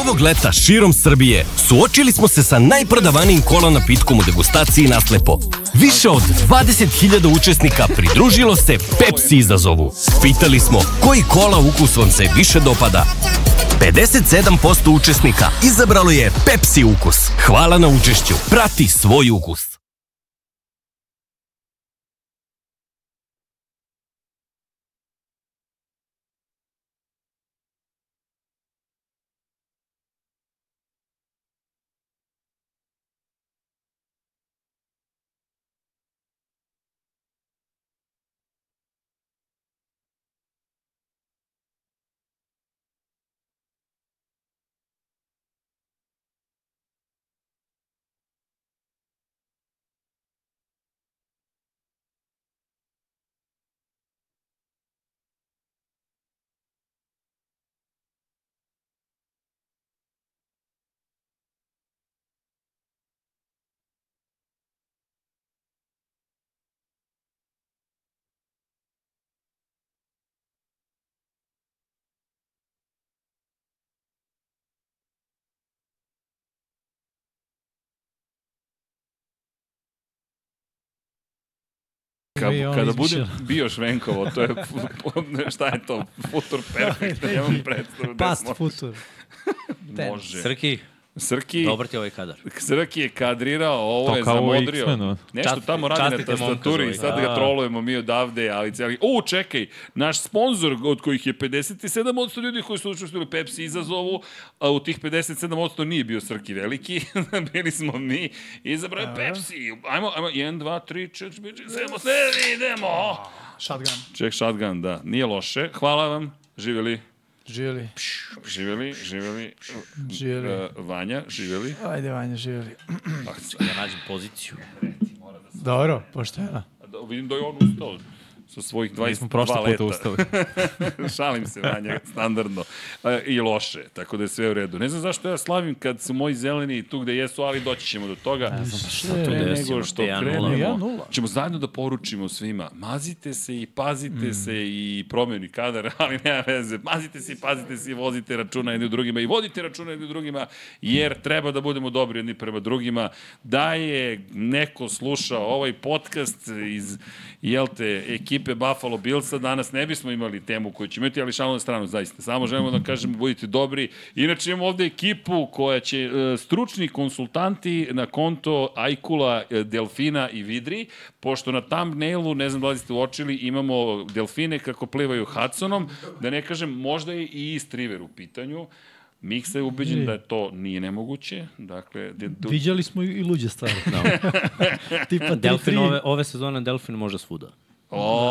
Ovog leta širom Srbije suočili smo se sa najprodavanijim kola napitkom u degustaciji Naslepo. Više od 20.000 učesnika pridružilo se Pepsi izazovu. Pitali smo koji kola ukus vam se više dopada. 57% učesnika izabralo je Pepsi ukus. Hvala na učešću. Prati svoj ukus. Kad, I on kada izmišljeno. budem bio Švenkovo, to je, šta je to, futur perfekt, nemam predstavu. da Past smo- futur. Može. Srki, Srki, dobar ti je ovaj kadar. Srki je kadrirao, ovo To je kao u zamodrio. X-Menu. Nešto Čast- tamo radi na častite momka tastaturi i za ovaj. Da. sad ga trolujemo mi odavde, ali cijeli... U, čekaj, naš sponsor, od kojih je 57% ljudi koji su učestvili u Pepsi izazovu, a u tih 57% nije bio Srki veliki, bili smo mi, izabrao je Pepsi. Ajmo, ajmo, 1, 2, 3, 4, 5, 6, 7, 8, idemo! Shotgun. Ček, shotgun, da, nije loše. Hvala vam, živjeli, Živjeli. živjeli, živjeli, Živjeli. e, Vanja, živjeli. Ajde, Vanja, živjeli. Ja nađem poziciju. Dobro, pošteno. Da, vidim da je on ustao sa svojih 22 leta. Mi smo prošli put ustali. Šalim se na njega, standardno. E, I loše, tako da je sve u redu. Ne znam zašto ja slavim kad su moji zeleni tu gde jesu, ali doći ćemo do toga. Ne znam tu desimo, nego te što ja nula. krenemo. Ja nula. Ćemo zajedno da poručimo svima, mazite se i pazite se i promeni kadar, ali nema veze. Mazite se i pazite se i vozite računa jedni u drugima i vodite računa jedni u drugima, jer treba da budemo dobri jedni prema drugima. Da je neko slušao ovaj podcast iz, jel te, ekipe Buffalo Billsa, danas ne bismo imali temu koju ćemo imati, ali šalno na stranu, zaista. Samo želimo da kažemo, budite dobri. Inače imamo ovde ekipu koja će, e, stručni konsultanti na konto Ajkula, e, Delfina i Vidri, pošto na thumbnailu, ne znam da li ste uočili, imamo delfine kako plivaju Hudsonom, da ne kažem, možda je i Striver u pitanju. Miksa je ubeđen da to nije nemoguće, dakle, de, de, Viđali smo i luđe stvari. Tipa 3-3. Delfin ove, ove sezone Delfin može svuda.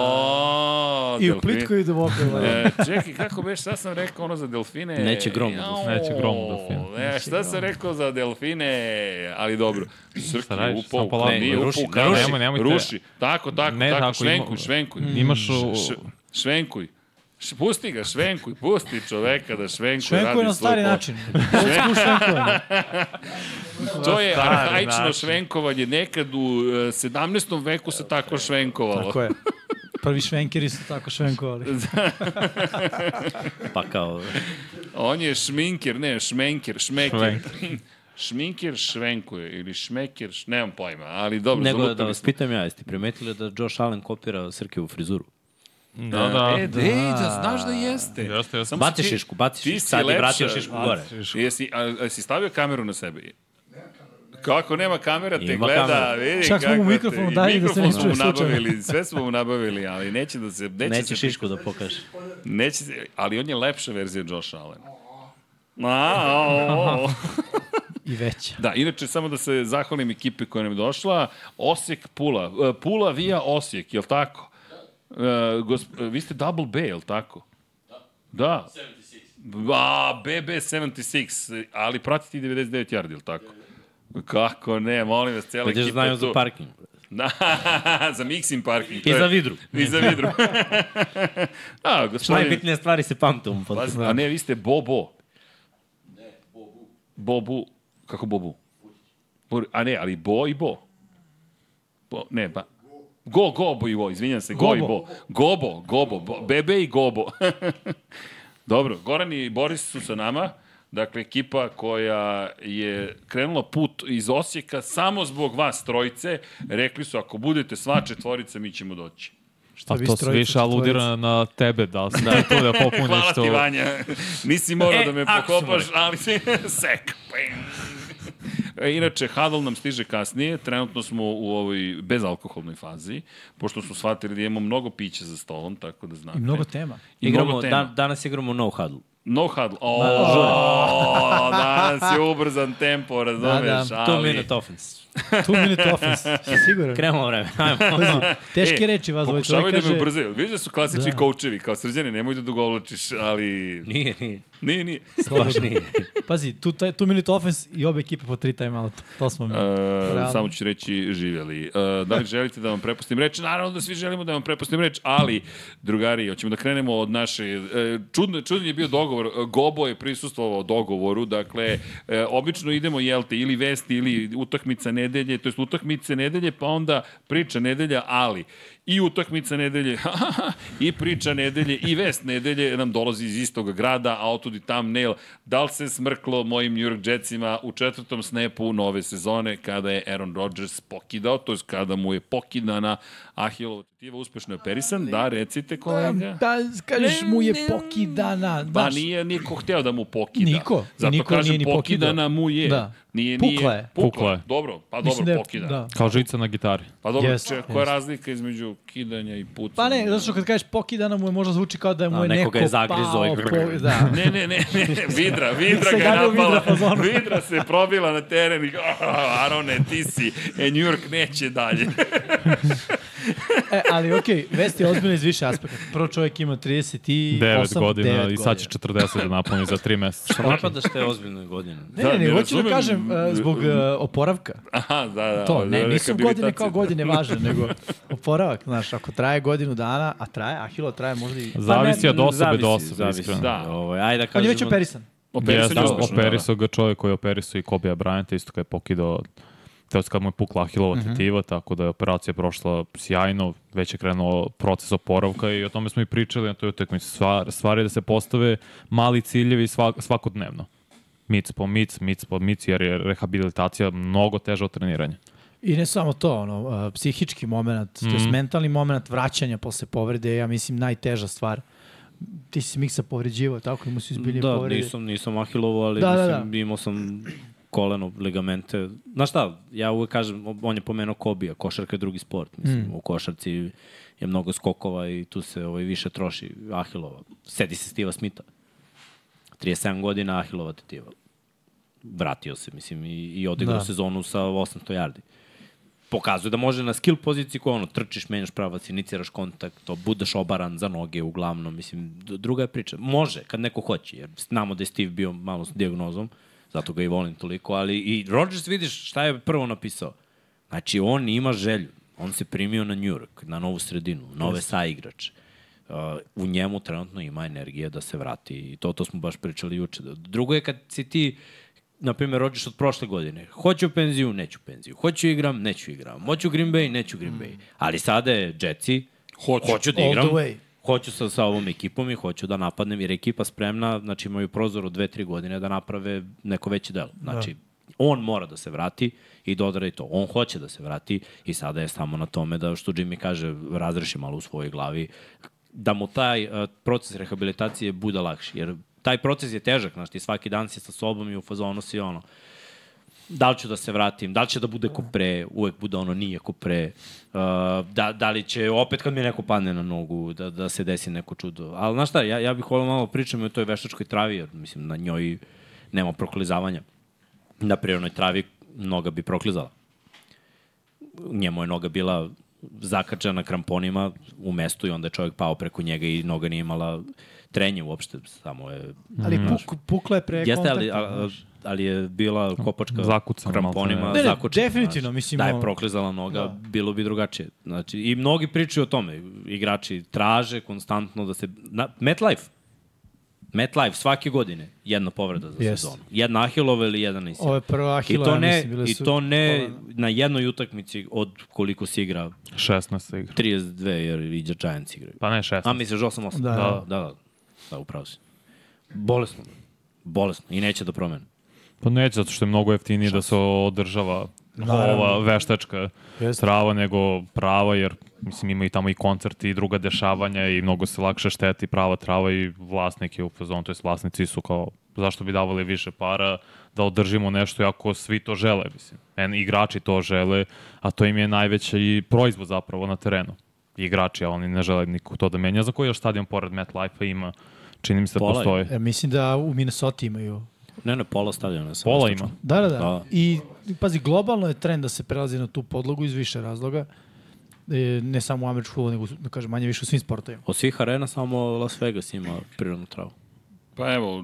o, I u delfini. plitku i duboko. E, čekaj, kako beš, šta sam rekao ono za delfine? Neće grom u delfine. Jao, Neće grom u delfine. E, šta sam rekao za delfine? Ali dobro. Srki Šta radiš? upao, Samo upao, polako. nije Ne, upao, ruši, ne, kaži, nemoj, nemoj te. ruši. Tako, tako, Ne, tako, tako, švenkuj, ima- Mm. švenkuj. Imaš u... Š, švenkuj. Š, pusti ga, švenkuj, pusti čoveka da švenkuj, Švenkuje radi svoj na stari posao. način. Švenkuje švenkovanje. To je stari arhaično način. švenkovanje. Nekad u e, 17. veku se tako švenkovalo. Tako je. Prvi švenkeri su tako švenkovali. Pa kao, On je šminker, ne, šmenker, šmeker. Švenk. Šminker švenkuje ili šmeker, š... nemam pojma, ali dobro, nego da zalutali vas smo. pitam ja, jeste primetili da Josh Allen kopira Srkevu frizuru? Da, da. E, da, ej, da znaš da jeste. Jeste, jeste. Samo Baci si ti- šišku, baci ti šišku, si sad je lepša. vratio šišku gore. Jesi, a, a si stavio kameru na sebe? Kako nema kamera, te Ima gleda, kamera. vidi Čak smo kako mu te- mikrofon i dali da se ne mikrofon smo mu čuje slučajno. nabavili, sve smo mu nabavili, ali neće da se... Neće, Neće se, šišku da pokaže. Neće se, ali on je lepša verzija Josh Allen. A, o, o. I veća. Da, inače, samo da se zahvalim ekipi koja nam je došla. Osijek Pula. E, Pula via Osijek, je li tako? E, gosp... e, vi ste Double B, je li tako? Da. Da. A, BB76, ali pratite i 99 yardi, je li tako? Kako ne, molim vas, cijela Gde ekipa Pa da znaju je za tu. parking? bre. Da, za mixing parking. to I je- za vidru. I za vidru. A, gospodin, Najbitnije stvari se pamte u ovom Pazi, podcastu. a ne, vi ste Bobo. Ne, Bobu. Bobu. Kako Bobu? Bur- A ne, ali Bo i Bo. bo ne, ba. Go, Gobo i Bo, izvinjam se, Go i Gobo. Bo. Gobo, Gobo, bo, Bebe i Gobo. Dobro, Goran i Boris su sa nama. Dakle, ekipa koja je krenula put iz Osijeka samo zbog vas trojice, rekli su ako budete sva četvorica mi ćemo doći. A vi to strojica, više aludira četvorica? na tebe, da si da. to da popuniš Hvala to. ti, Vanja. Nisi morao E, da me ako smo pokopaš, ali si sek. Ping. E, Inače, Hadal nam stiže kasnije, trenutno smo u ovoj bezalkoholnoj fazi, pošto su shvatili da imamo mnogo pića za stolom, tako da znate. I mnogo tema. I Igramo, mnogo tema. dan, danas igramo no huddle. No huddle. O, danas je ubrzan tempo, razumeš? da, ali... Two minute offense. Two minute office, si siguran? Krenemo vreme. Ajmo. Pazi, teške E, e, reči vas dvoje Pokušavaju čovjek da me kaže... ubrzaju. Vidiš da su klasični da. Da. koučevi, kao srđani, nemoj da dugovlačiš, ali... Nije, nije. Nije, nije. Baš nije. Pazi, tu, taj, two minute offense i obe ekipe po tri timeout. To smo mi. E, Realno. samo ću reći živjeli. E, da li želite da vam prepustim reč? Naravno da svi želimo da vam prepustim reč, ali, drugari, hoćemo da krenemo od naše... E, čudno, čudan je bio dogovor. E, Gobo je prisustvovao dogovoru, dakle, e, obično idemo, jel te, ili vesti, ili utakmica nedelje, to jest utakmice nedelje, pa onda priča nedelja, ali i utakmica nedelje, i priča nedelje, i vest nedelje nam dolazi iz istog grada, a otud i thumbnail. Da li se smrklo mojim New York Jetsima u četvrtom snapu nove sezone kada je Aaron Rodgers pokidao, to je kada mu je pokidana Ahilova tetiva uspešno je perisan. Da, recite kolega. Da, kažeš mu je pokidana. Pa Baš, nije niko hteo da mu pokida. Niko. Zato Niko kažem, nije ni pokidao. pokidana mu je. Da. Nije, Pukla nije, je. Pukla Pukla je. je. Dobro, pa mislim dobro, da je, pokida. da. Kao žica na gitari. Pa dobro, yes, Jest, če, koja je jest. razlika između kidanja i pucanja? Pa ne, zato što kad kažeš pokidana mu je možda zvuči kao da je mu A, je neko neko ga je zagrizao pao i grrr. po- Da. Ne, ne, ne, ne, Vidra, Vidra Se ga je gadio Vidra napala. fazonu. Vidra se probila na teren i "Ah, Arone, ti si, e, New York neće dalje. E, ali okej, okay, vest je ozbiljna iz više aspekta. Prvo čovjek ima 38 9 godina devet i sad će 40 da napuni za 3 meseca. Pa da Što napadaš te ozbiljne godine? Ne, Da, ne, ne, ne hoću da razumem. kažem uh, zbog uh, oporavka. Aha, da, da. To, ovo je ne, nisu godine rehabilitacija. kao godine važne, nego oporavak, znaš, ako traje godinu dana, a traje, a hilo traje možda i... Zavisi od osobe zavisi, do osobe, zavisi. iskreno. Da. Ovaj, ajde da kažemo... On je već operisan. Operisanje Jeste, je uspešno, da, da. operisao ga čovjek koji je operisao i Kobe Bryant, isto kad je pokidao to je kad mu je pukla ahilova Mhm. tetiva, tako da je operacija prošla sjajno, već je krenuo proces oporavka i o tome smo i pričali na toj utakmici. Stvar, stvar je da se postave mali ciljevi svak, svakodnevno. Mic po mic, mic po mic, jer je rehabilitacija mnogo teža od treniranja. I ne samo to, ono, uh, psihički moment, mm. to Mhm. je mentalni moment vraćanja posle povrede, je, ja mislim, najteža stvar. Ti si miksa povređivao, tako, imao si izbiljnije Da, povrede. nisam, nisam Ahilovo, ali da, Da, da, mislim, da. imao sam koleno, ligamente. Znaš šta, ja uvek kažem, on je pomenuo Kobija, košarka je drugi sport. Mislim, mm. u košarci je mnogo skokova i tu se ovaj, više troši Ahilova. Sedi se Stiva Smita. 37 godina Ahilova tetiva. Vratio se, mislim, i, i odigrao da. Da. sezonu sa 800 yardi. Pokazuje da može na skill poziciji koja ono, trčiš, menjaš pravac, iniciraš kontakt, to, budeš obaran za noge uglavnom, mislim, d- druga je priča. Može, kad neko hoće, jer znamo da je Steve bio malo s diagnozom, zato ga i volim toliko, ali i Rodgers vidiš šta je prvo napisao. Znači, on ima želju, on se primio na New York, na novu sredinu, nove saigrače uh, u njemu trenutno ima energije da se vrati i to, to smo baš pričali juče. Drugo je kad si ti na primjer, rođeš od prošle godine. Hoću penziju, neću penziju. Hoću igram, neću igram. Hoću Green Bay, neću Green Bay. Ali sada je Jetsi, hoću, hoću da Mm. All igram, the way. hoću sa, sa ovom ekipom i hoću da napadnem, jer je ekipa spremna, znači imaju prozor od dve, tri godine da naprave neko veće delo. Znači, da. on mora da se vrati i da odradi to. On hoće da se vrati i sada je samo na tome da, što Jimmy kaže, razreši malo u svojoj glavi, da mu taj uh, proces rehabilitacije bude lakši, jer taj proces je težak, znači ti svaki dan si sa sobom i u fazonu si ono, da li ću da se vratim, da li će da bude ko pre, uvek bude ono nije ko pre, uh, da, da li će opet kad mi neko padne na nogu, da, da se desi neko čudo. Ali znaš šta, ja, ja bih volao malo pričam i o toj veštačkoj travi, jer mislim na njoj nema proklizavanja. Na prirodnoj travi mnoga bi proklizala. Njemu je noga bila zakačena kramponima u mestu i onda je čovjek pao preko njega i noga nije imala trenje uopšte, samo je Ali puk, pukla je pre Mhm. Jeste, kontakta. ali, a, znaš. ali je bila kopačka Zakucana, kramponima. maltene. Ne, ne, zakučena, definitivno, znaš. mislim, Da je ono- proklizala noga, da. Da. bilo bi drugačije. Znači, I mnogi pričaju o tome. Igrači traže konstantno da se... Na, MetLife. MetLife svake godine jedna povreda za Jest. sezonu. Jedna Ahilova ili jedan nisi. Ovo je prva I Ahila, to ja ne, mislim, bile i su... to ne na jednoj utakmici od koliko se igra 16 igra. 32 jer i Giants igraju. Pa ne 16. A misliš 8-8? Da. da, da, da, da upravo si. Bolesno. Bolesno. I neće da promene. Pa neće, zato što je mnogo jeftinije da se održava Naravno. ova veštačka Jeste. trava nego prava, jer mislim ima i tamo i koncerti i druga dešavanja i mnogo se lakše šteti prava trava i vlasnik je u fazonu, to jest vlasnici su kao zašto bi davali više para da održimo nešto ako svi to žele, mislim. En, igrači to žele, a to im je najveći proizvod zapravo na terenu. Igrači, a oni ne žele niko to da menja. Za koji još stadion pored MetLife-a ima? Čini mi se da Pola je. postoji. E, mislim da u Minnesota imaju. Ne, ne, pola stadiona. sam Pola istočno. ima. Da, da, da. Da. I pazi, globalno je trend da se prelazi na tu podlogu iz više razloga. E, ne samo u američku, fudbalu, nego da kažem manje više u svim sportovima. Od svih arena samo Las Vegas ima prirodnu travu. Pa evo,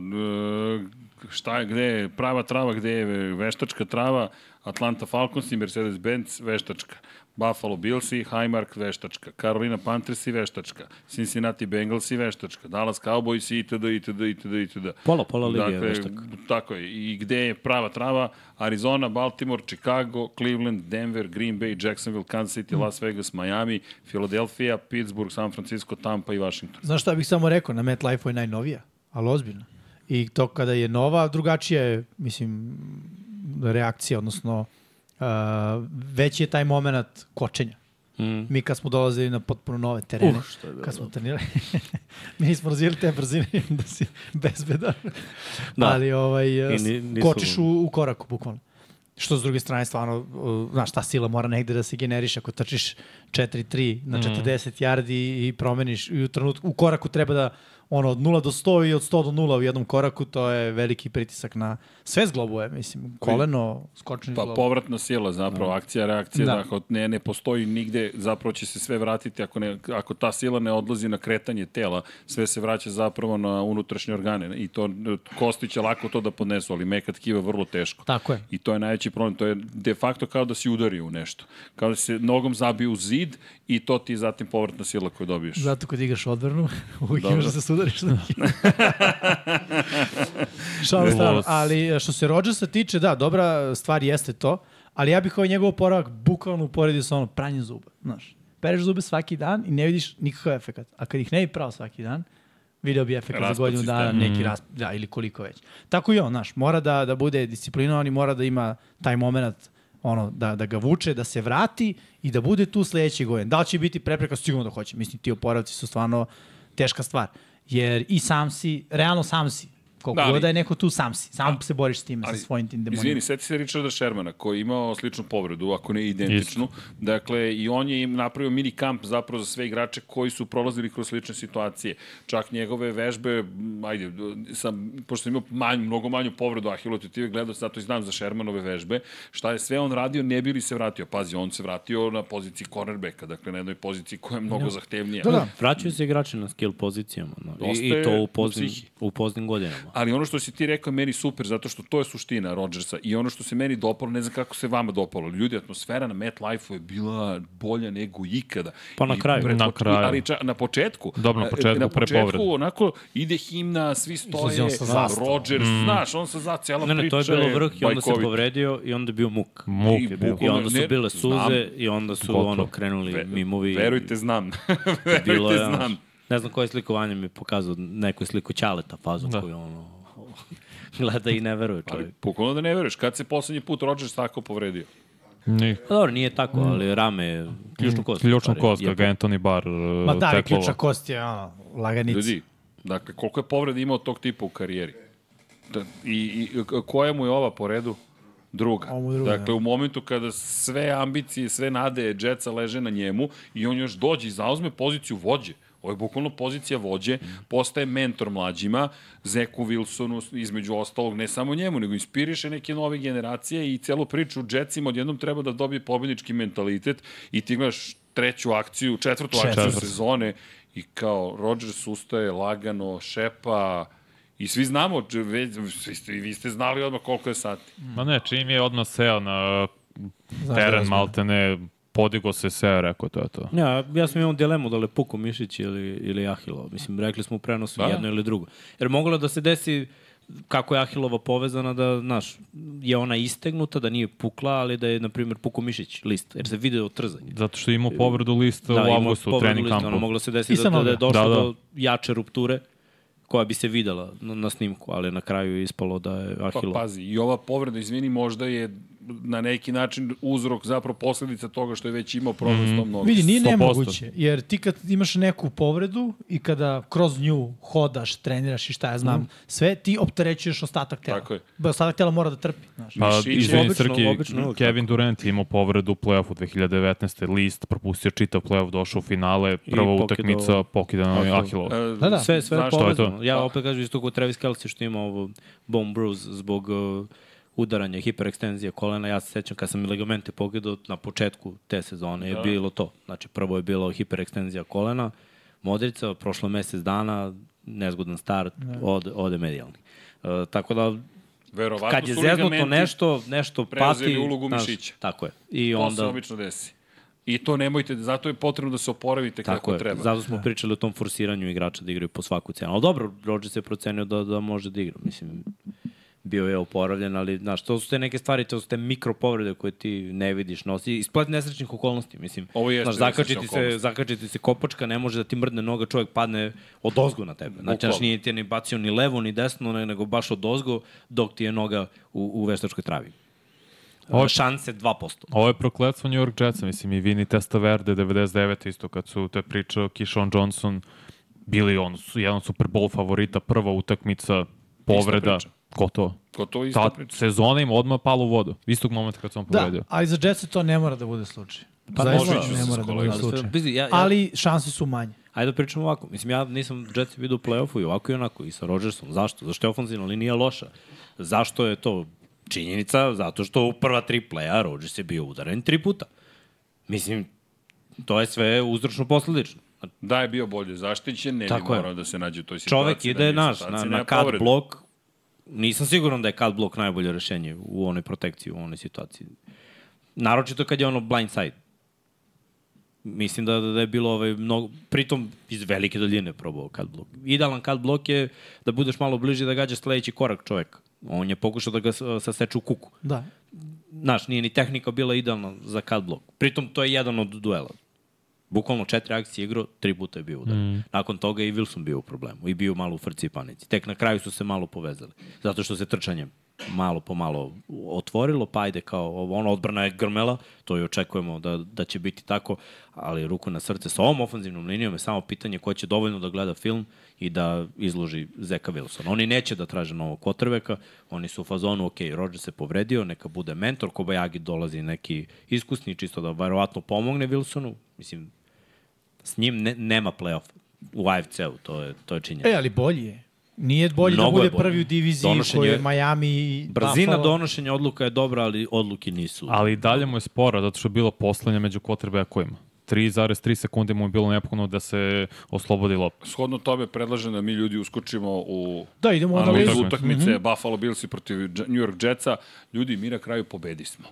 e, šta je, gde je prava trava, gde je veštačka trava, Atlanta Falcons i Mercedes-Benz veštačka. Buffalo Bills i Highmark veštačka. Carolina Panthers i veštačka. Cincinnati Bengals i veštačka. Dallas Cowboys i itd. itd. itd. itd. Dakle, Pola, pola lige je veštaka. Tako je. I gde je prava trava? Arizona, Baltimore, Chicago, Cleveland, Denver, Green Bay, Jacksonville, Kansas Mm. City, Las Vegas, Miami, Philadelphia, Pittsburgh, San Francisco, Tampa i Washington. Znaš šta bih samo rekao, na MetLife-u je najnovija, ali ozbiljno. I to kada je nova, drugačija je, mislim, reakcija, odnosno uh, veći je taj moment kočenja. Mm. Mi kad smo dolazili na potpuno nove terene, uh, što je kad smo trenirali, mi nismo razvijeli te brzine da si bezbedan. Da. Da. Ali ovaj, I uh, ni- nisu- kočiš u, u koraku, bukvalno. Što s druge strane, stvarno, uh, znaš, ta sila mora negde da se generiše. Ako trčiš 4-3 na 40 yardi i promeniš, i u, trenutku, u koraku treba da ono, od 0 do 100 i od 100 do 0 u jednom koraku, to je veliki pritisak na sve zglobove, mislim, koleno, skočni Pa zglob. povratna sila zapravo, akcija, reakcija, Da. da. ako ne, ne postoji nigde, zapravo će se sve vratiti, ako, ne, ako ta sila ne odlazi na kretanje tela, sve se vraća zapravo na unutrašnje organe i to kosti će lako to da podnesu, ali meka tkiva vrlo teško. Tako je. I to je najveći problem, to je de facto kao da si udario u nešto, kao da se nogom zabio u zid i to ti je zatim povratna sila koju dobiješ. Zato kad igraš odbranu, uvijek Dobro. imaš da se sudariš na njih. Šalim stranu. Los. Ali e, što se Rodgersa tiče, da, dobra stvar jeste to, ali ja bih ovaj njegov oporavak bukvalno uporedio sa ono pranjem zuba, znaš. Pereš zube svaki dan i ne vidiš nikakav efekat. A kad ih ne bi prao svaki dan, video bi efekat za Raspad godinu dana, sistema. neki raspad, da, ili koliko već. Tako i on, znaš, mora da, da bude disciplinovan i mora da ima taj moment ono, da, da ga vuče, da se vrati i da bude tu sledeći godin. Da li će biti prepreka, sigurno da hoće. Mislim, ti oporavci su stvarno teška stvar. Jer i sam si, realno sam si. Koliko Da, ali- god da je neko tu, sam si. Sam se boriš s time, sa Ali, svojim tim demonima. Izvini, seti se Richarda Shermana koji je imao sličnu povredu, ako ne identičnu. Dakle, i on je im napravio mini kamp zapravo za sve igrače koji su prolazili kroz slične situacije. Čak njegove vežbe, m, ajde, d- sam, pošto sam imao manj, mnogo manju povredu Ahilotiotive, gledao sam, zato i znam za Shermanove vežbe, šta je sve on radio, ne bi li se vratio. Pazi, on se vratio na poziciji cornerbacka, dakle na jednoj poziciji koja je mnogo zahtevnija. Da, da. Vraćaju se igrači na skill pozicijama. No. I, Dosta I to je u poznim, psihi. u poznim godinama. Ali ono što si ti rekao je meni super, zato što to je suština Rodgersa i ono što se meni dopalo, ne znam kako se vama dopalo. Ljudi, atmosfera na MetLife-u je bila bolja nego ikada. Pa na I kraju. pred- Na kraju. Ali ča, na početku. Dobro, na e, početku, Na pre početku povrede. onako ide himna, svi Izlazi stoje, on sa zastavom. Rodgers, mm. znaš, on sa za cijela Ne, ne, priča to je bilo vrh i onda se bajkovita. povredio i onda je bio muk. Muk I je bio. bukvalno- I onda su Ne, bile suze znam. i onda su Gotovo. ono krenuli Ve- mimovi. Verujte, znam. I bilo verujte, je, ono, znam. Ne znam koje slikovanje mi je pokazao, neku sliku Ćaleta fazom da. koju ono gleda i ne veruje Ali čovjek. bukvalno da ne veruješ, kad se poslednji put Rodgers tako povredio? Ni- Pa dobro, nije tako, ali rame je ključnu kost. Mm. Ključnu stvari, kost, je kako je Anthony Barr uh, Ma da, ali teklova. ključa kost je ono, laganica. Ljudi, dakle, koliko je povreda imao tog tipa u karijeri? Da, I, i k- koja mu je ova po redu? Druga. Ovo mu je druga, da. dakle, u momentu kada sve ambicije, sve nade Jetsa leže na njemu i on još dođe i zauzme poziciju vođe. Ovo je bukvalno pozicija vođe, postaje mentor mlađima, Zeku Wilsonu, između ostalog, ne samo njemu, nego inspiriše neke nove generacije i celu priču u Jetsima odjednom treba da dobije pobednički mentalitet i ti gledaš treću akciju, četvrtu akciju Četvrtu. sezone i kao Rodgers ustaje lagano, šepa i svi znamo, če- već, svi ste, i vi ste znali odmah koliko je sati. Ma ne, čim je odmah seo na Znaš da teren, razmišljam. malte ne, podigo se seo, rekao to je to. Ja, ja sam imao dilemu da li je puko mišić ili, ili Ahilova. Mislim, rekli smo u prenosu Pa Da. jedno ili drugo. Jer moglo je da se desi kako je Ahilova povezana da, znaš, je ona istegnuta, da nije pukla, ali da je, na primjer, puko mišić list, jer se Da, vide od trzanja. Zato što je imao povredu lista imao Da, u avgustu u povredu trening lista, kampu. Ono, moglo se desiti I sa da, da, da je noge. došlo da, da. Da, da. do jače rupture koja bi se videla na, na snimku, ali na kraju je ispalo da je Pa, Ahilo. pazi, i ova povreda, izvini, možda je na neki način uzrok, zapravo posledica toga što je već imao problem Mhm. mm. s tom nogom. Vidi, nije 100%. nemoguće, jer ti kad imaš neku povredu i kada kroz nju hodaš, treniraš i šta ja znam, Mhm. sve, ti opterećuješ ostatak tela. Tako je. Ba, ostatak tela mora da trpi. Znaš. Pa, Mišići- izvini, Obično- Srki, obično uvek Kevin Durant je imao povredu u play-offu 2019. List, propustio čitav play-off, došao u finale, prva pokidao- utakmica, pokidano je Ahilov. Ahilov. E, Da, da. Sve, sve je Znaš šta je povezano. to? Pa. Ja opet kažem isto kod Travis Kelce što ima ovo bone bruise zbog uh, udaranja, hiperekstenzije kolena. Ja se sećam kad sam ligamente pogledao na početku te sezone je Da. bilo to. Znači prvo je bilo hiperekstenzija kolena, modrica, prošlo mesec dana, nezgodan start, od, ode medijalni. Uh, tako da Verovatno kad je su zeznuto ligamenti nešto, nešto preuzeli pati... ulogu znaš, mišića. Tako je. I To se onda... obično desi. I to nemojte, zato je potrebno da se oporavite kako Tako je, treba. zato smo pričali o tom forsiranju igrača da igraju po svaku cenu. Ali dobro, Rodgers je procenio da, da može da igra. Mislim, bio je oporavljen, ali znaš, to su te neke stvari, to su te mikropovrede koje ti ne vidiš, nosi, isplat nesrećnih okolnosti, mislim. Ovo jeste znaš, zakačiti nesrećne okolnosti. se, zakačiti se kopačka, ne može da ti mrdne noga, čovjek padne od ozgo na tebe. Znači, Bukvalno. znaš, nije ti je ni bacio ni levo, ni desno, ne- nego baš od ozgo, dok ti je noga u, u veštačkoj travi. Ovo- Šanse 2%. Ovo je prokletstvo New York Jetsa, mislim, i Vini Testaverde 99. isto kad su te priče o Kishon Johnson bili on, su- jedan Super Bowl favorita, prva utakmica, povreda, priča. gotovo. Ko to isto Ta priča. sezona im odmah pala u vodu, istog momenta kad sam Da, povedio. ali za Jetsu to ne mora da bude slučaj. Pa Zaista možda ću ne se mora da bude skolega. slučaj. Ali sve- ja- ja- Ali šanse su manje. Ajde da pričamo ovako. Mislim, ja nisam Jets vidio u play-offu i ovako i onako i sa Rodgersom. Zašto? Zašto je ofenzivna linija loša? Zašto je to činjenica? Zato što u prva tri playa Rodgers je bio udaren tri puta. Mislim, to je sve uzročno posledično. Da je bio bolje zaštićen, ne bi Tako je. morao da se nađe u toj situaciji. Čovek da ide, nije naš, na, situacija, na nema cut povrede. blok. Nisam siguran da je cut blok najbolje rešenje u onoj protekciji, u onoj situaciji. Naročito kad je ono blind side. Mislim da, da je bilo ovaj mnogo, pritom iz velike daljine probao cut blok. Idealan cut blok je da budeš malo bliže da gađaš sledeći korak čoveka. On je pokušao da ga s- saseče u kuku Da. znaš, nije ni tehnika bila idealna za cut blok. Pritom, to je jedan od duela. Bukvalno četiri akcije igrao, tri puta je bio udar. Mm. Nakon toga je i Wilson bio u problemu i bio malo u frci i panici. Tek na kraju su se malo povezali. Zato što se trčanjem malo po malo otvorilo, pa ajde kao ovo, ono odbrana je grmela, to i očekujemo da, da će biti tako, ali ruku na srce sa ovom ofenzivnom linijom je samo pitanje ko će dovoljno da gleda film i da izloži Zeka Wilsona. Oni neće da traže novog kotrbeka, oni su u fazonu, ok, Rodgers se povredio, neka bude mentor, Kobayagi dolazi neki iskusni, čisto da verovatno pomogne Wilsonu, mislim, s njim ne, nema play-off u AFC-u, to je, to je činjenica. E, ali bolje je. Nije bolje Mnogo da je bude bolje. prvi u diviziji Donošenje- koji je Miami i Brzina Buffalo. donošenja odluka je dobra, ali odluke nisu. Ali i dalje mu je spora, zato što je bilo poslanje među kotrbekovima. 3,3 sekunde mu je bilo neophodno da se oslobodi lopta. Shodno tome predlažem da mi ljudi uskočimo u Da, idemo u analizu analizu. utakmice mm -hmm. Buffalo Billsi protiv Dž- New York Jetsa. Ljudi, mi na kraju pobedi smo.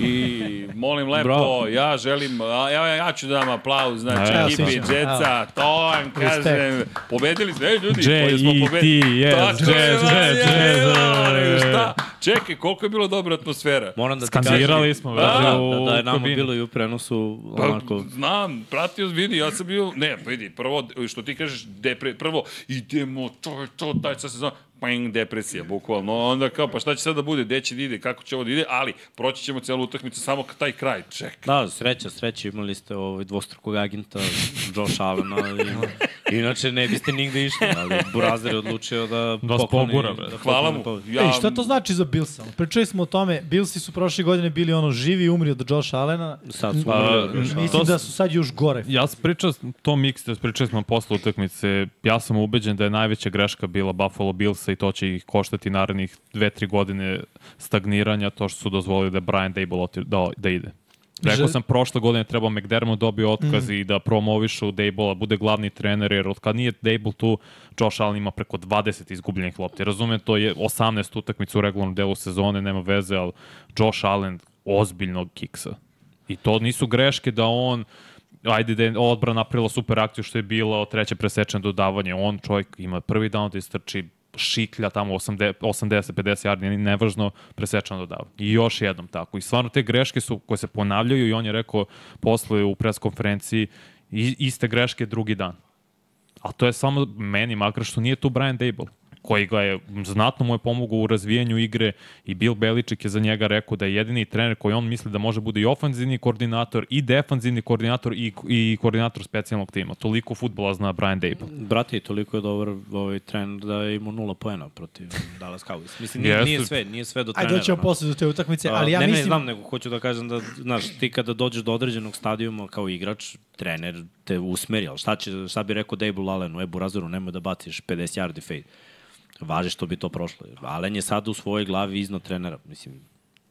I molim lepo, Bravo. ja želim, a, ja, ja ću da vam aplauz, znači, Evo, ekipi sviđa. Jetsa, to vam kažem. Pobedili smo, e, ljudi, J, koji smo E, T, pobedili. yes, Tako je, Jets, da, Jets, ja, Jets, ja, e. Šta? Čekaj, koliko je bilo dobra atmosfera. Moram da ti kažem, Skandirali smo, Da, veli, u da, da je nama kabini. bilo i u prenosu Pa, onako... znam, pratio, vidi, ja sam bio, ne, vidi, prvo, što ti kažeš, depre, prvo, idemo, to je to, taj, sad se zna, pang, depresija, bukvalno, onda kao, pa šta će sad da bude, gde će da ide, kako će ovo da ide, ali, proći ćemo celu utakmicu, samo ka- taj kraj, ček. Da, sreća, sreća, imali ste ovaj dvostrukog agenta, Josh Allena, i, inače ne biste nigde išli, ali Burazer je odlučio da vas pogura, bre. Hvala pokloni mu. pobjedu. Ja, Ej, šta to znači za Billsa? Pričali smo o tome, Billsi su prošle godine bili ono živi i umri od Josh Allena. Sad su Pa, umrli od Josh Allena. Mislim da su sad još gore. Ja sam pričao, to mix, da pričali smo posle utakmice, ja sam ubeđen da je najveća greška bila Buffalo Billsa i to će ih koštati narednih dve, tri godine stagniranja, to što su dozvolili da Brian Dable oti, da, da ide. Rekao Žel- sam prošle godine treba McDermott dobio otkaz mm. i da promovišu Dable, bude glavni trener, jer od kad nije Dable tu, Josh Allen ima preko 20 izgubljenih lopti. Razumem, to je 18 utakmica u regularnom delu sezone, nema veze, ali Josh Allen ozbiljnog kiksa. I to nisu greške da on ajde da je odbrana napravila super akciju što je bilo treće presečeno dodavanje. On čovjek ima prvi down da istrči šiklja tamo 80, 80 50 yardi, ni- nevažno, presečano dodavanje. I još jednom tako. I stvarno te greške su koje se ponavljaju i on je rekao posle u preskonferenciji i, iste greške drugi dan. a to je samo meni makar što nije tu Brian Dable koji ga je, znatno mu je pomogao u razvijanju igre i Bill Beliček je za njega rekao da je jedini trener koji on misli da može bude i ofanzivni koordinator i defanzivni koordinator i, i koordinator specijalnog tima. Toliko futbola zna Brian Dable. Brate, i toliko je dobar ovaj trener da je imao nula poena protiv Dallas Cowboys. Mislim, nije, Jeste. nije sve, nije sve do trenera. Ajde, doćemo no. posle do te utakmice, ali ja ne, mislim... Ne, znam, nego hoću da kažem da, znaš, ti kada dođeš do određenog stadijuma kao igrač, trener te usmeri, ali šta, će, šta bi rekao Dable Alenu, e, Burazoru, nemoj da baciš 50 yardi fade. Važe što bi to prošlo. Alen je sada u svojoj glavi iznad trenera. Mislim,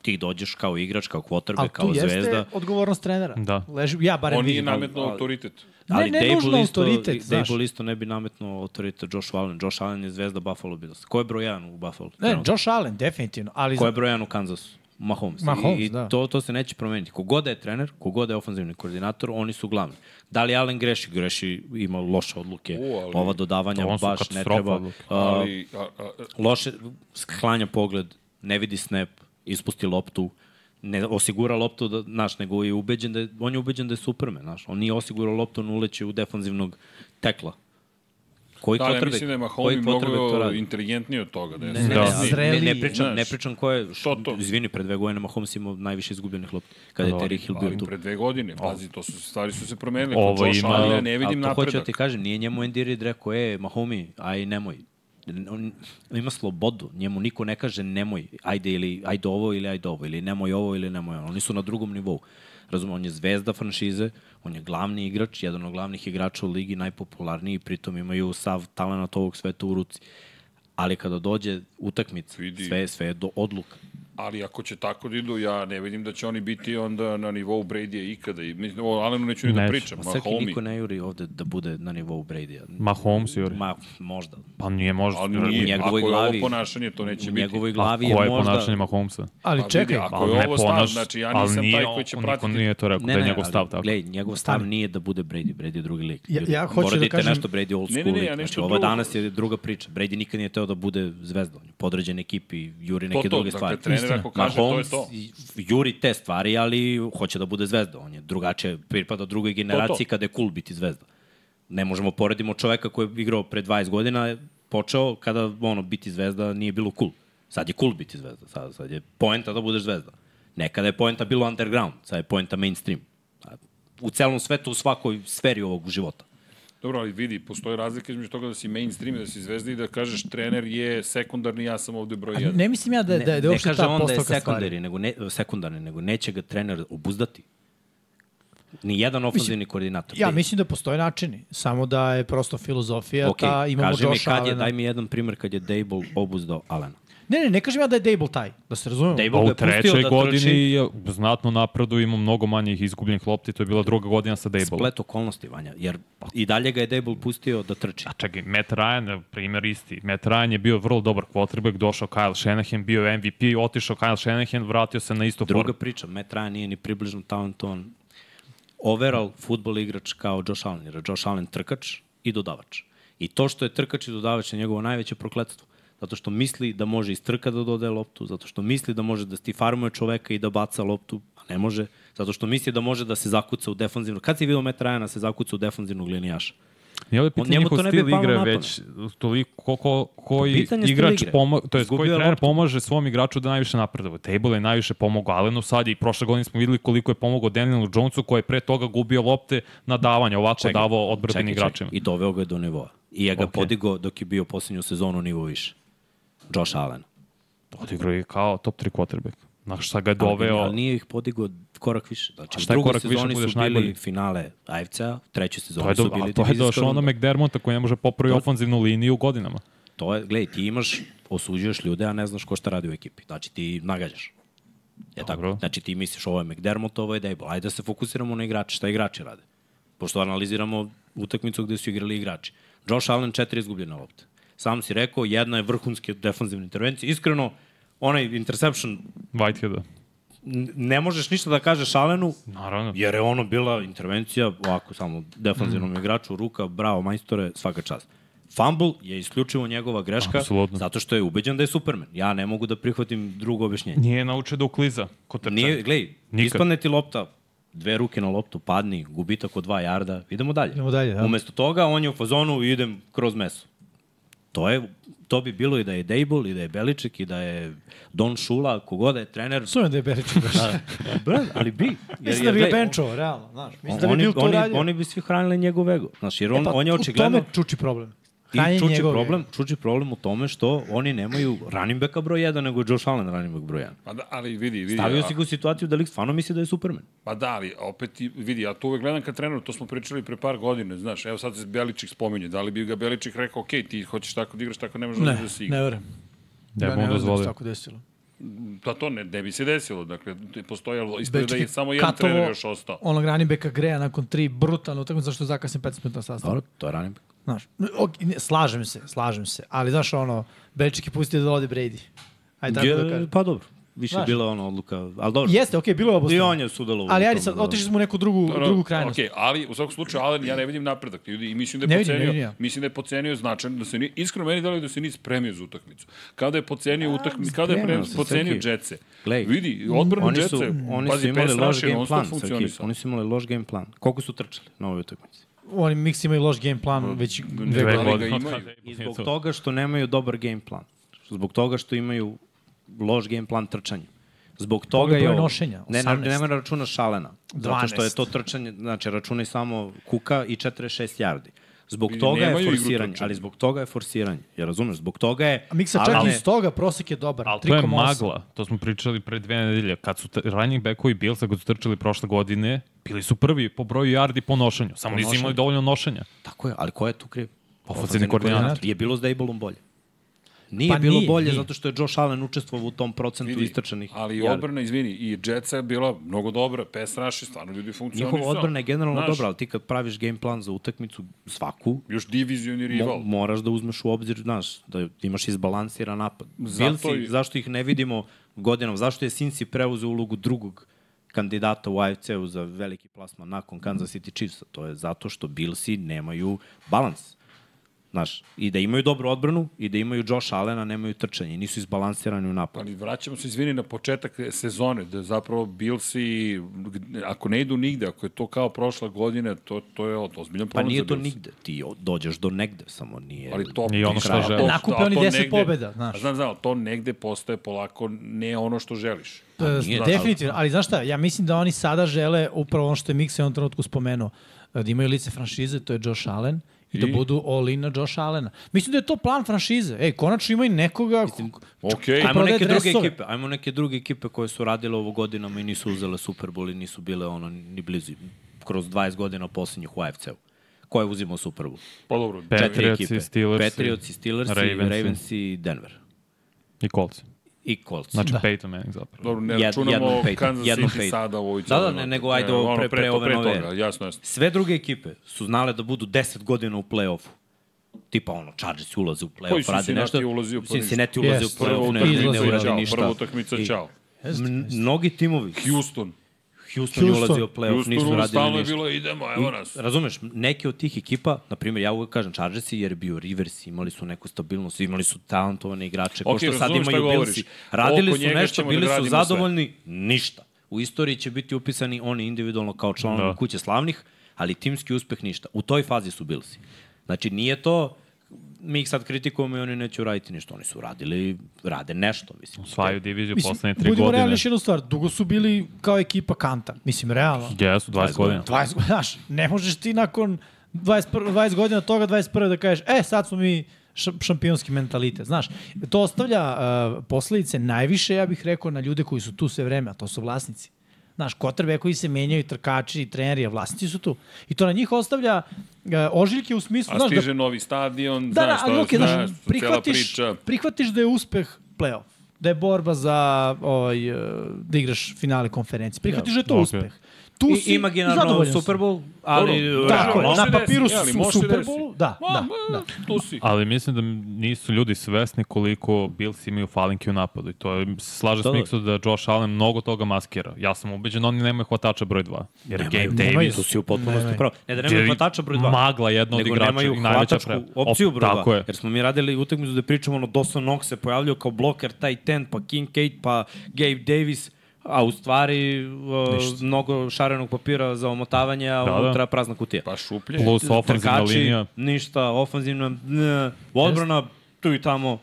ti dođeš kao igrač, kao quarterback, ali tu kao jeste zvezda. odgovornost trenera. Da. Leži, ja barem On nije vidim. nametno autoritet. Ne, ne nužno autoritet, znaš. Dable isto ne bi nametno autoritet Josh Allen. Josh Allen je zvezda Buffalo Bills. Ko je broj 1 u Buffalo? Ne, trenutno? Josh Allen, definitivno. Ali da. Ko je broj 1 u Kansasu? Mahomes. Mahomes, I, i da. to, to se neće promeniti. Kogoda je trener, kogoda je ofenzivni koordinator, oni su glavni. Da li Allen greši? Greši, ima loše odluke. U, ali- Ova dodavanja To su baš ne katastrofa treba. odluke. A, Ali, a, a, a, loše, sklanja pogled, ne vidi snap, ispusti loptu, ne osigura loptu, da, znaš, nego je ubeđen da je, on je ubeđen da je Superman, znaš. On nije osigurao loptu, on uleće u defanzivnog tekla. Koji da, ja quarterback- mislim da je koji Mahomi quarterback to mnogo radi? inteligentniji od toga. Da je Ne, Da. ne, svesniji. ne, ne, Zreliji, ne pričam, ne znaš. pričam ko je, Što to? Da, izvini, pre dve godine Mahomes imao najviše izgubljenih lopti, kada je Terry Hill bio Ali tu. pre dve godine, pazi, to su, stvari su se promenile. Ovo Ovo Josh ima- ima... ja ne vidim Ali to hoću da napredak. ti kažem, nije njemu Andy Reid rekao, e, Mahomi, aj nemoj. On ima slobodu, njemu niko ne kaže nemoj, ajde ili ajde ovo ili ajde ovo, ili nemoj ovo ili nemoj ono. Oni su na drugom nivou. Razumem, on je zvezda franšize, on je glavni igrač, jedan od glavnih igrača u ligi, najpopularniji, pritom imaju sav talent ovog sveta u ruci. Ali kada dođe utakmica, Vidi. sve, sve je do odluka. Ali ako će tako da idu, ja ne vidim da će oni biti onda na nivou Brady-a ikada. I, mislim, o Alenu neću ni da Neće. pričam. Ma Srki Mahomi. Pa niko ne juri ovde da bude na nivou Brady-a. Mahomes, Juri. Ma, možda. Pa nije možda. Ali Juri. nije, ako njegovoj je ovo glavi- ponašanje, to neće U biti. njegovoj A glavi je koje je možda... ponašanje Mahomesa? ali Pa vidi, čekaj, ako je ne ovo stav, ponaš- znači ja ali nisam nije taj on- koji će niko pratiti. nije to rekao, da je njegov stav tako. Glej, njegov stav nije da bude Brady, Brady je drugi lik. Ja- Ljudi, ja hoću da morate kažem- nešto Brady old Ne, ne, school. ne, Ne, ne, ja znači, nešto ovo drugo. danas je druga priča. Brady nikad nije teo da bude zvezda. On je podređen ekipi, juri neke to, druge dakle, stvari. trener ako kaže, to je Mahomes to. i- juri te stvari, ali hoće da bude zvezda. On je drugačije, pripada drugoj generaciji kada je cool biti zvezda. Ne možemo poredimo čoveka koji je igrao pre 20 godina, počeo kada ono biti zvezda nije bilo cool. Sad je cool biti zvezda, sad, sad je poenta da budeš zvezda. Nekada je poenta bilo underground, sad je poenta mainstream. A U celom svetu, u svakoj sferi ovog života. Dobro, ali vidi, postoji razlika između toga da si mainstream, i da si zvezda i da kažeš trener je sekundarni, ja sam ovde broj a jedan. ne mislim ja da, da, da je uopšte ta da je postavka stvari. sekundari, nego ne, sekundarni, nego neće ga trener obuzdati. Ni jedan ofenzivni koordinator. Ja Ti- mislim da postoje načini, samo da je prosto filozofija Okej, ta, imamo kaži mi Josh kad je, Allena. daj mi jedan primer kad je Dable obuzdao Alena. Ne, ne, ne kažem ja da je Dable taj, da se razumemo. Dable Pa ga u je pustio trećoj da godini trči je znatno napredu, imao mnogo manjih izgubljenih lopti, to je bila druga godina sa Dable. splet okolnosti, Vanja, jer i dalje ga je Dable pustio da trči. A čekaj, Matt Ryan, je primjer isti. Matt Ryan je bio vrlo dobar quarterback, došao Kyle Shanahan, bio je MVP, otišao Kyle Shanahan, vratio se na istu Druga formu. priča, Matt Ryan nije ni približno talentovan overall futbol igrač kao Josh Allen, jer je Josh Allen trkač i dodavač. I to što je trkač i dodavač je njegovo najveće prokletstvo. Zato što misli da može iz trka da dodaje loptu, zato što misli da može da stifarmuje čoveka i da baca loptu, a ne može, zato što misli da može da se zakuca u defanzivnu. Kad si vidio Matt Ryana se zakuca u defanzivnog linijaša? Nije ovdje On- pitanje njemu njihov to ne bi stil palo igre, na pamet. već toliko ko, ko, koji Pitanje stila igrač igre. pomo, to jest Izgubio koji je trener loptu. pomaže svom igraču da najviše napreduje. Table je najviše pomogao Alenu sad i prošle godine smo videli koliko je pomogao Danielu Jonesu koji je pre toga gubio lopte na davanje, ovako Čekaj, davao odbrbenim igračima. I doveo ga je do nivoa. I ja ga okay. Ok. podigo dok je bio poslednju sezonu nivo više. Josh Allen. Odigrao je kao top 3 quarterback. Znaš šta ga je Doveo... doveo? Ali nije ih podigo korak više. Znači, A u šta je drugoj korak više, sezoni budeš su bili najbolji? finale AFC-a, trećoj To sezoni je, su do, bili a to je divizijska došao runda. ono McDermonta koji ne može popravi ofanzivnu liniju godinama. To je, gledaj, ti imaš, osuđuješ ljude, a ne znaš ko šta radi u ekipi. Znači, ti nagađaš. Je tako? Dobro. Znači, ti misliš ovo je McDermott, ovo je Dable. Ajde da se fokusiramo na igrače, šta igrači rade. Pošto analiziramo utakmicu gde su igrali igrači. Josh Allen četiri izgubljene lopte. Sam si rekao, jedna je vrhunske defanzivne intervencije. Iskreno, onaj interception, Whiteheada. n- ne možeš ništa da kažeš Allenu, Naravno. Jer je ono bila intervencija, ovako samo defanzivnom mm. igraču, ruka, bravo majstore, svaka čast. Fumble je isključivo njegova greška, Apsolutno. zato što je ubeđen da je Superman. Ja ne mogu da prihvatim drugo objašnjenje. Nije naučio da ukliza kod trčanja. Nije, glej, Nikad. ispadne ti lopta, dve ruke na loptu, padni, gubitak od dva jarda, idemo dalje. Idemo dalje, da. Umesto toga, on je u fazonu, idem kroz meso. To, je, to bi bilo i da je Dable, i da je Beliček, i da je Don Šula, kogoda je trener. Sumem da je Berić baš. Da, Brad, ali bi. Jer, Mislim da bi ga gle, benčovao, realno, znaš. Mislim da bi oni, Bill to oni, radio. oni bi svi hranili njegov ego. Znaš, jer on, Pa, pa, on je u- U očigledno... tome čuči problem. Hranjenje I čuči njegove. problem, čuči problem u tome što oni nemaju running backa broj 1, nego je Josh Allen running back broj 1. Pa da, ali vidi, vidi. Stavio a- si ga u situaciju da lik stvarno misli da je Superman. Pa da, ali opet i- vidi, ja to uvek gledam kad trener, to smo pričali pre par godine, znaš, evo sad se Beličik spominje, da li bi ga Beličik rekao, ok, ti hoćeš tako da igraš, tako ne možeš Ne, da si igra. ne verujem. Da ja bi ne verujem on da bi se dozvolio. tako desilo. Pa to ne, ne bi se desilo, dakle, postojalo, ispada da je Beličik je samo jedan katovo- trener još ostao. Onog Ranibeka Greja nakon tri brutalne utakmice zašto je zakasnio 15 minuta na sastavu. Dobro, to je running back. Znaš, ok, ne, slažem se, slažem se. Ali znaš ono, Beličik je pustio da ode Brady. Ajde tako da Je, kažem. pa dobro, više Znaš. je bila ona odluka, ali dobro. Jeste, okej, bilo je I obostrano. on je da. sudalo Ali ajde sad, otišli smo u neku drugu, Dobro, drugu krajnost. Okej, ali u svakom slučaju Allen ja ne vidim napredak ljudi i mislim da je Ne ne vidim, pocenio, ne vidim ja. mislim da je pocenio značajno da se ni iskreno meni deluje da se nije spremio za utakmicu. Kao da je pocenio utakmicu, kao da je pre, spremio se, pocenio Srki. Jetsa. Glej, Vidi, odbranu Oni Jetsa. su, oni pazi, su imali pass loš rush je game non-stop plan, Srki. funkcionisao. Oni su imali loš game plan. Koliko su trčali na ovoj utakmici? Oni mix imaju loš game plan već dve Dve godine. godine godine. imaju. I Je zbog to. toga što nemaju dobar game plan. Zbog toga što imaju loš game plan trčanja. Zbog toga je... broj ovo- nošenja, Ne, ne, 18. nema računa šalena. Zato što je 12. to trčanje, znači računaj samo kuka i 46 jardi. Zbog I toga je nemaju igru forsiranje, trčanja. ali zbog toga je forsiranje. Ja razumeš, zbog toga je... A Miksa čak ali- i iz toga, prosek je dobar. Ali to je 3,8. magla. To smo pričali pre dve nedelje. Kad su t- running backovi Bilsa kad su trčali prošle godine, bili su prvi po broju yardi po nošenju. Samo nisu nošenju. imali dovoljno nošenja. Tako je, ali ko je tu kriv? Pa Ofenzivni koordinator. Je bilo s Dejbolom bolje. Nije Pa bilo nije, bolje nije. zato što je Josh Allen učestvovao u tom procentu Vidi, istrčanih. Ali yardi. odbrana, izvini, i Jetsa je bila mnogo dobra, pass rush je stvarno ljudi funkcionisao. Njihova odbrana je generalno Znaš, dobra, ali ti kad praviš game plan za utakmicu svaku, Još divizioni rival. mo moraš da uzmeš u obzir, znaš, da imaš izbalansiran napad. Zato Zato i- zašto ih ne vidimo godinom? Zašto je Sinci preuzeo ulogu drugog kandidata u AFC-u za veliki plasman nakon Kansas City Chiefsa? To je zato što Billsi nemaju balans. Znaš, i da imaju dobru odbranu i da imaju Josh Allena, nemaju trčanje, nisu izbalansirani u napadu. Ali vraćamo se, izvini, na početak sezone, da zapravo Billsi, ako ne idu nigde, ako je to kao prošla godina, to, to je ozbiljan Pa problem nije za to Billse. nigde, ti o- dođeš do negde, samo nije... Ali to Nije ono što a to- žele. a Nakupe to oni 10 negde- pobeda, znaš. A Znam, znam, ali to negde postaje polako ne ono što želiš. E, Pa nije, da, ali- definitivno, ali znaš šta, ja mislim da oni sada žele upravo ono što je Miksa u jednom trenutku spomenuo, da imaju lice franšize, to je Josh Allen, i, da budu all in na Josh Allena. Mislim da je to plan franšize. Ej, konačno imaju nekoga... Mislim, Okej. Ajmo prodaje neke druge dresove. ekipe, ajmo neke druge ekipe koje su radile ovo godinama i nisu uzele Super Bowl i nisu bile ono ni blizu kroz 20 godina poslednjih u AFC-u. Ko je uzimao Super Bowl? Pa dobro, Četiri Patriots i ekipe. Steelers i- Patriots i Steelers Ravens, Ravens i- Ravens i Denver. I kolci. I Colts. Znači Peyton Manning zapravo. dobro ne Jed- računamo jednom pet- Kansas jednom City pet. sada u ovoj Da, da, celoj ne, noti. nego ajde ovo ono, pre- pre to- ove nove. toga, jasno, jasno. Sve druge ekipe su znale da budu 10 godina u play-offu. Tipa ono, Chargers ulaze u Koji play-off, rade Cincinnati nešto. ulazi u play-off? Cincinnati ulaze Jest, u Prva play-off, ne, utakmica, izlaze, ne uradi čao. ništa. Prva utakmica, I- čao. M- Mnogi timovi, Houston. Houston, je Houston. ulazio u play-off, nisu Houston radili stalno je ništa. bilo, idemo, evo nas. Razumeš, neke od tih ekipa, na primjer, ja uvek kažem Chargersi, jer je bio Rivers, imali su neku stabilnost, imali su talentovane igrače, okay, Ok, ko što sad razumem šta imaju govoriš. Billsi. Radili Oko su njega nešto, ćemo bili da su gradimo sve. zadovoljni, ništa. U istoriji će biti upisani oni individualno kao članovi Da. da. kuće slavnih, ali timski uspeh ništa. U toj fazi su Billsi. Znači, nije to mi ih sad kritikujemo i oni neće uraditi ništa. Oni su radili, rade nešto, mislim. Osvajaju diviziju poslednje tri budimo godine. realni još jednu stvar, dugo su bili kao ekipa kanta. Mislim, realno. Jesu, 20 godina. 20 godina, znaš, ne možeš ti nakon 21, 20 godina od toga 21 da kažeš, e, sad smo mi š- šampionski mentalitet, znaš. To ostavlja uh, posledice najviše, ja bih rekao, na ljude koji su tu sve vreme, a to su vlasnici. Znaš, kotrbe koji se menjaju, i trkači, i treneri, a vlasnici su tu. I to na njih ostavlja uh, ožiljke u smislu, A znaš, stiže da, novi stadion, da, da, znaš, ali to, okej, znaš, znaš, cela prihvatiš, priča. prihvatiš da je uspeh playoff da je borba za ovaj, uh, da igraš finale konferencije. Prihvatiš da je to okej. uspeh. Tu I, si i imaginarno zadovoljan si. Super Bowl, ali... Dobro, tako realno- je, može na se desi, papiru je li, su može se Super desi. Bowl, da, Ma, da, ma, da. Tu si. Ali mislim da nisu ljudi svesni koliko Bills imaju falinke u napadu. I to je, slažem Da, s da. Miksu da Josh Allen mnogo toga maskira. Ja sam ubeđen, da oni nemaju hvatača broj 2. Jer Nemaju, Gabe nemaju, Davis tu si u potpunosti Nemaju. pravo. Ne da nemaju je hvatača broj 2. Magla jedna od igrača nemaju i najveća hvatačku pre- opciju op- broj 2. tako je. Jer smo mi radili utakmicu da pričamo, ono, Dawson Knox se pojavljao kao bloker, taj ten, pa Kincaid, pa Gabe Davis, a u stvari uh, mnogo šarenog papira za omotavanje, a Da, da, da. unutra da. prazna kutija. Pa šuplje. Plus ofanzivna Trkači, linija. ništa, ofanzivna, ne, odbrana, tu i tamo,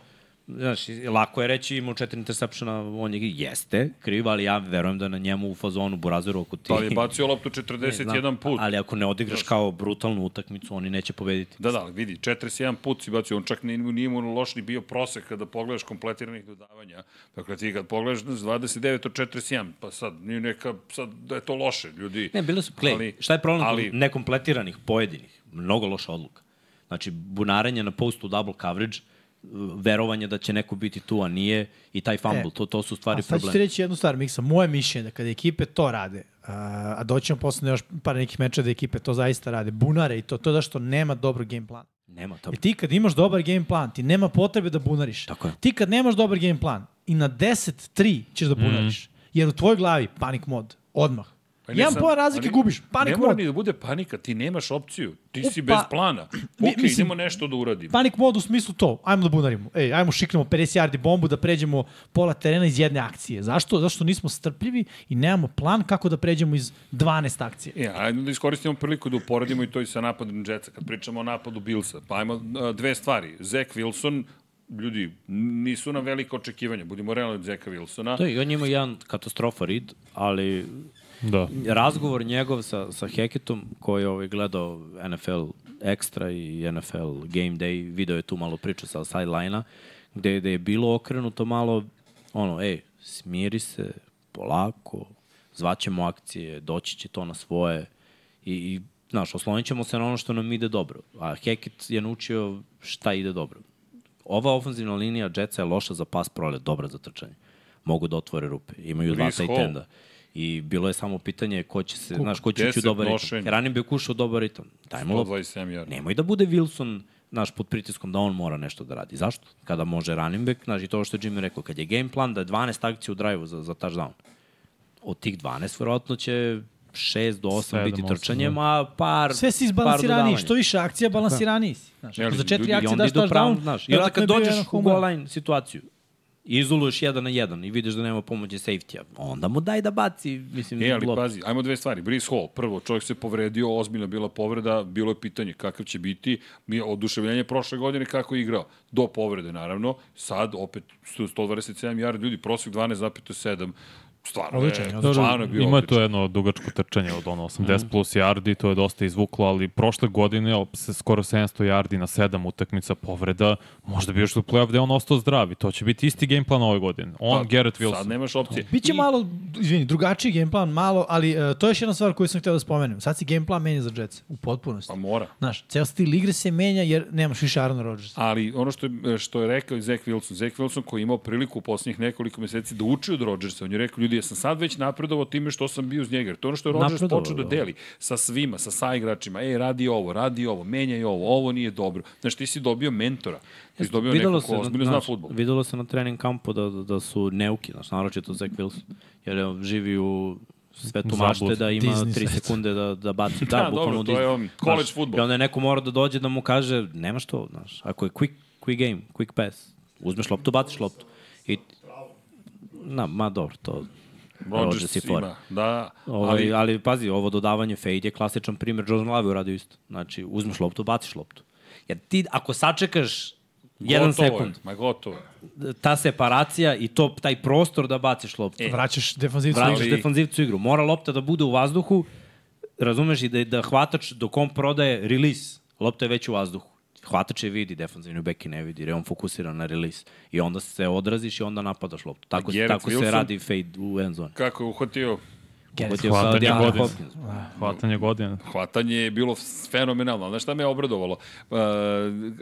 znaš, lako je reći, imao četiri intersepšena, on je, jeste, kriv, ali ja verujem da na njemu u fazonu Burazeru ako Pa, ti... Ali je bacio E, da, loptu Ne znam, 41 put. Ali ako ne odigraš kao brutalnu utakmicu, oni neće pobediti. Da, da, ali vidi, 41 put si bacio, on čak nije, nije mu loš ni bio prosek kada pogledaš kompletiranih dodavanja. Dakle, ti kad pogledaš znaš, 29 od 41, pa sad, nije neka, sad da je to loše, ljudi. Ne, bile su klej. Ali- Šta je problem ali- ali, nekompletiranih, pojedinih? Mnogo loša odluka. Znači, bunarenje na postu double coverage, verovanje da će neko biti tu, a nije, i taj fumble, E, to, to su stvari A sad ću ti problemi. reći jednu stvar, Miksa. Moje mišljenje da kada ekipe to rade, a, a doći ćemo posle na još par nekih meča da ekipe to zaista rade, bunare i to, to je da što nema dobro game plan. Nema to. I ti kad imaš dobar game plan, ti nema potrebe da bunariš. Tako je. Ti kad nemaš dobar game plan i na 10-3 ćeš da bunariš, Mhm. jer u tvojoj glavi panik mod, odmah. Pa Pa ne Jedan znam, poen razlike ali gubiš, panik Ne mora mod. ni da bude panika, ti nemaš opciju, ti si Upa. bez plana. Mi- Ok, mislim- Pa- idemo nešto da uradimo. Panik mod u smislu to, ajmo da bunarimo. Ej, ajmo šiknemo 50 yardi bombu da pređemo pola terena iz jedne akcije. Zašto? Zašto nismo strpljivi i nemamo plan kako da pređemo iz E, 12 akcija. Ja, ajde da iskoristimo priliku da uporedimo i to i sa napadom Jetsa, kad pričamo o napadu Billsa. Pa ajmo a, dve stvari. Zach Wilson, ljudi, nisu na velika očekivanja. Budimo realni od Zeka Wilsona. To je, i on ima jedan katastrofa rid, ali Da. razgovor njegov sa, sa Heketom, koji je ovaj, gledao NFL Extra i NFL Game Day, video je tu malo priču sa sideline-a, gde, gde je bilo okrenuto malo, ono, ej, smiri se, polako, zvaćemo akcije, doći će to na svoje i, i znaš, oslonit ćemo se na ono što nam ide dobro. A Heket je naučio šta ide dobro. Ova ofenzivna linija Jetsa je loša za pas prolet, dobra za trčanje. Mogu da otvore rupe. Imaju dva Brees tight Hall. enda. I bilo je samo pitanje ko će se, znaš, ko će ući u 10 dobar ritam. nošenja. Ranim bi kušao dobar ritam. Dajmo loptu. 127 yardi. Nemoj da bude Wilson naš pod pritiskom da on mora nešto da radi. Zašto? Kada može running back, znači to što je Jimmy rekao, kad je game plan da je 12 akcija u drive-u za, za touchdown. Od tih 12 verovatno će 6 do 8 Sedam, biti osam, da. trčanjem, a par Sve si par izbalansiraniji, dodavanja. što više akcija, balansiraniji si. Znaš, Ne, ali ako za četiri ljudi, I akcije onda daš idu touchdown, pravo, znaš. I onda verovatno kad je bio dođeš jedan u home run. goal line situaciju, i izoluješ jedan na jedan i vidiš da nema pomoći safety-a, onda mu daj da baci, mislim, E, ali loptu. pazi, ajmo dve stvari. Brees Hall, prvo, čovjek se povredio, ozbiljna bila povreda, bilo je pitanje kakav će biti, mi je oduševljenje prošle godine kako je igrao. Do povrede, naravno, sad opet 127 yardi, ljudi, prosjek 12,7, stvarno Odličan je, je, Da, stvarno je bio ima odličan. Mhm. to jedno dugačko trčanje od ono 80 plus yardi, to je dosta izvuklo, ali prošle godine al, se skoro 700 yardi na 7 utakmica povreda, možda bi još u play-off gde je on ostao zdrav i to će biti isti game plan ove godine. On, Pa, Garrett Sad Wilson. nemaš opcije. Biće malo, izvini, drugačiji game plan, malo, ali e, to je još jedna stvar koju sam htio da spomenem. Sad si game plan menja za Jets, u potpunosti. Pa mora. Znaš, ceo stil igre se menja jer nemaš više Aaron Rodgersa. Ali ono što je, što je rekao i Zach Wilson, Zach Wilson koji je imao priliku u poslednjih nekoliko meseci da uči od Rodgersa, on je rekao, ljudi, ja sam sad već napredovao time što sam bio uz njega. jer To je ono što je Rodgers Napredovao, počeo da da. deli sa svima, sa saigračima, ej, radi ovo, radi ovo, menjaj ovo, ovo nije dobro. Znaš, ti si dobio mentora, ti si dobio nekog ko ozbiljno zna znaš, futbol. Videlo se na trening kampu da, da, da su neuki, znaš, naročito Zach Wilson, jer on živi u svetu Zablud. mašte da ima Disney 3 svet. sekunde da, da baci. Da, Da, bukvalno dobro, to Disney. je on, Znaš, college fudbal. I onda je neko mora da dođe da mu kaže, nemaš to, znaš, ako je quick, quick game, quick pass, uzmeš loptu, baciš loptu. I, na, ma dobro, to... Rodgers je fora. ima, da, Ovaj, ali, ali ali pazi, ovo dodavanje fade je klasičan primjer, Jordan Love je uradio isto. Znači, uzmeš loptu, baciš loptu. Jer ti, ako sačekaš jedan gotovo je, sekund, Ma gotovo. je. ta separacija i to, taj prostor da baciš loptu, e, Vraćaš znači- defanzivcu. vraćaš ali- defanzivcu igru. Mora lopta da bude u vazduhu, razumeš i da, da hvatač dok on prodaje release, lopta je već u vazduhu. Hvatač je vidi, defanzivni beki ne vidi, jer je on fokusiran na release. I onda se odraziš i onda napadaš loptu. Tako, Garrett tako Wilson? se radi fade u end zone. Kako je uhvatio Ugodio Hvatanje kao Diana godine. Hopkins. Hvatanje godine. hvatanje je bilo fenomenalno. Znaš šta me je obradovalo? Uh,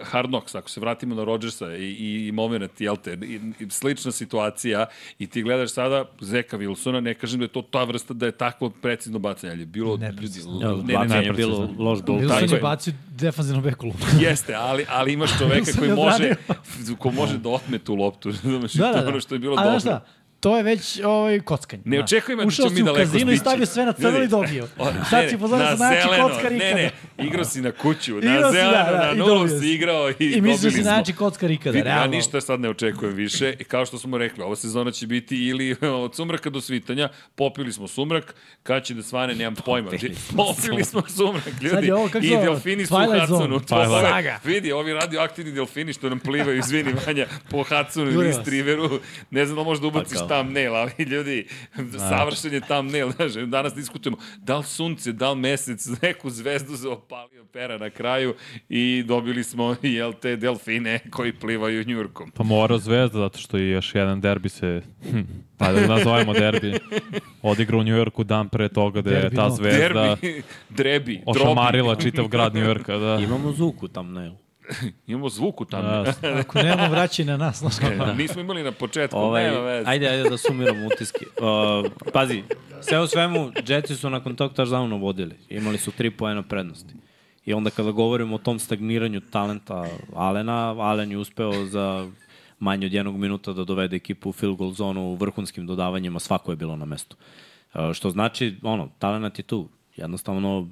Hard Knocks, ako se vratimo na Rodgersa i, i, i moment, jel te, i, i, slična situacija i ti gledaš sada Zeka Wilsona, ne kažem da je to ta vrsta, da je takvo precizno bacanje, ali je bilo ljudi, Neprecizno. Ja, ne, ne, bacanje ne, je bilo loš bol. Tako Wilson je. je bacio defanzivno bekulu. Jeste, ali, ali imaš čoveka Wilson koji je može, odradio. ko može da otme tu loptu. Znaš, da, da, da, da. ono što je bilo A dobro. znaš šta, to je već ovaj, kockanje. Ne Da. očekujem da Ušao ćemo si mi u daleko kazino i stići. stavio sve na crno Ljudi, i dobio. o, ne, Sad ne, si pozvao da na se najjači zeleno, kockar Ne, ikada. ne, igrao si na kuću, na Igrao si, da, zeleno, da, na i nulu dobio si si. igrao i, I dobili mislio smo. si najjači kockar ikada, Vidim, ja realno. ništa sad ne očekujem više. I kao što smo rekli, ova sezona će biti ili od sumraka do svitanja. Popili smo sumrak, kad će da svane, nemam pojma. Popili smo sumrak, ljudi. Sad je ovo, kako I se zove? delfini su u Twilight Hudsonu. Zone. To je- Saga. Vidi, ovi radioaktivni delfini što nam plivaju, izvini Vanja, po Hudsonu Ljudi ili vas. Striveru. Ne znam da možda ubaciš kao- thumbnail, ali ljudi, savršen je thumbnail. Znaš, danas diskutujemo da li sunce, da li mesec, neku zvezdu se opalio pera na kraju i dobili smo, jel te, delfine koji plivaju njurkom. Pa mora zvezda, zato što je još jedan derbi se, hm, ajde da nazovemo derbi, odigra u Njujorku dan pre toga da je Derbi ta noć. zvezda Derbi, drebi, drobi. ošamarila čitav grad Njujorka. Da. Imamo zuku tam, ne. Imamo zvuku tamo. Da, Ako nemamo vraćaj na nas, znaš kako. Da. Nismo imali na početku, Ovaj, nema veze. ajde, ajde da sumiramo utiske. Uh, pazi, sve u svemu, Jetsi su nakon tog touchdowna vodili. Imali su tri poena prednosti. I onda kada govorimo o tom stagniranju talenta Alena, Alen je uspeo za manje od jednog minuta da dovede ekipu u field goal zonu u vrhunskim dodavanjima, svako je bilo na mestu. Uh, što znači, ono, talenat je tu. Jednostavno,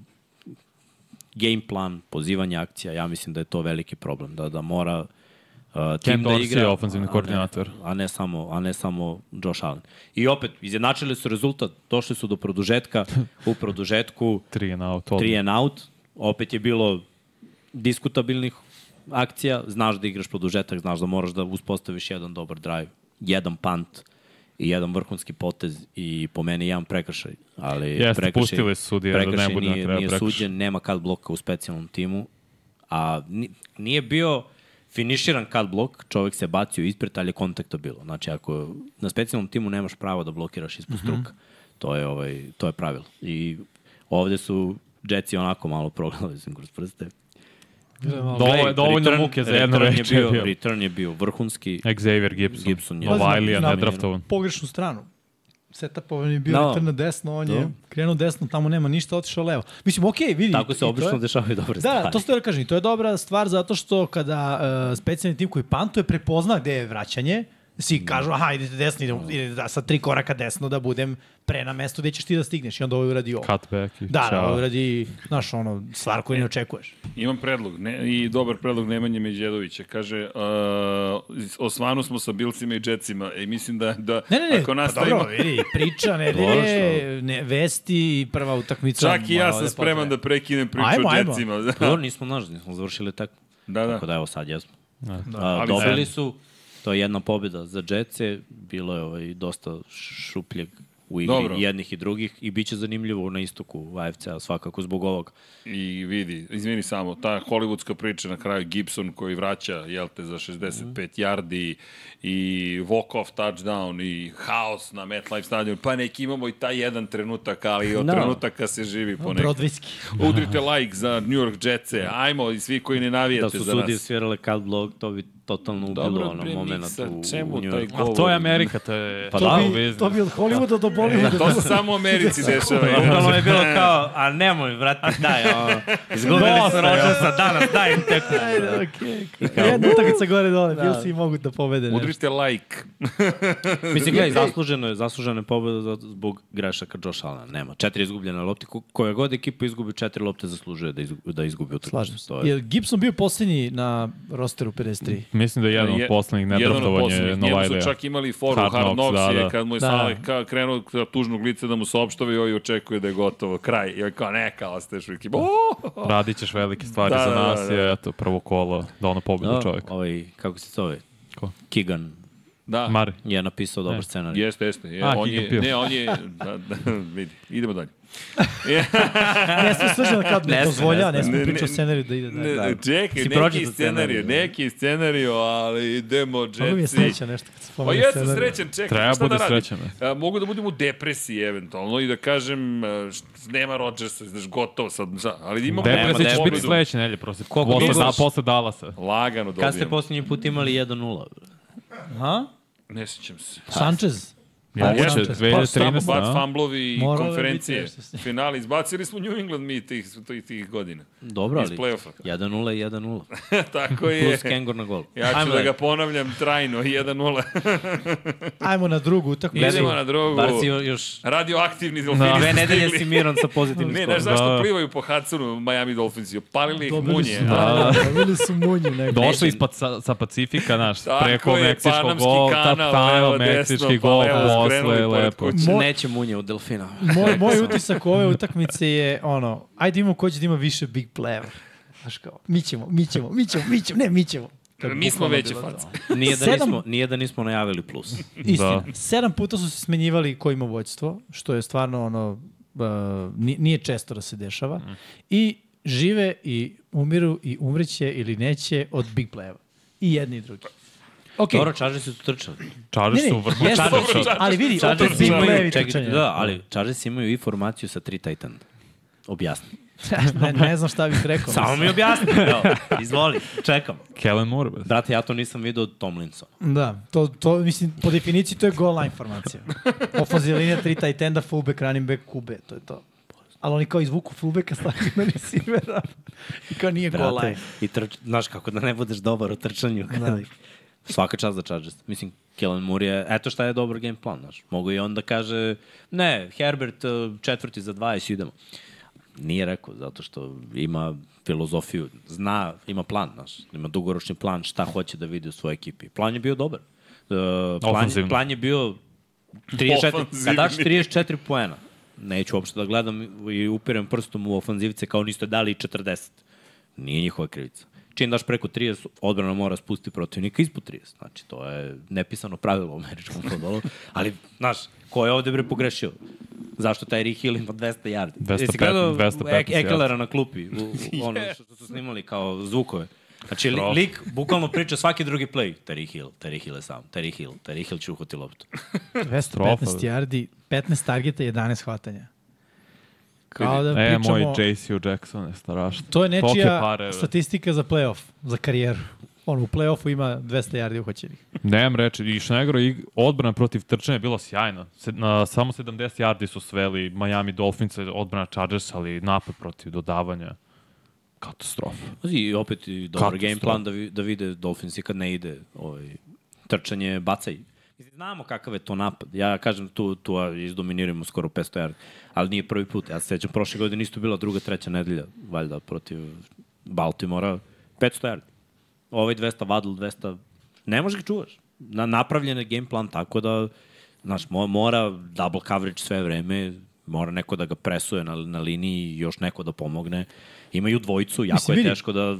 game plan, pozivanje akcija, ja mislim da je to veliki problem, da da mora uh, tim da Dorsey igra. je a ofanzivni ne- koordinator. A ne samo, a ne samo Josh Allen. I opet, izjednačili su rezultat, došli su do produžetka, u produžetku tri je na out. 3 and out, opet je bilo diskutabilnih akcija, znaš da igraš produžetak, znaš da moraš da uspostaviš jedan dobar drive, jedan punt i jedan vrhunski potez i po meni jedan prekršaj. Ali Jeste, prekršaj, pustili su sudije da ne prekršaj bude na nije, kraju nije prekršaj. suđen, nema kad bloka u specijalnom timu, a ni- nije bio finiširan kad blok, čovek se bacio ispred, ali je kontakta bilo. Znači, ako na specijalnom timu nemaš pravo da blokiraš ispod Mhm. struka, to je, ovaj, to je pravilo. I ovde su Jetsi onako malo progledali sam kroz prste. Dovo, Gledaj, dovoljno return- muke za jedno return je reče. bio- Return je bio vrhunski. Xavier Gibson. Gibson je- Ovajlija, Znam, znam. nedraftovan. Pogrešnu stranu. Setapovan je bio Da. no. na desno, on je Da. krenuo desno, tamo nema ništa, otišao levo. Mislim, okej, vidi. Tako i se to je- obično dešavaju dobre stvari. Da, to ste da kažem, i to je dobra stvar zato što kada uh, specijalni tim koji pantuje prepozna gde je vraćanje, Mm. svi kažu, aha, idete desno, idem, idem da, sa tri koraka desno da budem pre na mestu gde ćeš ti da stigneš i onda ovaj uradi ovo. Cutback. i Da, da, ćao. ovo uradi, znaš, ono, stvar koju ne očekuješ. Imam predlog, ne, i dobar predlog Nemanje Međedovića. Kaže, uh, osvanu smo sa Bilcima i Jetsima i mislim da, da Ne, ne, ne, ako pa nastavimo... dobro, vidi, priča, nedelje, ne, vesti, i prva utakmica. Čak i ja malo sam da spreman da potraje. prekinem priču Ajmo, o ajmo. Jetsima. Dobro, nismo nažali, nismo završili tekmu. Da, da. Tako da evo sad jesmo. Da, ali zajedno. dobili su, to je jedna pobjeda za Jetsi, bilo je ovaj, dosta šupljeg u igri Dobro. Dobro. jednih i drugih i bit će zanimljivo na istoku AFC-a svakako zbog ovog. I vidi, izvini samo, ta hollywoodska priča na kraju, Gibson koji vraća, jel te, za 65 mm. yardi i walk-off touchdown i haos na MetLife stadionu, pa neki imamo i taj jedan trenutak, ali od Da. trenutaka se živi po nekom. Brodvijski. Udrite like za New York Jets-e, ajmo i svi koji ne navijate Da su za nas. sudije svirale kad blog, to bi totalno ubilo Dobro, ono bre, moment Miksa, u, čemu u New taj Yorku. Ali to je Amerika, to je... Pa to da, je u biznis. To bi od Hollywooda do Bollywooda. E, To se samo u Americi dešava. Bukvalno je bilo kao, a nemoj, vrati, daj, ono, izgubili su rođasa danas, daj im teku. Ajde, okej. Okay. Jedna utakmica gore dole, da. Bilsi mogu da pobede. nešto. Udrite like. Mislim, gledaj, zasluženo je, zasluženo je pobjeda za- zbog grešaka Josh Allena. Nema. Četiri izgubljene lopte. Ko- Koja god ekipa izgubi četiri lopte, zaslužuje da, izgu, da izgubi utakmicu. Slažem se. To je- Jer Gibson bio posljednji na rosteru 53. Mislim da je jedan od Je- poslednjih jedan od nedraftovan je poslednjih. Njemu Novajlija. su čak imali foru Hard Hard Knocks, Knocks, da, je da. kad mu je Da. Sale ka, krenuo sa tužnog lica da mu se opštavi i ovaj očekuje da je gotovo, kraj. I on kao, neka, ostaješ u ekipu. O! Radit ćeš velike stvari Da, za da, da, nas da. i eto, prvo kolo da ono pobjeda Da, da, čovjek. Ovaj, kako se zove? Ko? Kigan Da, Mari. je napisao dobar scenarij. jeste, jeste. Je, A, on Higa je, pio. ne, on je, da, da, vidi, idemo dalje. Ne smo srđana kad Ne da ne sme, dozvolja, ne sme. ne smo Ne, ne, pričao scenariju da ide. Ne, Da. da, čekaj, Si neki pročitao scenariju, scenarij, da. neki scenariju, ali idemo, Mogu mi je Jetsi. sreća nešto kad se Pa pomenu jesam srećan, čekaj, Treba šta da bude radim? srećan, A, mogu da budem u depresiji eventualno i da kažem a, št, nema Rodgersa, znaš, gotovo sad, za- ali da imamo Depresija će Nema, biti Depresija. sledeće nedelje, prosto. Koliko Posle, misliš? da, posle Dallasa. Lagano Kad ste dobijam. posljednji put imali 1-0? Ha? Ne sećam se. Sanchez? Ja, Moguće, moguće, pa, Pa stampo, 2013. bat, da? fumblovi i Moralo je konferencije. biti nešto s njim. Finali, izbacili smo New England mi tih, tih, tih godina. Dobro, Iz ali play-offa. 1-0 i 1-0. Tako je. Plus Kengor na gol. Ja ću da ga ponavljam trajno, 1-0. Pa, Ajmo na drugu utakmicu. Idemo na drugu. Bar si još Radioaktivni delfini dve su nedelje stigli. si miran sa pozitivnim Ne, skorom. znaš zašto Da. plivaju po Hudsonu Miami Dolphinsi? Opalili ih munje. su, da, dobili su munju nekako. Došli ispod sa, sa Pacifika, naš, Tako preko je, meksičkog Panamski gol, kanal, tap tamo, levo, desno, meksički pa gol, levo, posle, skrenuli pored lepo. kuće. Mo- Neće munje u delfina. Moj, moj utisak ove utakmice je ono, ajde imamo ko će da ima više big player. Znaš kao, mi ćemo, mi ćemo, mi ćemo, mi ćemo, ne, mi ćemo. To je Mi smo bukvalno veće bilo face. to. Nije da, Sedam- nismo, nije da nismo najavili plus. Istina. Da. Sedam puta su se smenjivali ko ima vođstvo, što je stvarno ono, uh, ni- nije često da se dešava. Mhm. I žive i umiru i umriće ili neće od big playera. I jedni i drugi. Ok, Dobro, čaže su tu trčali. Čaržeš su vrhu. jesu, Chargersi. ali vidi, opet Chargersi big imaju- player čekaj, Da, ali Chargersi imaju i formaciju sa tri Titan. Objasni. ne, ne znam šta bih rekao. Samo mi objasni. Evo, izvoli, čekam. Kellen Moore, bez. Brate, ja to nisam vidio od Tomlinsona. Da, to, to, mislim, po definiciji to je goal line formacija. Ofazija linija, tri tight enda, fullback, running back, QB, to je to. Ali oni kao izvuku fullbacka, stavljaju na receivera. I kao nije goal Brate, line. i trč, znaš kako da ne budeš dobar u trčanju. Kada... Svaka čast za Chargers. Mislim, Kellen Moore je, eto šta je dobar game plan, znaš. Mogu i on da kaže, ne, Herbert eh, četvrti za 20, idemo. Nije rekao, zato što ima filozofiju, zna, ima plan, znaš. Ima dugoročni plan šta hoće da vidi u svojoj ekipi. Plan je bio dobar. Eh, plan, Ofanzivno. plan je bio 34, Ofanzivni. kad daš 34 poena, neću uopšte da gledam i upirem prstom u ofanzivce kao niste dali i 40. Nije njihova krivica. Čim daš preko 30, odbrana mora spusti protivnika ispod 30. Znači, to je nepisano pravilo u američkom fudbalu. Ali, znaš, ko je ovde bre pogrešio? Zašto taj Rick Hill ima 200 yardi? 215, Jesi gledao 215 Ek- Ekelera na klupi, u, u ono što su snimali kao zvukove. Znači, li, lik bukvalno priča svaki drugi play. Terry Hill, Terry Hill je sam, Terry Hill, Terry Hill će uhvati loptu. 215 yardi, 15 targeta, 11 hvatanja. Kao da E, pričamo... moj J.C. Jackson je starašno. To je nečija pare, bre. statistika za playoff, za karijeru. On u playoffu ima 200 yardi uhoćenih. Nemam reči, i Šnegro i odbrana protiv trčanja je bila sjajna. Se, na, samo 70 yardi su sveli Miami Dolphins, odbrana Chargers, ali napad protiv dodavanja. Katastrofa. Pazi, I opet i dobar Katastrofa. game plan da, vi, da vide Dolphins i kad ne ide ovaj, trčanje, bacaj. Mislim, Znamo kakav je to napad. Ja kažem, tu, tu a, izdominiramo skoro 500 yardi. Ali nije prvi put. Ja se sećam, prošle godine isto bila druga, treća nedelja, valjda, protiv Baltimora. 500 yardi. Ovaj 200, Vadl 200. Ne možeš ga čuvaš. Na, napravljen je game plan tako da znaš, mo, mora double coverage sve vreme, mora neko da ga presuje na, na liniji, još neko da pomogne. Imaju dvojicu, jako Mislim, je vidi, teško da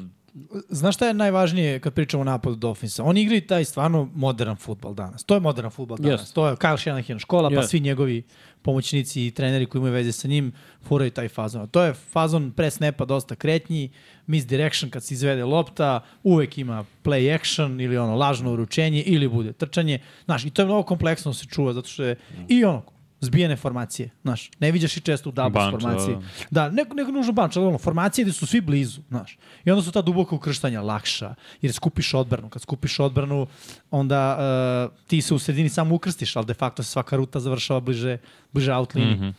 Znaš šta je najvažnije kad pričamo o napadu Dolphinsa? Oni igraju taj stvarno modern futbal danas. To je modern futbal danas. Jeste. To je Kyle Shanahan škola, pa Jeste. svi njegovi pomoćnici i treneri koji imaju veze sa njim furaju taj fazon. A To je fazon pre snapa dosta kretnji, misdirection kad se izvede lopta, uvek ima play action ili ono lažno uručenje ili bude trčanje. Znaš, i to je mnogo kompleksno da se čuva zato što je i ono zbijene formacije, znaš, ne viđaš i često u doubles Bunch, formaciji. da. Da, ne, ne nužno banč, ali ono, formacije gde su svi blizu, znaš. I onda su ta duboka ukrštanja lakša, jer skupiš odbranu. Kad skupiš odbranu, onda uh, ti se u sredini samo ukrstiš, ali de facto se svaka ruta završava bliže, bliže outliniji. Mm -hmm.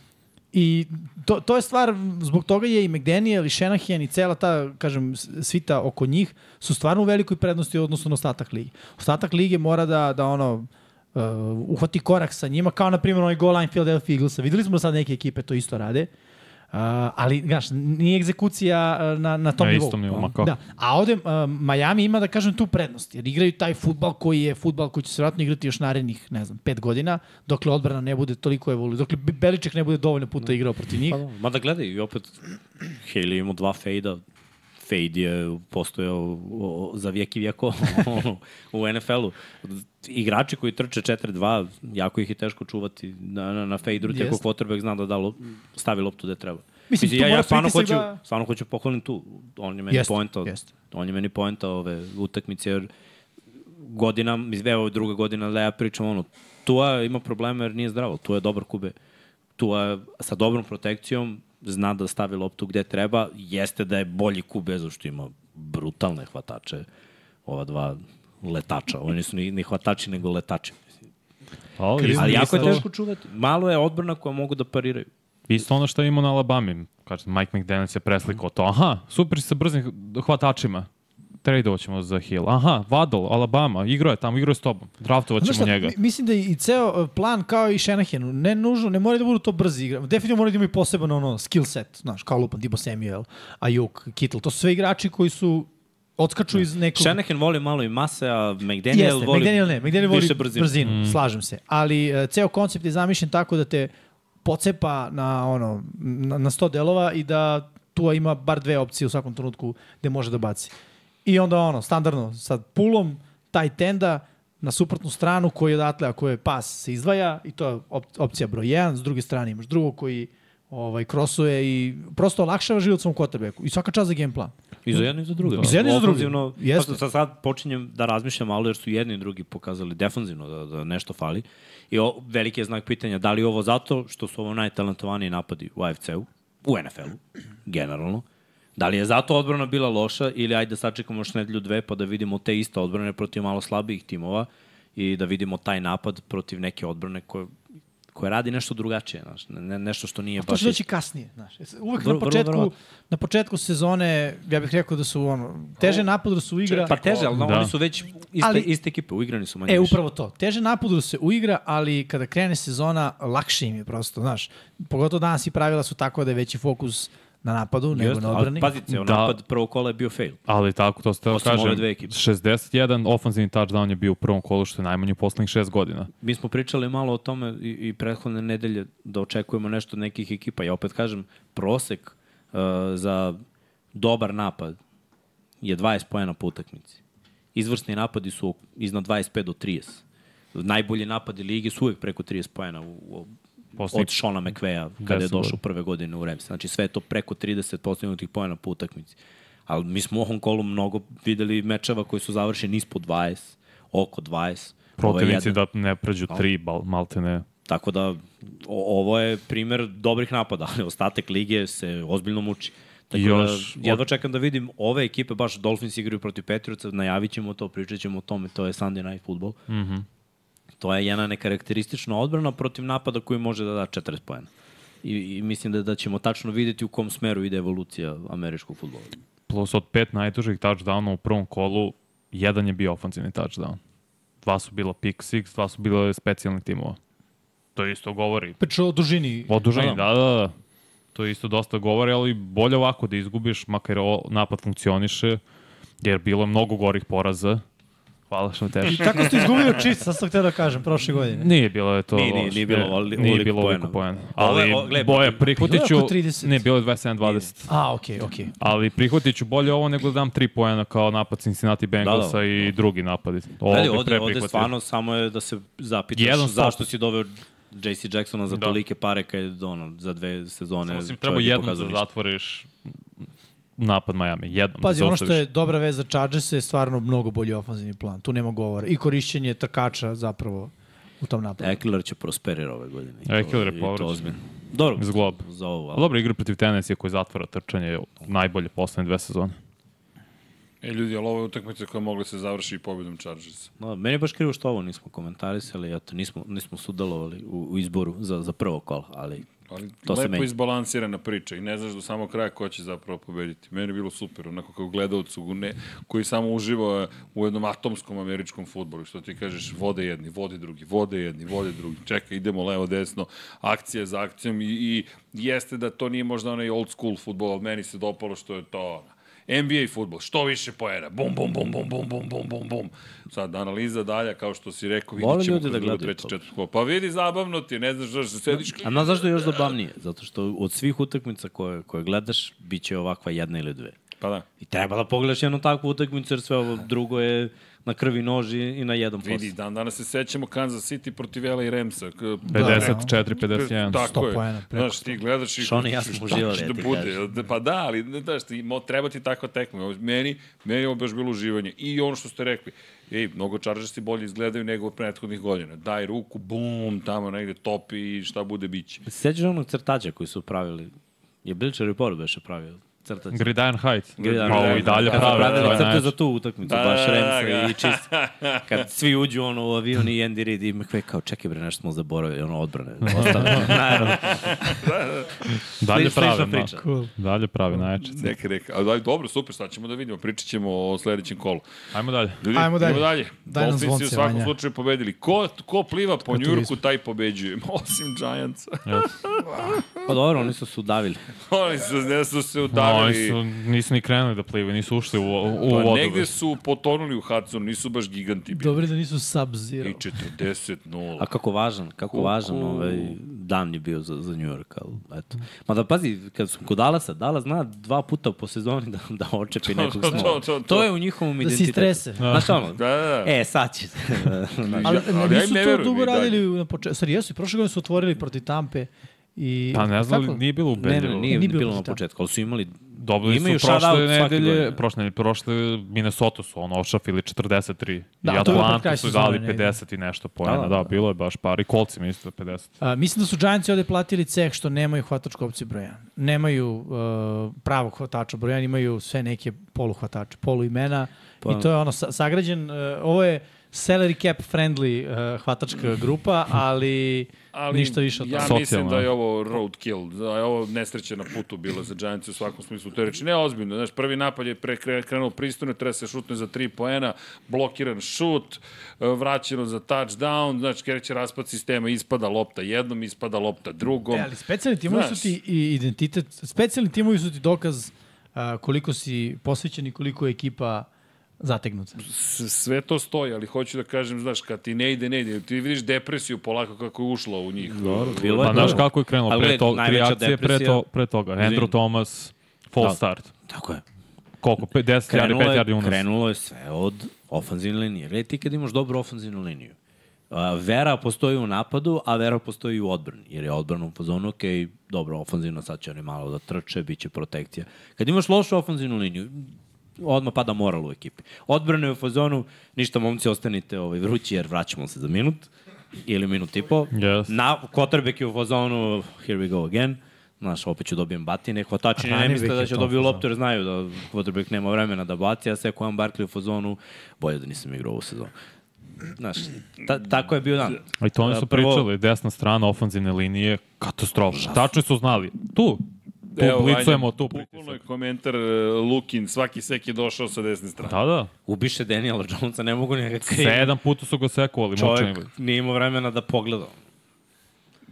I to, to je stvar, zbog toga je i McDaniel i Shanahan i cela ta, kažem, s- svita oko njih su stvarno u velikoj prednosti u odnosu na ostatak ligi. Ostatak lige mora da, da ono, uh, uhvati korak sa njima, kao na primjer onaj goal line Philadelphia Eaglesa. Videli smo da sad neke ekipe to isto rade, uh, ali, znaš, nije egzekucija uh, na, na tom Na nivou. istom nivou, ma kako. Da. A ovde uh, Miami ima, da kažem, tu prednost, jer igraju taj futbal koji je futbal koji će se vratno igrati još narednih, ne znam, pet godina, dokle odbrana ne bude toliko evolu, dokle Be- Beliček ne bude dovoljno puta igrao protiv njih. Pa, da, mada gledaj, i opet Haley imao dva fejda. Fejd je postojao o, o, za vijek i vijeko u NFL-u. Igrači koji trče 4-2, jako ih je teško čuvati na, na, na fejderu, teko Jest. quarterback zna da da lop, stavi loptu gde treba. Mislim, Mislim, tu ja, ja mora stvarno pritisak hoću, da- stvarno hoću pohvalim tu. On je meni Jeste, poenta, jeste. on je meni poenta ove utakmice, jer godina, mislim, evo je druga godina da ja pričam ono, Tua ima problema jer nije zdravo, Tua je dobar kube. Tua sa dobrom protekcijom zna da stavi loptu gde treba, jeste da je bolji kube, zato što ima brutalne hvatače, ova dva letača, oni nisu ni, ni hvatači nego letači. Pa, ovo, Krizna ali Ali Nije jako je isto. teško čuvati. Malo je odbrana koja mogu da pariraju. Isto ono što je imao na Alabami. Kažem, Mike McDaniels je preslikao to. Aha, super si sa brzim hvatačima. Tradeovat ćemo za Hill. Aha, Waddle, Alabama, igrao je tamo, igrao je s tobom. Draftovat Znaš šta, ćemo njega. mi- mislim da je i ceo e, plan kao i Šenahenu, ne nužno, ne moraju da budu to brzi igra. Definitivno moraju da imaju poseban ono, skill set, znaš, kao Lupan, Dibo Samuel, Ajuk, Kittle, to su sve igrači koji su odskaču iz nekog... Shanahan voli malo i mase, a McDaniel Jeste, voli McDaniel ne, McDaniel voli više brzinu, brzinu. Mm. brzinu slažem se. Ali e, ceo koncept je zamišljen tako da te pocepa na ono na, na 100 delova i da tu ima bar dve opcije u svakom trenutku gde može da baci. I onda ono, standardno, sad pulom, taj tenda na suprotnu stranu koji je odatle, ako je pas, se izdvaja i to je op opcija broj 1, s druge strane imaš drugog koji ovaj, krosuje i prosto olakšava život svom kotrbeku. I svaka čast za game plan. I za jedno i za drugo. I za jedno i Da. za drugo. Ofanzivno, Jeste. Pa sad, sad počinjem da razmišljam malo jer su jedni i drugi pokazali defanzivno da, da nešto fali. I o, veliki je znak pitanja da li je ovo zato što su ovo najtalentovaniji napadi u AFC-u, u NFL-u, generalno. Da li je zato odbrana bila loša ili ajde sačekamo još nedelju dve pa da vidimo te iste odbrane protiv malo slabijih timova i da vidimo taj napad protiv neke odbrane koje, koje radi nešto drugačije, znaš, ne- ne, nešto što nije To baš... će doći kasnije, znaš. Uvek Vrlo- na vrlo početku, verovatno. na početku sezone, ja bih rekao da su ono, teže napadu su igra. Pa teže, ali da. Da. oni su već iste, Ali- ali, iste ekipe, uigrani su manje E, više. upravo to. Teže napadu se uigra, ali kada krene sezona, lakše im je prosto, znaš. Pogotovo danas i pravila su tako da je veći fokus na napadu nego Jeste, na ali odbrani. Pazi, ceo Da. napad prvo kola je bio fail. Ali tako, to ste Osim kažem, ove dve ekipe. 61 ofenzivni touchdown je bio u prvom kolu, što je najmanje u poslednjih šest godina. Mi smo pričali malo o tome i, i prethodne nedelje da očekujemo nešto od nekih ekipa. Ja opet kažem, prosek uh, za dobar napad je 20 pojena po utakmici. Izvrsni napadi su iznad 25 do 30. Najbolji napadi ligi su uvek preko 30 pojena u, u, Poslednjih od Šona McVeja kada je 10 došao godina. prve godine u Remsa. Znači sve je to preko 30 postignutih pojena po utakmici. Ali mi smo u ovom kolu mnogo videli mečeva koji su završeni ispod 20, oko 20. Ovo je Protivnici jedan- da ne pređu tri, bal, malte ne. Tako da, o, ovo je primer dobrih napada, ali ostatak lige se ozbiljno muči. Tako Još- da, jedva čekam da vidim ove ekipe, baš Dolphins igraju protiv Patriotsa, najavit ćemo to, pričat ćemo o tome, to je Sunday Night Football. Mm -hmm. To je jedna nekarakteristična odbrana protiv napada koji može da da 40 pojena. I, I mislim da, da ćemo tačno videti u kom smeru ide evolucija američkog futbola. Plus od pet najdužih touchdowna u prvom kolu, jedan je bio ofenzivni touchdown. Dva su bila pick six, dva su bila specijalnih timova. To isto govori. Priča o dužini. Oduženi, da, da, da. To isto dosta govori, ali bolje ovako da izgubiš, makar o- napad funkcioniše, jer bilo je mnogo gorih poraza. Hvala što me teži. Tako ste izgubili čist, sad sam htio da kažem, Mm. prošle godine. Nije bilo je to. Nije, nije, loše. nije bilo ovoli- nije ovoliko bilo ovoliko poena. poena. Ovo Ali je- o, gle, boje prihvatiću... Bilo je oko 30. Ne, bilo je 27-20. A, okej, okay, okej. Okay. Ali prihvatit ću bolje ovo nego da dam tri poena kao napad Cincinnati Bengalsa Da, da. i drugi napadi. Ovo Ali bi ovde, pre ovde prihvatio. stvarno samo je da se zapitaš Jedan stop. zašto si doveo JC Jacksona za Da. da. tolike pare kad je ono, za dve sezone Osim čovjek treba je jednom pokazao da ništa. zatvoriš napad Miami. Jednom Pazi, da ono što zaustaviš. je dobra vez za Chargers je stvarno mnogo bolji ofanzivni plan. Tu nema govora. I korišćenje trkača zapravo u tom napadu. Eckler će prosperira ove godine. I to- Eckler je i povraćen. To ozbiljno. Dobro, Zglob. za ovo. A Ali... dobro igra protiv Tennessee koji zatvara trčanje je najbolje poslednje dve sezone. E, ljudi, ali ovo je utakmica koja je mogla se završi i pobedom Chargersa. No, meni je baš krivo što ovo nismo komentarisali, eto, nismo, nismo sudelovali u, u izboru za, za prvo kolo, ali Ali To se lepo menja. izbalansirana priča i ne znaš do samo kraja ko će zapravo pobediti. Meni je bilo super, onako kao gledalcu ne, koji samo uživa u jednom atomskom američkom futbolu. Što ti kažeš, vode jedni, vode drugi, vode jedni, vode drugi. Čekaj, idemo levo, desno, akcija za akcijom i, i jeste da to nije možda onaj old school futbol, ali meni se dopalo što je to ona. NBA futbol, što više poena, bum, bum, bum, bum, bum, bum, bum, bum, bum. Sad, analiza dalja, kao što si rekao, Vole vidit ćemo ljudi kroz da drugo, gledaju treće, to. Da. četvrtko. Pa vidi, zabavno ti, je, ne znaš zašto sediš. A na zašto je još zabavnije? Zato što od svih utakmica koje, koje gledaš, bit će ovakva jedna ili dve. Pa da. I treba da pogledaš jednu takvu utakmicu, jer sve ovo drugo je na krvi noži i na jedan posao. Vidi, dan danas se sećamo Kansas City protiv LA i Ramsa. K- 54-51. Da, Tako je. Da, poena, preko Znaš, ti gledaš i... Sean i ja smo šta uživali, će ja da ti bude. kažem. Pa da, ali ne, znaš, ti, mo, treba ti tako tekme. Ovo- Meni, meni je ovo baš bilo uživanje. I ono što ste rekli, ej, mnogo Chargersi bolje izgledaju nego od prethodnih godina. Daj ruku, bum, tamo negde topi i šta bude biće. Se Sećaš onog crtača koji su pravili? Je Bleacher Report beše pravio crtaće. Gridiron Heights. Gridiron Pa Heights. i dalje Da, prave. to pravili je crte najjače. za tu utakmicu, Da, baš da, da, Remsa da. i čist. Kad svi uđu ono, u avion i Andy Reid i McVay kao, čekaj bre, nešto smo zaboravili, ono, odbrane. Da, Ostavljeno, naravno. Dalje Slična prave, da. priča. Cool. Dalje prave, najjače. Neki reka. Ali daj, dobro, super, sad ćemo da vidimo. Pričat ćemo o sledećem kolu. Ajmo dalje. Ljudi, Ajmo dalje. Idemo dalje. Daj nam Dolphins zvonce, su u svakom Vanja. slučaju pobedili. Ko, ko pliva po tu Njurku, ispod. taj pobeđuje. Osim Giantsa. Pa dobro, oni su se udavili. Oni su, ne su se Da, oni udavili. su, nisu ni krenuli da plivaju, nisu ušli u, u Pa vodu. negde su potonuli u Hudson, nisu baš giganti bili. Dobro je da nisu I sub-zero. 40-0. A kako važan, kako važan ovaj dan je bio za, za New York, ali eto. Ma da pazi, kad su kod Dalasa, Dalas zna dva puta po sezoni da, da očepi nekog to, snova. to, To, to. je u njihovom Da se identitetu. istrese. Znaš ono, Da, da, da. e, sad će. Znači, Ali, Ja- ali ali ja im nisu ne to verujem i dugo dalje. radili na početku. Sad jesu, i prošle godine su otvorili protiv Tampe. I, Pa ne znam, Kako? nije bilo ne, ubedljivo. ne, nije, Nije nije bio bilo na rezultat. početku, ali su imali Dobili Imaju su prošle shutout svake nedelje, godine. prošle nedelje, prošle Minnesota su ono ošafili 43 Da, i to je pred Atlanta kraj su sezone dali negde. 50 i nešto poena, da, da, da, da. bilo je baš par i kolci mi isto 50. A, mislim da su Giantsi ovde platili ceh što nemaju hvatačku opciju broja. Nemaju uh, pravog hvatača broja, imaju sve neke poluhvatače, poluimena Pa- i to je ono sa, sagrađen, uh, ovo je salary cap friendly uh, hvatačka grupa, ali, Ali ništa više od ja toga. toga. mislim Socijalno, da je da. ovo roadkill, da je ovo nesreće na putu bila za Giants u svakom smislu te reči. Ne, ozbiljno, znaš, prvi napad je pre, kre- krenuo pristojno, treba se šutne za tri poena, blokiran šut, e, vraćeno za touchdown, znači kreće raspad sistema, ispada lopta jednom, ispada lopta drugom. E, ali specijalni timovi Znaš. su ti i identitet, specijalni timovi su ti dokaz uh, koliko si posvećen i koliko je ekipa zategnuta. S- sve to stoji, ali hoću da kažem, znaš, kad ti ne ide, ne ide, ti vidiš depresiju polako kako je ušla u njih. Bilo Pa je znaš dobro. kako je krenulo, Ovaj, da. Ali gledaj, pre to, tri najveća akcije pre, depresija- to, pre toga, Andrew Izvini. Thomas, false Da. start. Tako je. Koliko, 10 yardi, krenulo 5 je, yardi unos. krenulo je sve od ofanzivne linije. Gledaj, ti kad imaš dobru ofanzivnu liniju, a, vera postoji u napadu, a vera postoji i u odbrani. Jer je odbrana u fazonu, ok, dobro, ofanzivno, sad će oni malo da trče, bit će protekcija. Kad imaš lošu ofanzivnu liniju, odmah pada moral u ekipi. Odbrana je u fazonu, ništa momci, ostanite ovaj, vrući jer vraćamo se za minut ili minut i po. Yes. Na, Kotrbek je u fazonu, here we go again. Znaš, opet ću dobijem batine, hvatači A ne ne misle bih da je će to dobiju fazon. loptu jer znaju da quarterback nema vremena da baci, a sve kojem Barkley u fazonu, bolje da nisam igrao ovu sezonu. Znaš, ta, tako je bio dan. I to oni A, su Da, prvo- pričali, desna strana ofanzivne linije, katastrofa. Tačno su znali, tu, tu Vanja, blicujemo, tu Bukvalno je pritisak. komentar e, Lukin, svaki sek je došao sa desne strane. Da, da, Ubiše Daniela Jonesa, ne mogu njega krije. sedam puta su ga sekovali, mučeni. E. Čovjek nije imao vremena da pogleda.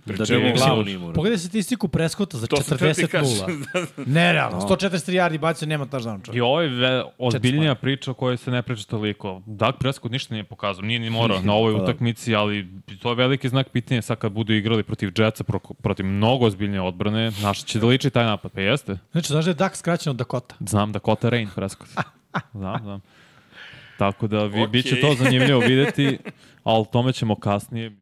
Da čemu bi se glavu uči? nije imao. Pogledaj statistiku Preskota za To sam htio ti kažem. da, 40-0. Nerealno, 143 yardi bacio, nema taš da dan I ovo je ve- ozbiljnija priča o kojoj se ne priča toliko. Dak Prescott ništa nije pokazao, nije ni morao na Pa da. ovoj utakmici, ali to je veliki znak pitanja sad kad budu igrali protiv Jetsa, pro- protiv mnogo ozbiljnije odbrane, na šta će da liči taj napad? Pa jeste, Znači, znaš da je Dak skraćen od Dakota? znam da kota Rain Prescott. Znam, znam. Tako da vi, Okej. bit će to zanimljivo videti, ali o tome ćemo kasnije.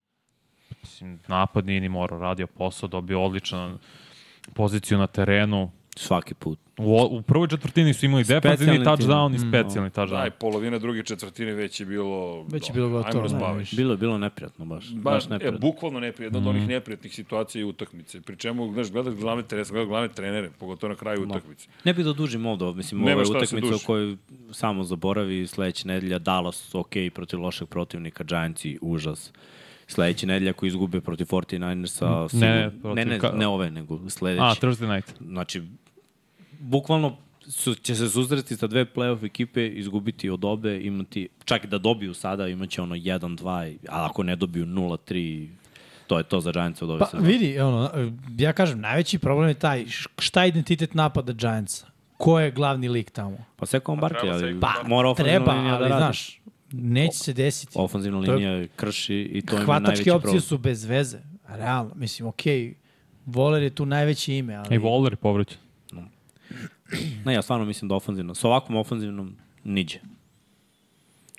Mislim, napad nije ni morao, radio posao, dobio odličan poziciju na terenu, Svaki put. U, o- u prvoj četvrtini su imali defanzivni Specijalni tim. touchdown i specijalni touchdown. Da, i polovina druge četvrtine već je bilo... Već je dobro, bilo gotovo, Ajmo da. razbaviš. Bilo je bilo neprijatno baš. Baš baš e, neprijatno. Mhm. bukvalno neprijedno, od onih neprijatnih situacija i utakmice. Pri čemu, znaš, gledaš glavne trenere, gledaš glavne trenere, pogotovo na kraju utakmice. Ne bih da dužim ovde, mislim, Nema ovo je šta da se utakmica duži. o kojoj samo zaboravi sledeća nedelja, Dallas, ok, protiv lošeg protivnika, Giantsi, užas. Sledeća nedelja ako izgube protiv 49ersa, sigurno- protiv ne, ne, ka- ne ove, nego sledeći. A, Thursday night. Znači, bukvalno su, će se suzreti sa dve playoff ekipe, izgubiti od obe, imati, čak i da dobiju sada, imaće ono 1-2, a ako ne dobiju 0-3, to je to za Giants od ove Pa sezone. vidi, ono, ja kažem, najveći problem je taj, š- šta je identitet napada Giantsa? Ko je glavni lik tamo? Pa sve kao Barkley, ali Pa, mora ofanzivna treba, linija da ali radi. znaš, neće se desiti. Ofanzivna To je- linija je krši i to ima najveći Hvatačke problem. opcije su bez veze, realno. Mislim, okej, Voler je tu najveće ime, ali... I Waller je povrećen. Ne, ja stvarno mislim da ofanzivno. Sa ovakvom ofanzivnom niđe.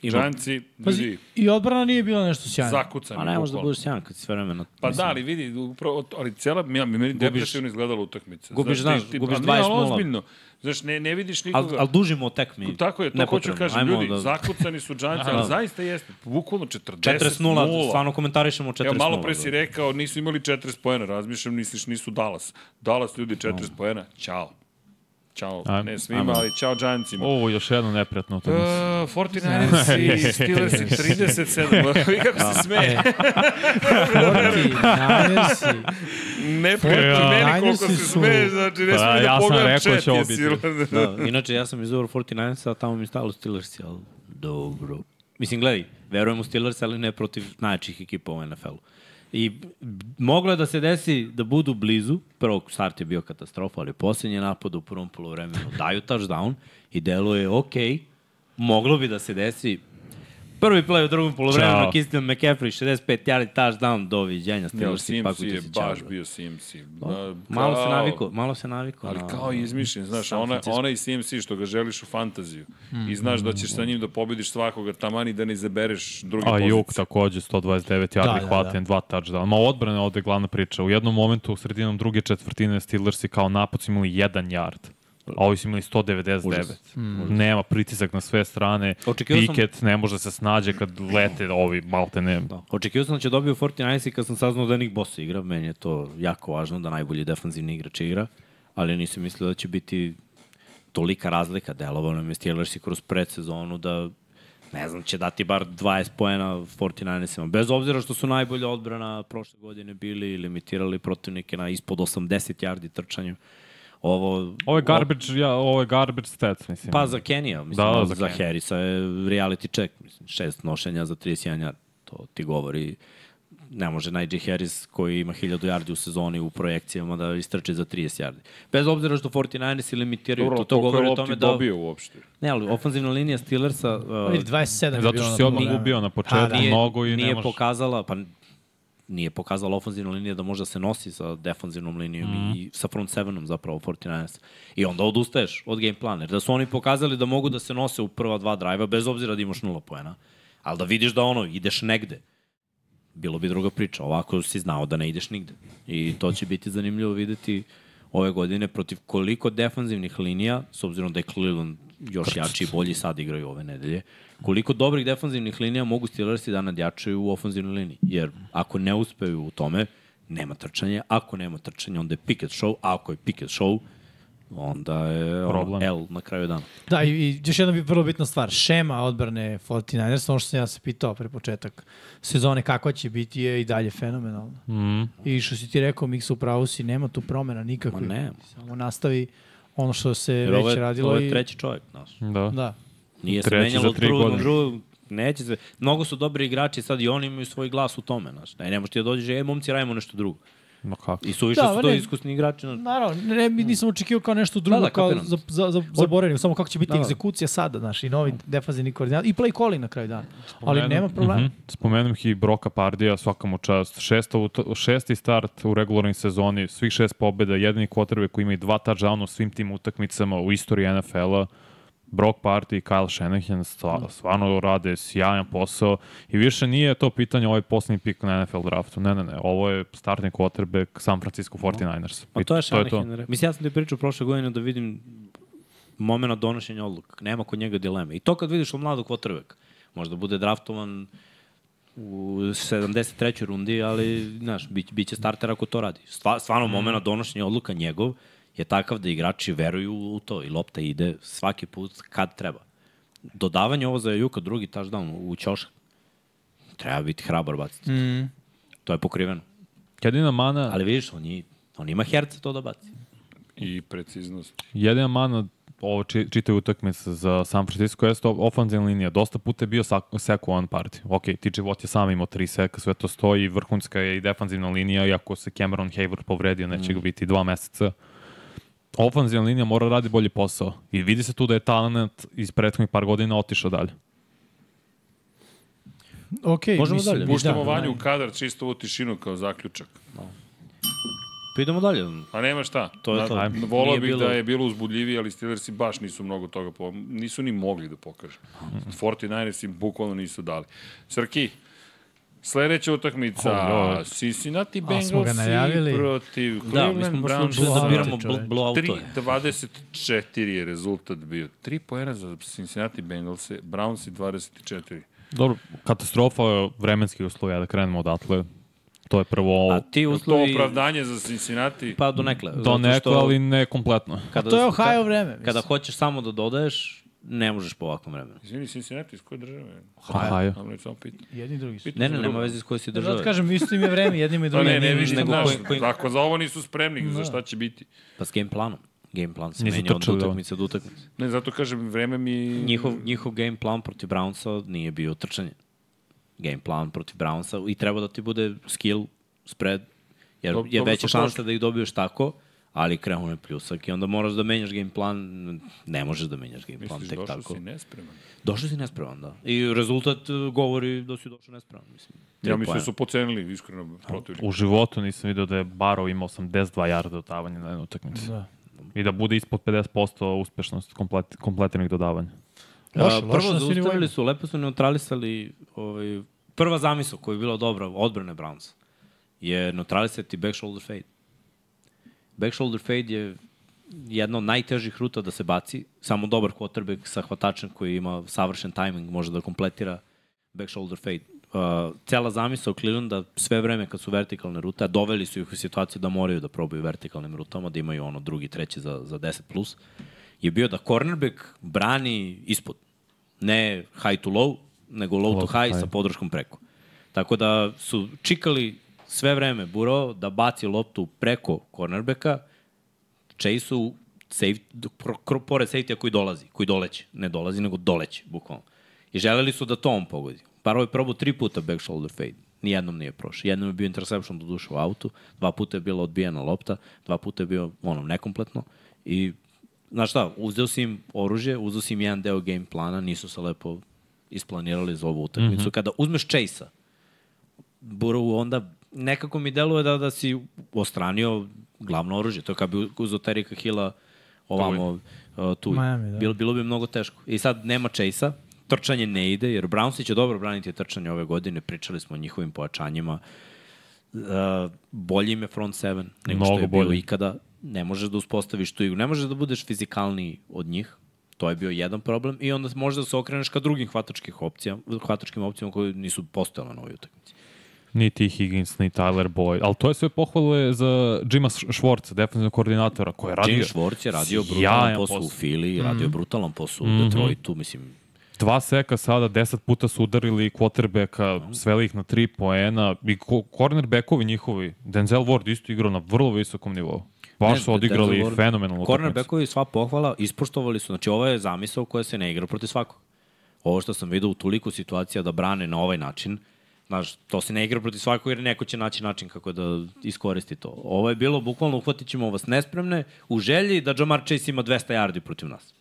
Ima, Giantsi, Pazi, ljudi, i odbrana nije bila nešto sjajno. zakucani. a ne možeš da bukvalno. budeš sjajan kad si sve vremena. Pa mislim, da, ali vidi, upravo, to- ali cela, ja, meni depresivno izgledala utakmica. gubiš, znaš, ti- gubiš ali nije, ali 20:0. Ozbiljno, znaš, ne, ne vidiš Al, nikoga. al dužimo o tekmi. Tako je, to hoću nepotrebno. kažem, Ajmo ljudi, da- zakucani su Giantsi, ali Aha. zaista jeste, bukvalno 40 40-0, stvarno komentarišemo 40-0. Evo, malo da. pre si rekao, nisu imali 40 poena, razmišljam, misliš, nisu Dallas. Dallas, ljudi, 40 poena, čao. Ćao, Ajmo, ne svima, ajmo. ali ćao Giantsima. Ovo, još jedno neprijatno Uh, utakmice. 49ers i Steelers i 37. Vi kako se smeje. Forti, Niners e, Ne prijatno, meni koliko se Niners-i su- smeje, znači ne Pa, smijem da ja sam pogledam rekao da chat, će ovo jesi- Da, inače, ja sam izvor 49-sa, a tamo mi stalo Steelers, ali dobro. Mislim, gledaj, verujem u Steelers, ali ne protiv najjačih ekipa u NFL-u. I b- moglo je da se desi da budu blizu, prvo start je bio katastrofa, ali posljednji napad u prvom polovremenu daju touchdown i delo je ok, moglo bi da se desi Prvi play u drugom polovremenu, Ćao. Christian McCaffrey, 65 yardi, touchdown, doviđenja, Ja, Steelers i Sims pakuće je se čao. baš bio Sims. i, na- Malo se kao- naviko, malo se naviko. Ali na- da. kao je izmišljen, znaš, San ona, Francisco. ona i CMC što ga želiš u fantaziju i znaš da ćeš sa njim da pobediš svakoga tamani da ne izabereš druge A pozicije. Juk takođe, 129 Da, da, yardi da, hvaten, dva touchdowna. Ma odbrana je ovde glavna priča. U jednom momentu, u sredinom druge četvrtine, Steelersi kao napad su imali jedan yard. A ovi su imali 199. Užas. Nema pritisak na sve strane. Očekivao sam- Piket ne može da se snađe kad lete ovi malte ne. Da. Očekio sam da će dobio 49 i kad sam saznao da Nick Bosa igra, meni je to jako važno da najbolji defanzivni igrač igra, ali nisam mislio da će biti tolika razlika. Delovao nam je Steelers i kroz predsezonu da ne znam, će dati bar 20 poena 49-ima. Bez obzira što su najbolja odbrana prošle godine bili i limitirali protivnike na ispod 80 yardi trčanjem. Ovo, Ovo je garbage, ja, ovo je garbage stats, mislim. Pa za Kenija, mislim, Da, da, da, za, za za Kenija. Harrisa je reality check, mislim, šest nošenja za 31 yard, to ti govori ne može Najee Harris koji ima 1000 yardi u sezoni u projekcijama da istrče za 30 yardi. Bez obzira što 49ersi limitiraju, Dobro, to, to govori o koliko je tome lopti da... dobio uopšte? Ne, ali ofenzivna linija Steelersa uh, Ili 27 je Zato bilo što na si drugom odmah vremenu. gubio na početku A, da. mnogo i nije ne možeš. pokazala, pa nije pokazala ofenzivna linija da može da se nosi sa defanzivnom linijom mm. Mhm. i sa front sevenom zapravo 49ers. I onda odustaješ od game planer. Da su oni pokazali da mogu da se nose u prva dva drajva bez obzira da imaš nula poena. Ali da vidiš da ono, ideš negde. Bilo bi druga priča. Ovako si znao da ne ideš nigde. I to će biti zanimljivo videti ove godine protiv koliko defanzivnih linija, s obzirom da je Cleveland još jači i bolji sad igraju ove nedelje, koliko dobrih defanzivnih linija mogu Steelersi da nadjačaju u ofenzivnoj liniji. Jer ako ne uspeju u tome, nema trčanje. Ako nema trčanje, onda je Pickett show. A ako je Pickett show, onda je Problem. Problem. L na kraju dana. Da, i, i još jedna bi vrlo bitna stvar. Šema odbrane 49ers, ono što sam ja se pitao pre početak sezone kakva će biti je i dalje fenomenalna. Mm. I što si ti rekao, Miksa, u pravu si, nema tu promena nikakve. Ma nema. Samo nastavi ono što se Jer već ovo je, radilo. ovo je i- treći čovjek, znaš. Da. Da. Nije se Treći menjalo za od tri drugog do godine. drugog. Neće se. Mnogo su dobri igrači sad i oni imaju svoj glas u tome. Znaš. Ne, ne možeš ti da dođeš, ej, momci, radimo nešto drugo. Ma kako. I suviše Da, da, su ma to ne. iskusni igrači. Znaš. Naravno, ne, bi- nisam očekio kao nešto Da, drugo, da, da, da, kao kapiram. za, za, za, zaboravljeno, samo kako će biti da. egzekucija sada, znaš, i novi defanzivni koordinator, i play calling na kraju dana. Ali nema problema. Mhm. Spomenem ih i Broka Pardija, svaka mu čast. Šesta, ut- šesti start u regularnoj sezoni, svih šest pobjeda, jedini kotrbe koji ima i dva touchdowna u svim tim utakmicama u istoriji NFL-a. Brock Party i Kyle Shanahan Da. stva- stvarno rade sjajan posao i više nije to pitanje ovaj poslednji pik na NFL draftu. Ne, ne, ne. Ovo je startni quarterback San Francisco 49ers. Pa I to je Shanahan. rekao. Mislim, ja sam ti pričao prošle godine da vidim moment donošenja odluka. Nema kod njega dileme. I to kad vidiš od mladog kvotrbeka. Možda bude draftovan u 73. rundi, ali znaš, bit, bit će starter ako to radi. Stva, stvarno, moment donošenja odluka njegov je takav da igrači veruju u to i lopta ide svaki put kad treba. Dodavanje ovo za Juka, drugi touchdown u Ćošak, treba biti hrabar baciti. Mm. To je pokriveno. Jedina mana, Ali vidiš, on, je, on ima herce to da baci. I preciznost. Jedina mana ovo či, čitaju utakmice za San Francisco jeste of- ofanzivna linija. Dosta puta je bio sak- seku on party. Ok, TJ Watt je sam imao tri seka, sve to stoji, vrhunska je i defanzivna linija, iako se Cameron Hayward povredio, neće Mm. ga biti dva meseca. Ofanzivna linija mora radi bolji posao. I vidi se tu da je talent iz prethodnih par godina otišao dalje. Ok, Možemo mislim, dalje. i Puštamo da, vanju u kadar čisto u tišinu kao zaključak. Pa idemo dalje. Pa nema šta. To je Na- to. Na, volao Nije bih bilo- da je bilo uzbudljivije, ali Steelersi baš nisu mnogo toga, po, nisu ni mogli da pokažu. 49ersi bukvalno nisu dali. Srki, sledeća utakmica, Oh, joj. Cincinnati A, smo ga Bengalsi najavili. protiv Da, Cleveland mi smo baš Browns. odlučili da Blauto, biramo čovek. bl- blowoutove. 3-24 je rezultat bio. 3 poena za Cincinnati Bengalse, Browns i 24. Dobro, katastrofa vremenski uslovi, ja da krenemo odatle. To je prvo A ovo. ti Je li To uslovi... opravdanje za Cincinnati. Pa do nekle. Do zato neko, što ali ne kompletno. Kada, To je Ohio kada- vreme, mislim. Kada hoćeš samo da dodaješ, ne možeš po ovakvom vremenu. Izvini, Cincinnati, iz koje države? Ohio. Dobro, ja samo pitam. Jedni i drugi su. Pitam Ne, za ne, drugo. nema veze s kojoj si Da ti država. kažem, isto im je vreme, jednim Pa i drugim. ne, ne, vi nego nego znaš, koji- Da. koji- ako za ovo nisu spremni, za šta će biti. Pa s game planom. Game plan se Nisu menja od trčali, da. utakmice do utakmice. Ne, zato kažem, vreme mi... Njihov, njihov game plan protiv Brownsa nije bio trčanje. Game plan protiv Brownsa i treba da ti bude skill, spread, jer Dobro- je dobro veća su šansa prošli. da ih dobiješ tako, ali krenu je pljusak i onda moraš da menjaš game plan, ne možeš da menjaš game plan Misliš, tek došao tako. si nespreman. Došao si nespreman, da. I rezultat e, govori da si došao nespreman, mislim. Ja Tri mislim da poena. Da. su pocenili, iskreno, protivnik. U životu nisam vidio da je Barov imao 82 jarda dodavanja na jednoj utakmici. Da. I da bude ispod 50% uspešnost komplet, kompletiranih dodavanja. A, Loše, loše E, prvo da na svim nivoima. zaustavili su, lepo su neutralisali ovaj, prva zamisla koja je bila dobra odbrane Brownsa je neutralisati back shoulder fade. Back shoulder fade je jedna od najtežih ruta da se baci. Samo dobar quarterback sa hvatačem koji ima savršen timing može da kompletira back shoulder fade. Uh, cela zamisla u Clevelanda sve vreme kad su vertikalne rute, a doveli su ih u situaciju da moraju da probaju vertikalnim rutama, da imaju ono drugi, treći za, za 10+, plus, je bio da cornerback brani ispod. Ne high to low, nego low, to high, sa podrškom preko. Tako da su čikali sve vreme Burrow da baci loptu preko cornerbacka, Chase-u safe, pro- kro- pored safety-a koji dolazi, koji doleće. Ne dolazi, nego doleće, bukvalno. I želeli su da to on pogodi. Paro je probao tri puta back shoulder fade. Nijednom nije prošao. Jednom je bio interception do duše u autu, dva puta je bila odbijena lopta, dva puta je bio ono, nekompletno. I, znaš šta, uzeo si im oružje, uzeo si im jedan deo game plana, nisu se lepo isplanirali za ovu utakmicu. Mm -hmm. Kada uzmeš Chase-a, Burovu onda nekako mi deluje da, da si ostranio glavno oružje. To je kad bi uzao Terika Hila ovamo uh, tu. Miami, da. bilo, bilo bi mnogo teško. I sad nema Chase-a, trčanje ne ide, jer Brownsi će dobro braniti trčanje ove godine, pričali smo o njihovim pojačanjima. Uh, bolji im je front seven nego što Mnogo je bilo bolji. ikada. Ne možeš da uspostaviš tu igru, ne možeš da budeš fizikalniji od njih, to je bio jedan problem, i onda možeš da se okreneš ka drugim hvatačkih opcijama, hvatačkim opcijama koje nisu postojale na ovoj utakmici. Ni ti Higgins, ni Tyler Boyd. Ali to je sve pohvale za Jima Schwartza, defensivnog koordinatora, koji je radio... Jim Schwartz je radio brutalan sjajan posao u posao. Mhm. Fili, radio brutalan posao u Detroitu, mislim, Dva seka sada, deset puta su udarili quarterbacka, sveli ih na tri poena i ko- cornerbackovi njihovi. Denzel Ward isto igrao na vrlo visokom nivou. Baš su odigrali fenomenalnu utakmicu. Cornerbackovi sva pohvala, ispoštovali su, znači ovo je zamisao koja se ne igra protiv svakog. Ovo što sam vidio u toliko situacija da brane na ovaj način, znaš, to se ne igra protiv svakog jer neko će naći način kako da iskoristi to. Ovo je bilo, bukvalno uhvatit ćemo vas nespremne u želji da Jamar Chase ima 200 yardi protiv nas.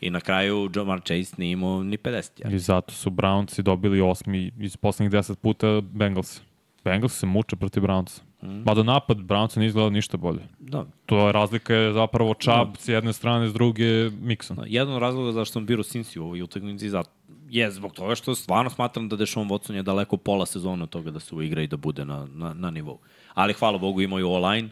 I na kraju Jamar Chase nije imao ni 50 yardi. I zato su Brownci dobili osmi iz poslednjih deset puta Bengals. Bengals se muče protiv Brownca. Mhm. Mada napad Brownca ne izgleda ništa bolje. Da, To je razlika je zapravo Chubb s jedne strane, s druge Mixon. Jedan od razloga zašto sam birao Cincy u ovoj utakmici za, je zbog toga što stvarno smatram da Deshaun Watson je daleko pola sezona od toga da se uigra i da bude na, na, na nivou. Ali hvala Bogu imaju online,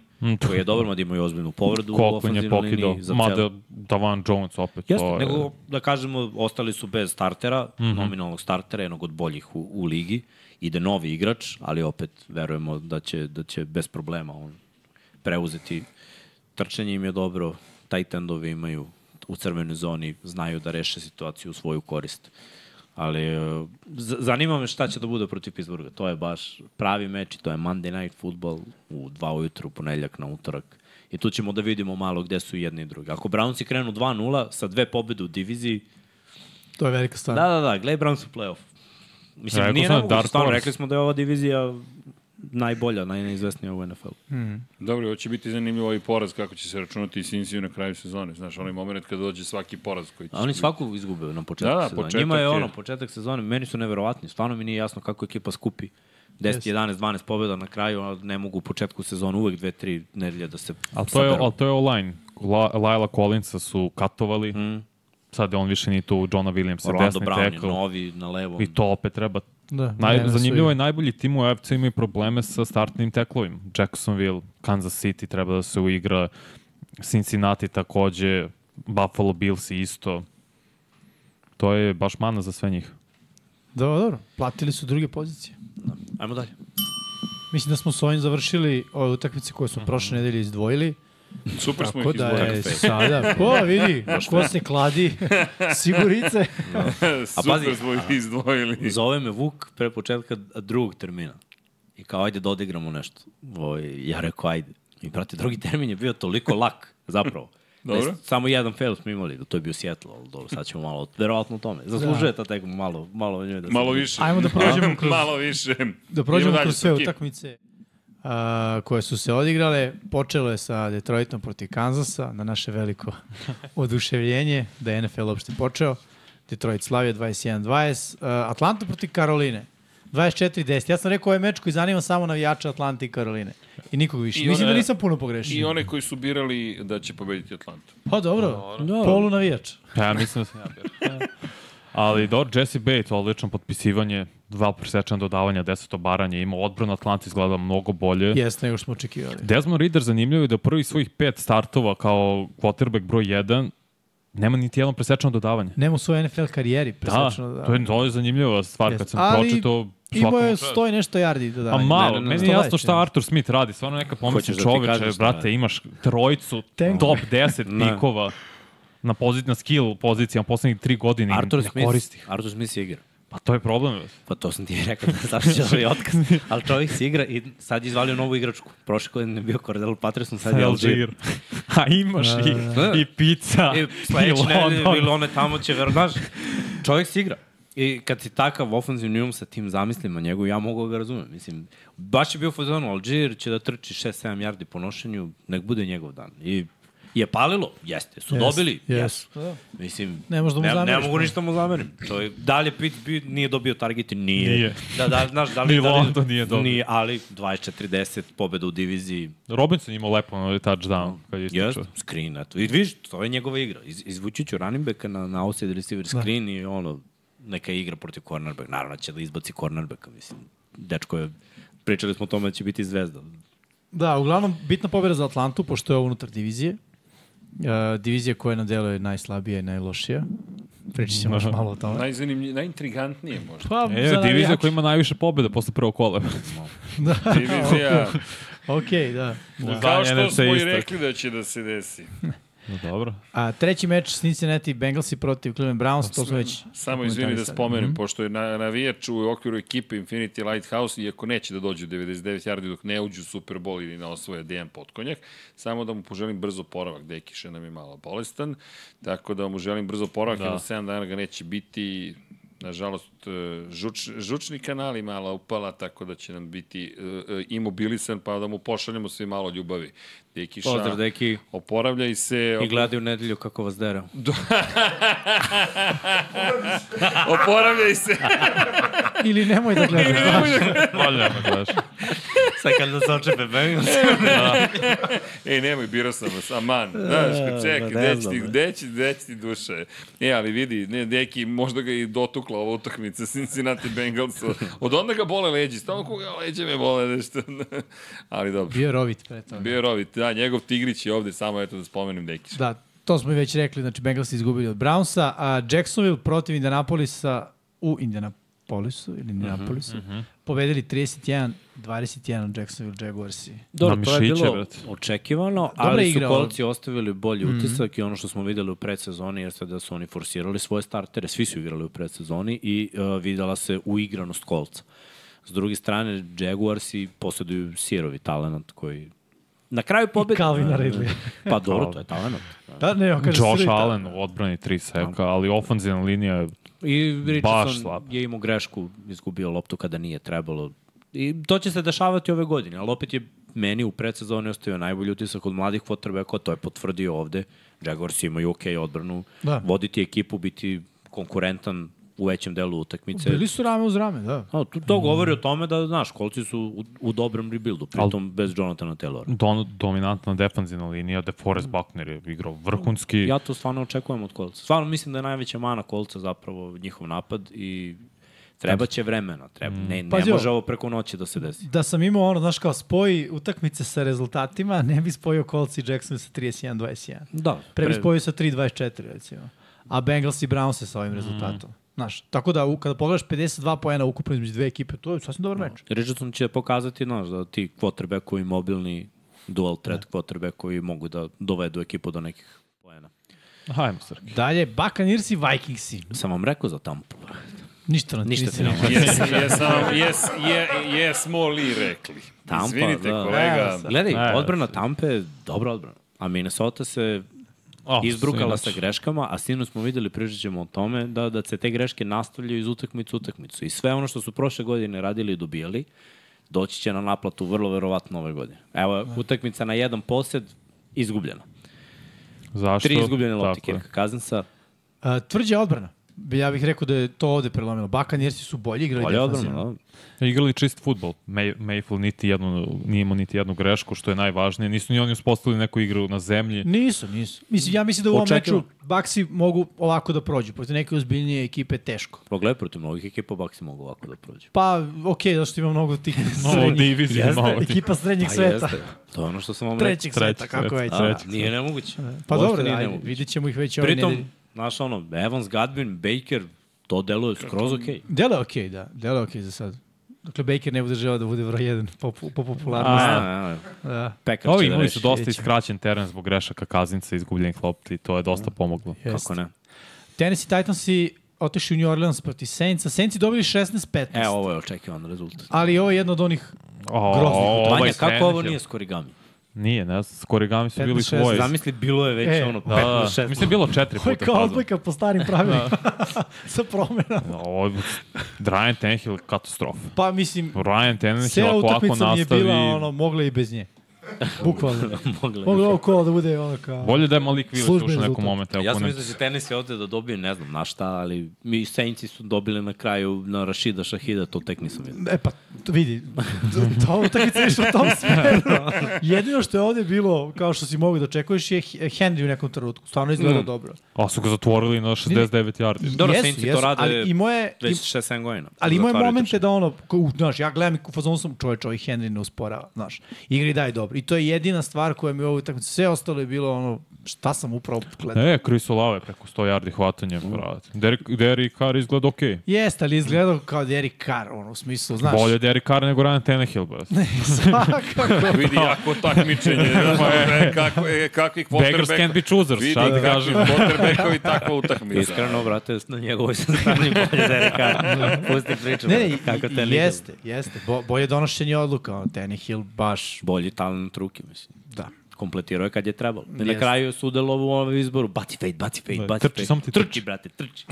koji je dobar, mada imaju ozbiljnu povredu u Mm, Koliko je ofenzivnoj pokidao. liniji. Za Mada cel- Davan Jones opet. Jeste, to je- Mhm. nego da kažemo, ostali su bez startera, nominalnog startera, jednog od boljih u, u ligi. Ide novi igrač, ali opet verujemo da će, da će bez problema on preuzeti. Trčanje im je dobro, tight endovi imaju u crvenoj zoni, znaju da reše situaciju u svoju korist. Ali e, z- zanima me šta će da bude protiv Pittsburgha. To je baš pravi meč i to je Monday Night Football u dva ujutru, u ponedljak na utorak. I tu ćemo da vidimo malo gde su i jedni i drugi. Ako Brownsi krenu 2-0 sa dve pobede u diviziji, To je velika stvar. da, da, da, gledaj Browns u play-off. Mislim, Pa. Rekao Rekao nije sam, nemoguće, Dark stvarno, Horse. rekli smo da je ova divizija najbolja, najneizvesnija u NFL. Dobro, ovo će biti zanimljivo i poraz kako će se računati i Cincy na kraju sezone. Znaš, onaj moment kada dođe svaki poraz koji će... A oni se- svaku izgube na početku Da, da, da, da, sezone. početak Njima je, je- ono, početak sezone, meni su neverovatni. Stvarno mi nije jasno kako ekipa skupi 10, 11, 12 pobjeda na kraju, a ne mogu u početku sezone uvek 2-3 nedelje da se Ali to, je, saberu. ali to je online. La, Lila Collinsa su katovali. Sad on više ni tu Johna Mhm. Williamsa, Orlando desni Brown je tackle. novi na levom. I to opet treba. Da, Naj, vreme su zanimljivo i- je, najbolji tim u AFC imaju probleme sa startnim teklovima. Jacksonville, Kansas City treba da se uigra, Cincinnati takođe, Buffalo Bills isto. To je baš mana za sve njih. Da, Dobro, dobro. Platili su druge pozicije. Ajmo dalje. Mislim da smo s ovim završili ove utakmice koje smo prošle nedelje izdvojili. Super Mhm. smo Tako ih da izborili. je sada, ko vidi, ko se kladi, sigurice. Da. Super pazi, smo ih izdvojili. Zove me Vuk pre početka drugog termina. I kao, ajde da odigramo nešto. Ovaj, ja rekao, ajde. I brate, drugi termin je bio toliko lak, zapravo. Dobro. Da je samo jedan fail smo imali, to je bio Seattle, ali dobro, sad ćemo malo, verovatno o tome. Zaslužuje ta tekma malo, malo o njoj da se- Malo više. Ajmo da prođemo kroz- Malo više. Da prođemo Idemo dalje, kroz sve Srki. utakmice a, koje su se odigrale. Počelo je sa Detroitom protiv Kanzasa, na naše veliko oduševljenje da je NFL uopšte počeo. Detroit slavio 21-20. A, Atlanta protiv Karoline. 24-10. Ja sam rekao, ovo je meč koji zanima samo navijača Atlante i Karoline. I nikog više. I Mislim one- da nisam puno I pogrešio. one koji su birali da će pobediti Atlantu. Pa dobro, Da. polu navijač. Pa ja mislim da sam ja bio. Ali dobro, Jesse Bates, odlično potpisivanje, dva presečena dodavanja, deset obaranja, ima odbrana Atlanta izgleda mnogo bolje. Jeste nego što smo očekivali. Desmond Reader zanimljivo je da u prvih svojih pet startova kao quarterback broj 1 nema niti jedno presečeno dodavanje. Nema u svojoj NFL karijeri. Da, presečeno da- to je, to je zanimljiva stvar kad Jeste. sam Ali pročitao. Imao je svakom- stoji nešto yardi da da. A malo, ne, ne, meni ne. je jasno Stoleće. šta Arthur Smith radi, stvarno neka Hoćeš pomisli da ti čoveče, kažem šta brate, radi? imaš trojicu, Tank. top 10 Ne. pikova na, pozit, na skill pozicijama poslednjih tri godine i Arthur ne Smith, koristi. ih. Arthur Smith se igra. Pa to je problem. Pa to sam ti i rekao, da zašto će da otkaz. Ali čovjek se igra i sad je izvalio novu igračku. Prošle godine je bio Cordell Patterson, sad je Da, Algier. Alžir. A imaš i, i pizza, I sledeće E, nedelje Vilone tamo će, vero, znaš, čovjek se igra. I kad si takav ofenzivni um sa tim zamislima njegov, ja mogu da ga razumem. Mislim, baš je bio u fazonu, Alžir će da trči 6-7 yardi po nošenju, nek bude njegov dan. I je palilo? Jeste. Su dobili? Jesu. Da. Mislim, Ne možeš da mu ne, ne zameriš, mogu ne. ništa mu zamerim. To je, da li je Pitt bio, nije dobio targete? Nije. Nije. Da, da, znaš, da li... Ni da li, London nije dobio. Nije, ali 24-10, pobeda u diviziji, Robinson imao lepo na touchdown. Kad je Jeste, ističao. screen, eto. I vidiš, to je njegova igra. Iz, izvući ću running backa na, na outside receiver Da. screen i ono, neka igra protiv cornerback. Naravno će da izbaci cornerbacka, mislim. Dečko je, pričali smo o tome da će biti zvezda. Da, uglavnom, bitna pobjeda za Atlantu, pošto je ovo unutar divizije. E, divizija koja je na delu je najslabija i najlošija. Pričat ćemo još malo o tome. Najzanimljiv, najintrigantnije možda. Pa, E, divizija koja ima najviše pobjeda posle prvog kola. Divizija, Ok, da. da. kao Zadnje što NFC smo i istok. rekli da će da se desi. No, dobro. A, treći meč Cincinnati Bengalsi protiv Cleveland Browns, to smo već... Samo izvini da komentarisali. Mhm. spomenem, pošto je na, navijač u okviru ekipe Infinity Lighthouse, iako neće da dođu u 99 yardi dok ne uđu u Super Bowl ili na osvoje Dejan Potkonjak, samo da mu poželim brzo poravak, Dekiša nam je malo bolestan, tako da mu želim brzo poravak, da. jer u 7 dana ga neće biti, nažalost, e, žuč, žučni kanal je mala upala, tako da će nam biti e, e, imobilisan, pa da mu pošaljemo svi malo ljubavi. Dekiša, Pozdrav, deki. oporavljaj se, I gledaju u nedelju kako vas dera. oporavljaj se. Ili nemoj da gledaš. Valjda me gledaš. Sad kad da se očepe Bengals. Ej, nemoj, birao sam vas, aman. Znaš, kad čekaj, E, ne gde će znam, ti, bre. gde će, gde će ti duše? E, ali vidi, ne, neki, možda ga je i dotukla ova utakmica Cincinnati Bengals. Od onda ga bole leđi, stalno koga leđe me bole nešto. ali dobro. Bio je rovit pre toga. Bio je Rovit, da, njegov tigrić je ovde, samo eto da spomenem Dekiš. Da, to smo i već rekli, znači Bengalsi izgubili od Brownsa, a Jacksonville protiv Indianapolisa u Indianapolisu ili Indianapolisu, pobedili 31-21 Jacksonville Jaguarsi. Dobro, Na to je mišiće, bilo brate. očekivano, Dobra ali igra, su kolci ostavili bolji utisak i ono što smo videli u predsezoni jeste da su oni forsirali svoje startere, svi su igrali u predsezoni i uh, videla se uigranost kolca. S druge strane, Jaguars i posjeduju sirovi talent koji na kraju pobedi. Calvina Ridleya. pa dobro, to je talent. Da, ne, on kaže Josh srita. Allen u odbrani tri seka, Da. ali ofenzivna linija je I Baš Richardson slab. je imao grešku, izgubio loptu kada nije trebalo. I to će se dešavati ove godine, ali opet je meni u predsezoni ostavio najbolji utisak od mladih quarterbacka, to je potvrdio ovde. Jaguars imaju ok odbranu, Da. voditi ekipu, biti konkurentan u većem delu utakmice. Bili su rame uz rame, da. A, to, to govori o tome da, znaš, kolci su u, u dobrom rebuildu, pritom bez Jonathana Taylora. don, dominantna defanzivna linija, De Forest Buckner je igrao vrhunski. Ja to stvarno očekujem od kolca. Stvarno mislim da je najveća mana kolca zapravo njihov napad i treba će vremena. Treba. Ne, ne Mm. Pazi ovo. može ovo preko noći da se desi. Da sam imao ono, znaš kao, spoji utakmice sa rezultatima, ne bi spojio Colts i Jackson sa 31-21. Da. Pre bi spojio sa 3-24, recimo. a Bengals i Browns se Mm. sa ovim rezultatom. Znaš, tako da u- kada pogledaš 52 poena ukupno između dve ekipe, to je sasvim dobar meč. Richardson će pokazati znaš, da ti quarterbackovi mobilni dual threat Da. quarterbackovi mogu da dovedu ekipu do nekih poena. Hajmo, Srki. Dalje, Buccaneers i Vikingsi. Sam vam rekao za Tampu. Ništa na Ništa ti ne Jes, jesam, jes, je, jesmo li rekli. Tampa, Izvinite, da. kolega. Gledaj, Ne, odbrana Tampe je dobra odbrana. A Minnesota se O, izbrukala sinoć. sa greškama, a sinoć smo videli, pričat ćemo o tome, da, da se te greške nastavljaju iz utakmicu u utakmicu. I sve ono što su prošle godine radili i dobijali, doći će na naplatu vrlo verovatno ove godine. Evo, utakmica na jedan posed, izgubljena. Zašto? Tri izgubljene lopte Tako je. Kirka Kazansa. A, tvrđa odbrana. Ja bih rekao da je to ovde prelomilo. Buccaneersi su bolji igrali. Bolje defanzivno. odbrana, da. Igrali čist futbol. May, Mayfield niti jednu, nije imao niti jednu grešku, što je najvažnije. Nisu ni oni uspostavili neku igru na zemlji. Nisu, nisu. Mislim, ja mislim da u ovom Očekivano. meču Baksi mogu ovako da prođu. Protiv neke ozbiljnije ekipe teško. Pogledaj, protiv mnogih ekipa Baksi mogu ovako da prođu. Pa, okej, zato što ima mnogo tih Malo srednjih. divizije, malo divizije. Ekipa Pa srednjih sveta. To je ono što sam vam rekao. Trećeg sveta, kako sveta. već. A, nije nemoguće. Pa Da, Uopšte dobro, nije ajde, nemoguće. vidjet ćemo ih već ove Pritom... Pritom, nedelje. znaš ono, Evans, Godwin, Baker, to deluje skroz okej. Delo je okej, da. Delo je okej za sad. Dakle, Baker ne bude želeo da bude broj jedan po, po po popularnosti. Okay. Da. Pekar Ovi će da imali reši. su dosta vidjet ćemo. iskraćen teren zbog grešaka kazinca i izgubljenih lopti i to je dosta pomoglo. Kako ne? Tennessee Titans i otišli u New Orleans protiv Saintsa. Saintsi dobili 16-15. E, ovo je očekivan rezultat. Ali ovo je jedno od onih... O, Groznih ovaj Vanja, kako ovo Tannehill. nije s korigami? Nije, ne znam, s korigami su bili 15-16, svoji. Zamisli, bilo je već E, ono Da, da, 15-16. mislim je bilo četiri Ovo je puta kao fazom. odbojka po starim pravilima. Da. Sa promenom. Ovo, Ryan Tannehill katastrofa. Pa mislim, Ryan Tannehill Cela ako, ako utakmica mi nastavi... je bila ono, mogla i bez nje. Bukvalno. Mogla je. mogla je ovo kola da bude ono kao... Bolje da je Malik Willis Službeni ušao u nekom rezultat. momentu. Ja sam mislio da će tenis je ovde da dobije, ne znam na šta, ali mi Saintsi su dobili na kraju na Rašida Šahida, to tek nisam vidio. E pa, to vidi, to- to utakmica je išla u tom smeru. Jedino što je ovde bilo, kao što si mogu da očekuješ, je H- Henry u nekom trenutku. Stvarno Mm. izgleda dobro. A su ga zatvorili na 69 yardi. Dobro, Saintsi to rade ali imao je, im, Već 6-7 godina. ali imao je Zatvaraju momente trčanje. da ono, ko- u, znaš, ja gledam i u fazonu sam čovječ, ovaj Henry ne usporava, znaš. Igri daje dobro. I to je jedina stvar koja mi je u ovoj utakmici. Sve ostalo je bilo ono, šta sam upravo gledao. E, Chris Olave preko 100 yardi hvatanja. brate. Derek, Derek Carr izgleda okej. Jeste, ali izgledao kao Derek Carr, ono, u smislu, znaš. Bolje Derek Carr nego Ryan Tannehill, brate. Svakako. Vidi jako takmičenje. Da. Pa je, kako, je, kakvi Beggars quarterback- can't be choosers, Vidi šta ti kakvi kažem. quarterbackovi takva utakmica. da Iskreno, brate, na njegovoj sam stanju bolje da reka. Pusti priču. Ne, brate, ne, i- kako i- Tannehill. jeste, jeste. Bo, bolje donošenje odluka, ono, Tannehill baš, Bolji talent ruke, mislim. da. Kompletirao je kad je trebalo. I na Jeste. kraju su udelovo u ovom izboru. Baci fade, baci fade, Da, baci trči, fade. samo ti trči. Trči, brate, trči.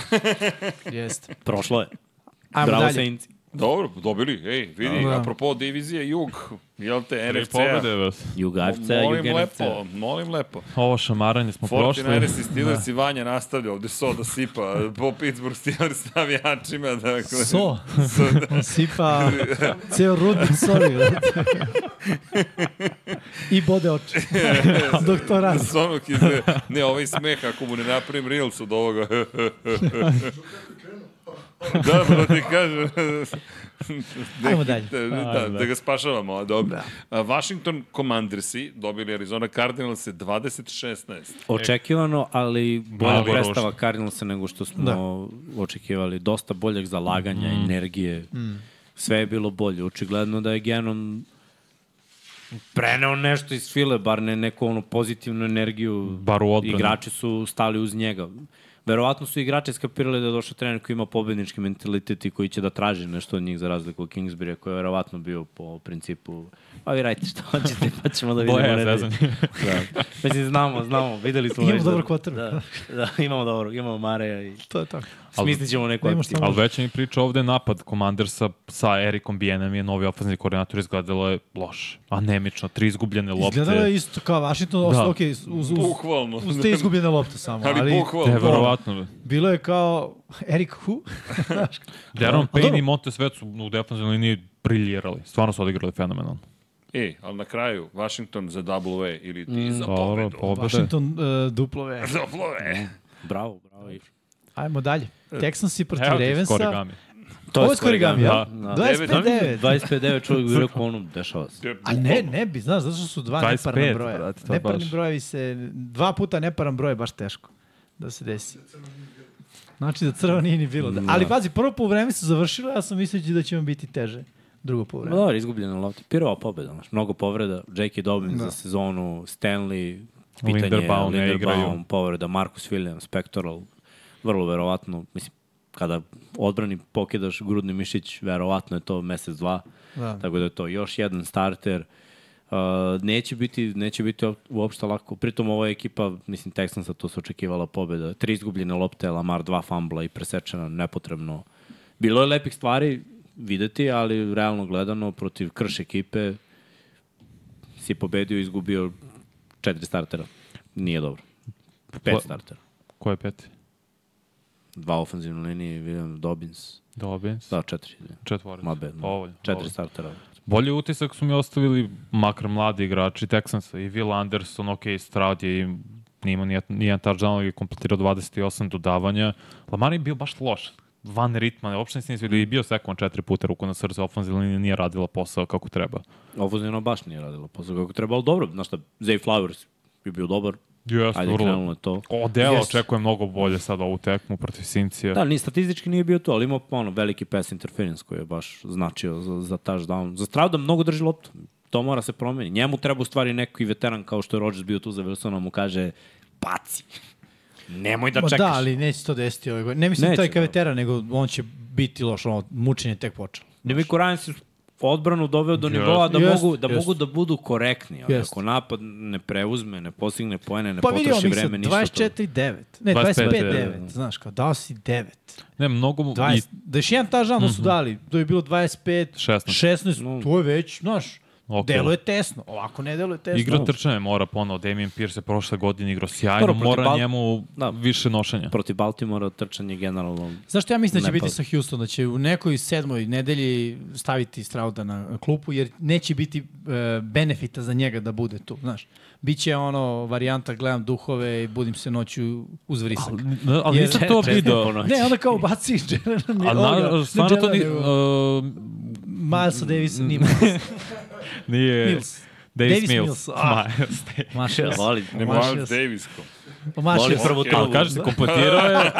Jeste. Prošlo je. Ajmo Bravo, dalje. Saintsi. Dobro, dobili. Ej, vidi, Da. apropo divizije Jug, jel te, Tri NFC-a. pobede, brate. Jugavca, Molim Jugenavca. lepo, molim lepo. Ovo šamaranje smo prošli. 49ers i Steelers i Vanja nastavlja ovde so da sipa po Pittsburgh Steelers navijačima. Dakle, So, So, da. on sipa ceo rudnik soli, brate. I bode oči. Dok to radi. S onog iz, ne, ovaj smeh, ako mu ne napravim reels od ovoga. da, da ti kažem. da, Ajmo dalje. Da, da, da ga spašavamo, a dobro. Da. Washington Commandersi dobili Arizona Cardinals 20-16. Očekivano, ali bolja E, Malo je predstava Cardinalsa nego što smo očekivali. Dosta boljeg zalaganja, Mm. energije. Sve je bilo bolje. Očigledno da je Genon preneo nešto iz file, bar ne neku onu pozitivnu energiju. Bar u odbrani. Igrači su stali uz njega. Verovatno su igrači skapirali da je došao trener koji ima pobednički mentalitet i koji će da traži nešto od njih za razliku od Kingsbury, koji je verovatno bio po principu pa vi radite što hoćete, pa ćemo da vidimo. Boja, nedelju." zezanje. da. Mislim, znamo, znamo, videli smo. Imamo već dobrog quarterbacka. Da, da, imamo dobro, imamo Mareja i To je tako. smislit ćemo neku Da imaš akciju. samo- Ali već mi priča ovde je napad Commandersa sa Erikom Bijenem je novi ofenzivni koordinator izgledalo je loše. Anemično, tri izgubljene lopte. Izgledalo je isto kao Washington, da. Da. ok, uz, uz, Bukvalno. uz te izgubljene lopte samo. Ali Ali, bukvalno. Neverovatno. Bilo je kao Eric Hu. Deron A pa Payne dobro. i Montez Vec su u defensivnoj liniji briljirali. Stvarno su odigrali fenomenalno. E, ali na kraju, Washington za double A ili ti za Dobro, pobedu. pobede. Washington uh, duplo V. Double A. Bravo, bravo. Ajmo dalje. Texansi protiv Evo ti Ravensa. skorigami. Ovo je skorigami, ja? Da. 25-9. 25-9 čovjek bi rekao ono, dešava se. A ne, ne bi, znaš, zato što su dva 25, neparna broja. brate, to je Neparni baš. brojevi se, dva puta neparan broj je baš teško. da se desi. Znači da crva nije ni bilo. Da. Ali pazi, prvo po vreme se završilo, ja sam misleći da će vam biti teže. Drugo po Ma vreme. dobro, izgubljena lopta. Pirova pobeda, znaš, mnogo povreda. Jake Dobbins da. za sezonu, Stanley, pitanje, Linderbaum Linderbaum, ne igraju. Linderbaum povreda, Marcus Williams, Spectral, vrlo verovatno, mislim, kada odbrani pokidaš grudni mišić, verovatno je to mesec, dva, Da. tako da je to još jedan starter. Uh, neće biti, neće biti op- uopšte lako. Pritom ova ekipa, mislim, Texansa to se očekivala pobeda. Tri izgubljene lopte, Lamar, dva fambla i presečena nepotrebno. Bilo je lepih stvari videti, ali realno gledano protiv krš ekipe si pobedio i izgubio četiri startera. Nije dobro. Pet Ko- startera. Ko je peti? Dva ofenzivne linije, William Dobbins. Dobbins. Da, četiri. Četvorac. Ma bad. Dovoljno, Četiri dovoljno. startera. Bolji utisak su mi ostavili makar mladi igrači Texansa i Will Anderson, ok, Stroud je im nije imao nijedan- nijedan touchdown, ali je kompletirao 28 dodavanja. Lamar je bio baš loš van ritma, uopšte se nisam vidio i bio sekovan četiri puta ruku na srce, ofenzivna linija nije radila posao kako treba. Ofenzivno baš nije radilo posao kako treba, ali dobro, znaš šta, Zay Flowers je bio dobar. Jeste, Ajde, krenulo je to. O, dela Jeste. očekujem mnogo bolje sad ovu tekmu protiv Sincija. Da, ni statistički nije bio to, ali imao ono, veliki pass interference koji je baš značio za, za touchdown. Za Strauda mnogo drži loptu. To mora se promeni. Njemu treba u stvari neki veteran kao što je Rodgers bio tu za Wilsona mu kaže baci. Nemoj da Ma čekaš. da, ali neće se to desiti ove godine. Ne mislim Neće, to je da. kavetera, nego on će biti loš, ono, mučenje je tek počelo. Demiko Ryan si odbranu doveo do nivoa da, Jest, mogu, da jest. mogu da budu korektni. Ono, Jest. Ako napad ne preuzme, ne postigne poene, ne Pa vidio potroši mi se, vreme, ništa 24-9. Ne, 25-9. 25-9, znaš, kao dao si 9. Ne, mnogo... mu- I, Mhm. 20, da je još jedan tažan da su dali, to je bilo 25, 16. 16, to je već, znaš, Ok. deluje tesno, ovako ne deluje tesno. igra trčanje mora ponovo. Damien Pierce je prošle godine igrao sjajno, Dobro, protiv mora Bal- njemu Da. više nošenja. to. Protiv Baltimora trčanje generalno Znaš što ja mislim da će Ne, pa- biti sa Houston, da će u nekoj sedmoj nedelji staviti Strauda na klupu, jer neće biti e, benefita za njega da bude tu, znaš. Biće ono varijanta, gledam duhove i budim se noću uz vrisak. Ali, ali Jer- nisam to Četiri video. ponoći. Ne, onda kao baci Jelena, Ali na, stvarno to ni, nije... uh, Milesa Davisa nije nije... Mills. Davis, Davis Mills. Mills, a. Miles Davis. Mašio se. voli. Nemo Mašio Miles se. Davisko. Mašio Voli se. prvo Ali to. kažete, kompletirao je...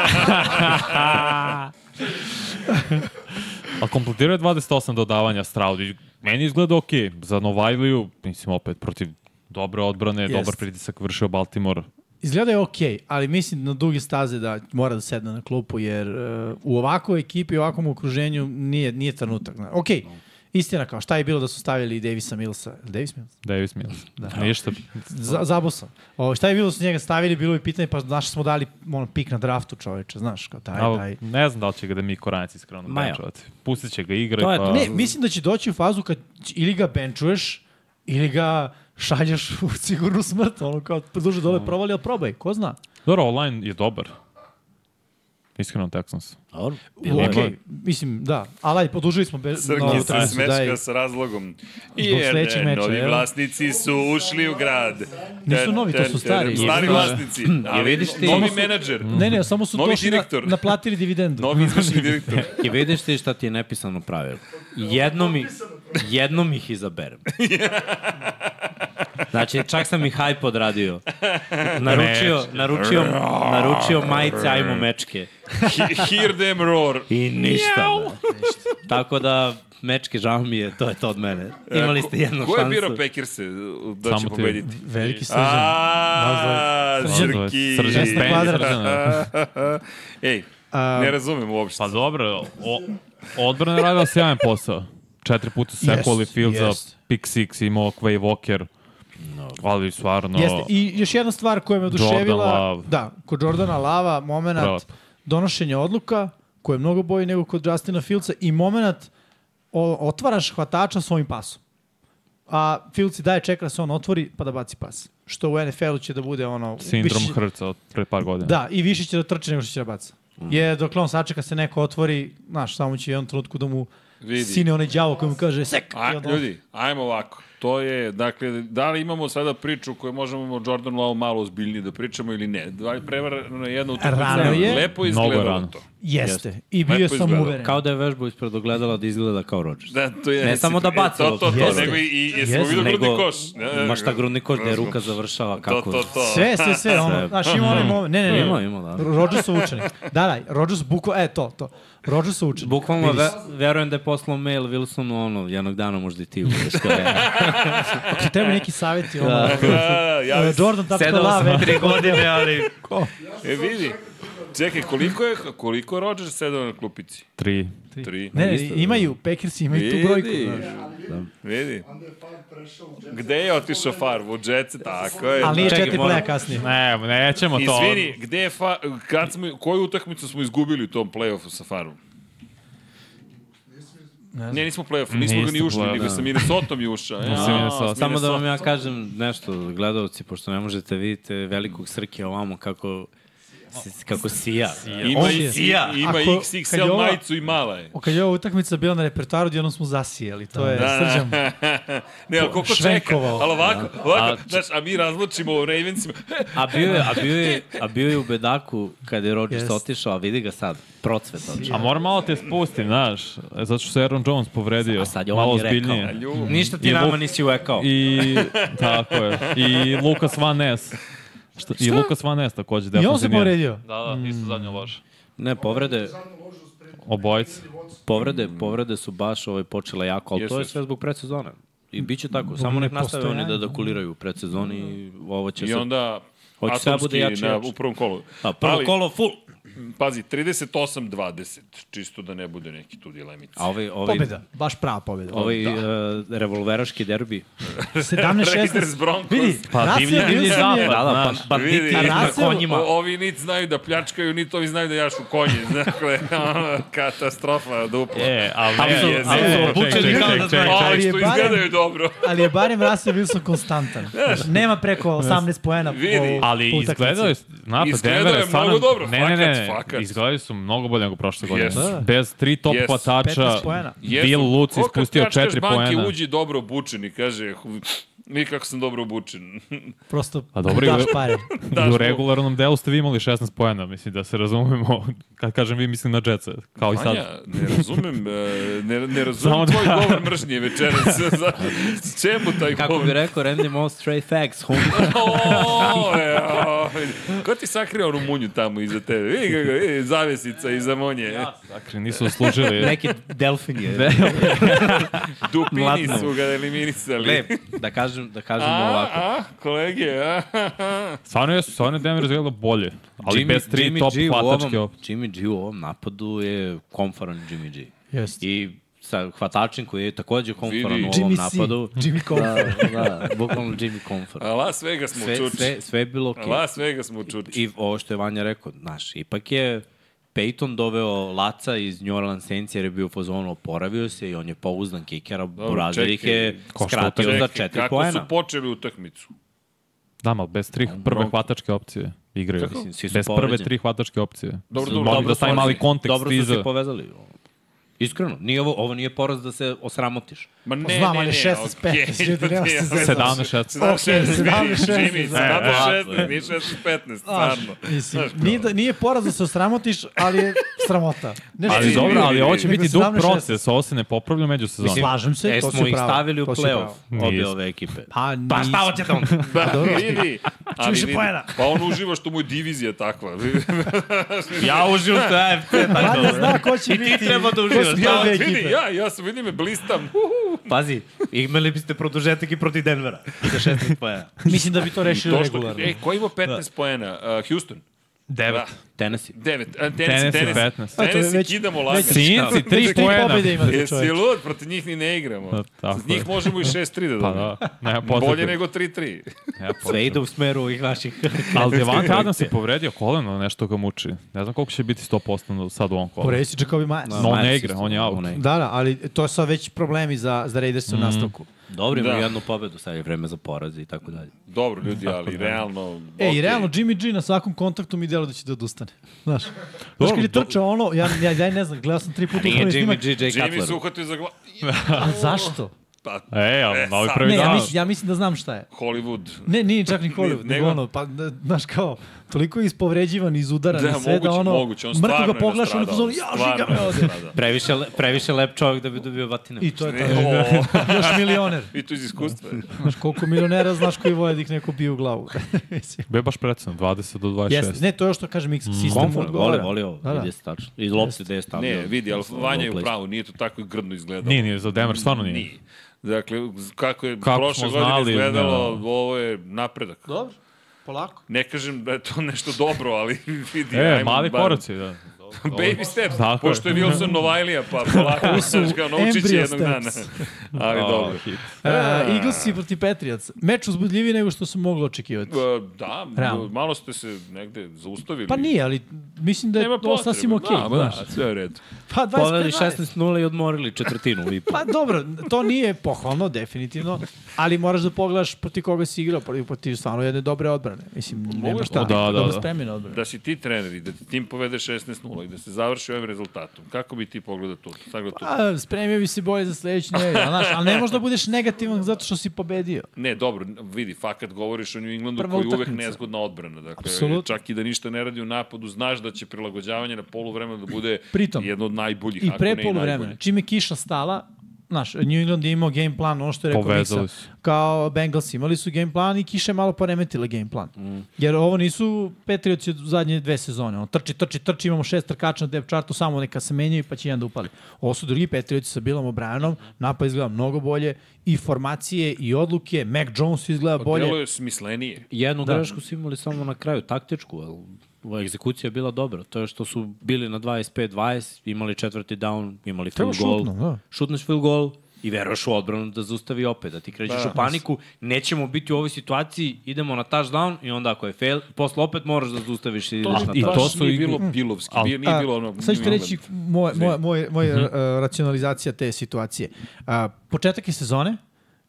Ali kompletirao je 28 dodavanja Straudu. i Meni izgleda ok. Za Novajliju, mislim, opet protiv dobre odbrane, Jest. dobar pritisak vršio Baltimore. Izgleda je okej, ali mislim na duge staze da mora da sedne na klupu, jer e, u ovakvoj ekipi, u ovakvom okruženju nije, nije trenutak. Zna. Okej, istina kao, šta je bilo da su stavili Davisa Millsa? Je li Davis Mills? Davis Mills. Ništa. Za, zabo sam. O, šta je bilo da su njega stavili, bilo je pitanje, pa znaš smo dali ono, pik na draftu čoveče, znaš, kao taj, Al, taj. ne znam da li će ga da mi Koranjac iskreno Ma ja. benčovati. Pustit će ga igre. To je pa... to. Ne, mislim da će doći u fazu kad će- ili ga benčuješ, ili ga šalješ u sigurnu smrt, ono kao duže dole provali, ali probaj, ko zna? Dobro, online je dobar. Iskreno, Texans. Dobro. Okej, okay, mislim, da. Ali ajde, podužili smo be, Srki se utakmicu, daj. smečka s razlogom. sledećeg Jer meča, novi jel? vlasnici su ušli u grad. Nisu novi, to su stari. Stari Jesu, da. vlasnici. Ali vidiš ti- Novi menadžer. Ne, ne, samo su Novi došli na, direktor. naplatili dividendu. Novi izvršni direktor. I vidiš ti šta ti je nepisano pravilo. Jednom, ih, jednom ih izaberem. Znači, čak sam i hype odradio. Naručio, naručio, naručio majice, ajmo mečke. He- Hear them roar. I ništa. Ne, ništa. Tako da, mečke, žao mi je, to je to od mene. Imali ste jednu E, Ko šansu. je birao Pekirse da će Samo ti. pobediti? Veliki srđan. Aaa, Srđan. Srki. Srđan Šesto Spencer. kvadrat. Srđan. Ej, ne razumem uopšte. Pa dobro, o, odbrana je radila sjajan posao. Četiri puta se Jest, sekoli Field za jest. pick six, imao Quay Walker. Ali stvarno... Jeste, i još jedna stvar koja me oduševila, Jordan Love. da, kod Jordana Lava, moment Bravo. donošenja odluka, koja je mnogo bolji nego kod Justina Fieldsa i moment o, otvaraš hvatača svojim pasom. A Fields i daje čeka da se on otvori pa da baci pas. Što u NFL-u će da bude ono... Sindrom više- Hrca od pre par godina. Da, i više će da trče nego što će da baca. Jer dok on sačeka se neko otvori, znaš, samo će u jednom trenutku da mu Vidi. sine onaj đavo koji mu kaže sek. A, i onda on- ljudi, Pa, ajmo ovako. postoje. Dakle, da li imamo sada priču koju možemo o Jordan Lowe malo ozbiljnije da pričamo ili ne? Dva je prevarano jedna utakmica. Rano je. Lepo Mnogo izgledalo rano. to. Jeste. I Lepo bio sam izgledao. uveren. Kao da je vežba ispred ogledala da izgleda kao Rodgers. Da, to je, Ne samo da baca To, to, to, loptu. nego i, i jesmo Jeste. videli grudni Nego, koš. Ne, ne, ne. ma šta grudni koš, da je ruka završava To, kako. to, to. Sve, sve, sve, ono, znaš, ima onaj moment, ne, ne, ne, Ima, ima, da. Rodgers učenik. Da, da, Rodgers bukva, e, to, to. Rodgers učenik. Bukvalno Vidi ve, se. verujem da je poslao mail Wilsonu ono, jednog dana možda i ti "E, budeš to je. Ti treba neki savjeti, ono, Da. Da, ja e, Sedao Jordan.lave. sam tri godine, ali... E, vidi. Čekaj, koliko je, koliko je Rodgers sedao na klupici? Tri. Tri. Ne, ne, imaju, Packers imaju tu brojku. da. znaš. Vidi. Gde je otišao far? U džetce, tako je. da. Ali nije Čekaj, četiri moram- pleja kasnije. Ne, nećemo Pa to. Izvini, gde je fa, kad smo, koju utakmicu smo izgubili u tom play-offu sa Farom? Ne, nismo play-off, nismo ga ni Nismo ušli, play-off, nego da. sa Minnesotom je ušao. e, Ja, Sa Minnesotom. s Samo da vam Minnesotom. ja kažem nešto, gledalci, pošto ne možete vidite velikog Srke ovamo kako si- kako sija. Ima, On i, je. sija. ima Ako- kad je XXL ova- majicu i mala je. O, kad je ova utakmica bila na repertoaru, odjednom smo zasijeli. To je Da, da. srđan. Ne, ali koliko čeka, Švenkovao. ali ovako, ovako, znaš, a mi razlučimo o Ravensima. A bio je, a bio je, a bio je u bedaku kada je Rodgers Jest. otišao, a vidi ga sad, procvet otišao. A moram malo te spustim, znaš, e, zato što se Aaron Jones povredio. A sad je malo on mi rekao. ozbiljnije. Ljubav. Ništa ti I nama Luka- nisi uvekao. I, tako je. I Lukas Van Ness. Šta? I Lukas Van Ness takođe. I on se defanzivni. povredio. Da, da, isto zadnja loža. Ne, povrede, Obojica. povrede, povrede su baš ovaj, počele jako, ali Jesu, to je jesu. sve zbog predsezone. I bit će tako, samo nek nastave oni da nepostojanja. dakuliraju u predsezoni i ovo će I se... onda Hoće Atomski sve da bude jače, na, jače. u prvom kolu. A prvo Ali, kolo full! Pazi, 38-20, čisto da ne bude neki tu dilemica. A ovaj, ovaj, Pobjeda, baš prava pobjeda. ovaj da. uh, revolveraški derbi. 17-16. Raiders Broncos. Vidi, Pa, divlji- Rasija divlji bio sam zapad. je. Da, da, znaš. pa, banditi Vidi. idu na Rasel- konjima. O, ovi nit znaju da pljačkaju, nit ovi znaju da jašu konje. Dakle, ono, katastrofa dupla. E, ali... Ali su- ne, ali su ne, obučeni čekaj, kao da čekaj, znaju. čekaj. Ali ali je što barem- izgledaju dobro. Ali je barem Rasija Wilson konstantan. Znaš, Nema preko 18 poena po, Vidi. po Ali utakmici. izgledaju, znate, Izgledao Denver je stvarno... mnogo dobro, ne, ne, ne, fakat, ne, fakat. izgledaju su mnogo bolje nego prošle godine. Jesu. Da. Bez tri top Jesu. hvatača, 15 poena. Bill Luci Ko kad ispustio pljačkaš četiri banke, poena. uđi dobro obučen i kaže, nikako sam dobro obučen. Prosto A dobro, daš i- pare. I u mu. regularnom delu ste vi imali 16 poena, mislim da se razumemo. Kad kažem vi, mislim na Jetsa, kao i sad. Vanja, ne razumem, e, ne, ne razumem Samo da- tvoj govor mržnje večeras. Za- s Čemu taj Kako govor? bi rekao, Randy Moss, straight facts, homie. O, e, o, Ko ti sakrio onu munju tamo iza tebe? Vidi ga, vidi, zavesica iza monje. Dakle, nisu služili. Neki delfin je. Dupini Mladno. su ga eliminisali. Lep, da kažem, da kažem A, ovako. a, kolege, a, Stvarno jesu, stvarno je Denver izgledalo bolje. Ali bez tri top G u hvatačke. ovom, Jimmy G u ovom napadu je komforan Jimmy G. Jeste. I sa hvatačem koji je takođe komforan Vidi. u ovom Jimmy C. napadu. Jimmy Cole. Da, da, bukvalno Jimmy komforan. a Las Vegas smo Sve, čuči. sve, sve je bilo okej. Okay. Las Vegas smo čuči. I ovo što je Vanja rekao, znaš, ipak je Peyton doveo Laca iz New Orleans Saints jer je bio u fazonu oporavio se i on je pouzdan kikera, Burazir ih je čekaj. Košta skratio za Čekaj, četiri kako poena. su počeli utakmicu? Da, ali bez tri prve hvatačke opcije igraju. Mislim, svi su Bez prve povređeni. tri hvatačke opcije. Dobro, Molim dobro, da dobro stavim su- mali kontekst Dobro su se iza. povezali. Iskreno, nije ovo, ovo nije poraz da se osramotiš. Ma ne, Znam, ne, ali ne, 16, okej, 15, ljudi, nema se zezati. 17, 16. 16, vidi, 17, Jimmy, E, 17, nije 16, 15, stvarno. Mislim, nije, da, nije poraz da se osramotiš, ali je sramota. Nešto Ali Vidi, dobro, ali vidi, ovo će vidi. biti dug 17, 16. proces, ovo se ne popravlja među sezonom. Slažem se, E, to smo si ih pravo. stavili u to si play-off, pravo. obje Nismo. ove ekipe. Pa, nis... Pa šta hoćete onda? Pa, vidi. ali više vidi, poena. Pa on uživa što mu je divizija takva. ja uživam što je AFC, tako Valjda dobro. zna ko će I ti biti. treba da ko su uživaš, bile da, dve vidi, ekipe. ja, ja sam, vidi me, blistam. Uhu. Pazi, imali biste produžetak i protiv Denvera. Za 16 pojena. Mislim da bi to rešili To što, regularno. e, ko ima Da. 15 poena? Uh, Houston? Da. 9. Tennessee. 9. Tennessee, Tennessee, Tennessee. 15. A, Pa to je Tennessee već- kidamo već- lagano. Sinci, Tri tri poena. pobjede imali Jesi čovjek. lud, protiv njih ni ne igramo. Pa, tako Protiv njih je. možemo i 6-3 da Pa dobijemo. da, nema Bolje potrebe. nego 3-3. Nema potrebe. Sve ide u smeru ovih vaših. Ali Devante Adams je povredio koleno, nešto ga muči. Ne znam koliko će biti 100% sad u ovom kolu. Poredi si Jacobi Myers. No, Myers ne je igra, isto, on je out. on ne igra. Da, da, ali to su već problemi za, za Raiders u nastavku. Dobro, Da. imaju jednu pobedu, sad je vreme za poraz i tako dalje. Dobro, ljudi, ali da. realno... E, i okej. realno Jimmy G na svakom kontaktu mi delo da će da odustane. Znaš, znaš kad je trčao ono, ja, ja, ja ne znam, gledao sam tri puta Nije upravo Jimmy snimak. G, Jay Jimmy se Cutler. uhvatio za glavu. A zašto? Pa, E, ali E, na ovaj sad. prvi Ne, ja dan. mislim, ja mislim da znam šta je. Hollywood. Ne, nije čak ni Hollywood, Nego- nego ono, pa, da, znaš kao, toliko je ispovređivan, izudaran Da, i sve moguće, da ono, moguće, on mrtvo stvarno ga je poglaš, ono nastradao. pozove, ja, žiga me Stvarno je ovde. nastradao. Previše, le, previše lep čovjek da bi dobio batine. I to je Ne, to. o, Još milioner. I tu iz iskustva. Znaš, koliko milionera znaš koji voje da ih neko bije u glavu. Mislim, Bio je baš precizno, 20 do 26. Jeste, ne, to je ovo što kažem, Mm, Mixed System Komfort, voli, odgovara. voli ovo. Da, da. Da, da. Tačno. I lopte gde je stavio. Ne, vidi, ali Ovo Vanja je u place. pravu, nije to tako grdno izgledalo. Nije, nije, za Denver stvarno nije. Nije. Dakle, kako je Kako prošle smo godine znali, izgledalo, da. ovo je napredak. Dobro, polako. Ne kažem da je to nešto dobro, ali vidi. E, ajmo mali bar- koraci, da. Baby steps, Tako je. pošto je Wilson Novajlija, pa polako znaš ga naučit će embryo jednog dana. steps. Ali A, dobro. hit. Uh, Eaglesi protiv Patriots. Meč uzbudljiviji nego što se moglo očekivati. E, Da, Realno. malo ste se negde zaustavili. Pa nije, ali mislim da je Nema to potrebe. sasvim Da, okej. Okay, ma da, sve je u redu. Pa 25 Poveli 16-0 i odmorili četvrtinu i po. Pa dobro, to nije pohvalno, definitivno, ali moraš da pogledaš protiv koga si igrao, protiv, protiv stvarno jedne dobre odbrane. Mislim, nema šta, O, da, da, dobro da. spremljena odbrana. Da si ti trener i da ti tim povede 16-0 i da se završi ovim rezultatom, kako bi ti pogledao tu? Sagledao tu? A, Pa, spremio bi se bolje za sledeću nedelju, a znaš, ali ne možeš da budeš negativan zato što si pobedio. Ne, dobro, vidi, fakat govoriš o New Englandu Prva koji je uvek utakmica. nezgodna odbrana. Dakle, Apsolutno. čak i da ništa ne radi u napadu, znaš da će prilagođavanje na polu vremena da bude Pritom, jedno od najboljih, I ako ne pre i poluvremena, znači, najbolje. čim je kiša stala, znaš, New England je imao game plan, ono što je rekao Povezali Miksa, su. kao Bengals imali su game plan i kiša je malo poremetila game plan. Mm. Jer ovo nisu Patriots od zadnje dve sezone, ono trči, trči, trči, imamo šest trkača na depth chartu, samo neka se menjaju pa će jedan da upali. Ovo su drugi Patriots sa Bilom O'Brienom, napad izgleda mnogo bolje, i formacije, i odluke, Mac Jones izgleda bolje. Delo je smislenije. Jednu da. grešku su imali samo na kraju, taktičku, ali ova egzekucija je bila dobra. To je što su bili na 25-20, imali četvrti down, imali Treba field goal. šutno, da. Šutneš field goal i veruješ u odbranu da zaustavi opet, da ti krećeš da, u paniku, nećemo biti u ovoj situaciji, idemo na touchdown i onda ako je fail, posle opet moraš da zaustaviš i ideš na I touchdown. to to su su Znači, nije i- bilo pilovski, nije, nije A, bilo ono... Sad ću ti New reći England. moje, moje, moje, moje Mhm. uh, racionalizacija te situacije. A, početak je sezone,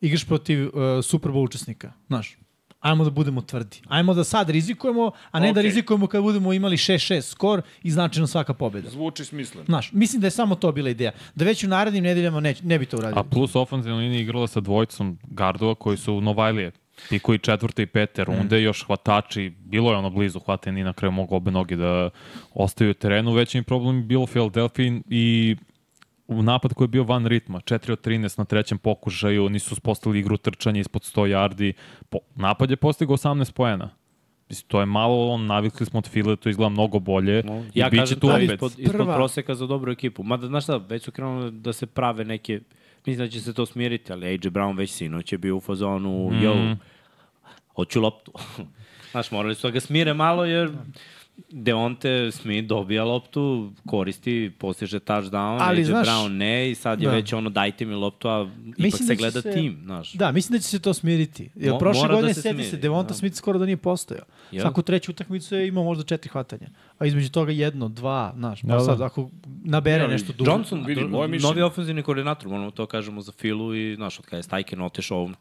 igraš protiv uh, Super Bowl učesnika, znaš, ajmo da budemo tvrdi. Ajmo da sad rizikujemo, a ne okay. da Okej. rizikujemo kad budemo imali 6-6 skor i značajno svaka pobeda. Zvuči smisleno. Znaš, mislim da je samo to bila ideja. Da već u narednim nedeljama ne, ne bi to A uradili. plus ofenzivna linija igrala sa dvojicom gardova koji su Novajlije. Ti koji četvrte i pete Mhm. runde, još hvatači, bilo je ono blizu hvatanje i na kraju mogu obe noge da ostaju u terenu. Veći im problem je bilo Philadelphia i u napad koji je bio van ritma. 4 od 13 na trećem pokušaju, nisu spostali igru trčanja ispod 100 yardi. Po, napad je postigao 18 poena. Mislim, to je malo, on, navikli smo od File, to izgleda mnogo bolje. No, I ja bit će kažem tu da je opet. ispod, ispod Prva- proseka za dobru ekipu. Mada, znaš šta, već su krenuli da se prave neke, mislim da će se to smiriti, ali AJ Brown već sinoć je bio u fazonu, Mhm. mm. yo, hoću loptu. znaš, morali su da ga smire malo, jer Deonte Smith dobija loptu, koristi, postiže touchdown, Ali, ali, AJ znaš- znaš, Brown ne, i sad je Da. da. već ono, dajte mi loptu, a ipak Mislim da se će gleda se- se... tim, znaš. Da, mislim da će se to smiriti. Jer Mo- prošle mora da godine, se sjeti se, smiri, Devonta da. Smith skoro da nije postojao. Jel? Svaku treću utakmicu je imao možda četiri hvatanja. A između toga jedno, dva, znaš. Pa Da, da. sad, ako nabere nešto dugo. Johnson, Vidi, vidi, moje mišljenje- novi ofenzivni koordinator, moramo to kažemo za Filu i, znaš, od kada je Stajken otešao ovom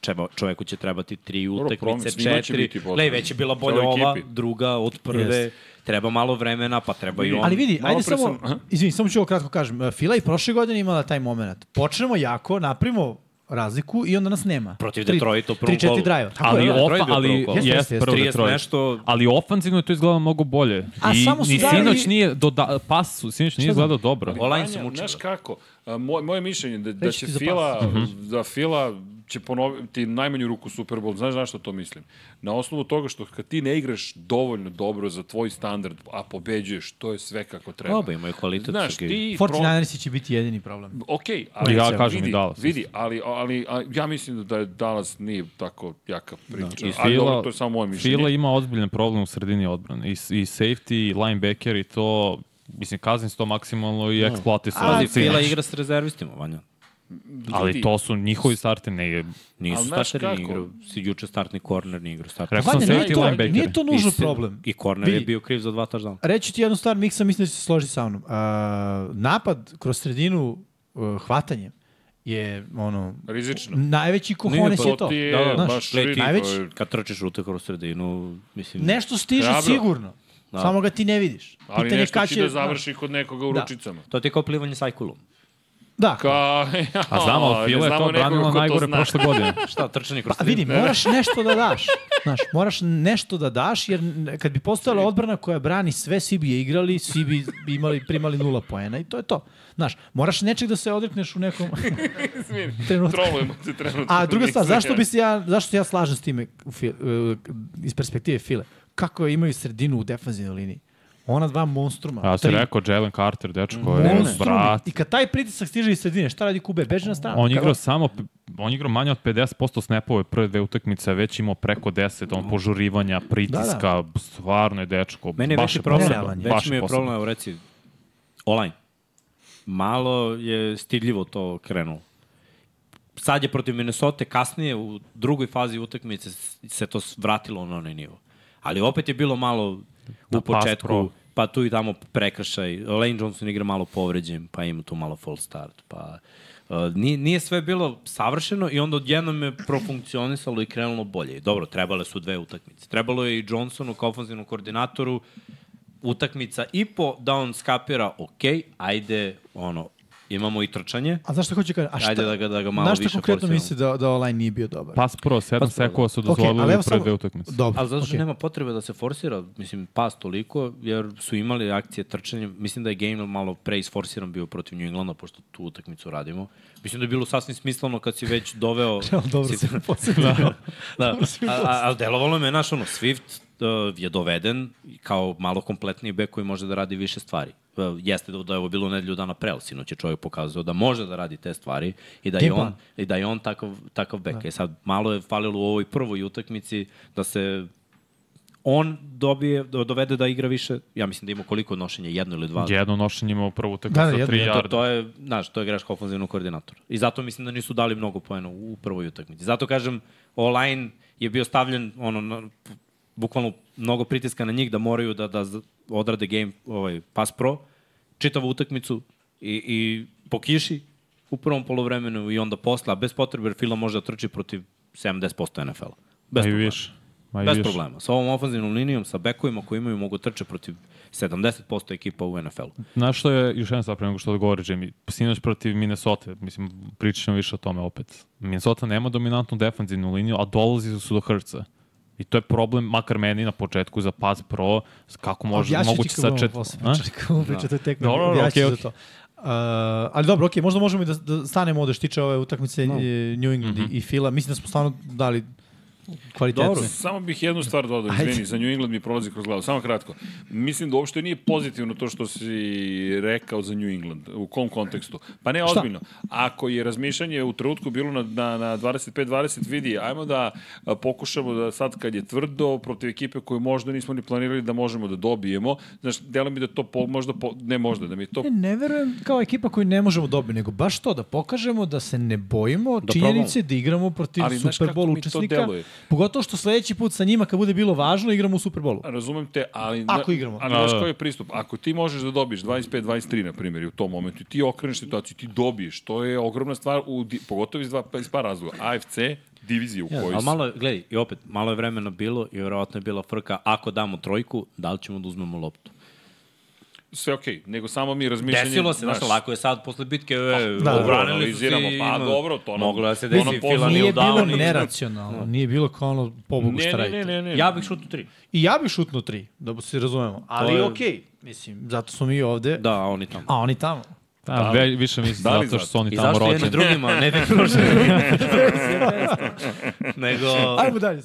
čeba, čoveku će trebati tri promis, utakmice, svima će četiri. biti potrebno. Lej, već je bila bolja Cijeloj ova, ekipi. druga od prve. Jest. Treba malo vremena, pa treba i on. Ali vidi, Malo ajde pre samo, sam- aha. izvini, samo ću ovo kratko kažem. E, Fila i prošle godine imala taj moment. Počnemo jako, napravimo razliku i onda nas nema. Protiv Tri- Detroita u prvom tri, četiri kolu. drive. Tako ali je, da. Detroit je ofa, bio prvo ali kolo. jest, Jeste, jest, jeste, prvo 30 Detroit. nešto- Ali ofanzivno je to izgledalo mnogo bolje. A I, samo su ni dali- sinoć nije doda, pas su, sinoć nije izgledao dobro. Online sam Vanja, učio. da. Znaš kako, a, moj, moje mišljenje da, da Reći će ti za Fila, Mhm. da Fila će ponoviti najmanju ruku Super Bowl. Znaš na što to mislim? Na osnovu toga što kad ti ne igraš dovoljno dobro za tvoj standard, a pobeđuješ, to je sve kako treba. Oba Pa, imaju kvalitet. Znaš, Sergej. ti... pro- 49ersi će biti jedini problem. Ok, ali Ja kažem vidi, i Dallas. Vidi, ali, ali a, ja mislim da je Dallas nije tako jaka priča. I ali Fila- dobro, to je samo moje mišljenje. Da. Fila ima ozbiljan problem u sredini odbrane. I, s- i safety, i linebacker, i to... Mislim, kazni se to maksimalno Da. i eksploati se. Pazi, Fila igra s rezervistima, Vanja. Ali to su njihovi starti ne... Nisu Ali znaš starteri ni kako? igrao. Si juče startni corner ni igrao. Startni Rekao sam Vanja, nije safety to, linebacker. nije to nužno I si- problem. I corner je Vidi. bio kriv za dva touchdowna. Reći ti jednu stvar, Miksa mislim da će se složiti sa mnom. Uh, napad kroz sredinu uh, hvatanjem je ono Rizično. najveći kohones pa je to. ti je Da, da, baš znaš, Gle, ti, najveći- najveći... kad trčeš rute kroz sredinu, mislim... nešto stiže Hrabro. sigurno. Samo ga ti ne vidiš. Ali Pitanje nešto kad će će- da završi kod nekoga u Da. ručicama. To ti je kao plivanje sajkulom. Da. Ka, A znamo, ali Fila je to branilo najgore prošle godine. Šta, trčani kroz Pa vidi, moraš nešto da daš. Znaš, moraš nešto da daš, jer n- kad bi postojala odbrana koja brani sve, svi bi je igrali, svi bi imali, primali nula poena i to je to. Znaš, moraš nečeg da se odrekneš u nekom trenutku. Trolujemo se trenutno. A druga stvar, Nisam zašto ja. bi se ja, zašto se ja slažem s time u Fi- e, iz perspektive File? Kako je imaju sredinu u defanzivnoj liniji? Ona dva monstruma. A ja sam tri. rekao, Jalen Carter, dečko je, Monstrumi. brat. I kad taj pritisak stiže iz sredine, šta radi Kube? Beži na stranu. On je Kako- igrao samo, on je igrao manje od 50% snapove prve dve utakmice, a već imao preko 10, on požurivanja, pritiska, stvarno je dečko. Meni je baš veći poseban, problem, baš veći mi je poseban. problem, evo reci, online. Malo je stidljivo to krenulo. Sad je protiv Minnesota, kasnije u drugoj fazi utakmice s- se to s- vratilo na onaj nivo. Ali opet je bilo malo u pass pro. početku, pa tu i tamo prekršaj. Lane Johnson igra malo povređen, pa ima tu malo full start. Pa, uh, nije, nije sve bilo savršeno i onda odjednom je profunkcionisalo i krenulo bolje. I Dobro, trebale su dve utakmice. Trebalo je i Johnsonu kao ofenzivnom koordinatoru utakmica i po da on skapira, ok, ajde, ono, imamo i trčanje. A znaš šta hoću kažem? A šta, Ajde da ga- da ga malo znaš šta više konkretno forsiramo. misli da, da online nije bio dobar? Pas pro, 7 Pas da. pro, sekova Pa su Okej, dozvolili ali evo okay, pre samo- dve utakmice. Dobro, Ali zato što okej. nema potrebe da se forsira, mislim, pas toliko, jer su imali akcije trčanja. Mislim da je Gainwell malo pre isforsiran bio protiv New Englanda, pošto tu utakmicu radimo. Mislim da je bilo sasvim smisleno kad si već doveo... Dobro si- si me podsjetio. da, da. A, a, ali delovalo me, znaš, ono, Swift uh, je doveden kao malo kompletniji bek koji može da radi više stvari. Uh, jeste da, da je ovo bilo nedelju dana pre, ali sinoć je čovjek pokazao da može da radi te stvari i da je Tim on, plan. i da je on takav, takav bek. E sad, malo je falilo u ovoj prvoj utakmici da se on dobije, do- dovede da igra više, ja mislim da ima koliko nošenja, jedno ili dva. Jedno nošenje imao prvu utakmicu, Da, da, da, jedno, 3 jedno, yarda. To je, znaš, to je greška ofenzivnog koordinatora. I zato mislim da nisu dali mnogo poena u prvoj utakmici. Zato kažem, online je bio stavljen, ono, na, bukvalno mnogo pritiska na njih da moraju da, da z- odrade game, ovaj, pass pro, čitavu utakmicu i, i po kiši u prvom polovremenu i onda posla, bez potrebe, jer Fila može da trči protiv 70% NFL-a. Bez Ma i problema. više. Ma i Bez više. problema. Sa ovom ofenzivnom linijom, sa bekovima koji imaju, mogu trče protiv 70% ekipa u NFL-u. Znaš što je, još jedan stvar pre nego što odgovori, Jimmy, sinoć protiv Minnesota, mislim, pričat ćemo više o tome opet. Minnesota nema dominantnu defanzivnu liniju, a dolazi su do Hrca. I to je problem, makar meni na početku za pas pro, kako može, Objasnit ću moguće ti sa kako čet... imamo posle A? priča, kako imamo priča, to je Da, tek Dobro, dobro, objasnit ću okej, za to. Uh, ali dobro, okej, možda možemo i da, da stanemo ovde što se tiče ove utakmice e, New England i- i Fila. Mislim da smo stvarno dali kvalitetne. Mhm. Dobro, samo bih jednu stvar dodao, izvini, za New England mi prolazi kroz glavu, samo kratko. Mislim da uopšte nije pozitivno to što si rekao za New England, u kom kontekstu. Pa ne, ozbiljno. Ako je razmišljanje u trenutku bilo na, na, na 25-20, vidi, ajmo da a, pokušamo da sad kad je tvrdo protiv ekipe koju možda nismo ni planirali da možemo da dobijemo, znaš, delo mi da to po, možda, po, ne možda, da mi to Ne, ne verujem kao ekipa koju ne možemo dobiti, nego baš to, da pokažemo da se ne bojimo da Da činjenice da igramo protiv Ali znaš Super kako Bowl mi to učesnika. deluje? Pogotovo što sledeći put sa njima kad bude bilo važno igramo u Super Bowlu. Pa, Razumem te, ali... Ako igramo. Ali Da, znaš da. koji je pristup? Ako ti možeš da dobiš 25-23, na primjer, i u tom momentu, i ti okreneš situaciju, ti dobiješ. To je ogromna stvar, u, di- pogotovo iz, dva, iz par razloga. AFC, divizije u kojoj Ali si. malo, je- gledaj, i opet, malo je vremena bilo i verovatno je bila frka, ako damo trojku, da li ćemo da uzmemo loptu? Sve okej, nego samo mi razmišljanje... Desilo se, znaš, znaš, lako je sad posle bitke, e, da, obranili su se analiziramo, i pa ima- dobro, to nam- Moglo je da se Vidi, desi, ono fila poznato. nije Nije u bilo down. i- neracionalno, nije bilo kao ono pobogu Ne, šta ne, radite. ne, ne, ne. Ja bih šutu tri. I ja bih šutnuo tri, da se razumemo. Ali je- okej, mislim, zato smo mi ovde, Da, a oni tamo. a oni tamo. Da, ve, više mislim Da li zato zato? što su oni I tamo zašto rođeni. jedni drugima, ne bi prošli. Nego... Ajmo dalje.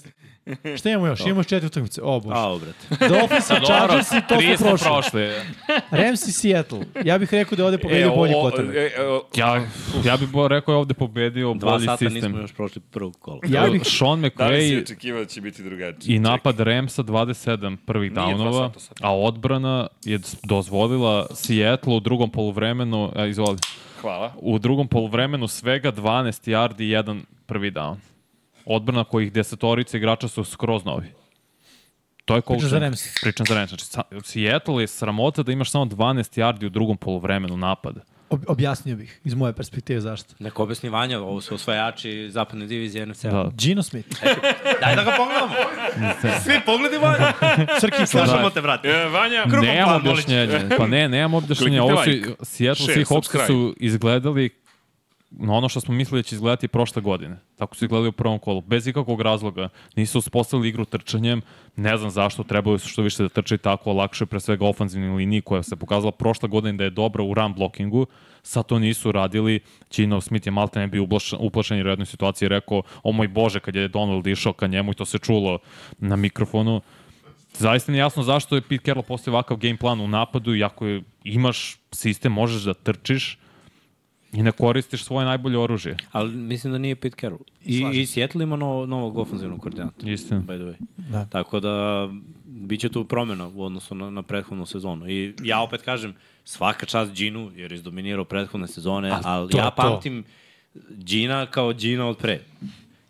Šta imamo još? Imamo još četiri utakmice. O, bože. A, obrat. Dolphins i Chargers i to su Tri smo prošli. prošli. Rams i Seattle. Ja bih rekao da je ovde E, pobedio o, bolji o, kvotar. e, e, o, Ja, ja bih bo- rekao je ovde pobedio Dva bolji sata nismo sistem. još prošli prvog kola. Ja bih- Sean Da li si McVay očekivao da će biti drugačije? I napad Ramsa 27 prvih Nije dva downova, sata sad. a odbrana je s- dozvolila Seattle u drugom poluvremenu, a, izvoli, Čekaj, Hvala. u drugom poluvremenu svega 12 yardi i jedan prvi down. Odbrana kojih desetorica igrača su skroz novi. To je Pričaš coaching. za Rams. Pričam za Rams. Znači, sa- Seattle je sramota da imaš samo 12 yardi u drugom poluvremenu napada. Ob- objasnio bih iz moje perspektive zašto. Neko objasni Vanja, ovo su osvajači zapadne divizije NFC. Da. Gino Smith. Daj da ga pogledamo. Svi pogledi Vanja. Srki Slažamo. te, brate. E, Vanja, Krug- Drugom Nemam planu, objašnjenje. Pa ne, nemam objašnjenje. Kliknite Ovo su, like. Seattle Share, Seahawks subscribe. su izgledali na ono što smo mislili da će izgledati prošle godine. Tako su izgledali u prvom kolu. Bez ikakvog razloga. Nisu uspostavili igru trčanjem. Ne znam zašto. Trebalo su što više da trče i tako. Lakše pre svega ofanzivnoj liniji koja se pokazala prošle godine da je dobra u run blockingu. Sad to nisu radili. Činov Smith je malte ne bio ublašen- uplašen jer u jednoj situaciji je rekao o moj bože kad je Donald išao ka njemu i to se čulo na mikrofonu zaista mi je jasno zašto je Pete Carroll postavio ovakav game plan u napadu, iako je, imaš sistem, možeš da trčiš i ne koristiš svoje najbolje oružje. Ali mislim da nije Pete Carroll. I, i Seattle ima no, novog ofenzivnog koordinata. Istina. By the way. Da. Tako da bit će tu promjena u odnosu na, na prethodnu sezonu. I ja opet kažem, svaka čast Ginu, jer je izdominirao prethodne sezone, ali to je ja to. pamtim Gina kao Gina od pre.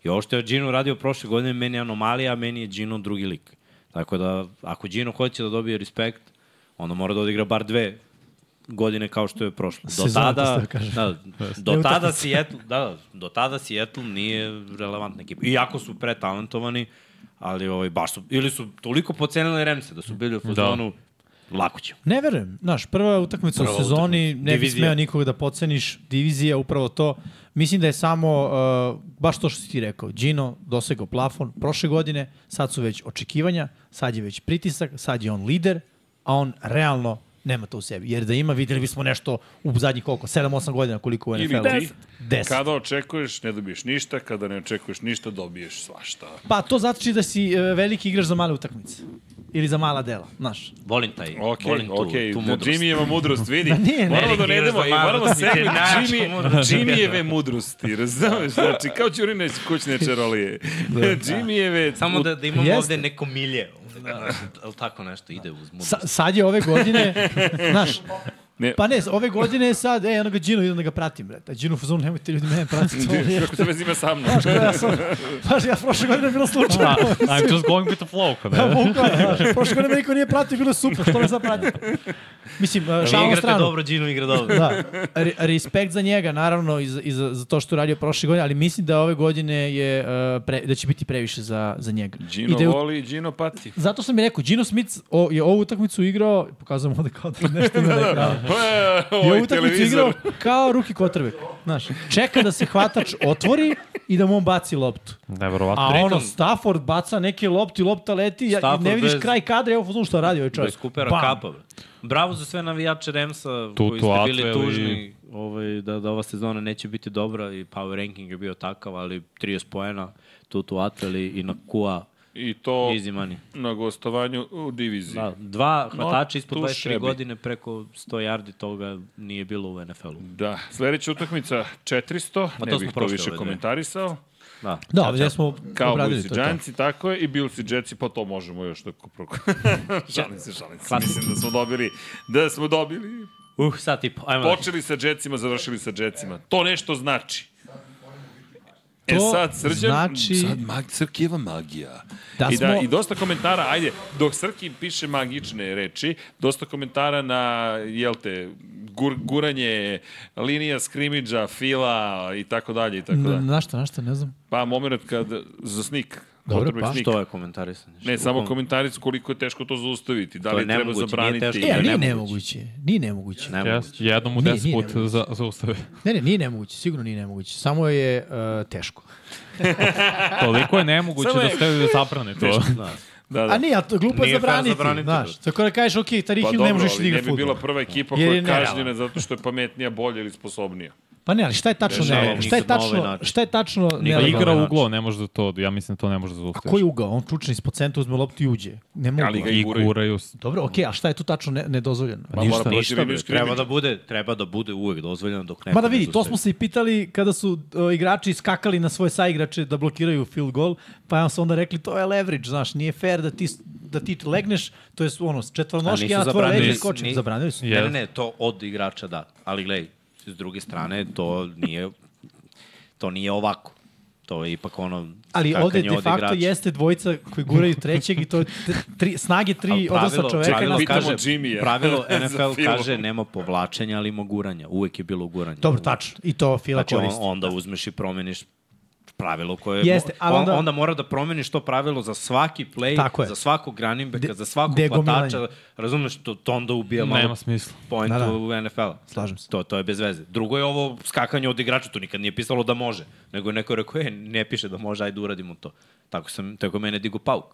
I ovo što je Gino radio prošle godine, meni je anomalija, a meni je Gino drugi lik. Tako da, ako Gino hoće da dobije respekt, onda mora da odigra bar dve godine kao što je prošlo. Do Sezona, to tada, ste kažem. da, Ne do utakmice. tada Seattle, da, da, do tada Seattle nije relevantna ekipa. Iako su pretalentovani, ali ovaj, baš su, ili su toliko pocenili Remse da su bili u fazonu, lako ćemo. Ne verujem. Znaš, prva utakmica u Prva sezoni, utakmica. ne bi Divizija. smeo nikoga da podceniš. Divizija, upravo to. Mislim da je samo, uh, baš to što si ti rekao, Gino dosegao plafon prošle godine, sad su već očekivanja, sad je već pritisak, sad je on lider, a on realno nema to u sebi. Jer da ima, videli bismo nešto u zadnjih koliko, 7-8 godina koliko u Ili NFL-u. ti, 10. kada očekuješ, ne dobiješ ništa, kada ne očekuješ ništa, dobiješ svašta. Pa to znači da si e, veliki igrač za male utakmice. Ili za mala dela, znaš. Volim taj, Ok, volim tu, ok, tu da mudrost. Jimmyjeva mudrost, vidi. nije, moramo ne, da igraš nedemo za i malo, moramo ti sebi si naš Jimmy, mudrost. Jimmyjeve mudrosti, razumeš? Znači, kao Ćurineć kućne čarolije. Jimmyjeve... Da. Samo da, da imamo Jeste. ovde neko milje. Da. Ali tako nešto ide uz mudrost. Sa, sad je ove godine, znaš, Ne. pa ne, ove godine je sad, ej, ono ga Gino, idem da ga pratim, bre. A Gino u fazonu, nemojte ljudi mene pratiti. to je- Kako se vezi ima sa mnom? Ja sam, znaš, ja prošle godine je bilo slučajno. I'm just going with the flow. Kada je. Bukvalno, znaš, prošle godine me niko nije pratio, bilo je super, što me sad pratite. Mislim, e, Vi šalom igrate stranu. Da, dobro, Gino igra dobro. Da, Re, respekt za njega, naravno, i za, i za, za to što je radio prošle godine, ali mislim da ove godine je, e, pre, da će biti previše za, za njega. I Gino da je u voli, Gino pati. Zato sam mi rekao, Gino Smith o, je ovu utakmicu igrao, pokazujem ovde kao da nešto ima da ekranu. E, Je Ovaj ovu utakmicu igrao televizor. kao ruki kotrbek. Znaš, čeka da se hvatač otvori i da mu on baci loptu. Neverovatno. A ono, pritom- Stafford baca neke lopti, lopta leti, ja, i ne Stafford vidiš bez- kraj kadra, evo fuzon što radi ovaj čovjek. Bez Coopera Bam. Kapa. bre. Bravo za sve navijače Remsa Tu- koji tu ste bili Atwell tužni i- ovaj, da, da ova sezona neće biti dobra i power ranking je bio takav, ali 30 poena, tu tu Atwell i- i na Kua I to easy money. na gostovanju u diviziji. Da, dva hvatača ispod tu 23 šebi. godine preko 100 yardi toga nije bilo u NFL-u. Da, sledeća utakmica 400, Pa ne to bih smo to prošli više ove dve. komentarisao. Da. Da, ovdje smo Kao obradili Bills i to. da. Giants i tako je, i Bills i Jetsi, pa to možemo još tako proko. šalim se, šalim se. Mislim da smo dobili, da smo dobili. Uh, sad tipo, ajmo. dalje. Počeli sa Jetsima, završili sa Jetsima. To nešto znači. E To sad, srđan, znači- sad mag, Srkijeva magija. Da I, da, smo- I dosta komentara, ajde, dok Srki piše magične reči, dosta komentara na, jel te, gur, guranje, linija skrimidža, fila i tako dalje i tako Na, dalje. na šta, na šta, ne znam. Pa moment kad, za snik, Dobro, quarterback pa snik. Što je komentarisanje? Ne, Što- samo komentaricu koliko je teško to zaustaviti. Da To li je treba nemoguće, nije zabraniti? teško. E, ali nije nemoguće. nemoguće. Nije nemoguće. Ne mogu. Yes, jednom u Nije, 10 nije put za, zaustave. Ne, ne, nije nemoguće, sigurno nije nemoguće. Samo je e, teško. Toliko je nemoguće Samo da je- ste da zabrane to. Da, da. A nije, a to glupo je Nije fair zabraniti. zabraniti, Znaš, tako da kažeš, ok, Tarih Pa Hill ne dobro, možeš da ali igra ne bi futbol. bila prva ekipa Jer koja je je nerealno. kažnjena zato što je pametnija, bolja ili sposobnija. Pa ne, ali šta je tačno Rešavamo ne, njih šta je na ovaj tačno, način. šta je tačno Da ne, igra Znači. uglo, ne može da to, ja mislim da to ne može da zaustaviš. koji ugao, on čučne ispod centra uzme loptu i uđe. Ne mogu. Ali ga I guraju. s- Dobro, okej, a šta je tu tačno ne, nedozvoljeno? Pa mora ništa. proći Ništa, bre, Rimini treba škrimin. da bude, treba da bude uvek dozvoljeno dok neko Ma da ne vidi, to zaustavi. smo se i pitali kada su uh, igrači skakali na svoje saigrače da blokiraju field goal, pa ja su onda rekli to je leverage, znaš, nije fair da ti, da ti legneš, to je ono, s A četvornoški, nisu ja na tvoje zabranili- leđe skočim. ni- Zabranili su. Je. Ne, ne, ne, to od igrača da. Ali gledaj, s druge strane, to nije, to nije ovako. To je ipak ono... Ali skakanje ovde de od facto igrača. jeste dvojica koji guraju trećeg i to je t- tri, snage Ali tri odnosno čoveka. čekaj, da na- pitamo kaže, Jimmyja pravilo za NFL film. kaže nema povlačenja, ali ima guranja. Uvek je bilo guranja. Dobro, tačno. I to Fila Znači, on, koristi. onda uzmeš i promeniš pravilo koje Jeste, ali onda, onda- onda mora da promeniš to pravilo za svaki Tako play, je. za svakog granimbeka, De- za svakog degomilanje. hvatača, razumeš, to, to onda ubija malo Nema smisla. pointu Da, da. da, da. NFL-a. Slažem se. To, to je bez veze. Drugo je ovo skakanje od igrača, tu nikad nije pisalo da može, nego je neko rekao, e, ne piše da može, ajde uradimo to. Tako, sam, tako je mene digu pauk.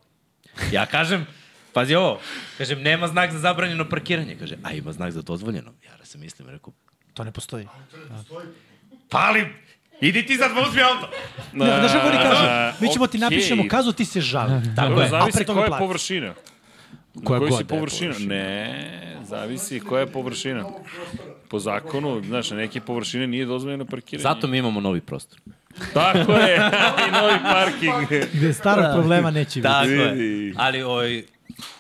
Ja kažem, pazi ovo, kažem, nema znak za zabranjeno parkiranje. Kaže, a ima znak za dozvoljeno. Ja sam mislim, rekao, To ne postoji. pali, idi ti sad, pa uzmi auto. Ne, znaš kako oni A, kažu? Mi ćemo ti okej. napišemo kazu, ti se žali. Da. Dobro, Tako je, a zavisi pre koja toga je plati. površina. Na Koja kojoj god si da je površina? Ne, zavisi koja je površina. Po zakonu, znaš, na neke površine nije dozvoljeno parkiranje. Zato mi imamo novi prostor. Tako je, i novi parking. Gde starog problema neće biti. Tako je. Vidi. Ali, oj,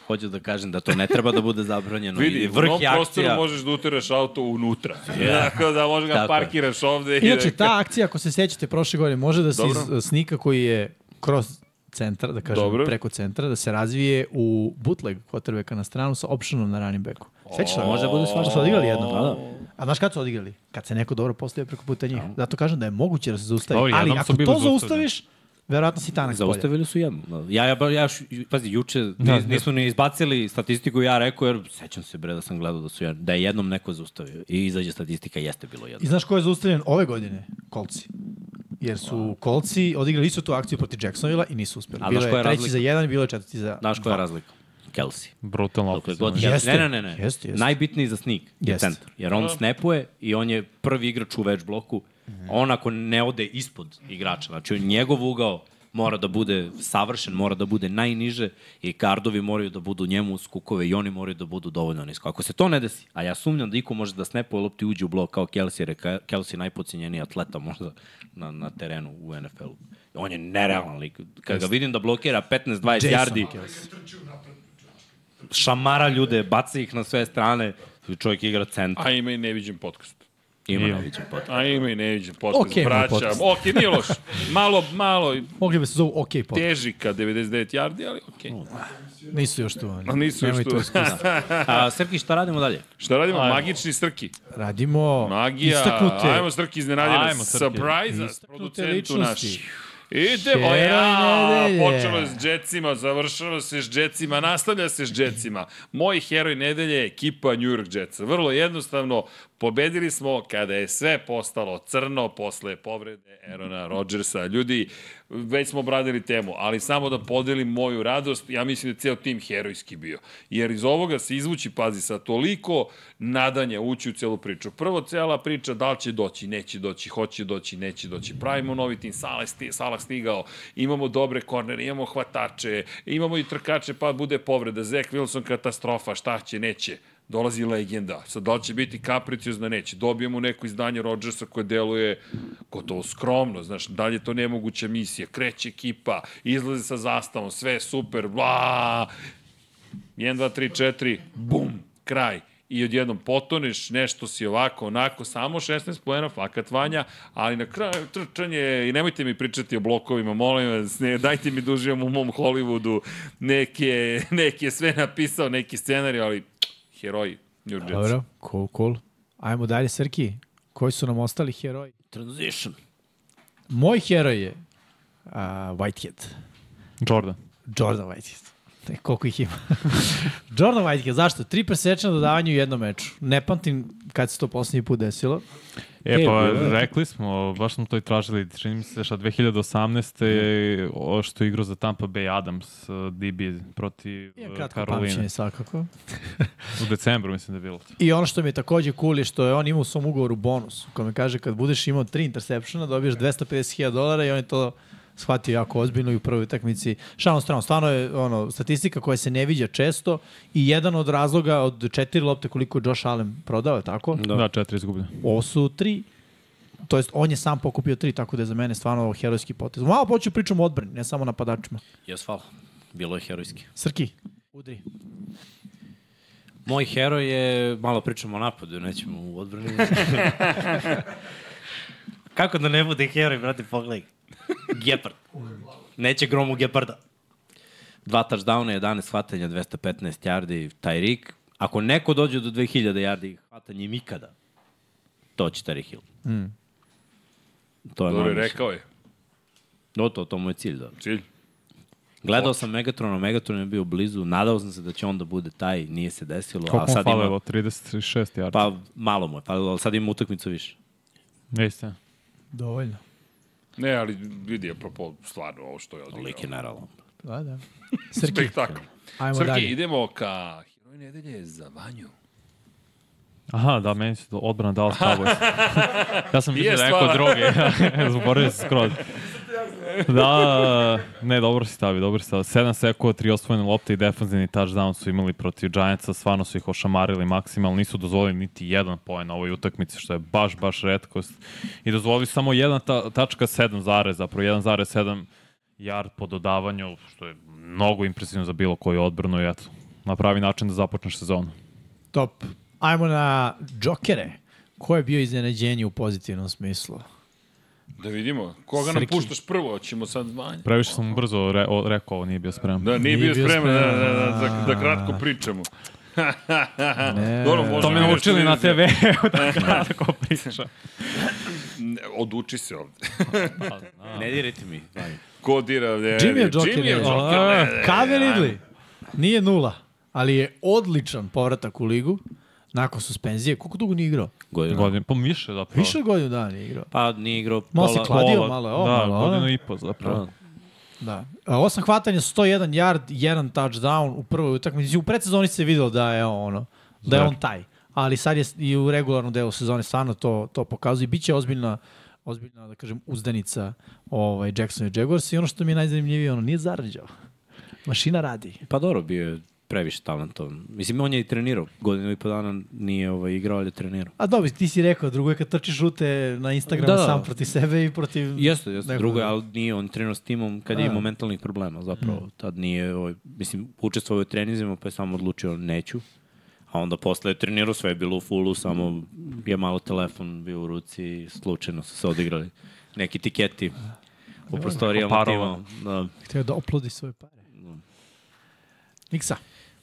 hoću da kažem da to ne treba da bude zabranjeno. Vidi, I u vrh novom je prostoru akcija. možeš da uteraš auto unutra. Tako da možeš ga Tako je. parkiraš ovde. i Inače, da- ta akcija, ako se sećate, prošle godine može da se Dobro. iz snika koji je kroz centra, da kažem, Dobro. preko centra, da se razvije u bootleg quarterbacka na stranu sa optionom na running backu. Sećaš se, može da bude svašta. Su odigrali jedno. Da, da. A znaš kad su odigrali? Kad se neko dobro postavio preko puta njih. Zato kažem da je moguće da se zaustavi. Dobro, Ali jednom ako su bili to zaustavljeni. zaustaviš, verovatno si tanak polje. Zaustavili su jedno. Ja, ja, ba- ja, š- ju- pazi, juče Da, da, nismo ni izbacili statistiku, ja rekao, jer sećam se bre da sam gledao da, su jedno, da je jednom neko zaustavio. I izađe statistika, jeste bilo I jedno. znaš ko je zaustavljen ove godine? Kolci. Jer su Kolci odigrali istu tu akciju protiv Jacksonvilla i nisu uspeli. A Bilo znaš je koja je treći razlika? za jedan, bilo je četvrti za... Znaš koja je razlika? Kelsey. Brutalno Dokle ofenzivno. god je. Kelsey. Jeste. Ne, ne, ne. ne. Jeste, jeste. Najbitniji za snik je Jeste. centar. Jer on snapuje i on je prvi igrač u več bloku. On ako ne ode ispod igrača, znači on- njegov ugao mora da bude savršen, mora da bude najniže i kardovi moraju da budu njemu uz kukove i oni moraju da budu dovoljno nisko. Ako se to ne desi, a ja sumnjam da iko može da snapuje lopti i uđe u blok kao Kelsey, jer je Ke- Kelsey najpocinjeniji atleta možda na, na terenu u NFL-u. On je nerealan lik. Kad ga vidim da blokira 15-20 yardi, šamara ljude, baca ih na sve strane. Čovjek igra centar. A ima i neviđen podcast. Ima neviđen pot. A ima i neviđen podcast. Okej, moj Braća. podcast. Okej, nije loš. Malo, malo Mogli bi se zovu OK Pop. teži ka 99 yardi, ali okej. Nisu još tu. A Oni. nisu još Nemoj tu. to iskustvo. A, Srki, šta radimo dalje? Šta radimo? Magični Srki. Radimo Magija. istaknute. Ajmo Srki iznenadi Ajmo, nas. Srki. Surprise us, producentu naš. ličnosti. Idemo, Heroj ja, nedelje. počelo je s džecima, završilo se s džecima, nastavlja se s džecima. Moj heroj nedelje je ekipa New York Jetsa. Vrlo jednostavno, pobedili smo kada je sve postalo crno posle povrede Erona Rodgersa. Ljudi, već smo obradili temu, ali samo da podelim moju radost, ja mislim da je ceo tim herojski bio. Jer iz ovoga se izvući, pazi, sa toliko nadanja ući u celu priču. Prvo, cela priča, da li će doći, neće doći, hoće doći, neće doći. Pravimo novi tim, Salah, sti, Salah stigao, imamo dobre kornere, imamo hvatače, imamo i trkače, pa bude povreda. Zek Wilson katastrofa, šta će, neće dolazi legenda. Sad, da li će biti kapriciozna, neće. Dobijemo neko izdanje Rodgersa koje deluje gotovo skromno, znaš, dalje je to nemoguća misija. Kreće ekipa, izlaze sa zastavom, sve je super, bla, 1, 2, 3, 4, bum, kraj. I odjednom potoneš, nešto si ovako, onako, samo 16 poena, fakat vanja, ali na kraju trčanje, i nemojte mi pričati o blokovima, molim vas, ne, dajte mi da uživam u mom Hollywoodu, neke, neke sve napisao, neki scenarij, ali heroji, New York Jets. Dobro, cool, cool. Ajmo dalje, Srki. Koji su nam ostali heroji? Transition. Moj heroj je uh, Whitehead. Jordan. Jordan Whitehead. E, koliko ih ima. Jordan Whitehead, zašto? Tri presečna dodavanja u jednom meču. Ne pamtim kad se to poslednji put desilo. E, E, pa bio je. rekli smo, baš smo to i tražili, čini mi se šta 2018. je o, što je igrao za Tampa Bay Adams, eh, DB protiv Imam eh, kratko Karoline. pamćenje svakako. U decembru mislim da je bilo. I ono što mi je takođe cool je što je on imao u svom ugovoru bonus, u kome kaže kad budeš imao tri intersepšena, dobiješ 250.000 dolara i on je to shvatio jako ozbiljno i u prvoj utakmici. Šalno strano, stvarno je ono, statistika koja se ne viđa često i jedan od razloga od četiri lopte koliko je Josh Allen prodao, je tako? Da, da četiri izgubljene. Ovo su tri. To jest, on je sam pokupio tri, tako da je za mene stvarno ovo herojski potez. Malo počeo pričam o odbrani, ne samo napadačima. Jes, hvala. Bilo je herojski. Srki, udri. Moj heroj je, malo pričamo o napadu, nećemo u odbrani. Kako da ne bude heroj, brate, pogledaj. Gepard. Neće gromu Geparda. Dva touchdowna, 11 hvatanja, 215 yardi, Tyreek. Ako neko dođe do 2000 yardi hvatanjem ikada, to će Terry Hill. Mm. To Dobro je moje je mišljenje. rekao je. No to, to mu je cilj, da. Cilj. Gledao sam Megatrona, Megatron je bio blizu, nadao sam se da će on da bude taj, nije se desilo, a Koliko mu sad fale, ima, evo, 36 jarda? pa malo mu je, pa, ali sad ima utakmicu više. Jeste. Dovoljno. Ne, ali vidi, apropo, stvarno, ovo što je odigrao. Lik je naralan. Da, da. Srki, Spektakl. ajmo Srki, dalje. idemo ka Heroj nedelje za Vanju. Aha, da, meni se do- odbrana dala Cowboys. ja sam mislio da je neko stvar. drugi. Zaboravio sam skroz. Da, ne, dobro si stavi, dobro si stavi. 7 sekova, 3 osvojene lopte i defanzivni touchdown su imali protiv Giantsa, stvarno su ih ošamarili maksimalno, nisu dozvolili niti jedan poen na ovoj utakmici, što je baš, baš redkost. I dozvolili samo 1 ta, tačka 7 zare, zapravo 1,7 yard po dodavanju, što je mnogo impresivno za bilo koju odbranu i eto, na pravi način da započneš sezonu. Top. Ajmo na džokere. Ko je bio iznenađenje u pozitivnom smislu? Da vidimo. Koga nam Srki. puštaš prvo? Ćemo sad Vanju. Previše sam brzo re, o, rekao, ovo nije bio spreman. Da, nije, Nije bio bio spreman, da, da, spreman. da, da, da kratko pričamo. Ne. Dobro, možda To me vidiš naučili na televiziju. TV, da tako priča. Ne, Oduči se ovde. Ne dirajte mi. Ko dira? Ne, Jimmy je Joker, Jimmy je ne. Joker, ne, ne, ne, Kave ajmo. Ridley. Nije nula, ali je odličan povratak u ligu nakon suspenzije. Koliko dugo nije igrao? da. Godina. Godin, pa više zapravo. Više od godinu dana nije igrao. Pa nije igrao Malo se pola... kladi. Kladio malo, ovo, da, malo, ono. godinu i po zapravo. Da. Da. A, Osam hvatanja, 101 yard, jedan touchdown u prvoj utakmici. Mislim, U predsezoni se videlo da je ono, da je Da. on taj. Ali sad je s- i u regularnom delu sezone stvarno to, to pokazuje. Biće ozbiljna ozbiljna, da kažem, uzdanica ovaj, Jackson i Jaguars i ono što mi je najzanimljivije, ono, nije zarađao. Mašina radi. Pa dobro, bio je previše talentovan. Mislim, on je i trenirao. Godinu i po dana nije ovaj, igrao, ali je trenirao. A dobro, ti si rekao, drugo je kad trčiš žute na Instagramu Da. sam proti sebe i protiv... Jeste, jeste. nekog Drugo je, drugog. ali nije on je trenirao s timom kad je A. imao mentalnih problema zapravo. Tad nije, ovaj, mislim, učestvovao je u trenizima pa je samo odlučio neću. A onda posle je trenirao, sve je bilo u fullu, samo je malo telefon bio u ruci i slučajno su se odigrali neki tiketi u prostorijama parova. tima. Da. Htio je da oplodi svoje pare. Miksa.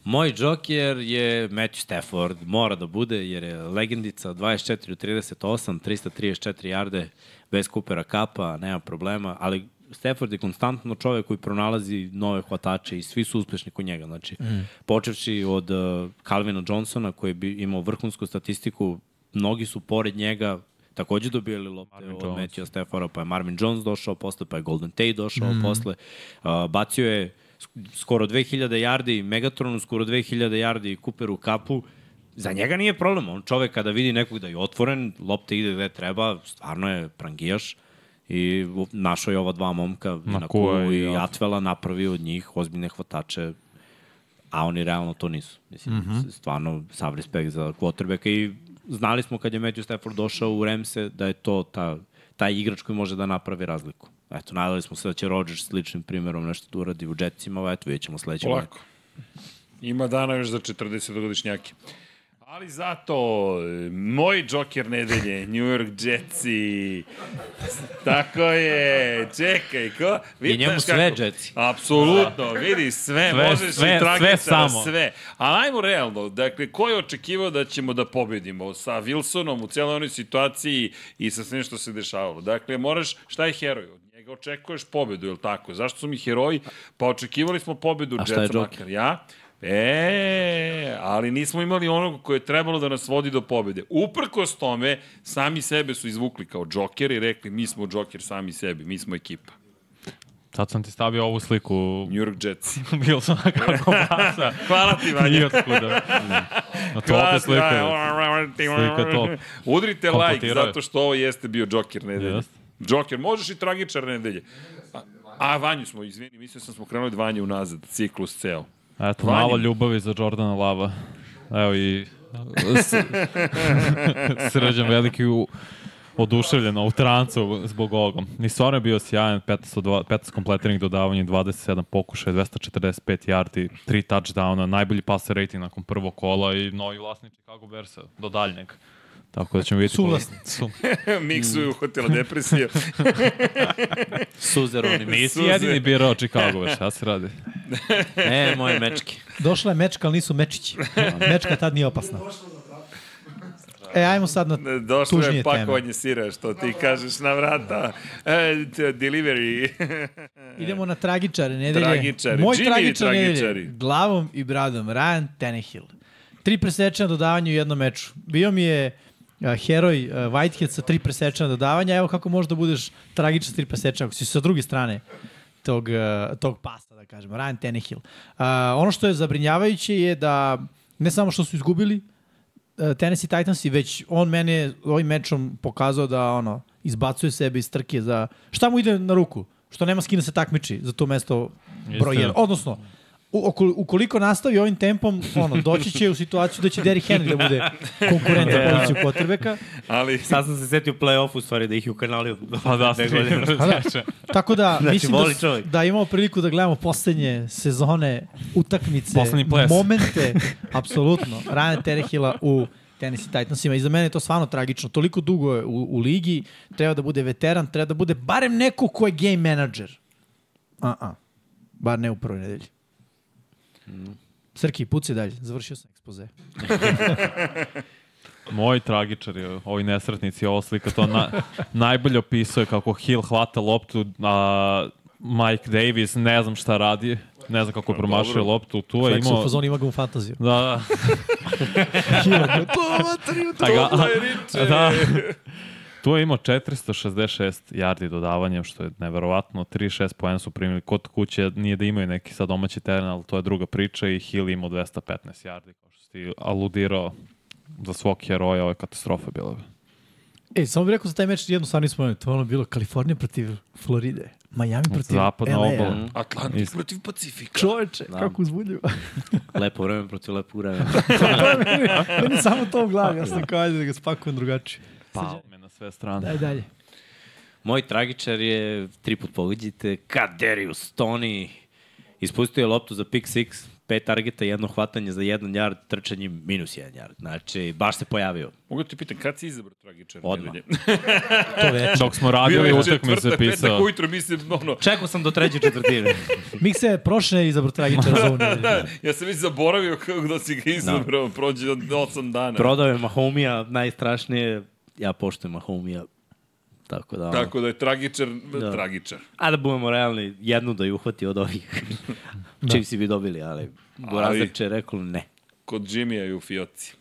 Moj Joker je Matthew Stafford, mora da bude, jer je legendica 24 u 38, 334 jarde, bez Coopera Kapa, nema problema, ali Stafford je konstantno čovek koji pronalazi nove hvatače i svi su uspešni kod njega. Znači, mm. počevši od uh, Calvina Johnsona koji bi imao vrhunsku statistiku, mnogi su pored njega takođe dobijali lopte od Jones. Matthew Staffora, pa je Marvin Jones došao posle, pa je Golden Tate došao mm. posle. Uh, bacio je sk- skoro 2000 yardi Megatronu, skoro 2000 yardi Cooperu Kapu. Za njega nije problem. On čovek kada vidi nekog da je otvoren, lopte ide gde treba, stvarno je prangijaš. I u- našao je ova dva momka na, na Nakua kulu i i Atvela. Atvela napravio od njih ozbiljne hvatače a oni realno to nisu. Mislim, mm Mhm. -hmm. stvarno sav respekt za quarterbacka i znali smo kad je Matthew Stafford došao u Remse da je to ta, taj igrač koji može da napravi razliku. Eto, nadali smo se da će Rodgers sličnim primjerom nešto da uradi u Jetsima, ali eto, vidjet ćemo sledeće godine. Polako. Ima dana još za 40-godišnjake. Ali zato, e, moj džoker nedelje, New York Jetsi. Tako je, čekaj, ko? I njemu znaš kako- sve Jetsi. Apsolutno, vidi, sve, Sve, možeš sve, i da tragica, sve samo. sve. Ali ajmo realno, dakle, ko je očekivao da ćemo da pobedimo sa Wilsonom u cijeloj onoj situaciji i sa svim što se dešavalo? Dakle, moraš, šta je heroj? Od njega očekuješ pobedu, je li tako? Zašto su mi heroji? Pa očekivali smo pobedu A šta je Jetsa Joker? makar, ja? E, ali nismo imali onog koje je trebalo da nas vodi do pobede. Uprkos tome, sami sebe su izvukli kao džoker i rekli mi smo džoker sami sebi, mi smo ekipa. Sad sam ti stavio ovu sliku, New York Jetsi. bio sam na karku basa. Hvala ti, Vanja. I otkuda. Da. Na to opet slika. Slika top. Udrite like, Kompletirao je. zato što ovo jeste bio Joker nedelje. Jeste. Joker, možeš i tragičar nedelje. A, a Vanju smo, izvini, mislio sam da smo krenuli od Vanje unazad, ciklus ceo. Eto, Vanja. malo ljubavi za Jordana Lava. Evo i... S, srđan veliki u, oduševljen u trancu zbog ovoga. I stvarno je bio sjajan, 15, od dva- 15 kompletiranih dodavanja, 27 pokušaja, 245 yardi, 3 touchdowna, najbolji passer rating nakon prvog kola i novi vlasnik Chicago Bersa, do daljnjeg. Tako da ćemo vidjeti... koliko- Suvlasnik. Su, Miksuju hotela depresija. Suzer oni mi. nisi Suze. jedini birao Chicago već, šta se radi? E, moje mečke. Došla je mečka, ali nisu mečići. Mečka tad nije opasna. E, ajmo sad na Došlo tužnije je teme. pakovanje sira, što ti kažeš na vrata. E, t- delivery. Idemo na tragičare nedelje. Tragičari. Moj Jimmy tragičar tragičari. nedelje. Glavom i bradom. Ryan Tenehill. Tri presečena dodavanja u jednom meču. Bio mi je a, heroj a, Whitehead sa tri presečena dodavanja. Evo kako možeš da budeš tragičan sa tri presečena ako si sa druge strane tog, a, tog pasa, da kažem. Ryan Tenehill. A, ono što je zabrinjavajuće je da ne samo što su izgubili, e, Tennessee Titans i već on mene je ovim mečom pokazao da ono izbacuje sebe iz trke za šta mu ide na ruku, što nema s kim da se takmiči za to mesto broj Jeste. 1. Odnosno, u, okol- ukoliko nastavi ovim tempom, ono, doći će u situaciju da će Derrick Henry da bude konkurent za poziciju potrebeka. Ali Sad sam se setio play-off u stvari da ih je ukanalio. Pa da, Dve ste godine. Tako da, Znači, mislim voli da, čovjek. s- da imamo priliku da gledamo poslednje sezone, utakmice, Poslednji ples. momente, apsolutno, Ryan Terehila u Tennessee Titansima. I za mene je to stvarno tragično. Toliko dugo je u, u ligi, treba da bude veteran, treba da bude barem neko ko je game manager. A-a. Bar ne u prvoj nedelji. Mm. Srki, puci dalje. Završio sam ekspoze. Moj tragičar je ovi nesretnici, ovo slika to na, najbolje opisuje kako Hill hvata loptu, a Mike Davis ne znam šta radi, ne znam kako je promašio loptu, tu je Flex u Pa imao... fazonu ima ga u fantaziju. Da, da. Pa, to matri, A ga- Riče, da. Tu je imao 466 yardi dodavanjem, što je neverovatno. 3-6 poena su primili kod kuće. Nije da imaju neki sad domaći teren, ali to je druga priča. I Hill je imao 215 yardi, kao što si ti aludirao za svog heroja. Ovo je katastrofa bila. E, samo bih rekao za taj meč jednu stvar nismo imali. To je ono bilo Kalifornija protiv Floride, Miami protiv Zapadna LA. obala. Atlantik Isto. protiv Pacifika. Čoveče, da. kako uzbudljivo. Lepo vreme protiv lepog vremena. Meni samo to u glavi, ja sam kao ajde da ga spakujem drugačije. Palme na sve strane. Da, Daj dalje. Moj tragičar je, tri put pogađite, Kaderius Tony. Ispustio je loptu za pick six, pet targeta, jedno hvatanje za jedan yard, trčanje minus jedan yard. Znači, baš se pojavio. Mogu ti pitan, kad si izabrao tragičar? Odmah. To veče. Dok smo Bio radili je utakmicu četvrtak, se petak pisao. ujutro, mislim, ono, Čekao sam do treće četvrtine. Mikse, prošle izabro tragičara za ovu nedelju. ja sam već zaboravio kako da si ga izabrao, prođe od 8 dana. Prodao je Mahomija, najstrašnije, ja poštujem Mahomija. Tako da, ono, Tako da je tragičar, da. Da. tragičar. a da budemo realni, jednu da je uhvati od ovih. da. Čim si bi dobili, ali Gorazdač je rekao ne. Kod Jimmy-a i u Fioci.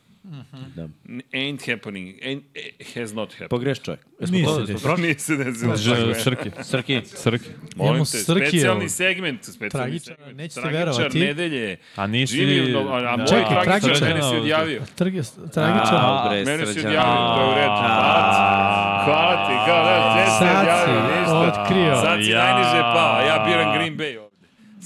Da. N- Ain't happening. Ain't, eh, has not happened. Pogreš čovjek. Nije Jesmo se to, desilo. prošli? Nije se desilo. Tako Ž- je. Srki, Srki, Srki. Molim Imamo te, Srkijevo. specijalni segment. Specijalni Tragičar, segment. nećete tragičar verovati. nedelje. A nisi... Jimmy, no, a, a moj Čekaj, tragičar, tragičar. meni se odjavio. Trgi, tragičar. A, bre, Mene se Srđan. odjavio, Da, to je u redu. Hvala ti. Hvala ti, kao da, sve se Sad si odjavio, ništa. otkrio. Sad si Ja. najniže pao, a ja biram Green Bay ovde.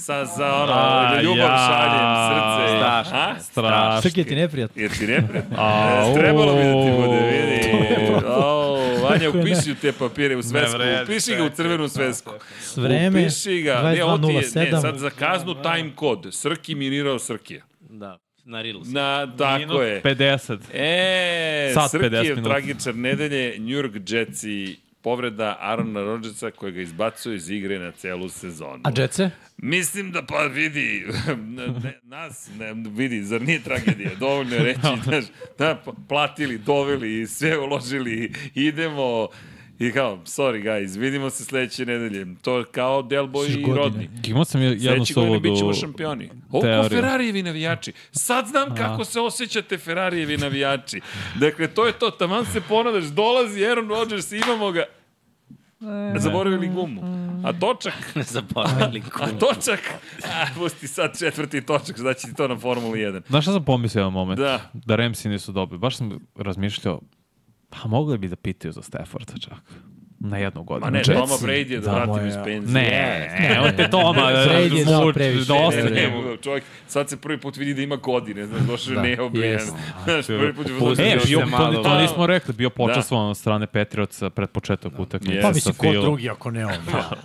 Sa, za ono, A, ljubav ja. šaljem, srce. Strašno A? Strašno. Srki je ti neprijatno. Jer ti neprijatno. Au. E, Trebalo bi da ti bude, vidi. Au, Vanja, Kako je upiši u te papire u svesku. da. Ne vredi, Upiši ga u crvenu svesku. Vreme, Upiši ga. Ne, ovo ti je, ne, sad 22.07. za kaznu time kod. Srki minirao Srkija. Da, na Rilu sam. Na, tako je. 50. E, Sat Srki 50 je minuta. tragičar nedelje, New York Jetsi povreda Arona Rodgersa koja ga izbacuje iz igre na celu sezonu. A Jetce? Mislim da pa vidi, ne, nas ne, vidi, zar nije tragedija? Dovoljno je reći, znaš, da, pa- platili, doveli, sve uložili, idemo, I kao, sorry guys, vidimo se sledeće nedelje. To je kao Delboy Sliš i godine. Rodni. Imao sam je- jednu Sledeće godine suludu... bit ćemo šampioni. Ovo kao teoriju. Ferrarijevi navijači. Sad znam kako se osjećate Ferrarijevi navijači. Dakle, to je to. Taman se ponadaš, dolazi Aaron Rodgers, imamo ga. Zaboravili gumu. A točak? Zaboravili ko. A točak? A, pusti sad četvrti točak, znači ti to na Formuli 1. Znaš šta sam pomislio jedan moment? Da. Da Remsi nisu dobili. Baš sam razmišljao, pa mogli bi da pitaju za Stafforda čak. Na jednu godinu. Ma ne, Jetsi. Toma Brady je da vratim iz penzije. Ne, ne, ne, te Toma. Brady je dao muč, previše. dosta. Ne, ne, ne, čovjek, sad se prvi put vidi da ima godine, znaš, došao da, neobrijan. jest. Znaš, prvi put je E, Još bio, se malo- to, to nismo rekli, bio počastvovan od strane Petrioca pred početak utakmice. Pa sa mislim, ko Philom. drugi ako ne on.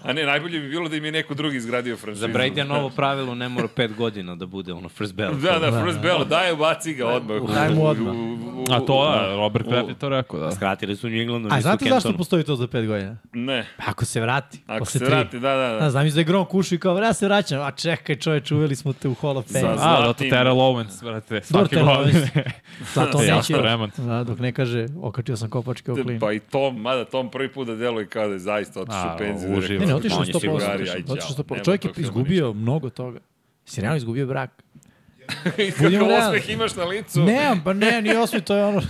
A ne, najbolje bi bilo da im je neko drugi izgradio franšizu. Za Brady je novo pravilo, ne mora pet godina da bude ono first bell. Da, da, first bell, daj, baci ga odmah. Daj mu odmah. U- u- u- A to je, Robert Kraft je to rekao, da. Skratili su New Englandu, A nisu znate zašto Kentonu. postoji to za 5 25 godina. Pa Ne. Ako se vrati. Ako se posle tri. vrati, da, da, Da, da. znam iz da je Grom kušao i kao, ja se vraćam. A čekaj čoveč, uveli smo te u Hall of Fame. Za- A, zato Zlatim. Terrell Owens, vrate, Dobro, svake Terrell godine. Da, to Ja neće. spreman. Da, dok ne kaže, okačio sam kopačke u klin. Pa i Tom, mada Tom prvi put da deluje kao da je zaista otišao A, u penziju. uživa. da je rekao, Ne, ne, otišao "On je 100%. sigurari, otišao, aj otišao đavo, 100%. nema Čovjek je tog filma izgubio mnogo toga. Si realno izgubio brak. ništa. budimo Kako realni. osmeh imaš na licu? Ne, pa ne, ni osmi, to je ono...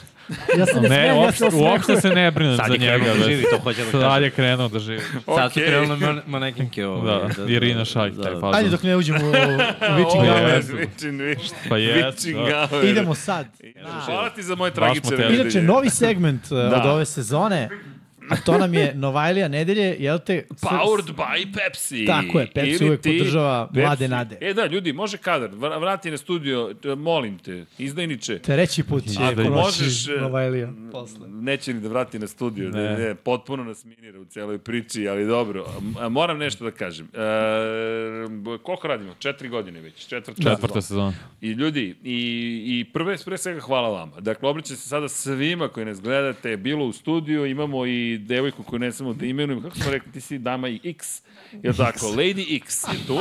Ja sam Ne, smijem, ja uopšte, sam osmeh. uopšte se ne brinem Sad za je njega. krenuo da već. živi, to hoće da Sad kažem. je krenuo da živi. Sad su Okej. krenule man, manekinke ovo. Da, Irina Šajk, da, taj fazon. Ajde dok ne uđemo u Vičin Ovo Hour. je Jesu. Witching Hour. Pa je, Witching da. Hour. Idemo sad. Da. Hvala ti za moje Baš smo tragične teli. nedelje. Inače, novi segment uh, Da. od ove sezone, a to nam je Novajlija nedelje, jel te... s- Powered by Pepsi. Tako je, Pepsi Ili uvek ti podržava mlade nade. E da, ljudi, može kadar, vra- vrati na studio, t- molim te, izdajniče. Treći put će Ako proći možeš, e, Novajlija posle. Neće ni da vrati na studio, ne. Ne, potpuno nas minira u celoj priči, ali dobro, a- a moram nešto da kažem. E, koliko radimo? Četiri godine već, četvrta, Četvrta sezona. sezona. I ljudi, i, i prve, pre svega hvala vama. Dakle, obraćam se sada svima koji nas gledate, bilo u studiju, imamo i devojku koju ne samo da imenujem, kako smo rekli, ti si dama i X, je li tako? Lady X je tu,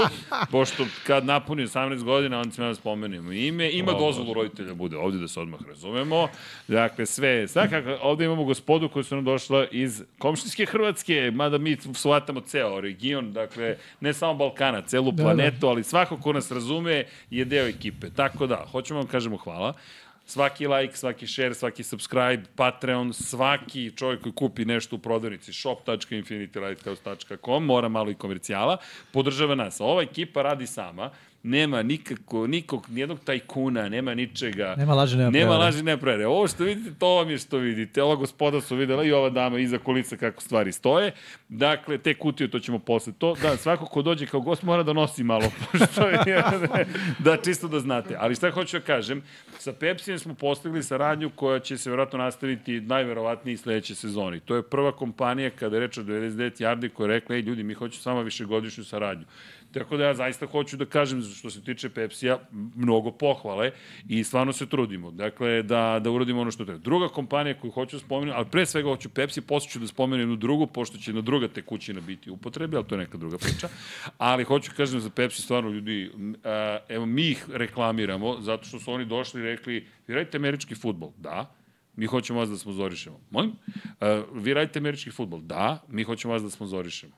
pošto kad napuni 18 godina, onda ćemo da spomenemo ime, ima dozvolu roditelja da bude ovde, da se odmah razumemo. Dakle, sve je, svakako, ovde imamo gospodu koja su nam došla iz komštinske Hrvatske, mada mi shvatamo ceo region, dakle, ne samo Balkana, celu da. planetu, to, ali svako ko nas razume je deo ekipe. Tako da, hoćemo vam kažemo hvala. Svaki like, svaki share, svaki subscribe, Patreon, svaki čovjek koji kupi nešto u prodavnici shop.infinitylighthouse.com, mora malo i komercijala, podržava nas. Ova ekipa radi sama, nema nikako, nikog, nijednog tajkuna, nema ničega. Nema laži, nema Nema prevare. laži, nema prevare. Ovo što vidite, to vam je što vidite. Ova gospoda su videla i ova dama iza kulisa kako stvari stoje. Dakle, te kutije, to ćemo posle to. Da, svako ko dođe kao gost mora da nosi malo. pošto je- da, čisto da znate. Ali šta hoću da kažem, sa Pepsijem smo postigli saradnju koja će se verovatno nastaviti najverovatnije i sledeće sezoni. To je prva kompanija kada je reč o 99 Yardi koja je rekla, ej ljudi, mi hoćemo samo višegodišnju saradnju. Tako da ja zaista hoću da kažem što se tiče Pepsija mnogo pohvale i stvarno se trudimo. Dakle, da, da uradimo ono što treba. Druga kompanija koju hoću da spomenem, ali pre svega hoću Pepsi, posle ću da spomenem jednu drugu, pošto će na druga tekućina biti u upotrebi, ali to je neka druga priča. Ali hoću da kažem za Pepsi, stvarno ljudi, m, a, evo mi ih reklamiramo, zato što su oni došli i rekli, vi radite američki futbol, da, mi hoćemo vas da sponzorišemo. Molim? A, vi radite američki futbol, da, mi hoćemo vas da sponzorišemo.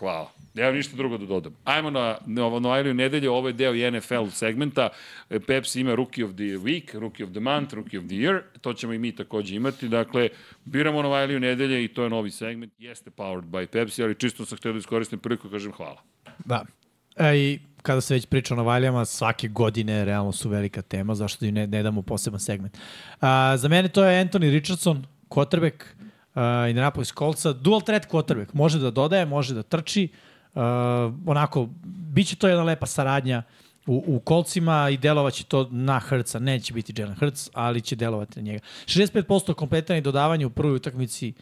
Hvala. Nemam ništa drugo da dodam. Ajmo na Novo Noajliju nedelje, ovo je deo i NFL segmenta. E, Pepsi ima Rookie of the Week, Rookie of the Month, Rookie of the Year, to ćemo i mi takođe imati. Dakle, biramo Noajliju nedelje i to je novi segment. Jeste powered by Pepsi, ali čisto sam htio da iskoristim priliku i kažem hvala. Da. E, I kada se već priča o Novalijama, svake godine realno su velika tema, zašto im ne, ne damo poseban segment. A, za mene to je Anthony Richardson, kotrbek uh, Indianapolis Coltsa, dual threat kotrbek, može da dodaje, može da trči, uh, onako, bit će to jedna lepa saradnja u, u kolcima i delovaće to na Hrca. Neće biti Jalen Hrc, ali će delovati na njega. 65% kompletiranih dodavanja u prvoj utakmici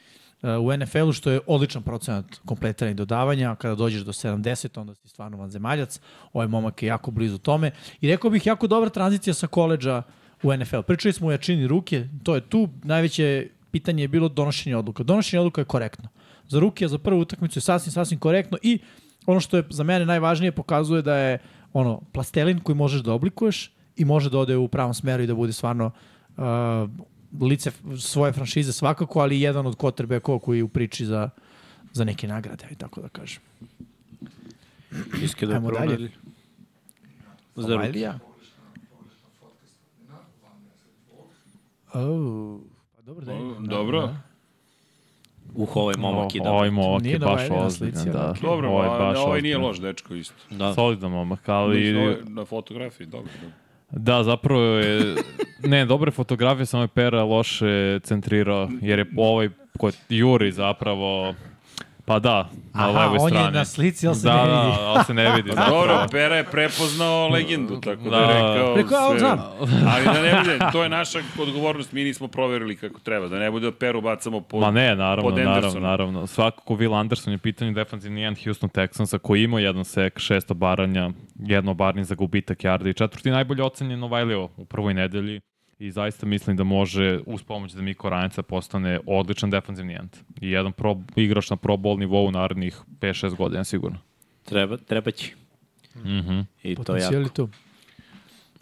e, u NFL-u, što je odličan procenat kompletiranih dodavanja. a Kada dođeš do 70, onda si stvarno vanzemaljac. Ovaj momak je jako blizu tome. I rekao bih, jako dobra tranzicija sa koleđa u NFL. Pričali smo o jačini ruke, to je tu. Najveće pitanje je bilo donošenje odluka. Donošenje odluka je korektno. Za ruke, za prvu utakmicu je sasvim, sasvim korektno i ono što je za mene najvažnije pokazuje da je ono plastelin koji možeš da oblikuješ i može da ode u pravom smeru i da bude stvarno uh, lice f- svoje franšize svakako, ali i jedan od quarterbackova koji je u priči za, za neke nagrade, aj tako da kažem. Iske da Ajmo dalje. promeni. Za ruke. Vajlija? Oh, pa dobro da je. Dobro. Uh, ovaj momak i da. Ovaj momak Nije je Novajlija baš na ozbiljan, slici, da. ali Dobro, Ovo je a baš na ovaj nije ozbiljan. loš dečko isto. Da. Solidan momak, ali... Ovo je na fotografiji, dobro. dobro. Da, zapravo je... Ne, dobre fotografije, samo je Pera loše centrirao, jer je ovaj kod Juri zapravo... Pa da, na Aha, levoj on strani. je na slici, ali se da, ne vidi. Da, ali se ne vidi. Dobro, zapravo. Pera je prepoznao legendu, tako da, Da. je rekao... Rekao, ja ovo sve. znam. Ali da ne bude, to je naša odgovornost, mi nismo proverili kako treba, da ne bude da Peru bacamo po... Ma ne, naravno, pod naravno, Andersonom. naravno. Svakako Will Anderson je u pitanju defanzivni end Houston Texansa koji je imao jedan sek, šest obaranja, jedno obaranje za gubitak jarda i četvrti najbolje ocenjen Novajlio u prvoj nedelji. i zaista mislim da može uz pomoć da Miko Ranjeca postane odličan defanzivni end. I jedan pro, igrač na pro bowl nivou narednih 5-6 godina sigurno. Treba, treba će. Mhm. I to je Potencijal jako. je tu.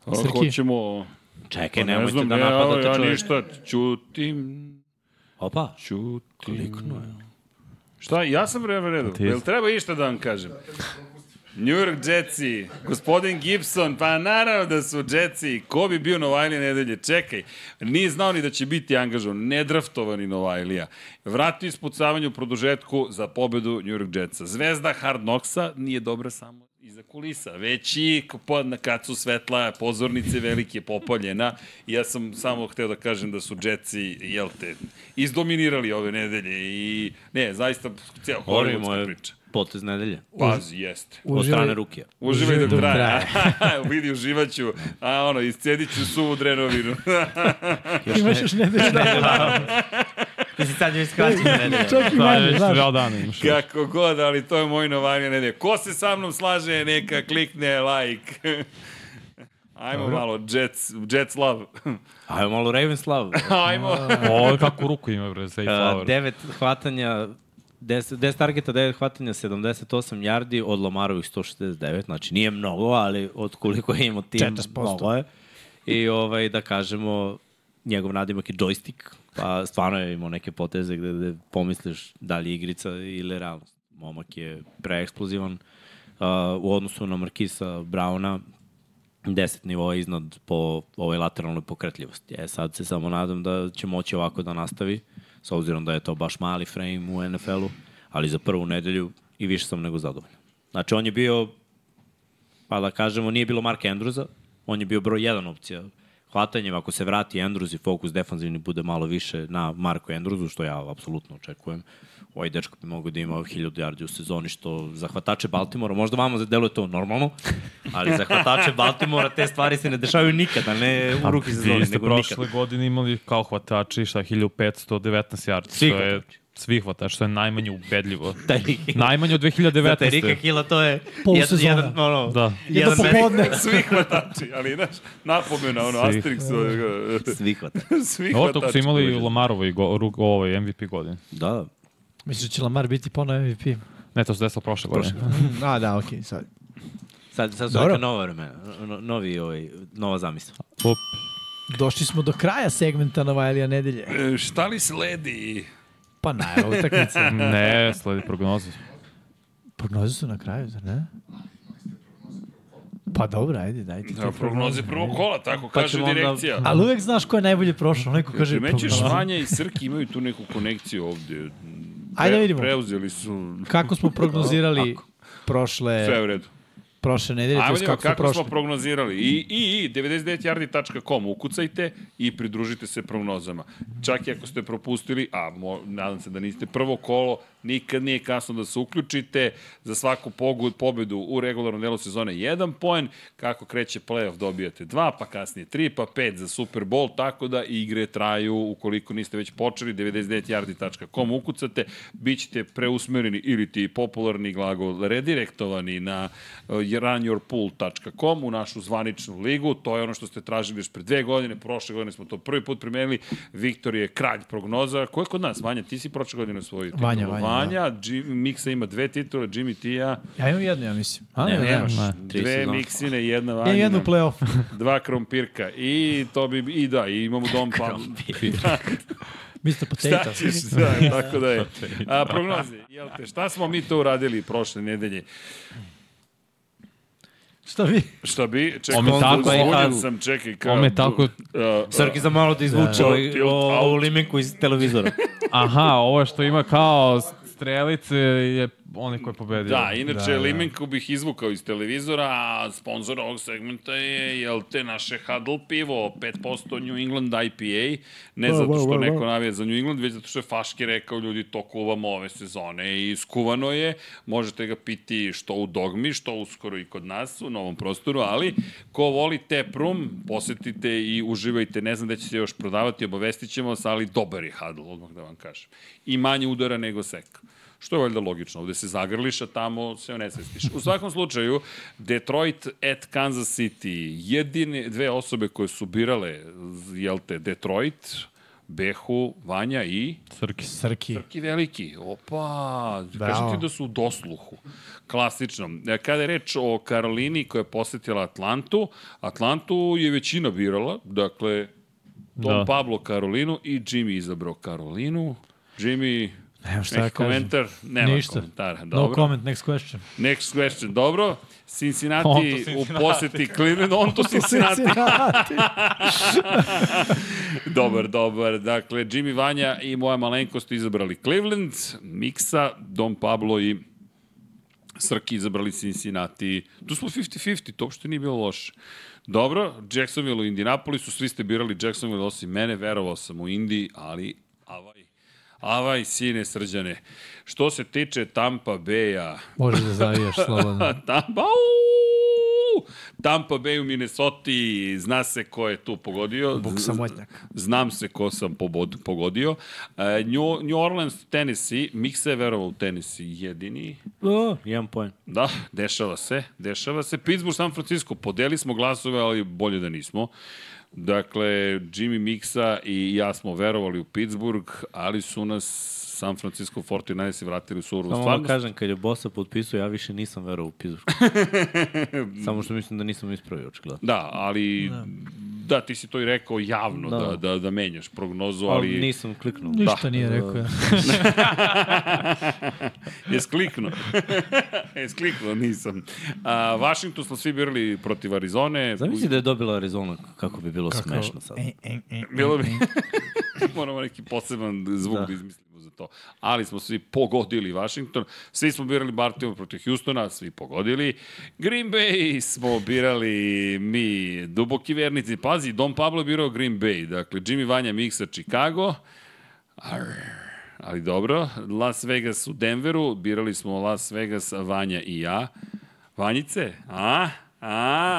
A, Srki. Hoćemo... Čekaj, Pa ne nemojte znam, da ja, napadate ja, čovjeka. ništa, ćutim, Opa, ćutim. Klikno je. Šta, ja sam vreme redao. Ti- Jel treba išta da vam kažem? New York Jetsi, gospodin Gibson, pa naravno da su Jetsi. Ko bi bio Novajlija nedelje? Čekaj, nije znao ni da će biti angažovan, nedraftovani Novajlija. Vrati ispucavanje u produžetku za pobedu New York Jetsa. Zvezda Hard Knocksa nije dobra samo iza kulisa, već i pod na kacu svetla, pozornice velike popaljena. I ja sam samo hteo da kažem da su Jetsi, jel te, izdominirali ove nedelje i ne, zaista ceo volimo hollywoodska je priča. potez nedelje. Pazi, jeste. Od Uživaj. strane Rukija. Uživaj dok Dok traje. Vidi, uživaću. A ono, iscedit ću suvu drenovinu. Imaš još nedelju dana. Ti si sad joj skraćen nedelje. Čak i Da, manje, već znaš. dva dana imaš. Kako god, ali to je moj novanje nedelje. Ko se sa mnom slaže, neka klikne like. Ajmo malo, Jets, Jets love. Ajmo malo Ravenslav. Ajmo. Ovo kako ruku ima, bre, Zay Uh, Flower. devet hvatanja, 10, 10 targeta, 9 hvatanja, 78 yardi od Lomarovih 169, znači nije mnogo, ali od koliko je imao tim, 40%. mnogo je. I ovaj, da kažemo, njegov nadimak je joystick, pa stvarno je imao neke poteze gde, gde pomisliš da li je igrica ili realnost. Momak je preeksplozivan uh, u odnosu na Markisa Brauna, 10 nivoa iznad po ovoj lateralnoj pokretljivosti. E sad se samo nadam da će moći ovako da nastavi, s obzirom da je to baš mali frame u NFL-u, ali za prvu nedelju i više sam nego zadovoljan. Znači on je bio, pa da kažemo, nije bilo Marka Andrewsa, on je bio broj jedan opcija hvatanjem, ako se vrati Andrews i fokus defanzivni bude malo više na Marku Andrewsu, što ja apsolutno očekujem. Ovaj dečko bi mogao da ima 1000 yardi u sezoni, što za hvatače Baltimora, možda vama deluje to normalno, ali za hvatače Baltimora te stvari se ne dešavaju nikada, ne Pa, u ruki sezoni, Pa, Vi ste nego prošle nikada. godine imali kao hvatači šta 1519 yardi, Svi što je hvatači. svi hvatači, što je najmanje ubedljivo. Da. Taj lik- najmanje od Za Terika 2019. Hila to je Pol jedan, sezone. jedan, ono, Da. Jedno jedan metak. popodne. Svi hvatači, ali znaš, napomena, ono, Svi. Asterix. Svi hvata. Svi Ovo tog su hvatači. imali Lamarovo i go, ru- ovaj MVP godine. Da, da. Misliš da će Lamar biti ponovo MVP? Ne, to se desilo prošle godine. A, da, okej, okay, sad. Sad, sad su Dobro. neka nova vremena, no, novi, ovaj, nova zamisla. Op, Došli smo do kraja segmenta Novajlija nedelje. E, Šta li sledi? Pa najava utakmice. ne, sledi prognoza. Prognoze su na kraju, zar ne? Pa dobro, ajde, dajte. Da, prognoze prvog kola, tako kaže ćemo onda- direkcija. Ali uvek znaš ko je najbolje prošao. Neko kaže Primećuješ prognoze. Vanja i Srki imaju tu neku konekciju ovde. Ajde Pre- vidimo. Preuzeli su Kako smo prognozirali sve prošle, u redu. prošle nedelje, to Ajmo jest vidimo E, kako, kako, smo prošli. smo prognozirali. I, i, i 99yardi.com ukucajte i pridružite se prognozama. Čak i ako ste propustili, a mo, nadam se da niste prvo kolo, nikad nije kasno da se uključite za svaku pogod, pobedu u regularnom delu sezone jedan poen, kako kreće playoff dobijate dva, pa kasnije tri, pa pet za Super Bowl, tako da igre traju ukoliko niste već počeli, 99yardi.com ukucate, bit ćete preusmereni ili ti popularni glagol redirektovani na e, runyourpool.com u našu zvaničnu ligu. To je ono što ste tražili još pre dve godine. Prošle godine smo to prvi put primenili. Viktor je kralj prognoza. Ko je kod nas? Vanja, ti si prošle godine svoju titulu. Vanja, Vanja, da. Vanja Jim, Miksa ima dve titule, Jimmy ti i ja. Ja imam jednu, ja mislim. A, Ne, ne, ne, nemaš. Tri Dve sezone. Miksine i jedna Ja Vanja. imam jednu u play-offu. Dva krompirka. I to bi, i da, i imamo dom pa. Mr. Šta Potato. ćeš, da, tako da je. A, prognoze, jel te, šta smo mi to uradili prošle nedelje? Šta vi? Šta bi, čekaj, Ome tako- zvonjen sam, čekaj, kao... Ome tako- A, Srki za malo da izvuče Da. ovaj- Tilt o- ovu out. limenku iz televizora. Aha, ovo što ima kao strelice je onaj ko je pobedio. Da, inače, da, Limenku bih izvukao iz televizora, a sponsor ovog segmenta je, jel te, naše Huddle pivo, 5% New England IPA, ne da, zato što da, neko navija za New England, već zato što je Faški rekao, ljudi, to kuvamo ove sezone i skuvano je, možete ga piti što u dogmi, što uskoro i kod nas u novom prostoru, ali ko voli Tap Room, posetite i uživajte, ne znam da će se još prodavati, obavestit ćemo vas, ali dobar je Huddle, odmah da vam kažem. I manje udara nego seka Što je valjda logično, ovde se zagrliš, a tamo se onesvestiš. U svakom slučaju, Detroit at Kansas City, jedine dve osobe koje su birale, jel te, Detroit, Behu, Vanja i... Srki. Srki. Srki veliki, opa, Bravo. kažem ti da su u dosluhu, klasičnom. E, Kada je reč o Karolini koja je posetila Atlantu, Atlantu je većina birala, dakle, Tom da. Da. Pablo Karolinu i Jimmy izabrao Karolinu. Jimmy, Nemam šta neki da kažem. komentar? Nema Ništa. komentara, No dobro. comment, next question. Next question, dobro. Cincinnati, On to u Cincinnati. poseti Cleveland, on to Cincinnati. dobar, dobar. Dakle, Jimmy Vanja i moja malenkost izabrali Cleveland, Miksa, Dom Pablo i Srki izabrali Cincinnati. Tu smo 50-50, to uopšte nije bilo loše. Dobro, Jacksonville u Indianapolisu, svi ste birali Jacksonville osim mene, verovao sam u Indiji, ali avaj. Avaj, sine srđane. Što se tiče Tampa Beja, Možeš da zavijaš slobodno. Tampa, au! Da, Tampa Bay u Minnesoti, zna se ko je tu pogodio. Buk samotnjak. Znam se ko sam pobod, pogodio. E, New, New Orleans, Tennessee, Miksa je verovao u Tennessee jedini. O, jedan poen. Da, dešava se, dešava se. Pittsburgh, San Francisco, podeli smo glasove, ali bolje da nismo. Dakle, Jimmy Miksa i ja smo verovali u Pittsburgh, ali su nas San Francisco 49 vratili u surovu Samo da vam stvarnost. kažem, kad je Bosa potpisao, ja više nisam verao u Pittsburgh. Samo što mislim da nisam ispravio očigledno. Da, ali da. da, ti si to i rekao javno da, da, Da. da, da menjaš prognozu, Ali ali Da. nisam kliknuo. Ništa nije rekao. ja. jes kliknuo. jes kliknuo, nisam. A, Washington smo svi birali protiv Arizone. Zamisli da je dobila Arizona, kako bi bilo kako? smešno sad. E. E, Bilo bi... Moramo neki poseban zvuk da. da izmislimo za to. Ali smo svi pogodili Washington. Svi smo birali Baltimore protiv Houstona, svi pogodili. Green Bay smo birali mi, duboki vernici. Pazi, Don Pablo je birao Green Bay. Dakle, Jimmy Vanja Miksa Chicago. Arr. Ali dobro, Las Vegas u Denveru, birali smo Las Vegas, Vanja i ja. Vanjice, a? A,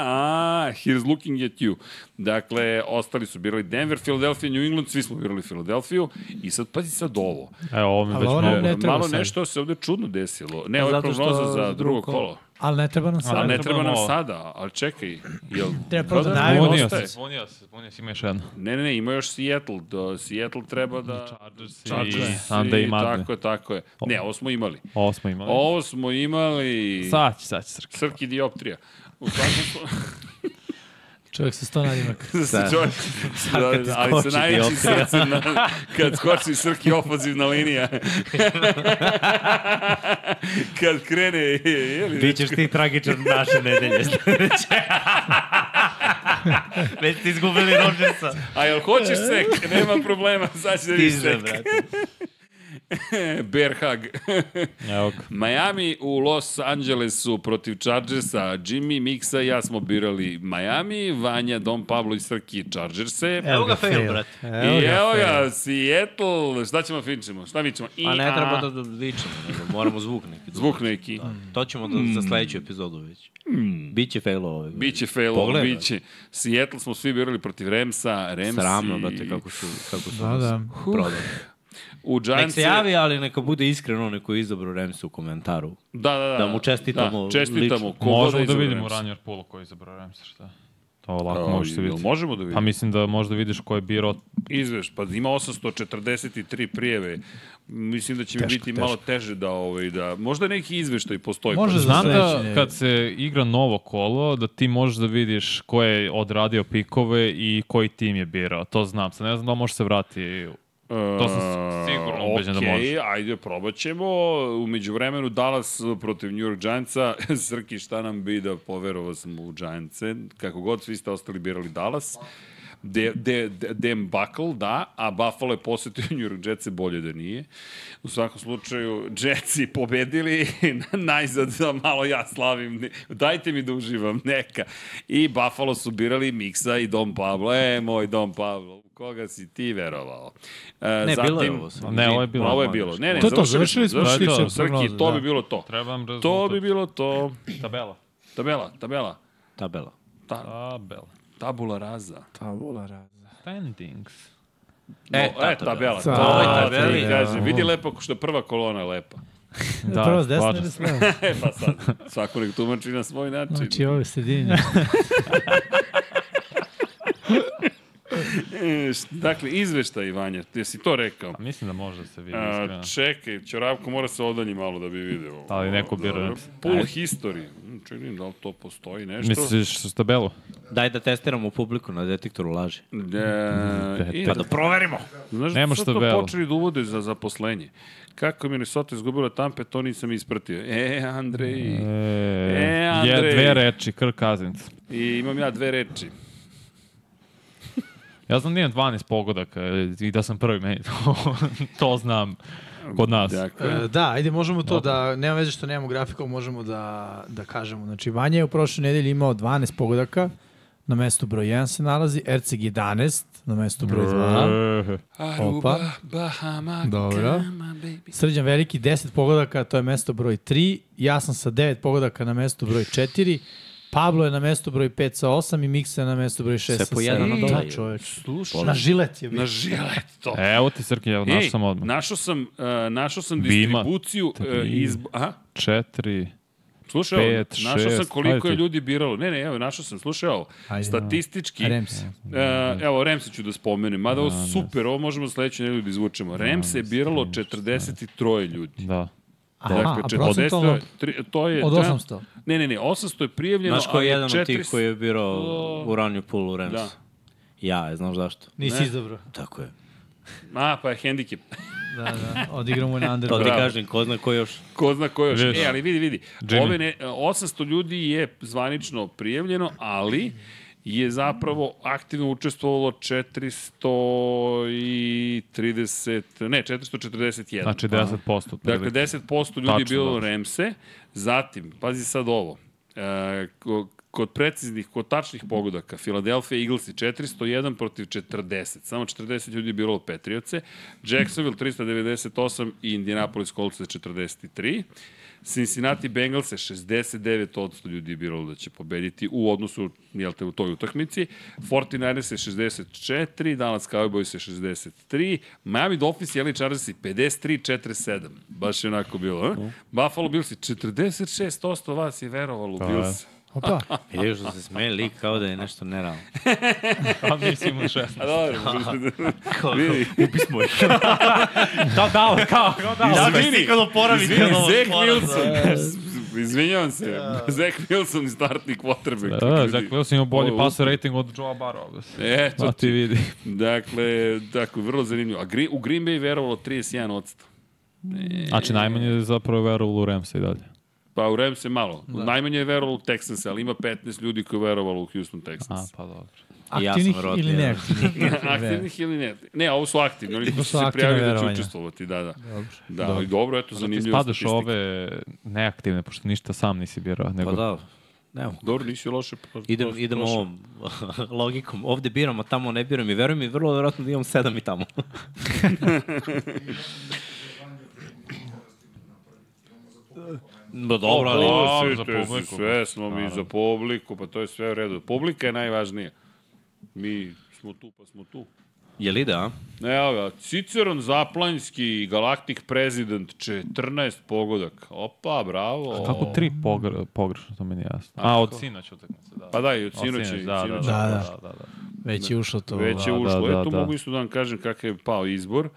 a, here's looking at you. Dakle, ostali su birali Denver, Philadelphia, New England, svi smo birali Philadelphia i sad, pazi sad ovo. Evo, ovo mi Ali već ovo mnogo. ne- Ne... treba Malo sad. nešto se ovde čudno desilo. Ne, ovo je Zato što prognoza za za drugo drugo kolo. kolo. Ali ne treba nam Ali sad. ne ne treba treba nam ovo. sada, ali čekaj. Jel, Treba prvo da Prodano? najavimo. Zvonio Zvonio ostaje. se, zvonio se, zvonio se, ima još jedno. ne, ne, ne, ima još Seattle. Do, Seattle treba da... Chargers, Chargers Znači, i i Sunday Madness. Tako je, tako je. Ne, ovo smo imali. Ovo smo imali. Ovo smo imali... Sad će, sad će, Srki. Srki dioptrija. U svakom Čovjek sa sto nadimak. slučaju, čovjek, da, da, ali sa skoči najvećim srcem, na, kad skoči Srki ofazivna linija. kad krene, je, je li, Bićeš ti tragičan naše nedelje. Već ti izgubili Rodgersa. a jel hoćeš sek, nema problema, sad će da vidiš Tiže, sek. brate. Bear hug. Evo ga. Miami u Los Angelesu protiv Chargersa. Jimmy, Miksa i ja smo birali Miami, Vanja, Dom Pablo i Srki Chargerse. Evo ga fail, brate. I evo ga, Seattle. Šta ćemo finčimo? Šta vičemo? I, A ne treba da da vičemo, nego moramo zvuk neki. da- Zvuk neki. To ćemo da, za sledeću epizodu već. Biće fail ove. Biće fail, Pogledaj. biće. Seattle smo svi birali protiv Remsa, Remsi. Sramno, brate, kako su, kako su Da, nas da. prodali. U Nek Giants se javi, ali neka bude iskren onaj koji je izabrao Remsa u komentaru. Da, da, da. da mu čestitamo Da, čestitamo. lično. Ko god Možemo da izabere vidimo Ramsa. Ranjer Pulu koji je izabrao Ramsar, šta? To lako A, možeš jel vidjeti. Možemo da Pa vidimo. mislim da možda vidiš ko je birao Izveš, pa ima 843 prijeve. Mislim da će mi biti malo teže da ovaj da možda neki izveštaj postoji. Može pa- za Znam da sledeće. kad se igra novo kolo, da ti možeš da vidiš ko je odradio pikove i koji tim je birao. To znam. Sad ne znam da li može se vrati. To sam sigurno ubeđen da Okej, može. ajde, probat ćemo. Umeđu vremenu, Dallas e, protiv New York Giantsa. Srki, šta nam bi da poverovao sam u Giantse? Kako god, svi ste ostali birali Dallas. De, de, de, Dem Buckle, da, a Buffalo je posetio New York Jetsi, bolje da nije. U svakom slučaju, Jetsi pobedili, najzad da malo ja slavim, ne, dajte mi da uživam, neka. I Buffalo su birali Miksa i Dom Pablo, e, moj Dom Pablo, u koga si ti verovao? E, Ne, bilo je ovo sve. Ne, ovo je bilo. Bilo, ovo je bilo. Ne, ne, To je to, završili smo završili što se smo. Srki, tiče prognoze, to da. bi bilo to. Trebam rezultat. To bi bilo to. tabela. Tabela, tabela. Tabela. Ta, Tabela. tabula raza. Standings. No, e, tabela. To tabela. je tabela. Ta, Kaže, tabela. vidi lepo ko što je prva kolona lepa. Da, Prvo s desne važno. ili s leve? E, pa sad, svako nek tumači na svoj način. Znači ovo je sredinje. E, š- dakle, izveštaj, Vanja, jesi to rekao? A mislim da može da se vidi A, iskreno. čekaj, Ćoravko mora se odalji malo da bi video. Da li neko bira? Dobro. Pull history. Hm, Čekaj, da li to postoji nešto? Misliš s tabelu? Daj da testiramo publiku na detektoru laži. Da, i Pa da proverimo. Znaš, Nema Nema što šta to velo. počeli da uvode za zaposlenje. Kako je Minnesota izgubila tampe, to nisam ispratio. E, Andrej. E, Andrej. je dve reči, Kirk Cousins. I imam ja dve reči. Ja znam da imam 12 pogodaka e, i da sam prvi, meni to, to znam kod nas. Dakle, E, da, ajde, možemo to da, nema veze što nemamo grafika, možemo da, da kažemo. Znači, Vanja je u prošloj nedelji imao 12 pogodaka, na mestu broj 1 se nalazi, Erceg 11, na mestu broj 2. E, Aruba, Bahama, Dobro. Kama, baby. Srđan Veliki 10 pogodaka, to je mesto broj 3. Ja sam sa 9 pogodaka na mestu broj 4. Pablo je na mestu broj 5 sa 8 i Miksa je na mestu broj 6 sa 7. po jedan na dole. Da, čoveč. Slušaj. Na žilet je bio. Na žilet to. Evo ti, Srki, evo, Ej, E, našao sam odmah. Našao sam, e, našao sam Bima. distribuciju e, iz... Aha, Četiri, slušaj ovo, Pet, našao sam šest, koliko ajde je ti. ljudi biralo. Ne, ne, evo, našao sam, slušaj ovo. Ajde. Statistički, Remsi. E, evo, Remse ću da spomenem, mada ovo super, ovo možemo sledeću nedelju da izvučemo. Remse je biralo 43 ljudi. da. Aha, a procentalno 40, tri- to Dakle, je... od tre- 800. Ne, ne, ne, 800 je prijavljeno, Znaš ko je ali jedan od tih 400 koji je birao u ranju pulu Rams? Da. Da. Ja, je, znaš zašto? Nisi izabro. Tako je. A, pa je hendikep. Da, da. Odigramo je na To ti underdog. Bravo. kažem, ko zna ko još. Ko zna ko još. Vidiš. E, ali vidi, vidi. Jimmy. Ove ne, 800 ljudi je zvanično prijavljeno, ali je zapravo aktivno učestvovalo 430, ne, 441. Znači 10%. Dakle, 10% ljudi je Tačno, bilo da. Remse. Zatim, pazi sad ovo. E, ko- kod preciznih, kod tačnih pogodaka, Philadelphia Eaglesi 401 protiv 40. Samo 40 ljudi je bilo Patriotse. Jacksonville 398 i Indianapolis Colts 43. Cincinnati Bengals 69% ljudi je biralo da će pobediti u odnosu jel te, u toj utakmici. 49ers je 64, Dallas Cowboys je 63, Miami Dolphins i LA Chargers je 53-47. Baš je onako bilo, Da. a? Buffalo Bills je 46% vas je verovalo u Pa da. Bills. Opa. Vidiš da se smeje lik kao da je nešto nerealno. Pa mislim u 16. A dobro, vidi, Upismo ih. da, dao, kao, kao dao. Izvini, Izvini, izvini, Zek Wilson. Izvinjavam se, Zek Wilson je startni quarterback. Da, Ljudi, Zach Wilson ima bolji ovo je passer rating od Joe Barrowa. E, Pa to ti vidi. Dakle, dakle, vrlo zanimljivo. A gri, u Green Bay je verovalo 31%. Znači najmanje je zapravo verovalo u Ramsa i dalje. Pa u Rams je malo. Da. Najmanje je verovalo u Texans, ali ima 15 ljudi koji je verovalo u Houston A, Texans. pa dobro. I ja sam Aktivnih rodio. ili neaktivnih? pa, Aktivnih ili ne? Ne, ovo su aktivni, oni koji su su se aktivna prijavili da verovanja. će učestvovati. Da, da. Dobro. Da, dobro. dobro, eto, Ti zanimljivo spadaš Znači, ove neaktivne, pošto ništa sam nisi birao. Nego... Pa da, nemo. Dobro, nisi loše. pa- Idem, loše idem prošao. ovom logikom. Ovde biram, a tamo ne biram. I verujem mi, vrlo verovatno da imam sedam i tamo. Ba dobro, ali... Pa, Ovo sve je za to je publiku. da. Sve smo mi za publiku, pa to je sve u redu. Publika je najvažnija. Mi smo tu, pa smo tu. Je li da? a? Evo ga, Ciceron Zaplanjski, Galaktik Prezident, 14 pogodak. Opa, bravo. Kako tri pogr pogrešno, to meni je jasno. A, od sinoć utakmice, da. Pa da, i od Od sinoć je. da, da, sinoć da, je da, da, da. Već je ušlo to. Već je Da, da, ušlo. da, Eto, da. mogu isto da vam kažem kakav je pao izbor.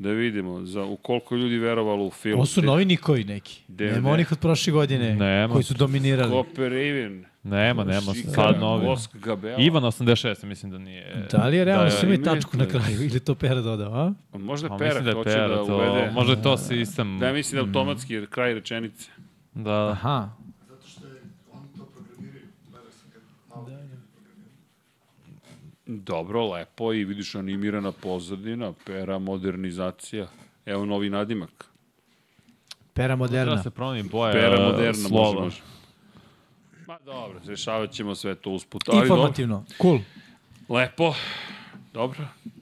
Da vidimo za u koliko je ljudi verovalo u film. Ovo su novi Nikoji neki. Devet. Nema onih od prošle godine Nema. koji su dominirali. Cooper Raven. Nema, nema, Šikara, sad novi. Vosk Gabela. Ivan 86, mislim da nije... Da li je realno da da, su imali ima tačku na kraju ili to Pera dodao, a? Možda Pa Perak mislim da da je hoće Pera da uvede. to, možda Mm. je to sistem, Da, ja mislim da automatski je kraj rečenice. da, Aha. Dobro, lepo i vidiš animirana pozadina, Pera modernizacija. Evo novi nadimak. Pera Treba moderna. da se promeni boja Pera e, moderna, slova. može, može. Ma dobro, rešavat ćemo sve to usput. Ali dobro, Informativno. Cool. lepo, dobro.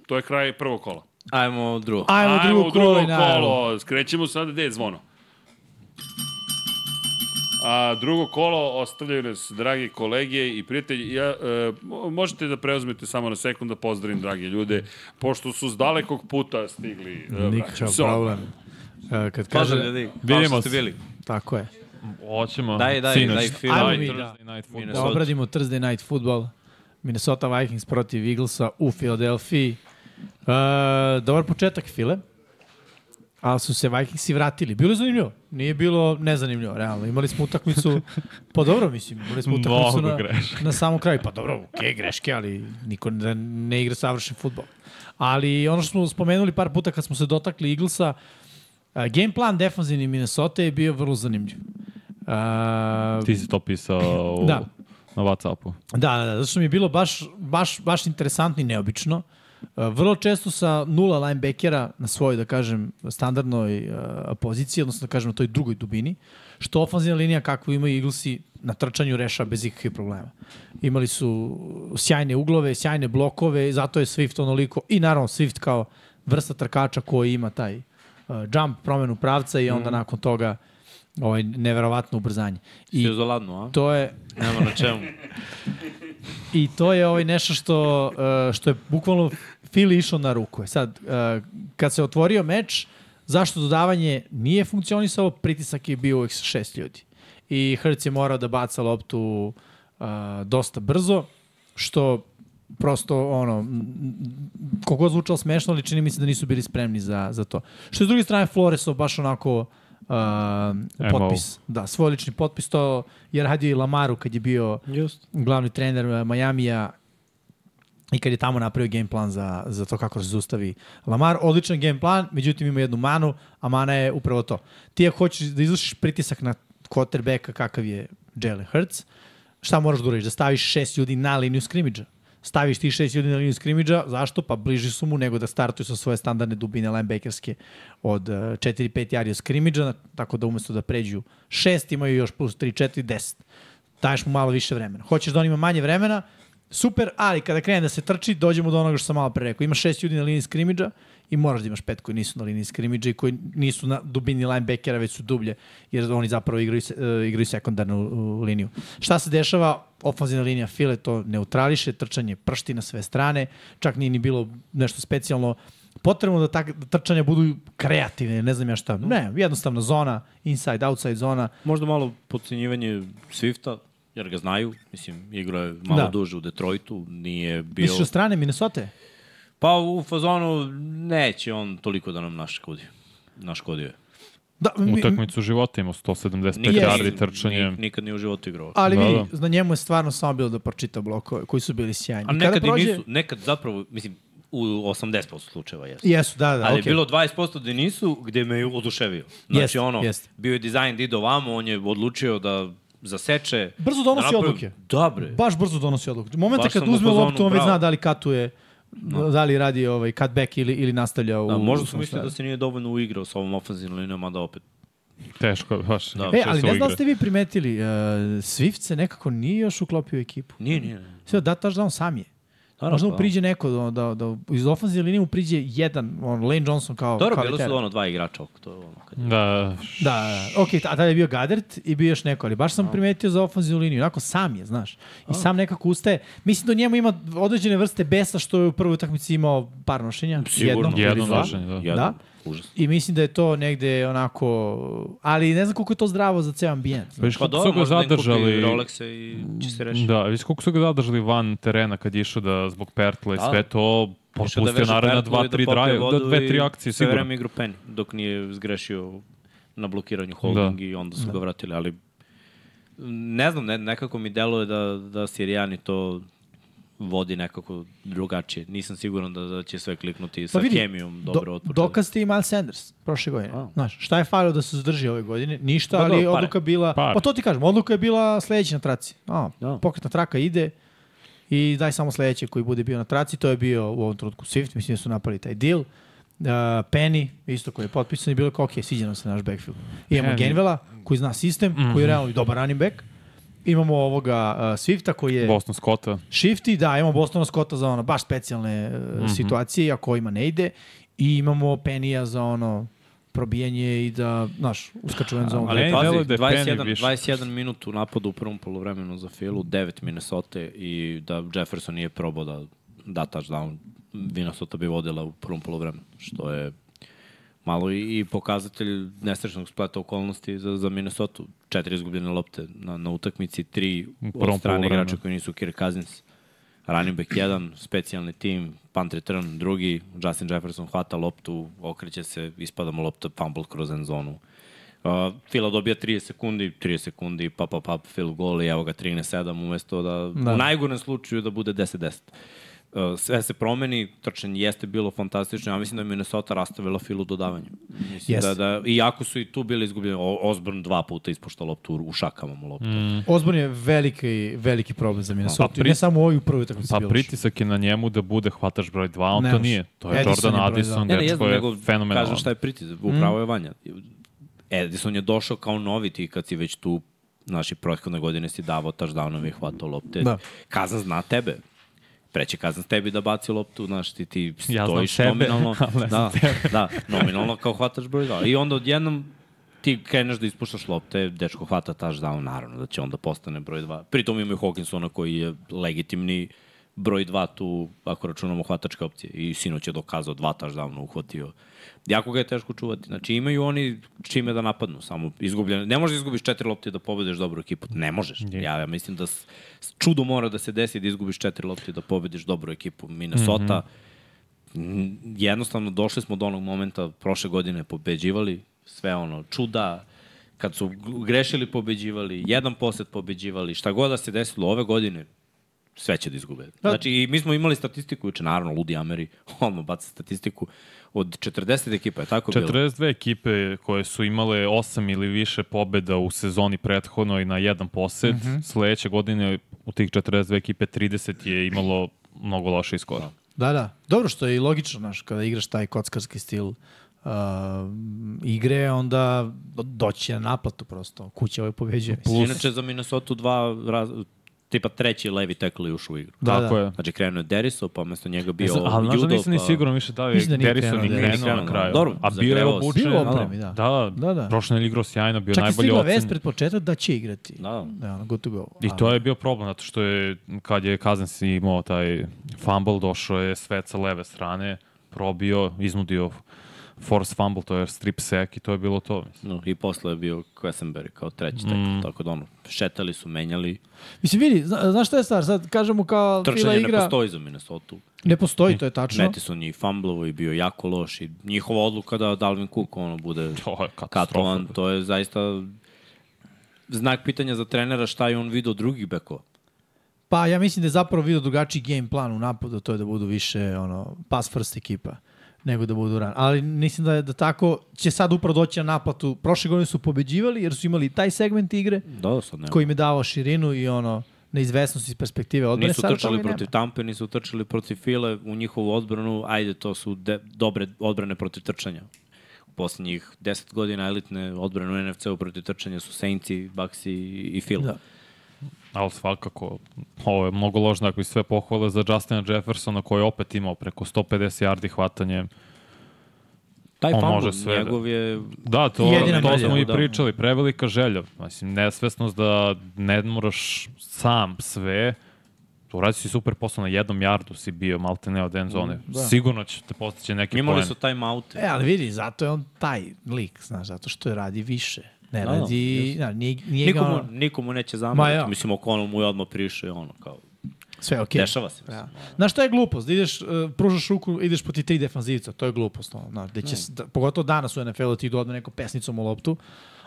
To je kraj prvog kola. Ajmo drugo. Ajmo, drugo, kolo. i najavu. Skrećemo sada gde je zvono. A drugo kolo ostavljaju nas, dragi kolege i prijatelji. Ja, e, mo- možete da preuzmete samo na sekund da pozdravim drage ljude, pošto su s dalekog puta stigli. e, Nikakav vraćam se odmah. problem. E, kad Pozdrav kaže, ljudi. Vidimo Vidimo se. se. Bili. Tako je. Hoćemo. Daj, daj, sinoć. daj, film. Ajmo Daj, mi, Thursday Night Football. Da Minnesota. obradimo Thursday Night Football. Minnesota Vikings protiv Eaglesa u Filadelfiji. E, dobar početak, File. Ali su se Vikingsi vratili. Bilo je zanimljivo. Nije bilo nezanimljivo, realno. Imali smo utakmicu, pa dobro mislim, imali smo utakmicu Mnogo na, grešaka. na samom kraju. Pa dobro, okej, greške, ali niko ne, ne igra savršen futbol. Ali ono što smo spomenuli par puta kad smo se dotakli Eaglesa, e, game plan defanzivni Minnesota je bio vrlo zanimljiv. E, Ti si to pisao u, Da. na Whatsappu. Da, da, da, zato što mi je bilo baš, baš, baš interesantno i neobično. E, Vrlo često sa nula linebackera na svojoj, da kažem, standardnoj e, poziciji, odnosno da kažem na toj drugoj dubini, što ofenzivna linija kakvu imaju Eaglesi na trčanju rešava bez ikakvih problema. Imali su sjajne uglove, sjajne blokove, zato je Swift onoliko, i naravno Swift kao vrsta trkača koji ima taj e, jump, promenu pravca i onda nakon toga ovaj, neverovatno ubrzanje. I Svi uzoladno, a? to je, Nema na čemu. I to je ovaj nešto što, uh, što je bukvalno Fili išao na ruku. E Sad, uh, kad se otvorio meč, zašto dodavanje nije funkcionisalo, pritisak je bio uvek sa šest ljudi. I Herc je morao da baca loptu uh, dosta brzo, što prosto ono, m, m, koliko god zvučalo smešno, ali čini mi se da nisu bili spremni za, za to. Što je s druge strane Floresov baš onako uh, potpis. Da, svoj lični potpis, to je radio i Lamaru kad je bio Just. glavni trener e, Majamija i kad je tamo napravio game plan za, za to kako se zustavi Lamar. Odličan game plan, međutim ima jednu manu, a mana je upravo to. Ti ako hoćeš da izvršiš pritisak na quarterbacka kakav je Jalen Hurts, šta moraš da uradiš? Da staviš šest ljudi na liniju skrimidža. Staviš ti šest ljudi na liniju skrimidža, zašto? Pa bliži su mu nego da startuju sa svoje standardne dubine linebackerske od e, 4-5 jari od skrimidža, tako da umesto da pređu šest, imaju još plus 3-4, 10 daješ mu malo više vremena. Hoćeš da on ima manje vremena, super, ali kada krene da se trči, dođemo do onoga što sam malo pre rekao. Imaš šest ljudi na liniji skrimidža i moraš da imaš pet koji nisu na liniji skrimidža i koji nisu na dubini linebackera, već su dublje, jer oni zapravo igraju, se- e, igraju sekundarnu u, liniju. Šta se dešava? Ofanzivna linija file to neutrališe, trčanje pršti na sve strane, čak nije ni bilo nešto specijalno potrebno da, tak, da trčanja budu kreativne, ne znam ja šta. Ne, jednostavna zona, inside, outside zona, Možda malo podcenjivanje Swifta, jer ga znaju. Mislim, igrao je malo Da. da. duže u Detroitu, nije bio... Misliš od strane Minnesota? Pa u fazonu neće on toliko da nam naškodi. Naškodio je. Da, mi- Utakmicu života imao 175 Nije- yardi trčanjem. Nik- Nikad nije u životu igrao. Ali Da, vidi, na njemu je stvarno samo bilo da pročita blokove koji su bili sjajni. A I nekad i nisu, nekad zapravo, mislim, u 80% slučajeva jesu. Jesu, da, da, Ali okej. okay. bilo 20% da nisu, gde me je oduševio. Znači, Jeste, ono, jeste. bio je dizajn da ide ovamo, on je odlučio da zaseče. da Brzo donosi napravi- Da, odluke. Dobre. Baš brzo donosi odluku. Momenta Baš kad sam u uzme fazonu, loptu, on već bravo. zna da li katuje, da li radi ovaj cutback ili, ili nastavlja u... Da, možda u su svom mislili da stavu. se nije dovoljno uigrao sa ovom ofenzivnom linijom, a da opet. Teško, je baš. Da. E, često ali ne znam igra. da ste vi primetili, uh, Swift se nekako nije još uklopio u ekipu. Nije, nije. nije. Sve da touchdown sam je. Naravno, Možda mu da. priđe neko, da, da, da iz ofenzije linije mu priđe jedan, on, Lane Johnson kao... Dobro, kao bilo veteran. su ono dva igrača oko to. je Ono, kad... Da, Da, ok, a tada je bio Gadert i bio još neko, ali baš sam primetio za ofenzivnu liniju, onako sam je, znaš. I sam nekako ustaje. Mislim da u njemu ima određene vrste besa što je u prvoj utakmici imao par nošenja. Sigurno. Jedno, jedno ili dva. nošenje, da. Jedan, Da. Užas. I mislim da je to negde onako... Ali ne znam koliko je to zdravo za ceo ambijent. znaš. Pa viš Pa koliko su dobro, ga možda im kupi zadržali... Rolexe i će se rešiti. Da, viš koliko su ga zadržali van terena kad je išao da zbog Pertla i Da. sve to Išao da popustio veže naredna Pertlu dva, i da tri popije drive, da vodu dve, i tri Sve akcije sigurno. vreme igrao Penny, dok nije zgrešio na blokiranju holding da. i onda su da. ga vratili, ali ne znam, ne, nekako mi deluje da, da Sirijani to vodi nekako drugačije. Nisam siguran da, da će sve kliknuti sa Pa vidi, hemijom dobro Do, otpočeli. dokaz ti i Miles Sanders prošle godine. A. Znaš, šta je falio da se zadrži ove godine? Ništa, Pa ali dobro, pare. odluka bila... Pare. Pa to ti kažem, odluka je bila sledeća na traci. A, Da. Pokretna traka ide i daj samo sledeće koji bude bio na traci. To je bio u ovom trenutku Swift, mislim da su napravili taj deal. Uh, Penny, isto koji je potpisan i bilo je kao, ok, sviđa nam se naš backfield. Imamo Penny. Genvela, koji zna sistem, koji Mhm. je realno i dobar running back. Imamo ovoga uh, Swifta koji je... Boston Scotta. Shifty, da, imamo Bostona Scotta za ono baš specijalne mm Mhm. -hmm. situacije, a kojima ne ide. I imamo Penija za ono probijanje i da, znaš, uskaču u end zonu. Ali Ali meni pazi, deluje da je Penny 21, više. 21 minut u napadu u prvom polovremenu za Filu, 9 Minnesota i da Jefferson nije probao da da touchdown, Minnesota bi vodila u prvom polovremenu, što je malo i, i pokazatelj nesrećnog spleta okolnosti za, za Minnesota. Četiri izgubljene lopte na, na utakmici, tri od prvom strane poluvremenu. igrača koji nisu Kirk Cousins. Running back 1, specijalni tim, punt return drugi, Justin Jefferson hvata loptu, okreće se, ispada mu lopta, fumble kroz end zonu. Uh, Fila dobija 30 sekundi, 30 sekundi, pa pa pa, Phil gol i evo ga 13-7 umesto da, da, u najgorem slučaju da bude 10-10. Uh, sve se promeni, trčanje jeste bilo fantastično, ja mislim da je Minnesota rastavila Filu dodavanju. Mislim Jeste. da, da, iako su i tu bili izgubljeni, O- Osborn dva puta ispošta loptu u, u šakama mu loptu. Mm. Osborn je veliki, veliki problem za Minnesota. Pa pri- Ne samo u ovoj u prvoj utakmici. Pa bilo loše. pritisak je na njemu da bude hvataš broj 2, on Ne to može. nije. To je Edison je Jordan broj dva. Addison, Ne, ne, dečko jezno, je nego fenomenalan. kažem šta je pritisak, upravo je Vanja. Edison je došao kao novi ti kad si već tu, naši prethodne godine si davao touchdownove i hvatao lopte. Da. Da. Kazan zna tebe. Preće kazan s tebi da baci loptu, znaš, ti, ti Ja znam stojiš tebe, nominalno. ali ne da, da, nominalno kao hvataš broj dva. I onda odjednom ti kreneš da ispuštaš lopte, dečko hvata touchdown, naravno da će onda postane broj 2. Pritom imaju Hawkinsona koji je legitimni broj 2 tu, ako računamo hvatačke opcije. I sinoć je dokazao dva touchdowna uhvatio. Jako ga je teško čuvati. Znači imaju oni čime da napadnu, samo izgubljene. Ne možeš da izgubiš četiri lopte i da pobediš dobru ekipu. Ne možeš. Ja, ja mislim da s, s- čudo mora da se desi da izgubiš četiri lopte i da pobediš dobru ekipu. Minnesota, mm -hmm jednostavno došli smo do onog momenta prošle godine pobeđivali sve ono čuda kad su g- grešili pobeđivali jedan posed pobeđivali šta god da se desilo ove godine sve će da izgube. Znači, i mi smo imali statistiku, juče, naravno, Ludi Ameri, ono, baca statistiku, od 40 ekipa, je tako bilo? 42 ekipe koje su imale 8 ili više pobeda u sezoni prethodnoj na jedan posed, mm Mhm. -hmm. sledeće godine u tih 42 ekipe 30 je imalo mnogo loše iskora. Da, da. Dobro što je i logično, znaš, kada igraš taj kockarski stil uh, igre, onda do- doći na naplatu prosto. Kuća ovaj pobeđuje. mislim. Inače, za Minnesota dva, raz, tipa treći levi tekli ušao u igru. Da, Tako da. je. Znači, krenuo je Deriso, pa umesto njega bio Mislim, ali znaš da Judo, nisam ni pa- siguran više da je Mislim da nije Garrison i krenuo, da. krenuo na Nije kraju. krenuo, dobro, A bio je zagrevao se. obučen. Bio u opremi, da. Da, Da, da. Prošle nedelje igrao sjajno, bio Čak je najbolji stigla ocen. vest pred početak da će igrati. Da. Da, ono, good to go. I to je bio problem, zato što je, kad je Kazans imao taj fumble, došao je svet sa leve strane, probio, iznudio force fumble, to je strip sack i to je bilo to. mislim. No, i posle je bio Quessenberry kao treći tekl, mm. tako da ono, šetali su, menjali. Mislim, vidi, zna, znaš šta je stvar? Sad kažemo kao Fila Trčanje igra... ne postoji za Minnesota. Ne postoji, to je tačno. Metison je i fumblovo i bio jako loš i njihova odluka da Dalvin Cook ono bude To je katastrofa. katovan, to je zaista znak pitanja za trenera šta je on video od drugih bekova. Pa ja mislim da je zapravo vidio drugačiji game plan u napadu, to je da budu više ono, pass first ekipa nego da budu ran. Ali mislim da je da tako će sad upravo doći na naplatu. Prošle godine su pobeđivali jer su imali taj segment igre Da, sad nema. koji im je davao širinu i ono neizvesnost iz perspektive odbrane. Nisu Sada trčali toga nema. protiv Tampe, nisu trčali protiv File u njihovu odbranu. Ajde, to su de, dobre odbrane protiv trčanja. U poslednjih 10 godina elitne odbrane u NFC-u protiv trčanja su Saintsi, Baxi i Fila. Da. Da. Ali svakako, ovo je mnogo ložno, ako i sve pohvale za Justina Jeffersona, koji je opet imao preko 150 yardi hvatanje. Taj On fumble može sve da- njegov je Da, to, Jedina to želja, smo i da. pričali, prevelika želja. Mislim, nesvesnost da ne moraš sam sve, uradio si super posao na jednom jardu si bio, malte ne od end zone. Da. Sigurno će te postići neki Imali poen. su time out. E, ali vidi, zato je on taj lik, znaš, zato što radi više. Ne Da, radi, da, nije, nije ga Nikomu, ono, nikomu neće Ma zameriti. ja. Mislim, O'Connell mu je odmah prišao i ono, kao, sve okej. okay. dešava se. Mislim. Da. Znaš šta je glupost? Da ideš, uh, pružaš ruku, ideš po ti tri defanzivca. To je glupost. Ono, znaš, da će, Mm. s- da, pogotovo danas u NFL-u ti idu odme neko pesnicom u loptu.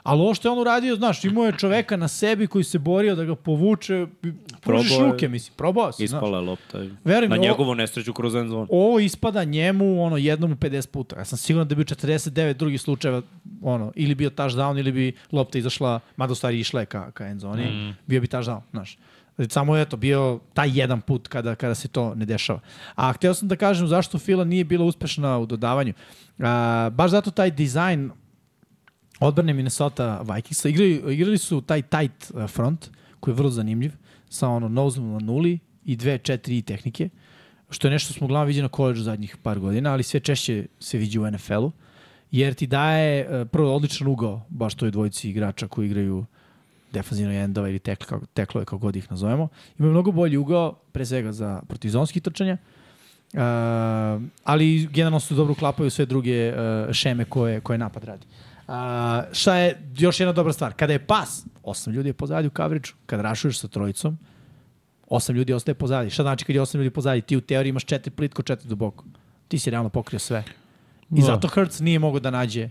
Ali ovo što je on uradio, znaš, imao je čoveka na sebi koji se borio da ga povuče. i Pružiš Probao je. ruke, mislim. Probao si, znaš. Ispala je lopta. Verujem, na ovo- njegovu nesreću kroz end zone. Ovo ispada njemu ono jednom u 50 puta. Ja sam siguran da bi u 49 drugih slučajeva ono ili bio touchdown ili bi lopta izašla, mada u stvari išla je ka ka endzoni, mm. bio bi touchdown, znaš. Samo je to bio taj jedan put kada kada se to ne dešava. A hteo sam da kažem zašto Fila nije bila uspešna u dodavanju. A, baš zato taj dizajn odbrane Minnesota Vikingsa. Igrali, igrali su taj tight uh, front, koji je vrlo zanimljiv, sa ono nozom na nuli i dve, četiri i tehnike, što je nešto smo uglavnom viđeno na koleđu zadnjih par godina, ali sve češće se vidi u NFL-u, jer ti daje uh, prvo odličan ugao baš toj dvojici igrača koji igraju defanzivno endova ili tekl, kako, teklove, kako god ih nazovemo. Ima mnogo bolji ugao, pre svega za protizonski trčanja, Uh, ali generalno su dobro uklapaju sve druge uh, šeme koje, koje napad radi. Uh, šta je još jedna dobra stvar? Kada je pas, osam ljudi je pozadi u kavriču. Kad rašuješ sa trojicom, osam ljudi ostaje pozadi. Šta znači kad je osam ljudi pozadi? Ti u teoriji imaš četiri plitko, četiri duboko. Ti si realno pokrio sve. I Da. zato Hertz nije mogao da nađe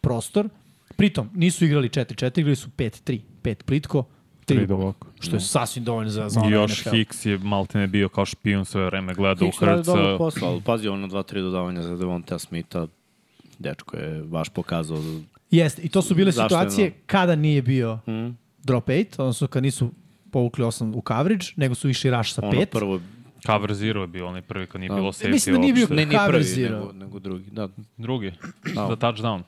prostor. Pritom, nisu igrali 4-4, igrali su 5-3. 5 plitko, 3 Tri duboko. duboko. Da. Što je sasvim dovoljno za, za I ono još NFL. Hicks je maltene bio kao špijun sve vreme, gledao u Hicks radi dobro Hrca. posao, ali pazi, ono dva, tri dodavanja za Devonta Smitha, dečko je baš pokazao da Jeste, i to su bile Zašto je Hmm. situacije no? kada nije bio drop 8, odnosno kad nisu povukli 8 u coverage, nego su išli rush sa 5. ono prvo... Cover zero je bio onaj prvi kad nije bilo safety mislim da nije bio- uopšte. Ne, ni prvi, zero. nego, nego drugi. Da, Drugi, za touchdown.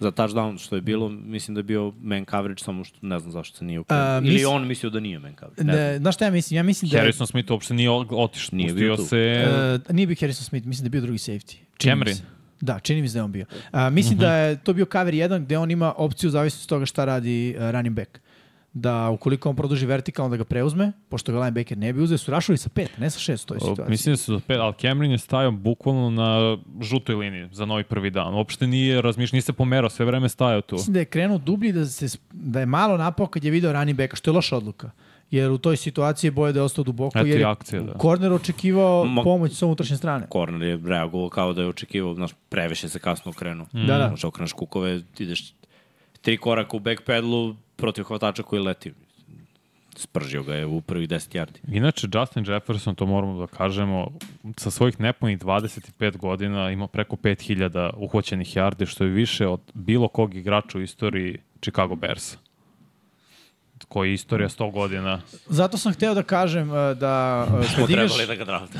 za touchdown što je bilo, mislim da je bio man coverage, samo što ne znam zašto se nije A, uključio. Ili mislim- on mislio da nije man coverage. Ne, znam. Ne, znaš šta ja mislim? Ja mislim da je, Harrison Smith uopšte nije o- otišao, Nije nije bio pustio tu. E, se... uh, nije bio Harrison Smith, mislim da je bio drugi safety. Čini mi Cameron? Mhm. se. Da, čini mi se da je on bio. A, mislim da je to bio cover 1 gde on ima opciju zavisno od toga šta radi uh, running back. Da ukoliko on produži vertikalno da ga preuzme, pošto ga linebacker ne bi uzeo, su rašili sa 5, ne sa 6 u toj O, situaciji. Mislim da su do pet, ali Cameron je stajao bukvalno na žutoj liniji za novi prvi dan. Uopšte nije razmišljao, nije se pomerao, sve vreme stajao tu. Mislim da je krenuo dublji, da, se, sp- da je malo napao kad je video running backa, što je loša odluka. Jer u toj situaciji boje da je ostao duboko, Eto jer i je akcija, da. korner očekivao Ma- pomoć sa unutrašnje strane. Korner je reagovao kao da je očekivao, znaš, previše se kasno okrenuo. Da, da. Znaš, okreneš kukove, ideš tri koraka u backpedalu protiv hvatača koji leti. Spržio ga je u prvih 10 yardi. Inače, Justin Jefferson, to moramo da kažemo, sa svojih nepunih 25 godina ima preko 5000 uhvaćenih jardi, što je više od bilo kog igrača u istoriji Chicago Bearsa koji je istorija 100 godina. Zato sam hteo da kažem e, da e, kad igraš, Trebali da ga drafta.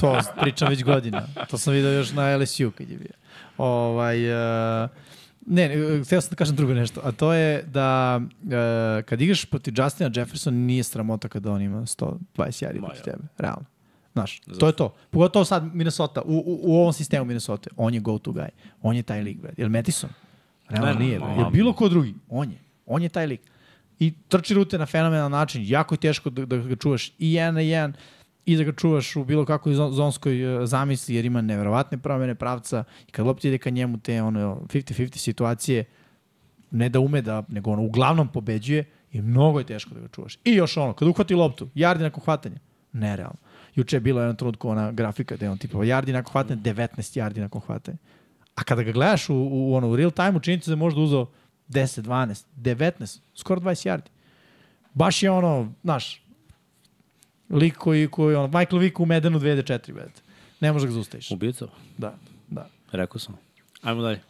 to pričam već godina, to sam video još na LSU kad je bio. Ovaj, e, ne, ne, e, hteo sam da kažem drugo nešto, a to je da e, kad igraš protiv Justina Jefferson nije sramota kada on ima 120 yardi Ma, protiv ja. tebe, realno. Znaš, to je to. Pogotovo sad Minnesota, u, u, u ovom sistemu Minnesota, on je go to guy, on je taj lik, brad. Jel Metison? Realno Ne, nije, ma, brad. Jel bilo ko drugi? On je. On je taj lik. I trči rute na fenomenal način, jako je teško da, da ga čuvaš i jedan na jedan, i da ga čuvaš u bilo kakvoj zon- zonskoj e, zamisli, jer ima neverovatne promene pravca i kad lopta ide ka njemu te ono 50-50 situacije, ne da ume da, nego ono, uglavnom pobeđuje i mnogo je teško da ga čuvaš. I još ono, kad uhvati loptu, jardi nakon hvatanja, nerealno. Juče je bilo jedan trenutku ona grafika gde je on tipa jardi nakon hvatanja, 19 jardi nakon hvatanja. A kada ga gledaš u, u, ono, u real time, čini ti se da je možda uzeo 10, 12, 19, skoro 20 jardi. Baš je ono, znaš, lik koji, koji ono, Michael Vick u Medenu 2004, vedete. Ne može ga zaustaviš. Ubica, Da, da. rekao sam. Ajmo dalje.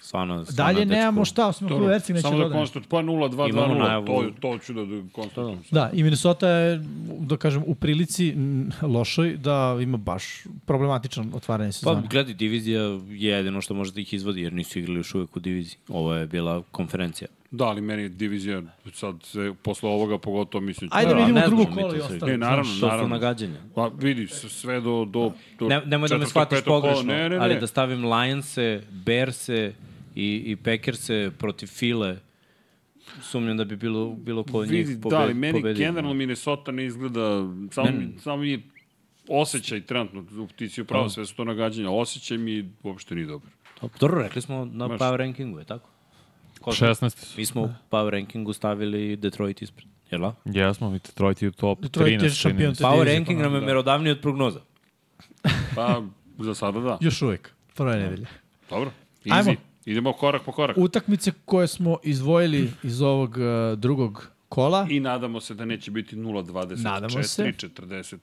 Stvarno, stvarno Dalje je dečko- nemamo šta, osim ako Ercik neće Samo da dodati. konstatujem, pa 0-2, Imamo 2-0, najavu. to, to ću da da konstatujem. Da, i Minnesota je, da kažem, u prilici m, lošoj da ima baš problematičan otvaranje Pa sezone. gledaj, divizija je jedino što može da ih izvodi, jer nisu igrali još uvek u diviziji. Ovo je bila konferencija. Da, ali meni je divizija sad se, posle ovoga pogotovo mislim... Ajde Da, vidimo ne drugo znamo mi kolo to i sve. ostalo. Ne, naravno, Što su naravno. nagađanja? Pa vidi, s- sve do... do, do Ne, nemoj da me četvrtog, shvatiš petog kola. pogrešno, Ne, ne, ne. ali da stavim Lions-e, Bears-e i, i Packers-e protiv File, sumnjam da bi bilo, bilo ko od njih vidi, pobe- da, ali meni pobedio. generalno Minnesota ne izgleda, samo, mi, samo mi je osjećaj trenutno, u- ti si upravo sve su to nagađanja, osjećaj mi uopšte nije dobar. Dobro, Pa, Dobro, rekli smo na Baš. power rankingu, je tako? Ko zna? 16. su. Mi smo u power rankingu stavili Detroit ispred, jel da? Jesmo, mi Detroit je u top 13. Detroit je pa da. šampion čini mi se. te divizije, Power ranking nam je merodavniji od prognoza. Pa, za sada da. Još uvek, prve nedelje. Dobro, easy. Ajmo. Idemo korak po korak. Utakmice koje smo izdvojili iz ovog e, drugog kola, I nadamo se da neće biti Nadamo se. 0-24,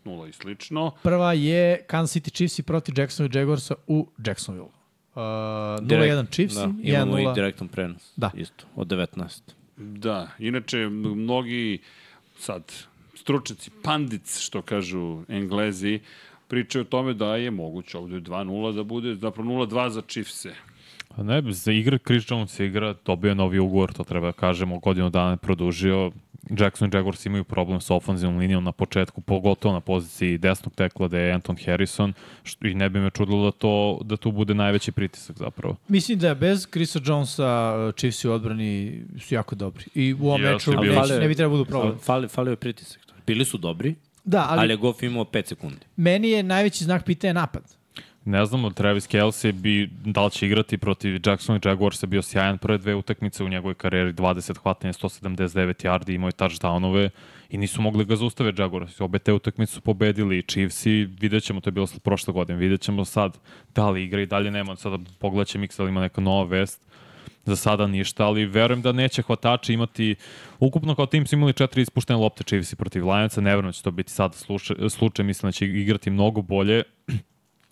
40-0 i slično. prva je Kansas City Chiefs i protiv Jacksonville Jaguarsa u Jacksonville. Uh, 0-1 Chiefs, da, da, imamo i 1-0. direktan prenos, Da. isto, od 19. Da, inače, m- mnogi sad stručnici, pandic, što kažu englezi, pričaju o tome da je moguće ovde 2-0 da bude, zapravo 0-2 za Chiefse. Pa ne, za igra Chris Jones igra, dobio je novi ugovor, to treba da kažemo, godinu dana je produžio. Jackson i Jaguars imaju problem sa ofenzivnom linijom na početku, pogotovo na poziciji desnog tekla da je Anton Harrison što, i ne bi me čudilo da, to, da tu bude najveći pritisak zapravo. Mislim da je bez Chrisa Jonesa e, Chiefs u odbrani su jako dobri. I u ovom Jeste meču bili neće- su. ne bi trebalo da budu problem. Fali, falio je pritisak. Bili su dobri, Da, ali, ali, je Goff imao 5 sekundi. meni je najveći znak pitanja napad. Ne znam, Travis Kelsey bi, da li će igrati protiv Jackson i Jaguars je bio sjajan prve dve utakmice u njegovoj karijeri, 20 hvatanja, 179 yardi, imao je touchdownove i nisu mogli ga zaustave Jaguars. Obe te utakmice su pobedili i Chiefs i vidjet ćemo, to je bilo sl- prošle godine, vidjet ćemo sad da li igra i dalje nema, sada pogledat će Mix, ali ima neka nova vest. Za sada ništa, ali verujem da neće hvatači imati, ukupno kao tim su imali četiri ispuštene lopte Chiefs protiv Lionaca, ne verujem da će to biti sada slučaj, slučaj, mislim da će igrati mnogo bolje,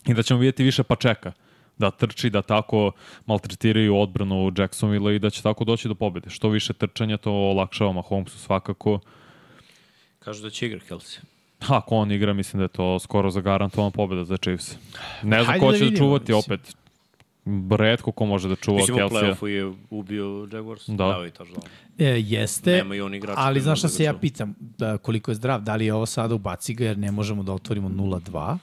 i da ćemo vidjeti više Pačeka da trči, da tako maltretiraju odbranu Jacksonville i da će tako doći do pobjede. Što više trčanja, to olakšava Mahomesu svakako. Kažu da će igra Kelsey. Ha, Ako on igra, mislim da je to skoro zagarantovana pobjeda za Chiefs. Ne znam Hajde ko da će da vidimo, čuvati mislim. opet. Redko ko može da čuva Mislim, u Kelsija. play-offu je ubio Jaguars. Da. Dao i touchdown. E, jeste, Nema i on igrača ali koji znaš šta može da se ja čuva. pitam, da, koliko je zdrav, da li je ovo sada ubaci ga jer ne možemo da otvorimo 0-2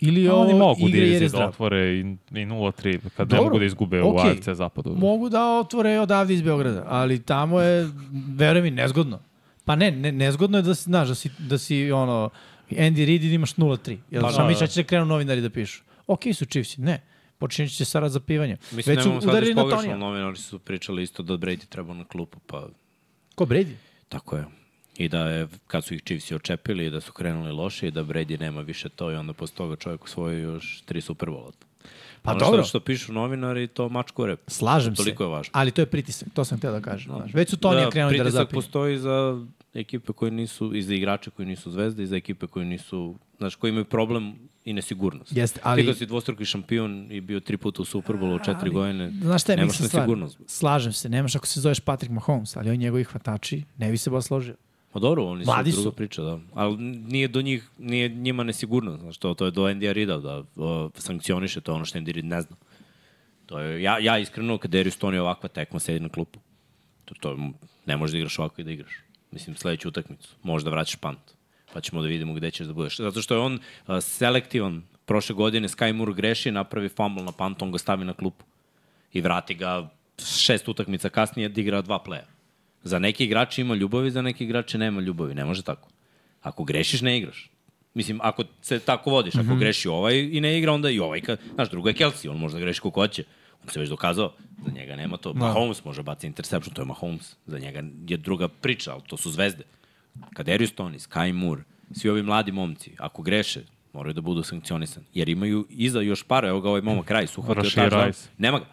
ili je Da, Oni ovo mogu igra jer je diviziju da zdrav. otvore i, i 0-3, kad ne Dobro, mogu da izgube u okej. AFC zapadu. Mogu da otvore odavde iz Beograda, ali tamo je, verujem mi, nezgodno. Pa ne, ne nezgodno je da si, znaš, da si, da si ono, Andy Reid i da imaš 0-3. Jel, pa, šta da, mi da. će da krenu novinari da pišu? Ok su Chiefsi, ne. Počinit će Sara za pivanje. Mislim, Već Već su nemamo sad udarili još na pogrešno, Tonija. novinari su pričali isto da Brady treba na klupu, pa Ko Brady? tako je. I da je, kad su ih Chiefs očepili i da su krenuli loše i da Brady nema više to i onda posle toga čovjek osvojio još tri Superbola. Pa ono dobro. Što, što pišu novinari, to mačku rep. Slažem se. Toliko je važno. Ali to je pritisak, to sam htio da kažem. Znaš, već su Tonija krenuli da Pritisak razapinju. postoji za ekipe koje nisu, i za igrače koji nisu zvezde, i za ekipe koji nisu, znaš, koji imaju problem i nesigurnost. Jeste, Ali... ali- Ti kad si dvostruki šampion i bio tri puta u Superbolu u četiri godine, Znaš šta je, nemaš mislim stvar, nesigurnost. slažem se, nemaš ako se zoveš Patrick Mahomes, ali on njegovih hvatači, ne bi se baš složio. Ma dobro, oni su Mladi druga su. priča, da. Ali nije do njih, nije njima nesigurno, znaš, to, to je do Andy Rida da o, sankcioniše, to je ono što Andy Reid ne zna. To je, ja, ja iskreno, kad Darius Tony ovakva tekma sedi na klupu, to, to je- ne možeš da igraš ovako i da igraš. Mislim, sledeću utakmicu, možda vraćaš pant, pa ćemo da vidimo gde ćeš da budeš. Zato što je on a, selektivan, prošle godine Sky Moore greši, napravi fumble na pant, on ga stavi na klupu i vrati ga šest utakmica kasnije da igra dva pleja. Za neki igrači ima ljubavi, za neki igrače nema ljubavi. Ne može tako. Ako grešiš, ne igraš. Mislim, ako se tako vodiš, ako greši ovaj i ne igra, onda i ovaj. Ka, znaš, drugo je Kelsey, on može da greši kako hoće. On se već dokazao, za njega nema to. Mahomes može baciti interception, to je Mahomes. Za njega je druga priča, ali to su zvezde. Kaderius Tony, Sky Moore, svi ovi mladi momci, ako greše, moraju da budu sankcionisani. Jer imaju iza još par, evo ga ovaj momak Rajs, uhvatio Rashee touchdown. Rice. Nema ga.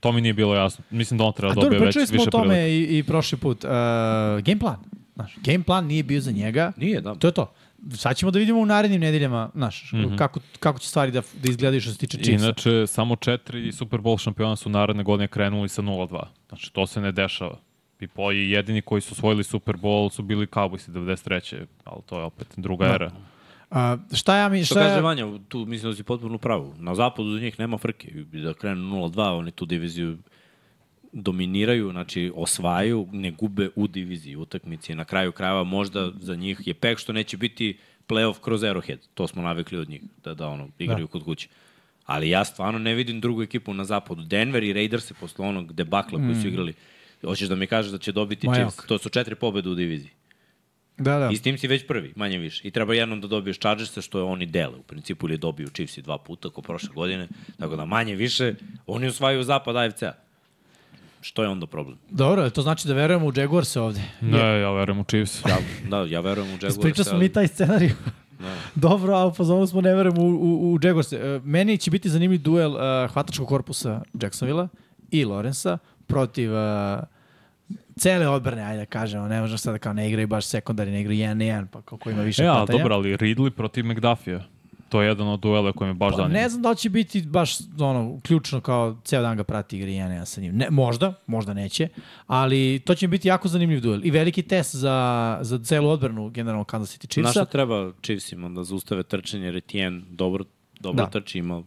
To mi nije bilo jasno. Mislim da on treba A Pa dobije dobro, već pričali više smo o prilike. tome i, i prošli put. Uh, game plan. Znaš, game plan nije bio za njega. Nije, da. To je to. Sad ćemo da vidimo u narednim nedeljama, znaš, mm -hmm. kako, kako će stvari da, da izgledaju što se tiče Chiefsa. Mhm. Inače, samo četiri Super Bowl šampiona su naredne godine krenuli sa 0-2. Znači, to se ne dešava. I po i jedini koji su osvojili Super Bowl su bili Cowboysi 93. Ali to je opet druga Da. era. A, šta ja mi, Što šta kaže ja, Vanja, tu mislim da si potpuno u pravu. Na zapadu za njih nema frke. I Da krenu 0-2, oni tu diviziju dominiraju, znači osvajaju, ne gube u diviziji utakmici. Na kraju krajeva možda za njih je pek što neće biti playoff kroz Arrowhead. To smo navikli od njih, da, da ono, igraju kod kuće. Ali ja stvarno ne vidim drugu ekipu na zapadu. Denver i Raiders se posle onog debakla koji su igrali. Hoćeš da mi kažeš da će dobiti Ma Chiefs? jak. To su četiri pobede u diviziji. da, da. I s tim si već prvi, manje više. I treba jednom da dobiješ Chargersa, što je oni dele u principu, ili dobiju Chiefsi dva puta, ko prošle godine. Tako da manje više, oni osvajaju zapad AFC-a. Što je onda problem? Dobro, to znači da verujemo u Jaguars ovde. Ne, ja verujem u Chiefs. Ja, da, ja verujem u Jaguars. Ispričao da smo mi taj scenarij. Dobro, a u fazonu smo ne verujem u, u, u Jaguars. E, Meni će biti zanimljiv duel uh, hvatačkog korpusa Jacksonvilla i Lorenza protiv uh, cele odbrane, ajde da kažemo, ne možemo sada kao ne igraju baš sekundari, ne igraju jedan na jedan, pa kako ima više E, ali hvatanja. dobro, ali Ridley protiv McDuffie. To je jedan od duela koji me baš Pa zanima. ne znam da li će biti baš ono, ključno kao ceo dan ga prati igra i ja nema sa njim. Ne, možda, možda neće, ali to će biti jako zanimljiv duel i veliki test za, za celu odbranu generalno Kansas City Chiefsa. Chiefsa. treba Chiefsima da zaustave trčanje, Retijen dobro, dobro Da. da. trči, ima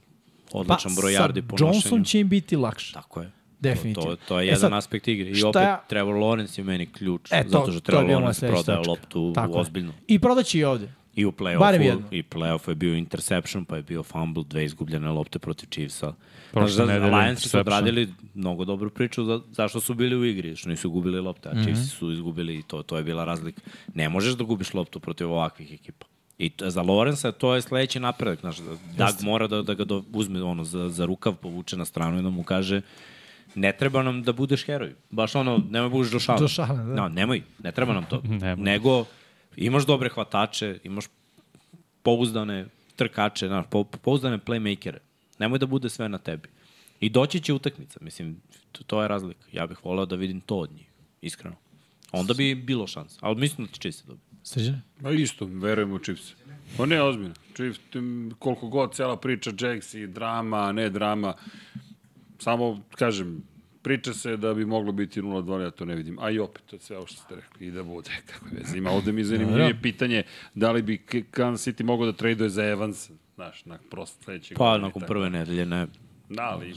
odličan Pa, sa broj yardi po Johnson nošenju. će im biti lakše. Tako je. Definitivno. To, to, to je E jedan sad, aspekt igre. I šta opet ja- Trevor Lawrence je meni ključ, E, to, zato što to je Trevor bio moja Lawrence sledeća prodaje tačka. loptu Tako je. ozbiljno. I prodaće i ovde. I u Barem play-offu, jednu. i play-offu je bio interception, pa je bio fumble, dve izgubljene lopte protiv Chiefsa. Prošle Prošle nedelje nedelje Lions su interception. odradili mnogo dobru priču za, zašto su bili u igri, što nisu gubili Mhm. lopte, a Chiefs su izgubili i to, to je bila razlika. Ne možeš da gubiš loptu protiv ovakvih ekipa. I to, za Lorenza to je sledeći napredak. Znaš, da- Dag mora da, da ga do, uzme ono, za, za rukav, povuče na stranu i da mu kaže ne treba nam da budeš heroj. Baš ono, nemoj budeš do šala. Do šala, da. No, nemoj, ne treba nam to. Nemoj. Nego, imaš dobre hvatače, imaš pouzdane trkače, znaš, pou, pouzdane playmakere. Nemoj da bude sve na tebi. I doći će utakmica, mislim, to, to je razlika. Ja bih volao da vidim to od njih, iskreno. Onda bi bilo šans, ali mislim da će čiste dobiti. Srđane? Ma isto, verujem u Chiefs. Pa ne, ozbiljno. Chiefs, tim, koliko god cela priča, Jax i drama, ne drama, samo, kažem, priča se da bi moglo biti 0-2, ja to ne vidim. A i opet, to je sve ovo što ste rekli, i da bude, kako je veze. Ima ovde mi zanimljivije pitanje, da li bi K- Kansas City mogao da traduje za Evans, znaš, na prosto sledećeg. Pa, nakon prve nedelje, ne. Da, ali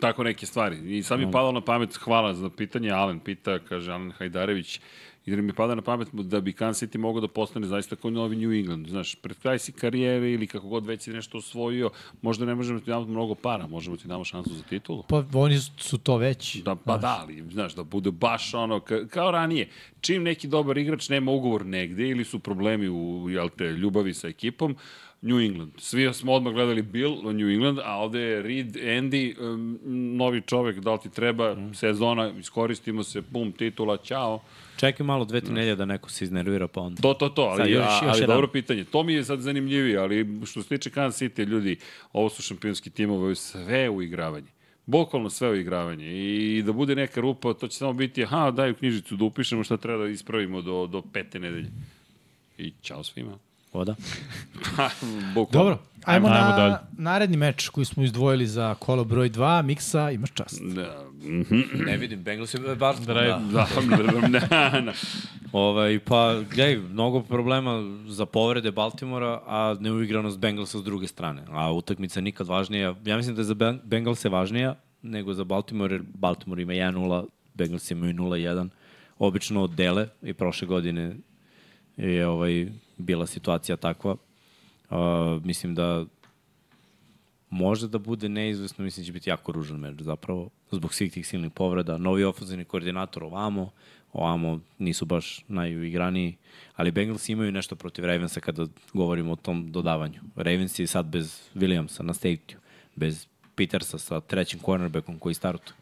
tako neke stvari. I sad mi je padalo na pamet, hvala za pitanje, Alen pita, kaže Alen Hajdarević, i da mi pada na pamet da bi Kansas City mogao da postane zaista kao novi New England. Znaš, pred kraj si karijere ili kako god već si nešto osvojio, možda ne možemo ti damo mnogo para, možemo ti damo šansu za titulu. Pa oni su to već. Da, pa da, ali, znaš, da bude baš ono, ka, kao ranije, čim neki dobar igrač nema ugovor negde ili su problemi u, jel te, ljubavi sa ekipom, New England. Svi smo odmah gledali Bill, New England, a ovde je Reed, Andy, um, novi čovek, da li ti treba, sezona, iskoristimo se, bum, titula, čao. Čekaj malo dve, tri nedelje da neko se iznervira, pa onda. To, to, to, ali, Sad još- a, još ali jedan. dobro pitanje. To mi je sad zanimljivije, ali što se tiče Kansas City, ljudi, ovo su šampionski timovi, ovo je sve uigravanje. Bukvalno sve uigravanje. I da bude neka rupa, to će samo biti, aha, daj u knjižicu da upišemo šta treba da ispravimo do, do pete nedelje. I čao svima. Voda. Ha, bukvalno. Dobro, ajmo, Ajmo na dalje. naredni meč koji smo izdvojili za kolo broj 2, Miksa, imaš čast. Da, Ne vidim, Bengals je bar... Da. da, da, da. Ovaj, pa, gledaj, mnogo problema za povrede Baltimora, a neuigranost Bengalsa s druge strane. A utakmica nikad važnija. Ja mislim da je za Ben- Bengalse važnija nego za Baltimore, jer Baltimore ima 1-0, Bengals imaju 0-1. Obično dele i prošle godine je ovaj, bila situacija takva. Uh, mislim da može da bude neizvesno, mislim će biti jako ružan meč zapravo, zbog svih tih silnih povreda. Novi ofenzivni koordinator ovamo, ovamo nisu baš najuigraniji, ali Bengals imaju nešto protiv Ravensa kada govorimo o tom dodavanju. Ravens je sad bez Williamsa na safety bez Petersa sa trećim cornerbackom koji startuje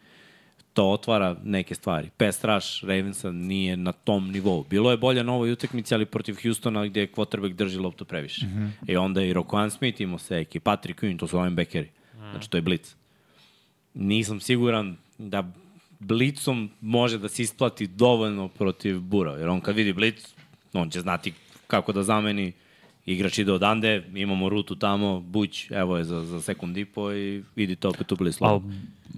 to otvara neke stvari. Pass rush Ravensa nije na tom nivou. Bilo je bolje na ovoj utakmici, ali protiv Houstona gde je quarterback drži loptu previše. Mm -hmm. I onda i Rokoan Smith imao seki, Patrick Quinn, to su linebackeri. Znači, to je blic. Nisam siguran da blicom može da se isplati dovoljno protiv Bura, jer on kad vidi blic, on će znati kako da zameni igrač ide odande, imamo rutu tamo, buć, evo je za, za sekund i po i vidite opet u blic. Al,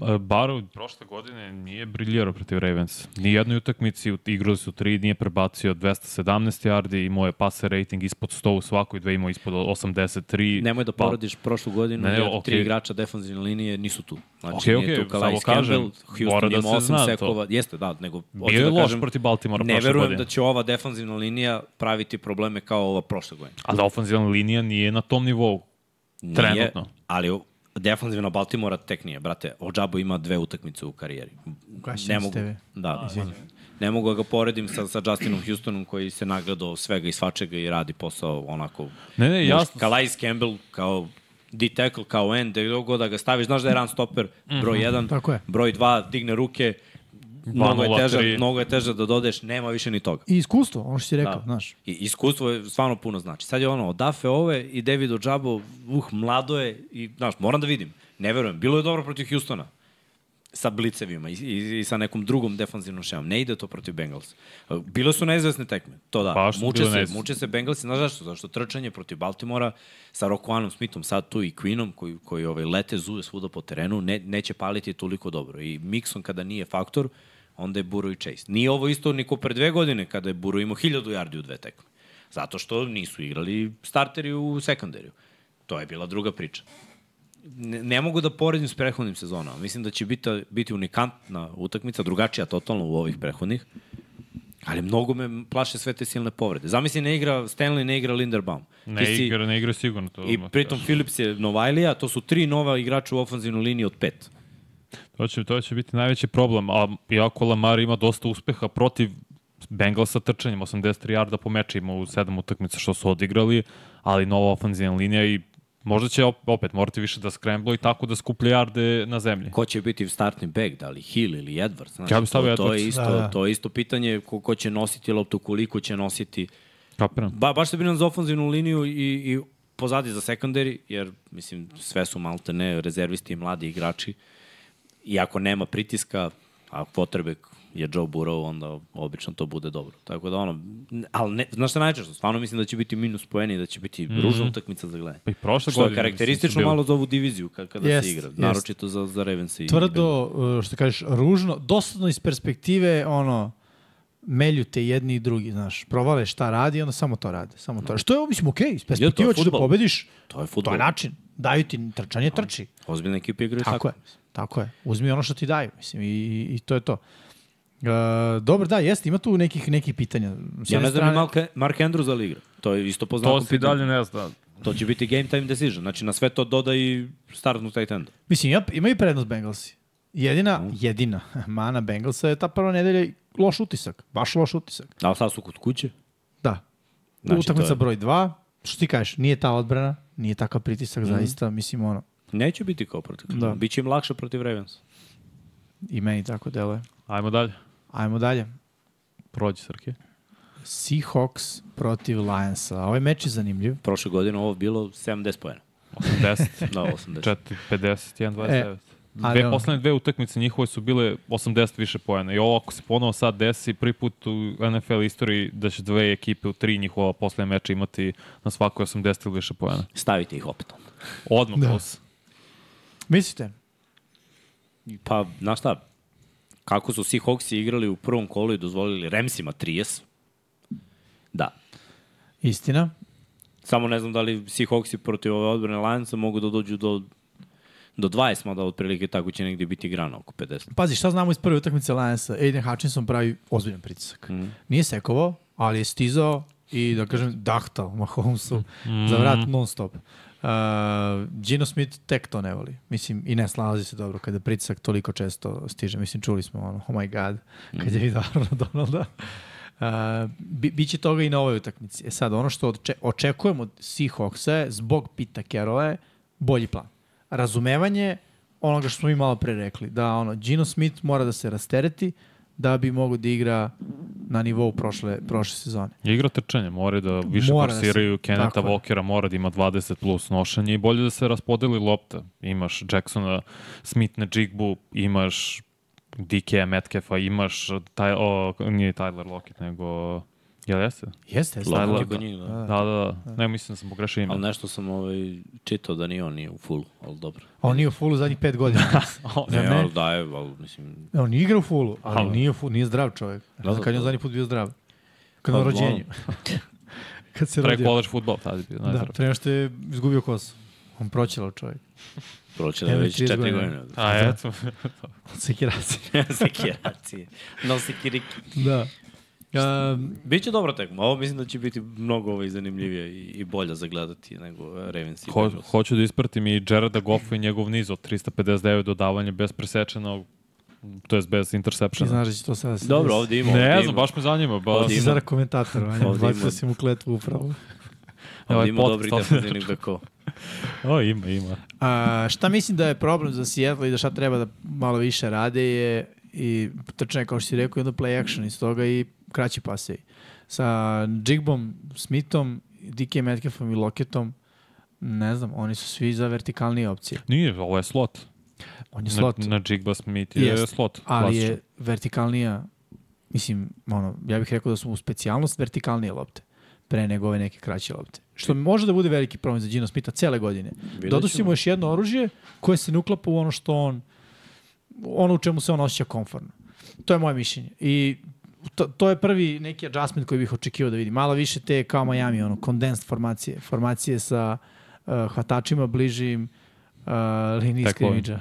e, Barrow prošle godine nije briljirao protiv Ravens. Ni jednoj utakmici u- igrali su tri, nije prebacio 217 yardi, imao je passer rating ispod 100 u svakoj, dve imao ispod 83. Nemoj da Pa, porodiš prošlu godinu, Ne, ne, ne, jer okay. tri okej. igrača defensivne linije nisu tu. Znači, Okej, okay, nije okej, tu Kalais samo kažem, Campbell, mora Houston da ima se osam zna to. sekova. Jeste, da, nego... hoću je da loš kažem, protiv Baltimora Ne prošle verujem godine. da će ova defensivna linija praviti probleme kao ova prošle godine. A da ofenzivna linija nije na tom nivou. Nije, Trenutno. Ali u- defanzivna Baltimora tek nije, brate. Ođabo ima dve utakmice u karijeri. Ugašen Ne si mogu, TV. da, ne mogu da ga poredim sa, sa Justinom Houstonom koji se nagledao svega i svačega i radi posao onako... Ne, ne, muški. jasno. Calais Campbell kao D-tackle, kao end, gde god da ga staviš, znaš da je run stopper, broj 1, Mhm. Tako je. broj 2, digne ruke, mnogo je, 2-0-3. teže, mnogo je teže da dodeš, nema više ni toga. I iskustvo, ono što si rekao, Da. znaš. I iskustvo je stvarno puno znači. Sad je ono, odafe ove i David Ođabo, uh, mlado je i, znaš, moram da vidim. Ne verujem, bilo je dobro protiv Hustona sa blicevima i, i, i sa nekom drugom defanzivnom šemom. Ne ide to protiv Bengals. Bile su neizvesne tekme, to da. Baš su muče, bile se, neizvesne. muče se Bengalsi, znaš zašto? Zašto trčanje protiv Baltimora sa Rokuanom Smithom, sad tu i Queenom, koji, koji ovaj, lete zuje svuda po terenu, ne, neće paliti toliko dobro. I Mixon kada nije faktor, onda je Buro i Chase. Nije ovo isto niko pre dve godine kada je Buro imao hiljadu yardi u dve tekme. Zato što nisu igrali starteri u sekunderiju. To je bila druga priča ne, ne mogu da poredim s prethodnim sezonama. Mislim da će biti, biti unikantna utakmica, drugačija totalno u ovih prethodnih, ali mnogo me plaše sve te silne povrede. Zamisli, ne igra Stanley, ne igra Linderbaum. Ne Ti si- igra, da. ne igra sigurno. To I odmah pritom kažem. Phillips je Novajlija, to su tri nova igrača u ofenzivnoj liniji od pet. To će, to će biti najveći problem, a iako Lamar ima dosta uspeha protiv Bengals sa trčanjem, 83 yarda po mečima u sedam utakmica što su odigrali, ali nova ofenzivna linija i možda će op- opet morati više da skremblo i tako da skuplje jarde na zemlji. Ko će biti startni back, da li Hill ili Edwards? Znaš, Ja bih stavio to, to, je Edwards. isto, Da, da. to je isto pitanje ko, ko će nositi loptu, koliko će nositi. Kapiram. Ba, baš se brinem za ofenzivnu liniju i, i pozadi za sekundari, jer mislim, sve su malte ne rezervisti i mladi igrači. I ako nema pritiska, a quarterback je Joe Burrow, onda obično to bude dobro. Tako da ono, n- ali ne, znaš šta najčešće, stvarno mislim da će biti minus poeni, da će biti ružna utakmica za gledanje. Mhm. Pa i prošle Što je godine, mislim, karakteristično su bili. malo za ovu diviziju ka- kada Jest, se igra, jest. naročito za, za Ravens i Tvrdo, uh, što kažeš, ružno, dosadno iz perspektive, ono, melju te jedni i drugi, znaš, provale šta radi i onda samo to rade. Samo Da. to. Što je, mislim, okej, iz perspektive hoćeš da fudbal. pobediš, To je to fudbal. je način. Daju ti trčanje, trči. Ozbiljne ekipe igraju Tako, tako. je, tako je. Uzmi ono što ti daju, mislim, i, i, i to je to. Uh, dobro, da, jeste, ima tu nekih, nekih pitanja. S Ja jedne ne znam strane- i Mark, Mark Andrews ali igra. To je isto To poznato. se i dalje ne zna. to će biti game time decision. Znači na sve to doda i startnu tight enda. Mislim, ima, ima i prednost Bengalsi. Jedina, jedina mana Bengalsa je ta prva nedelja i loš utisak. Baš loš utisak. Ali sad su kod kuće. Da. Znači, Znači, to je- Utakmica broj 2. Što ti kažeš, nije ta odbrana, nije takav pritisak, mm. Mhm. zaista, mislim, ono, Neće biti kao protiv. Da. Da. Biće im lakše protiv Ravens. i meni tako deluje. Ajmo dalje. Ajmo dalje. Prođi, Srki. Seahawks protiv Lionsa. Ovaj meč je zanimljiv. Prošle godine ovo bilo 70 pojena. 80, Da, 80. 4, 51, 29. E, ali Dve, ono- poslednje dve utakmice njihove su bile 80 više pojena. I ovo ako se ponovo sad desi, prvi put u NFL istoriji da će dve ekipe u tri njihova poslednje meča imati na svakoj 80 ili više pojena. Da. Stavite ih opet. onda. Odmah da. plus. Mislite? Pa, znaš šta? Kako su Seahawksi igrali u prvom kolu i dozvolili Remsima 30. Da, Istina. Samo ne znam da li Seahawksi protiv ove odbrane Lionsa mogu da dođu do do 20, mada otprilike tako će negdje biti grana oko 50. Pazi, šta znamo iz prve utakmice Lionsa? Aiden Hutchinson pravi ozbiljan pritisak. Mm. Nije sekovao, ali je stizao i, da kažem, dahtao Mahomesu mm. za vrat non stop. Uh, Gino Smith tek to ne voli. Mislim, i ne slazi se dobro kada pritisak toliko često stiže. Mislim, čuli smo ono, oh my god, kad je vidio Arna Donalda. Uh, bi, biće toga i na ovoj utakmici. E sad, ono što odče- očekujemo od Seahawksa je, zbog Pita Kerola je, bolji plan. Razumevanje onoga što smo mi malo pre rekli, da ono, Gino Smith mora da se rastereti da bi mogo da igra na nivou prošle, prošle sezone. Igra trčanje, mora da više Mora mora da se- forsiraju Keneta tako je. Walkera, mora da ima 20 plus nošanje i bolje da se raspodeli lopta. Imaš Jacksona, Smith na Jigbu, imaš DK Metcalfa, imaš taj, o, nije Tyler Lockett, nego... Jel jeste? Jeste, jeste. Znači, Lalo, Lalo, kod njih, da. Da, da, da. Ne, mislim da sam pogrešio ime. Ali nešto sam ovaj, čitao da ni on nije u fullu, ali dobro. A on nije u fulu zadnjih pet godina. Ne, ne? ne? ali daje, ali mislim... on igra u fulu, ali nije, u fulu, nije zdrav čovjek. Da, da, Kad je da. on zadnji put bio zdrav? Kad na Pa, rođenju. Kad se Pre rodio. college futbol, tad je bio Da, najzdrav. pre nego što je izgubio kosu. On proćelao čovjek. Proće da je Evo, već 30 četiri godina. godine. Da. A eto, Sekirasi. Sekiracije. Nosi kiriki. da. Um, Biće dobra tekma. Ovo mislim da će biti mnogo ovaj, zanimljivija i, i bolja za gledati nego eh, Ravens i ho, Bengals. hoću da ispratim i Jareda Goffa i njegov niz od 359 dodavanja bez presečenog, to jest bez ti intersepšena. znaš da će to sada... se Dobro, desi. ovdje ima. ovdje Ne ima. znam, baš me zanima. Ba, Ovdje Si ima. zara komentator, Vanja. Ovdje ima- Bacio si mu kletvu upravo. ovaj Ovdje ima podcast dobrih ovdje. defensivnih bekova. o, ima, ima. A, šta mislim da je problem za Seattle i da šta treba da malo više rade je i trčanje kao što si rekao i onda play action iz toga i kraći paseji. Sa Jigbom, Smithom, DK Metcalfom i Loketom ne znam, oni su svi za vertikalnije opcije. Nije, ovo je slot. On je slot, Na, na Jigba Smith je Jeste. slot. ali klasičan. je vertikalnija, mislim, ono, ja bih rekao da su mu specijalnost vertikalnije lopte pre nego ove neke kraće lopte. Što može da bude veliki problem za Gino Smitha cele godine. Vidjet Dodosi ćemo. mu još jedno oružje koje se ne uklapa u ono što on, ono u čemu se on osjeća komfortno. To je moje mišljenje. I to, to je prvi neki adjustment koji bih očekivao da vidim. Malo više te kao Miami, ono, condensed formacije. Formacije sa uh, hvatačima bližim uh, liniji Tekmovima. skrimidža.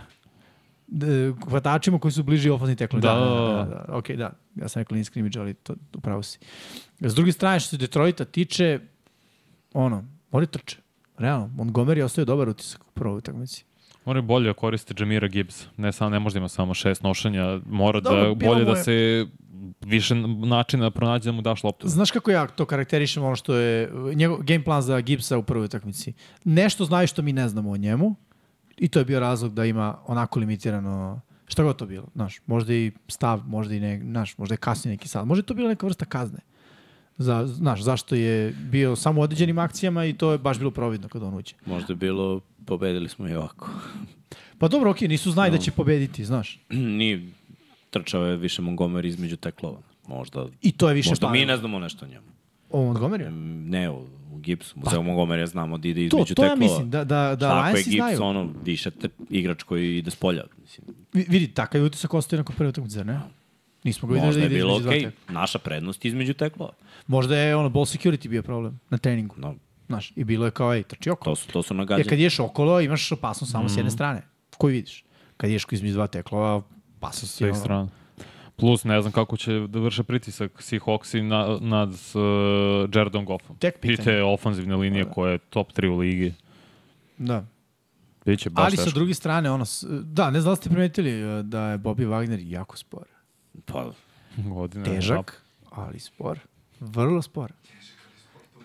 D- hvatačima koji su bliži ofazni teklovi. Da, Da, da, da, da, da, da. Ok, da. Ja sam rekao liniji skrimidža, ali to, upravo si. S druge strane, što se Detroita tiče, ono, mora trče. Realno, Montgomery ostaje dobar utisak u prvoj utakmici. Moraju bolje koriste Jamira Gibbs. Ne, sam, ne možda ima samo šest nošenja. Mora Dobro, da bilo bolje mu da je- se više načina pronađe da mu daš loptu. Znaš kako ja to karakterišem ono što je njegov game plan za Gibbsa u prvoj utakmici? Nešto znaju što mi ne znamo o njemu i to je bio razlog da ima onako limitirano šta god to bilo, znaš, možda i stav, možda i ne, znaš, možda je kasnije neki sad, možda je to bila neka vrsta kazne. Za, znaš, zašto je bio samo u određenim akcijama i to je baš bilo providno kad on uđe. Možda je bilo, pobedili smo i ovako. Pa dobro, okej, nisu znali da će pobediti, znaš. Nije trčao je više Montgomery između teklova. Možda, I to je više možda mi parilo. ne znamo nešto o njemu. O Montgomeryu? Ne, u, u Gibsu. Muzeo Montgomery znamo da ide Pa, To, između to teklova. ja mislim, da, da, da Šta ako je Lionsi Gibbs znaju. ono više te, igrač koji ide s polja? Mislim, Vi- Vidi, takav je utisak ostaje nakon prve utakmice, zar ne? Nismo ga videli da možda ide je bilo između dva okej. tekla. Naša prednost je između teklova. Možda je ono ball security bio problem na treningu. No, Znaš, i bilo je kao, ej, trči okolo. to su, to su Jer kad nagađanje. ješ okolo, imaš opasnost samo s jedne strane, koju vidiš. Kad ješ između dva teklova, opasnost sa je svih ono. strana. Plus, ne znam kako će da vrše pritisak Seahawksi na, nad uh, Jaredom Goffom. Tek pitanje. I te ofanzivne linije koja je top 3 u ligi. Da. Biće baš Ali sa teško. druge strane, ono, s- da, ne znam da li ste primetili e, da je Bobby Wagner jako spor. Pa, Godine, Težak, ali spor. Vrlo spor.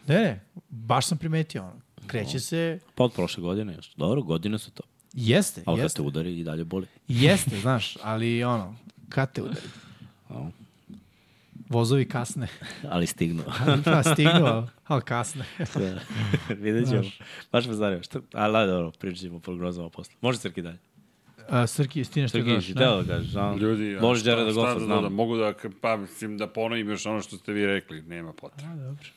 Ne, ne, baš sam primetio ono. Kreće se, pa od prošle godine još. Dobro, godine su to. jeste, Ali kad jeste, te udari i dalje boli. jeste, znaš, ali ono, kad te udari. Au. Vozovi kasne. Ali stignuo. da, stignu, ali kasne. Da. Vidjet ćemo. Baš me zanima. Šta? Ali dobro, pričat ćemo o prognozama posle. Može Srki dalje. A, Srki, stineš što Srki, daš? si teo da kažeš. a? Ljudi, a Može šta- Jared da šta gofa, da znam. dodam? mogu da, pa, mislim, da ponovim još ono što ste vi rekli, nema potrebe. dobro.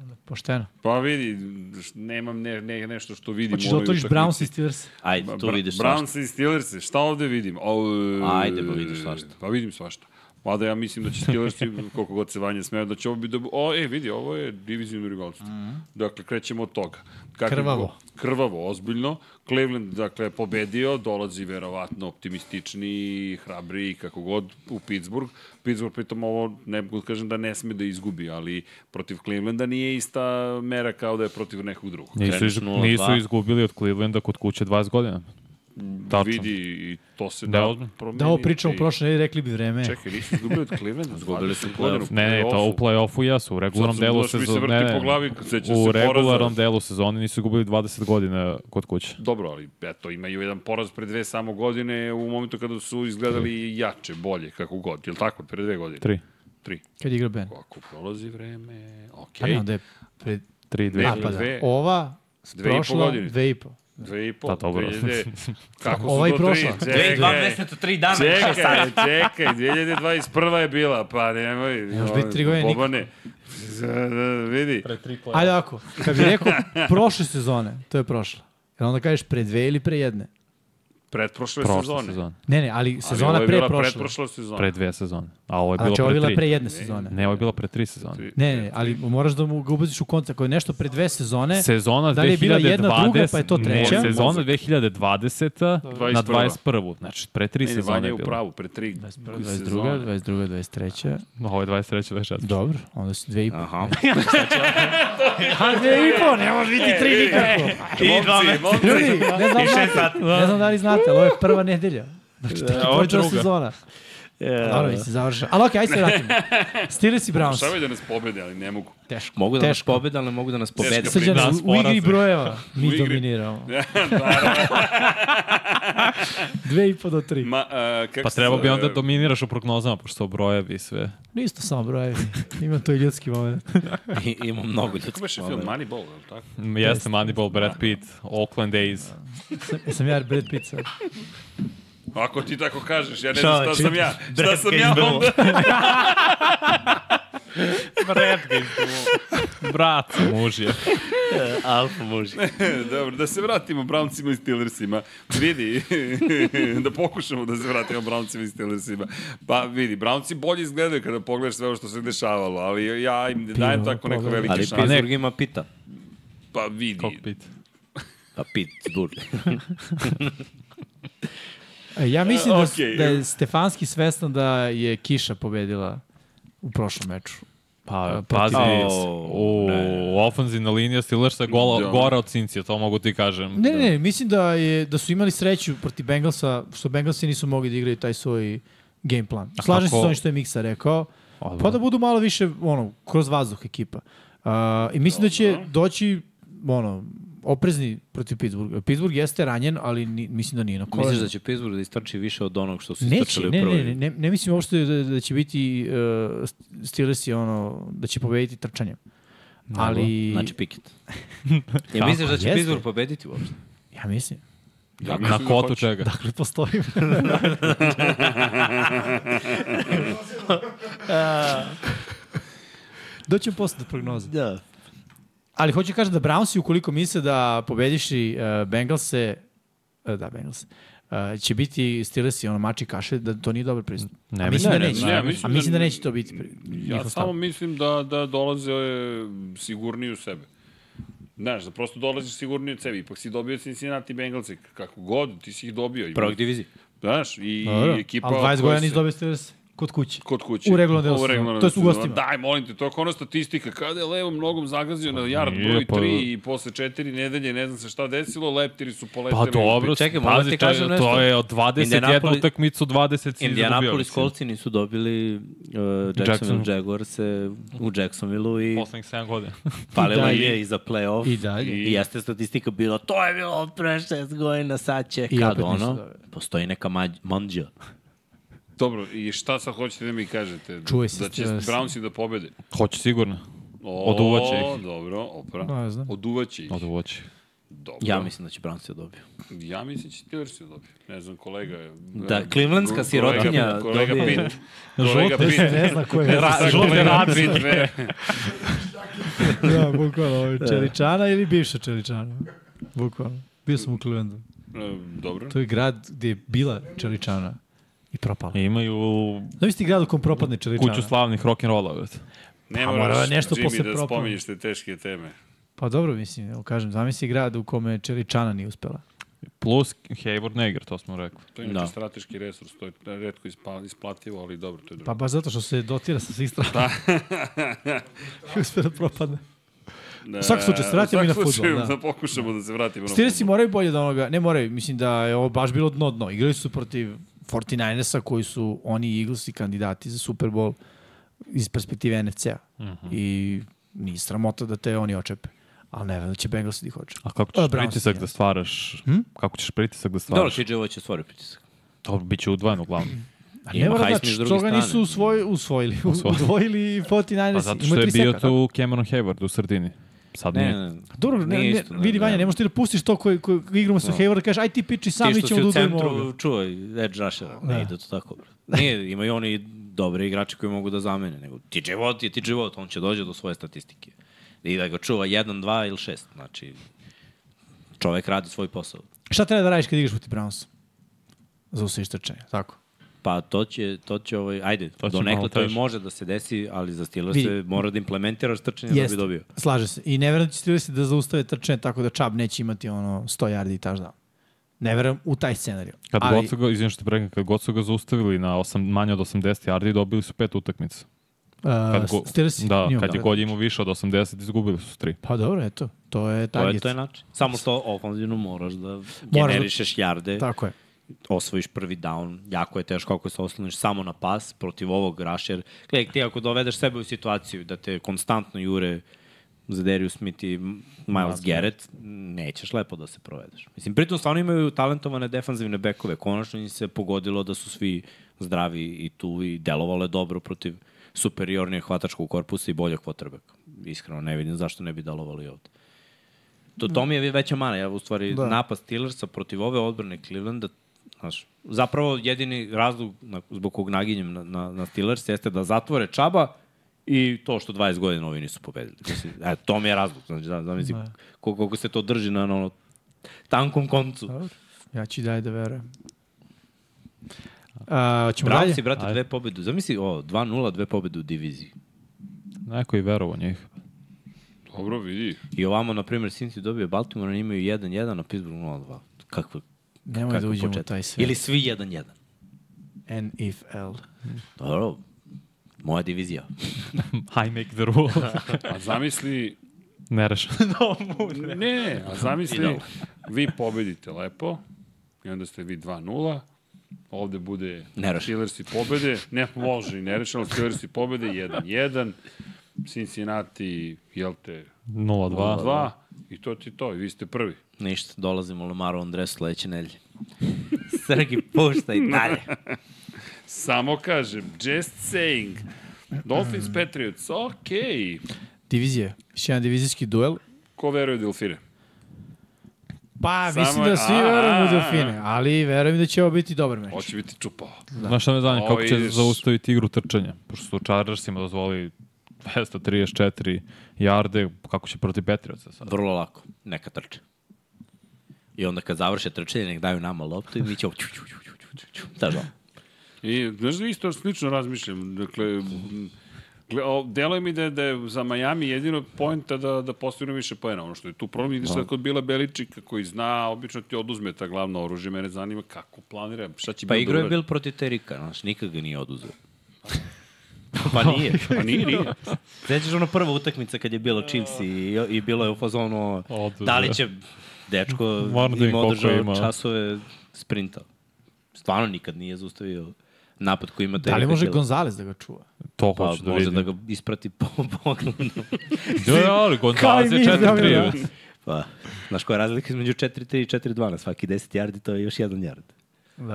Onda Pošteno. Pa vidi, š- nemam ne, ne, nešto što vidim. Hoćeš u da ovoj otvoriš utakmici. Browns i Steelers? Ajde, tu Bra- vidiš svašta. Browns i Steelers, šta ovde vidim? O, Ajde, pa vidiš svašta. Pa vidim svašta. Mada ja mislim da će Steelersi, koliko god se vanje smeju, da će ovo biti... dob- O, e, vidi, ovo je divizijno rivalstvo. Mhm. Dakle, krećemo od toga. Kako Krvavo. Krvavo, ozbiljno. Cleveland, dakle, je pobedio, dolazi verovatno optimistični, hrabri, kako god, u Pittsburgh. Pittsburgh, pritom, ovo ne mogu da kažem da ne sme da izgubi, ali protiv Clevelanda nije ista mera kao da je protiv nekog drugog. Nisu, iz, Kreneš 0-2. nisu izgubili od Clevelanda kod kuće 20 godina. Tačno. vidi i to se Da, da, ozbiljno. promeni. Da ovo pričamo i- prošle nedelje, rekli bi vreme. Čekaj, nisu izgubili od Clevelanda. Izgubili su godinu. Ne, ne, to u play-offu jesu. U regularnom Sad sam delu došao, mi se sezone. vrti Ne, ne, po glavi, sećam se u poraza. regularnom delu sezone nisu gubili 20 godina kod kuće. Dobro, ali eto, imaju jedan poraz pre dve samo godine u momentu kada su izgledali jače, bolje, kako god. Je li tako? Pre dve godine? Tri. Tri. Pa, Kad igra Ben. Ako prolazi vreme, Pa ne, okej. onda je pred... Tri, dve. Ne, A, pa da. dve. Ova s Dve i po prošla, godine. dve i po. Dve i Pa pol, dobro. 2000 Kako su Ova i do tri? prošla. Čekaj. Dve i dva meseca, tri dana. Čekaj, čekaj, 2021. je bila, pa nemoj. Još biti tri godine, Bobane, da, da, vidi. Ajde ako, kad bi rekao prošle sezone, to je prošla. Jer onda kažeš pre dve ili pre jedne. Pretprošle Prošle sezone. sezone. Ne, ne, ali Ali sezona ovo je pre bila prošle. Pretprošla sezona. Pre dve sezone. A ovo je A Znači, ovo je bila bilo pre pre tri. jedne sezone. Ne, ovo je bilo pre tri sezone. Ne, ne, ali moraš da mu ga ubaziš u koncept. Ako je nešto pre dve sezone, Sezona Da li je bila jedna, druga, 2020, pa je to treća? Ne, sezona 2020 na 21.. 21. Znači, pre tri Ne, ne, sezone Vanja je je u bilo. pravu, pre tri 22, 22, 23. Ovo je 23. 24. Dobro, onda su dve i po. Aha. A dve i po, ne može biti tri nikako. I dva meseca. da Ljudi, ne znam, I šest znate, sati. ne znam da li znate, ali ovo je prva nedelja. Znači, tek je E, ovo je počela druga. E, da. sezona. Dobro, mi se završa. Ali okej, ajde se vratimo. Steelers i Browns. Pokušavaju da nas pobede, ali ne mogu. Teško. Mogu da nas Teško. pobede, ali ne mogu da nas pobede. Teška Srđan, Nas u igri poraze. brojeva U mi igri. dominiramo. Dve i po do tri. Ma, a, kako Pa se treba bi zove? onda dominiraš u prognozama, pošto brojevi i sve. Nisu to samo brojevi. Ima to i ljudski moment. I, ima mnogo Kako ljudskih beše film momenta. Moneyball, je li tako? Jeste Moneyball, da. Brad Pitt, Oakland A's. Sam, sam ja Brad Pitt sad. Ako ti tako kažeš, ja ne znam šta Čovječe, sam ja. Šta Brad sam Pitt ja Bull. onda? Brat, muž je. Alfa muži. Dobro, da se vratimo Browncima i Steelersima. Vidi, da pokušamo da se vratimo Browncima i Steelersima. Pa vidi, Brownci bolje izgledaju kada pogledaš sve ovo što se dešavalo, ali ja im ne dajem tako neko pogledaj. velike Ali šanse. Pittsburgh ima pita. Pa vidi, Kokpit. Pa Pittsburgh. E, Ja mislim da, s- Okej. da je Stefanski svestan da je Kiša pobedila u prošlom meču. Pa, protiv pazi, Steelers. u, u ofanzivna linija Steelersa je gola, Oh, Da. gora od Cincija, to mogu ti kažem. Ne, ne, mislim da, je, da su imali sreću protiv Bengalsa, što Bengalsi nisu mogli da igraju taj svoj game plan. Slažem se kako- s onim što je Miksa rekao. Odmah. Pa da budu malo više, ono, kroz vazduh ekipa. Uh, I mislim da će doći, ono, oprezni protiv Pittsburgha. Pittsburgh jeste ranjen, ali ni, mislim da nije na kolenu. Misliš da će Pittsburgh da istrči više od onog što su Neće, istrčali u ne, prvoj? ne, ne, ne, ne mislim uopšte da, da će biti uh, Steelersi ono, da će pobediti trčanjem. Ali, Znači Pickett. Ja misliš da će jeste. Pittsburgh pobediti uopšte? ja mislim, Ja Na mislim da kotu hoće. čega? dakle postojim. Doćem posle do prognoze. Da. Ali hoću kažem da Brownsi, ukoliko misle da pobediši uh, Bengalse, uh, da, Bengalse, uh, će biti Steelersi ono mači kaše, da to nije dobar pristup. Ne, a mislim ne, da ne, neće. ne, ja a mislim mislim da, da- neće to biti. pri- Ja njihov stav. samo mislim da, da dolaze e, sigurniji u sebe. Znaš, da prosto dolaziš sigurniji od sebe. Ipak si dobio Cincinnati Bengalsi, kako god, ti si ih dobio. I, Prvog diviziji. Znaš, i, Dobro. i ekipa... Ali od 20 koje godina se- nisi dobio Steelers kod kuće. Kod kuće. U regularnom delu U sezone. regularnom To jest u delu sezone. gostima. Da, Daj, molim te, to je kao ona statistika. Kada je levom nogom zagazio na jard nije, broj pa- 3 i posle 4 nedelje, ne znam se šta desilo, leptiri su Pa poleteli. dobro, Čekaj, moram da pazi, ti to, kažem je, nešto. to je od 21 Indianapolis- utakmicu 20 si Indianapolis izgubio. Coltsi nisu dobili uh, Jacksonville Jackson. Jaguars u Jacksonvilleu i Poslednjih 7 godina. palilo dalje. je i za playoff. I dalje. I jeste statistika bila, to je bilo od pre šest godina, sad će. I Kad opet nisu ono, dobili. postoji neka mađ, manđa. Dobro, i šta sad hoćete da mi kažete? Čuje se Da će stres. Brownsi da pobede. Hoće sigurno. O, Oduvaće ih. Dobro, opra. Da, ja znam. Oduvaće ih. Oduvoći. Dobro. Ja mislim da će Browns je dobio. Ja mislim će Steelers je dobio. Ne znam, kolega je... Da, Clevelandska sirotinja Kolega, kolega dobije- Pitt. Kolega Žuti. Pitt. Ne zna ko Ne je. znam šta žuti kolega radnik. Pitt ne. da, bukvalno, ovaj, Čeličana ili bivša Čeličana. Bukvalno. Bio sam u Clevelandu. E, Dobro. To je grad gde je bila Čeličana i propala. Imaju Znaš ti grad u kom propadne Čeličana? kuću slavnih rock'n'rolla. Ne Pa mora moraš, nešto Jimmy, posle da propao. spominješ te teške teme. Pa dobro, mislim, evo kažem, zamisli grad u kome Čeličana nije uspela. Plus Hayward ne igra, to smo rekli. To je inače Da. strateški resurs, to je redko ispa, isplativo, ali dobro, to je Pa drugo. baš zato što se dotira sa svih strana. I uspe da propadne. Da, Pa, u svakom slučaju, se vratimo i na fudbal, slučaju, da. da pokušamo da se vratimo na Steelersi moraju bolje da onoga, ne moraju, mislim da je ovo baš bilo dno dno. Igrali su protiv 49ersa koji su oni i Eaglesi kandidati za Super Bowl iz perspektive NFC-a. Mhm. I nije sramota da te oni očepe. Ali ne vem da će Bengals da ih očepe. A kako O, ćeš Browns, pritisak ja. da stvaraš? Kako ćeš pritisak da Dobro, stvaraš? TJ Watt će stvoriti pritisak. To bit će udvojeno uglavnom. A Ima ne mora Heisman znači s druge što ga strane. nisu usvoj, usvojili, Usvojili. udvojili 49ersi. Pa zato Imaju što je tri bio seka. tu Cameron Hayward u sredini. Sad Ne, nije. ne, ne. Pa Dobro, ne, ne, Nije isto, vidi Vanja, ne možeš ti da pustiš to koji, koji igramo sa Hayward, kažeš aj ti piči sam, mi Ti što ćemo si da u udvojimo centru ovoga. čuvaj edge rushera, Da. ne ide to tako. brate. Nije, imaju oni dobre igrače koji mogu da zamene, nego TJ Watt je TJ Watt, on će dođe do svoje statistike. I da ga čuva 1, 2 ili 6, znači čovek radi svoj posao. Šta treba da radiš kad igraš protiv Brownsa? Zaustaviš trčanje, tako. Pa to će, to će ovaj, ajde, To to će će donekle malo to i teže. može da se desi, ali za Steelers Vidi. se mora da implementiraš trčanje da Jeste, bi dobio. slaže se. I ne verujem da će Steelersi da zaustave trčanje tako da Chubb neće imati ono 100 yardi i touchdown. Ne verujem u taj scenariju. Kad Ali, god su ga, izvinim što te prekam, kad god su ga zaustavili na osam, manje od 80 yardi, dobili su pet utakmica. Kad uh, Steelersi da, nije kad je dobro. god imao više od 80, izgubili su tri. Pa dobro, eto, to je To je, target. to je način. Samo što ofanzivno moraš da da- generišeš jarde. Tako je. osvojiš prvi down, jako je teško ako se osloniš samo na pas protiv ovog rusher. Gledaj, ti ako dovedeš sebe u situaciju da te konstantno jure za Darius Smith i Miles Garrett, nećeš lepo da se provedeš. Mislim, pritom stvarno imaju talentovane defanzivne bekove. Konačno im se pogodilo da su svi zdravi i tu i delovalo je dobro protiv superiornije hvatačkog korpusa i boljeg kvotrbeka. Iskreno ne vidim zašto ne bi delovalo i ovde. To, to mi je veća mana. Ja, u stvari, Da. da. napad Steelersa protiv ove odbrane Clevelanda, znaš, zapravo jedini razlog na, zbog kog naginjem na, na, na Steelers jeste da zatvore Čaba i to što 20 godina ovi nisu pobedili. Mislim, e, to mi je razlog. Znači, da, zamisli koliko, koliko se to drži na, na ono, tankom koncu. Dobro. Ja ću i dalje da verujem. Uh, ćemo dalje? Bravo si, brate, dve pobede. Zamisli, o, 2-0, dve pobede u diviziji. Neko je verovo njih. Dobro, vidi. I ovamo, na primjer, Cincy dobio Baltimore, oni imaju 1-1, a Pittsburgh 0-2. Kako, Nemoj kako da uđemo u početak? taj sve. Ili svi 1-1. NFL. Dobro, moja divizija. I make the rule. A zamisli, Nerešeno. ne, ne, a zamisli, vi pobedite lepo, i onda ste vi 2-0, ovde bude Nerešeno. Steelers i pobede, ne može i nerešeno, Steelers i pobede 1-1, Cincinnati, jel te, 0-2. 2 i to ti to, i vi ste prvi. Ništa, dolazimo u Lamarovom dresu sledeće nedelje. Srgi, pušta i dalje. Samo kažem, just saying. Dolphins Patriots, okej. Divizije. Još jedan divizijski duel. Ko veruje Delfine? Pa, Samo- mislim da svi A, verujem a, u Delfine, ali verujem da će ovo biti dobar meč. Hoće biti čupao. Znaš šta me zanima, Ovo kako će ideš- zaustaviti igru trčanja? Pošto su Chargersima dozvoli 234 jarde, kako će protiv Patriotsa sad? Vrlo lako, neka trče. I onda kad završe trčanje, nek daju nama loptu i mi ćemo... ću, ću, ću, ću, ću, ću, ću. Znaš da? I, znaš da isto slično razmišljam. Dakle, m, gle, o, deluje mi da je, da je za Miami jedino pojenta da, da postignu više poena. Ono što je tu problem, ideš sad kod Bila Beličika koji zna, obično ti oduzme ta glavna oružja, mene zanima kako planira, šta će Pa Bill da igro je uradi. bil protiv Terika, znaš, nikad ga nije oduzeo. Pa nije. Pa nije, nije. Sećaš ono prva utakmica kad je bilo Chiefs i, i bilo je u fazonu Oduzeo. da li će dečko Moram da im im koliko održao ima. časove sprinta. Stvarno nikad nije zaustavio napad koji ima Da li Terika može Hilla. Gonzales da ga čuva? To Pa hoću da može vidim. da ga isprati po pogledu. Da, da, ali Gonzalez Kao i je da. mi, dobro, 4-3. već. Pa, znaš koja je razlika između 4-3 i 4-2 na svaki 10 yardi, to je još jedan yard. Da.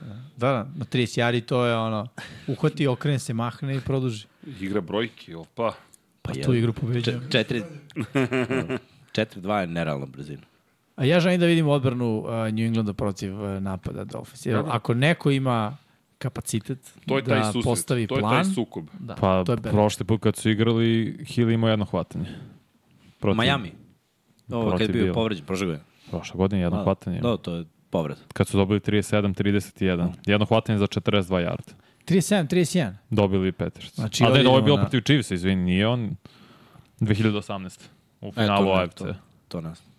Da, da, na 30 jari to je ono, uhvati, okrene se, mahne i produži. Igra brojke, opa. Pa, Tu igru pobeđuje. 4 4-2 je nerealna brzina. A ja želim da vidim odbranu uh, New Englanda protiv uh, napada Dolphins. Jer ako neko ima kapacitet To je taj da susret. postavi to plan, je taj sukob. da, Pa to je Bear. prošli put kad su igrali, Hill imao jedno hvatanje. Protiv, Miami. Ovo, kad Protiv je bio Bila. povređen, prošle godine. Prošle godine jedno hvatanje. Da, to je povreda. Kad su dobili 37-31. Jedno hvatanje za 42 jarde. 37, 31. Dobili i Peterson. Znači, Znači, A da je ovdje ovo je idemo bilo na- protiv Chiefsa, izvini, nije on 2018. U E, to, finalu ne, AFC. to, to ne znam.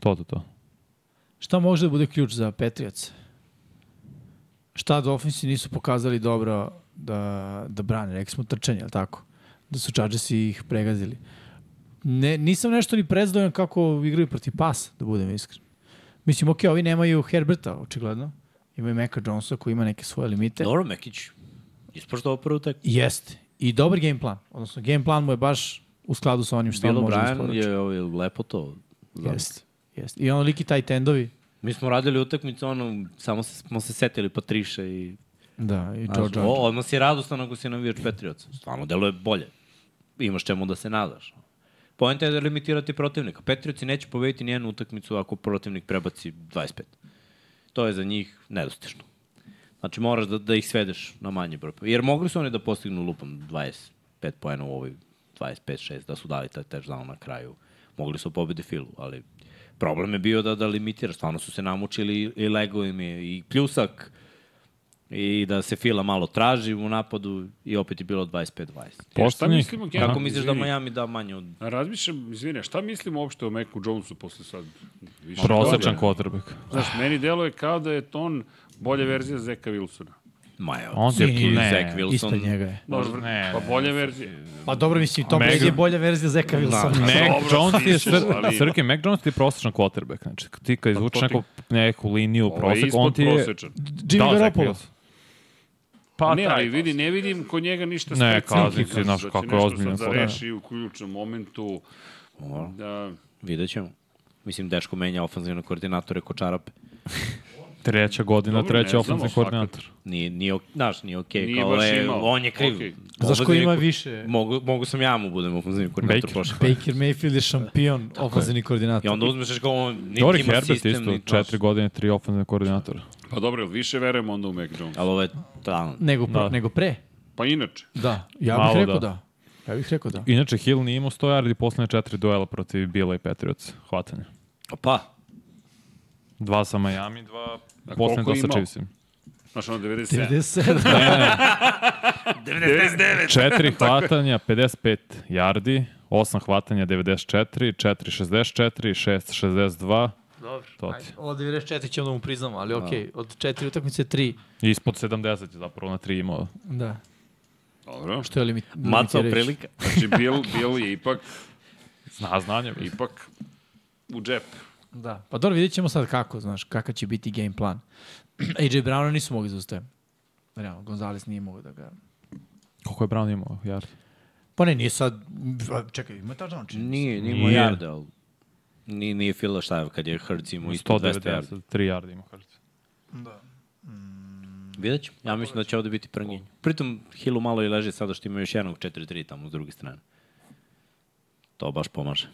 To, to, to. Šta može da bude ključ za Patriots? Šta Dolphinsi nisu pokazali dobro da, da brane? Rekli smo trčanje, ali tako? Da su Chargersi ih pregazili. Ne, nisam nešto ni prezdojan kako igraju protiv pasa, da budem iskren. Mislim, okej, ovi nemaju Herberta, očigledno. Imaju Meka Jonesa koji ima neke svoje limite. Dobro, Mekić, ispošto ovo prvu tek. Jeste. I dobar game plan. Odnosno, game plan mu je baš u skladu sa onim što on Bilo može da Brian isporuči. je ovaj, lepo to. znam. Jeste. Jeste. I ono liki taj tendovi. Mi smo radili utakmicu, ono, samo se, smo se setili Patriša i... Da, i Znaš, George o, odmah si radostan ako si navijač Patriots. Stvarno, deluje bolje. Imaš čemu da se nadaš. Poenta je da limitirati protivnika. Patriotsi neće pobediti nijednu utakmicu ako protivnik prebaci 25. To je za njih nedostižno. Znači, moraš da, da ih svedeš na manji broj. Jer mogli su oni da postignu lupom 25 poena u ovoj 25-6, da su dali taj touchdown na kraju. Mogli su pobedi Filu, ali problem je bio da, da limitiraš. Stvarno su se namučili i lego im je i pljusak i da se Fila malo traži u napadu i opet je bilo 25-20. Posljednjih- mislimo generalno? Kako misliš da Izvini. Miami da manje od... A Razmišljam, izvine, šta mislimo uopšte o Meku Jonesu posle sad? Više Prosečan godina? quarterback. Znaš, meni deluje kao da je to on bolja verzija Zeka Wilsona. Ma evo, On je Sini, ne. Zach Wilson. Ispred njega je. Dobro, ne, pa ne, bolja verzija. Pa dobro, mislim, Tom Brady je bolja verzija Zeka Wilsona. Mac Dobro, Jones je stižu, sr... ali- Pa Srke, Mac Jones ti je prosječan quarterback. Znači, kad ti kad izvučeš neku, neku liniju Ovo je prosek, on Ovaj ispod ti je... Da, prosečan. Jimmy Zach Garoppolo. Wilson. Pa Da, ne, taj ali vidi, prosek. ne vidim kod njega ništa Ne, specijalno. Cousins je, znaš, da će kako je nešto ozbiljan sad Da fudbaler. reši u ključnom momentu. Da, Vidjet ćemo. Mislim, Deško menja ofenzivne koordinatore ko čarape. Treća godina, Dobro, treći ne ofenzivni znamo, koordinator. Nije, nije, ok- znaš, nije okej. Nije Okay, kao, baš e, imao. on je kriv. Okej. Okay. Znaš ko ima više? Mogu, mogu sam ja mu budem ofenzivni koordinator Baker. prošle. Baker Mayfield je šampion, ofenzivni I koordinator. onda uzmeš kao on, niti Dori ima Herbert sistem, isto, niti, četiri godine, tri ofenzivne koordinatora. pa dobro, jel više verujemo onda u Mac Jones. Ali ovo je talent. Nego, pre, Da. nego pre. Pa inače, Da, ja bih Malo rekao da. da. Ja bih rekao da. Inače, Hill nije imao 100 yardi poslednje četiri duela protiv Bila i Patriots. Hvatanje. Opa, Dva sa Miami, dva A poslednje koliko dva je sa imao? Chiefsim. znaš ono Da. 97. 97. Četiri hvatanja, 55 yardi, osam hvatanja, 94, 4, 64, 6, 62. Dobro. To ti. Od 94 ćemo da mu priznamo, ali okej, od četiri utakmice tri. Ispod 70 je zapravo na tri imao. Da. Dobro. Što je limit, Macao limitirajuće. prilika. Znači, Bill, Bill je ipak, Zna znanje. mislim. ipak u džep. Da. Pa dobro, vidjet ćemo sad kako, znaš, kakav će biti game plan. AJ Browna nisu mogli zaustaviti. Realno, Gonzalez nije mogao da ga... Koliko je Brown imao? Jar. Pa ne, nije sad... a, Čekaj, ima touchdown čini. mi se. Nije, nije imao Nije. jarde, ali nije, nije fila šta je kad je Hertz imao ispod 200 jarde. 193 yardi ima, kažete. Vidjet ćemo. Ja mislim da će ovde biti prnjenje. Pritom Hillu malo i leže sada što ima još jednog 4-3 tamo s druge strane. To baš pomaže.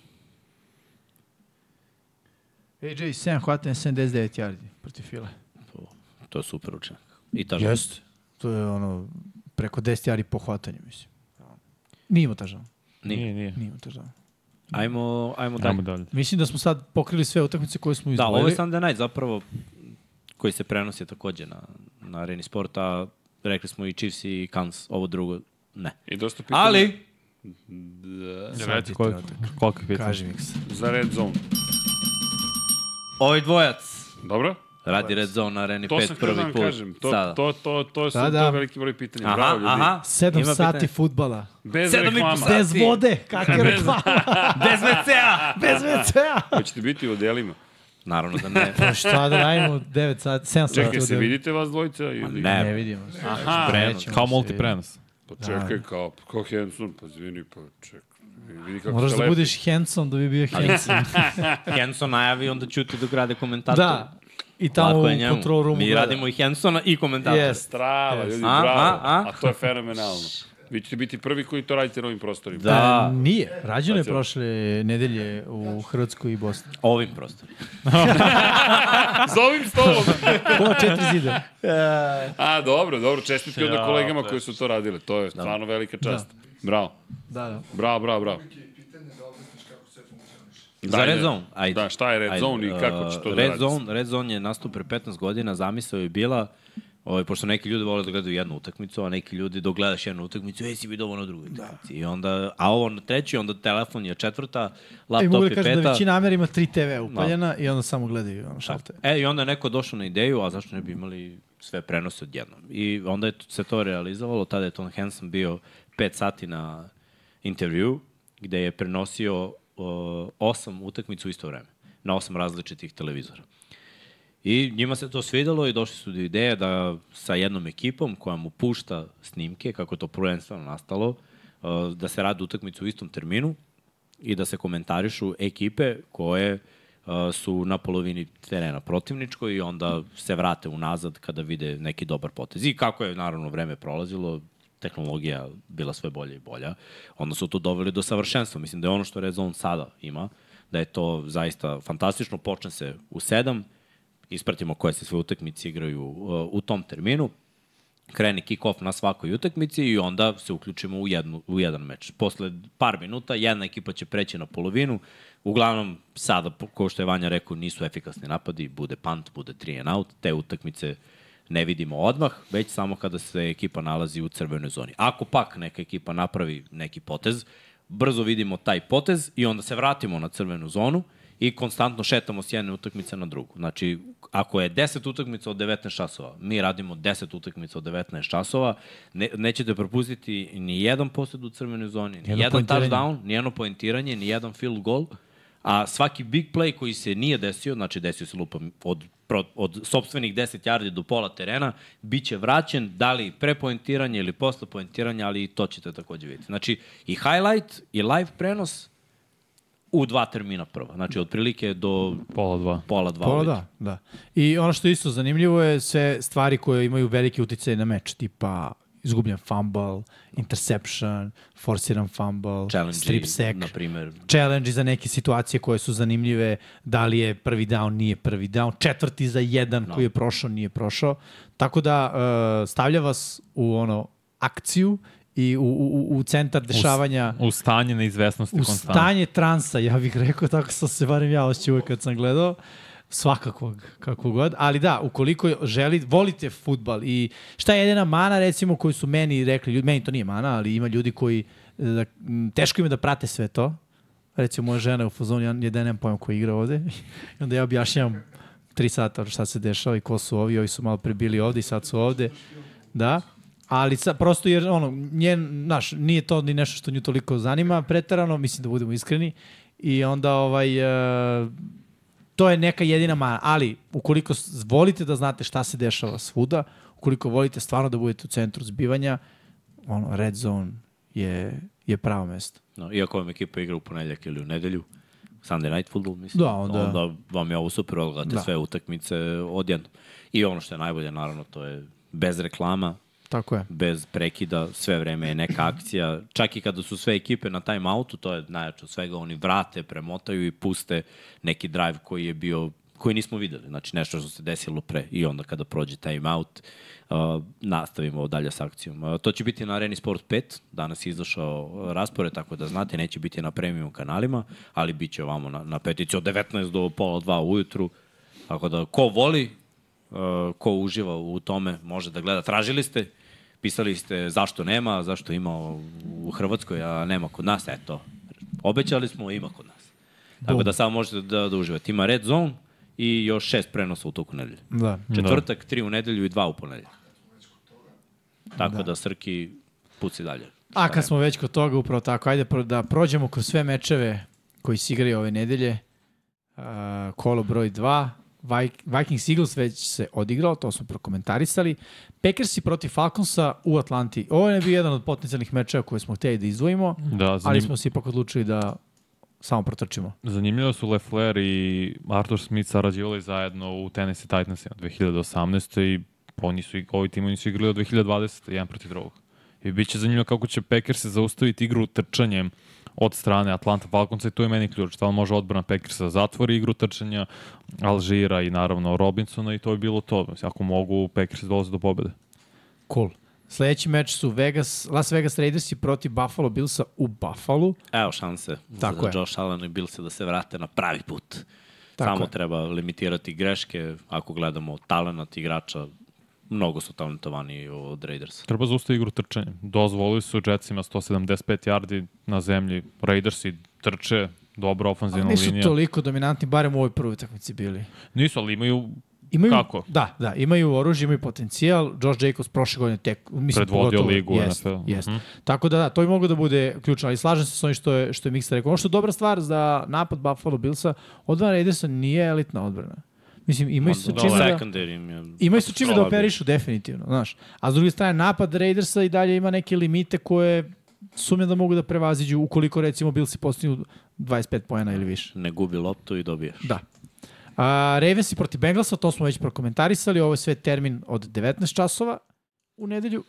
AJ 7 hvatanja 79 yardi protiv Fila. To, to je super učinak. I ta žena. Jeste. To je ono, preko 10 yardi po hvatanju, mislim. Nije imao touchdown. Nije. Nije, nije. Nije imao touchdown. Ajmo, ajmo dalje. Ajmo dalje. Mislim da smo sad pokrili sve utakmice koje smo Da, izdvojili. ovo je Sunday Night zapravo koji se prenosi takođe na, na areni sporta. Rekli smo i Chiefs i Kans, ovo drugo ne. I dosta pitanja Ali, Ne reci koliko, koliko je pitanje. Kaži mi se. za red zone. ovaj dvojac Dobro? radi red zone na areni To sam 5 htio da prvi vam put. kažem. To, sada. to, to, to, su- Da, to da. je veliki broj pitanja. aha, Bravo, ljudi. aha. 7 Ima sati pitanje. futbala. Bez Sedam i po reklama. sati. Bez vode, kakve reklama, Bez WC-a! bez WC-a. Hoćete biti u delima. Naravno da ne. Pa šta da radimo, 9 sati, 7 sati. Čekaj, od se devet. vidite vas dvojica? Ili? ne. Ne vidimo se. Aha, Prenos, Nećemo kao se multiprenos. pa čekaj, Da. kao, kao Henson, pa zvini, pa čekaj. Vidi kako Moraš se da lepi. budeš handsome da bi bio handsome. Henson najavi, onda ćuti dok rade komentator. da. I tamo Tako u je njemu. control roomu. Mi gleda. radimo i Hensona i komentator. Yes. Strava, ljudi, A, bravo. a, A, a? to je fenomenalno. Vi ćete biti prvi koji to radite na ovim prostorima. Da. Da, nije. Rađeno je Sad ćemo. prošle nedelje u Hrvatskoj i Bosni. Ovim prostorima. S ovim stolom. Ova četiri zida. a, dobro, dobro. Čestitke onda kolegama koji su to radile. To Da. je stvarno velika čast. Bravo. Da, da. Bravo, bravo, bravo. Za Red Zone, ajde. uh, Da, šta je Red Zone i kako će to da Red radi? Zone, Red Zone je nastup pre 15 godina, zamisao je bila, ovaj, pošto neki ljudi vole da gledaju jednu utakmicu, a neki ljudi dok gledaš jednu utakmicu, ej si vidio ovo na drugoj utakmici. Da. I onda, a ovo na trećoj, onda telefon je četvrta, I laptop mogu je da peta. Da. kažem da većina Amera ima tri TV upaljena i onda samo gledaju ono, šalte. E, i onda je neko došao na ideju, a zašto ne bi imali sve prenose odjednom. I onda je se to realizovalo, tada je Tom Hansen bio 5 sati na intervju, gde je prenosio o, osam utakmicu u isto vreme, na osam različitih televizora. I njima se to svidelo i došli su do ideje da sa jednom ekipom koja mu pušta snimke, kako je to prvenstveno nastalo, uh, da se radi utakmicu u istom terminu i da se komentarišu ekipe koje uh, su na polovini terena protivničkoj i onda se vrate unazad kada vide neki dobar potez. I kako je naravno vreme prolazilo, tehnologija bila sve bolja i bolja, onda su to doveli do savršenstva. Mislim da je ono što Red Zone sada ima, da je to zaista fantastično. Počne se u sedam, ispratimo koje se sve utakmice igraju uh, u tom terminu, krene kick-off na svakoj utakmici i onda se uključimo u, jednu, u jedan meč. Posle par minuta jedna ekipa će preći na polovinu, uglavnom sada, po- kao što je Vanja rekao, nisu efikasni napadi, bude punt, bude three and out, te utakmice ne vidimo odmah, već samo kada se ekipa nalazi u crvenoj zoni. Ako pak neka ekipa napravi neki potez, brzo vidimo taj potez i onda se vratimo na crvenu zonu i konstantno šetamo s jedne utakmice na drugu. Znači, ako je 10 utakmica od 19 časova, mi radimo 10 utakmica od 19 časova, ne, nećete propustiti ni jedan posjed u crvenoj zoni, ni Jedno jedan poentiranje. touchdown, ni jedno poentiranje, ni jedan field goal, a svaki big play koji se nije desio, znači desio se lupam od, pro, od sobstvenih 10 yardi do pola terena, bit će vraćen, da li pre poentiranja ili posle poentiranja, ali i to ćete takođe vidjeti. Znači, i highlight, i live prenos, u dva termina prva. Znači, otprilike do Pola dva. pola dva. Pola ujutru. da, da. I ono što je isto zanimljivo je sve stvari koje imaju veliki uticaj na meč, tipa izgubljen fumble, interception, forsiran fumble, Challenge, strip sack, na primer. challenge za neke situacije koje su zanimljive, da li je prvi down, nije prvi down, četvrti za jedan Da. no. koji je prošao, nije prošao. Tako da uh, stavlja vas u ono akciju i u, u, u- u centar dešavanja U stanje neizvesnosti u konstantno. stanje transa, ja bih rekao, tako sam se barem ja osjećao uvek kad sam gledao, svakakvog, kako god. Ali da, ukoliko želi, volite futbal i šta je jedina mana, recimo, koju su meni rekli, ljudi, meni to nije mana, ali ima ljudi koji, e, da, m, teško im je da prate sve to. Recimo, moja žena je u fazonu, ja, ja da nemam pojma koji igra ovde. I onda ja objašnjam tri sata šta se dešava i ko su ovi, ovi su malo prebili ovde i sad su ovde. Da. Ali sa, prosto jer ono, nje, naš, nije to ni nešto što nju toliko zanima, preterano, mislim da budemo iskreni. I onda ovaj, e, to je neka jedina mana. Ali, ukoliko s- volite da znate šta se dešava svuda, ukoliko volite stvarno da budete u centru zbivanja, ono, red zone je, je pravo mesto. No, iako vam ekipa igra u ponedljak ili u nedelju, Sunday Night Football, mislim, Da, onda- onda vam je ovo super, odgledate Da. da. sve utakmice odjedno. I ono što je najbolje, naravno, to je bez reklama, Tako je. bez prekida, sve vreme je neka akcija. Čak i kada su sve ekipe na timeoutu, to je najjače od svega, oni vrate, premotaju i puste neki drive koji je bio koji nismo videli, znači nešto što se desilo pre i onda kada prođe timeout uh, nastavimo dalje s akcijom. Uh, to će biti na Areni Sport 5, danas je izašao uh, raspored, tako da znate, neće biti na premium kanalima, ali bit će ovamo na, na petici od 19 do pola 2 ujutru, tako da ko voli, Uh, ko uživa u tome može da gleda. Tražili ste, pisali ste zašto nema, zašto ima u Hrvatskoj, a nema kod nas, eto. Obećali smo, ima kod nas. Tako da samo možete da, da uživate. Ima Red Zone i još šest prenosa u toku nedelje. Da. Četvrtak, tri u nedelju i dva u ponedelje. Tako da, Srki puci dalje. A kad smo već kod toga, upravo tako, ajde pro- da prođemo kroz sve mečeve koji se igraju ove nedelje. Uh, kolo broj 2, Vik- Vikings Eagles već se odigrao, to smo prokomentarisali. Packersi protiv Falconsa u Atlanti. Ovo je bio jedan od potencijalnih mečeva koje smo hteli da izdvojimo, Da, ali zanim, smo se ipak odlučili da samo protrčimo. zanimljivo su Lefler i Arthur Smith sarađivali zajedno u Tennessee Titansima 2018. i oni su, ig- ovi timovi nisu igrali od 2020. jedan protiv drugog. I bit će zanimljivo kako će Packersi zaustaviti igru trčanjem od strane Atlanta Falconsa i tu je meni ključ. Da li može odbrana Packersa da zatvori igru trčanja Alžira i naravno Robinsona i to je bilo to. Mislim, Ako mogu, Packersi dolaze do pobede. Cool. Sledeći meč su Vegas, Las Vegas Raidersi protiv Buffalo Billsa u Buffalo. Evo šanse Tako za je. Josh Allen i Bills da se vrate na pravi put. Tako Samo je. treba limitirati greške. Ako gledamo talent igrača, mnogo su talentovani od Raidersa. Treba zaustaviti igru trčanjem. Dozvolili su Jetsima 175 yardi na zemlji. Raidersi trče, dobra ofanzivna Nisu linija. toliko dominantni, barem u ovoj prvoj utakmici bili. Nisu, ali imaju Imaju, Kako? Da, da, imaju oružje, imaju potencijal. Josh Jacobs prošle godine tek, mislim, Predvodio pogotovo, ligu mhm. u jest, NFL. Jest. Tako da, da, to i mogu da bude ključno, ali slažem se s onim što je, što je Miksa rekao. Ono što je dobra stvar za napad Buffalo Billsa, odbrana Raidersa nije elitna odbrana. Mislim, imaju se čime da... Secondary im je... Imaju su čime da Slabi. operišu, definitivno, znaš. A s druge strane, napad Raidersa i dalje ima neke limite koje sumnjam da mogu da prevaziđu ukoliko, recimo, Billsi postignu 25 pojena ili više. Ne gubi loptu i dobiješ. Da. A, Ravens i protiv Bengalsa, to smo već prokomentarisali, ovo je sve termin od 19 časova u nedelju.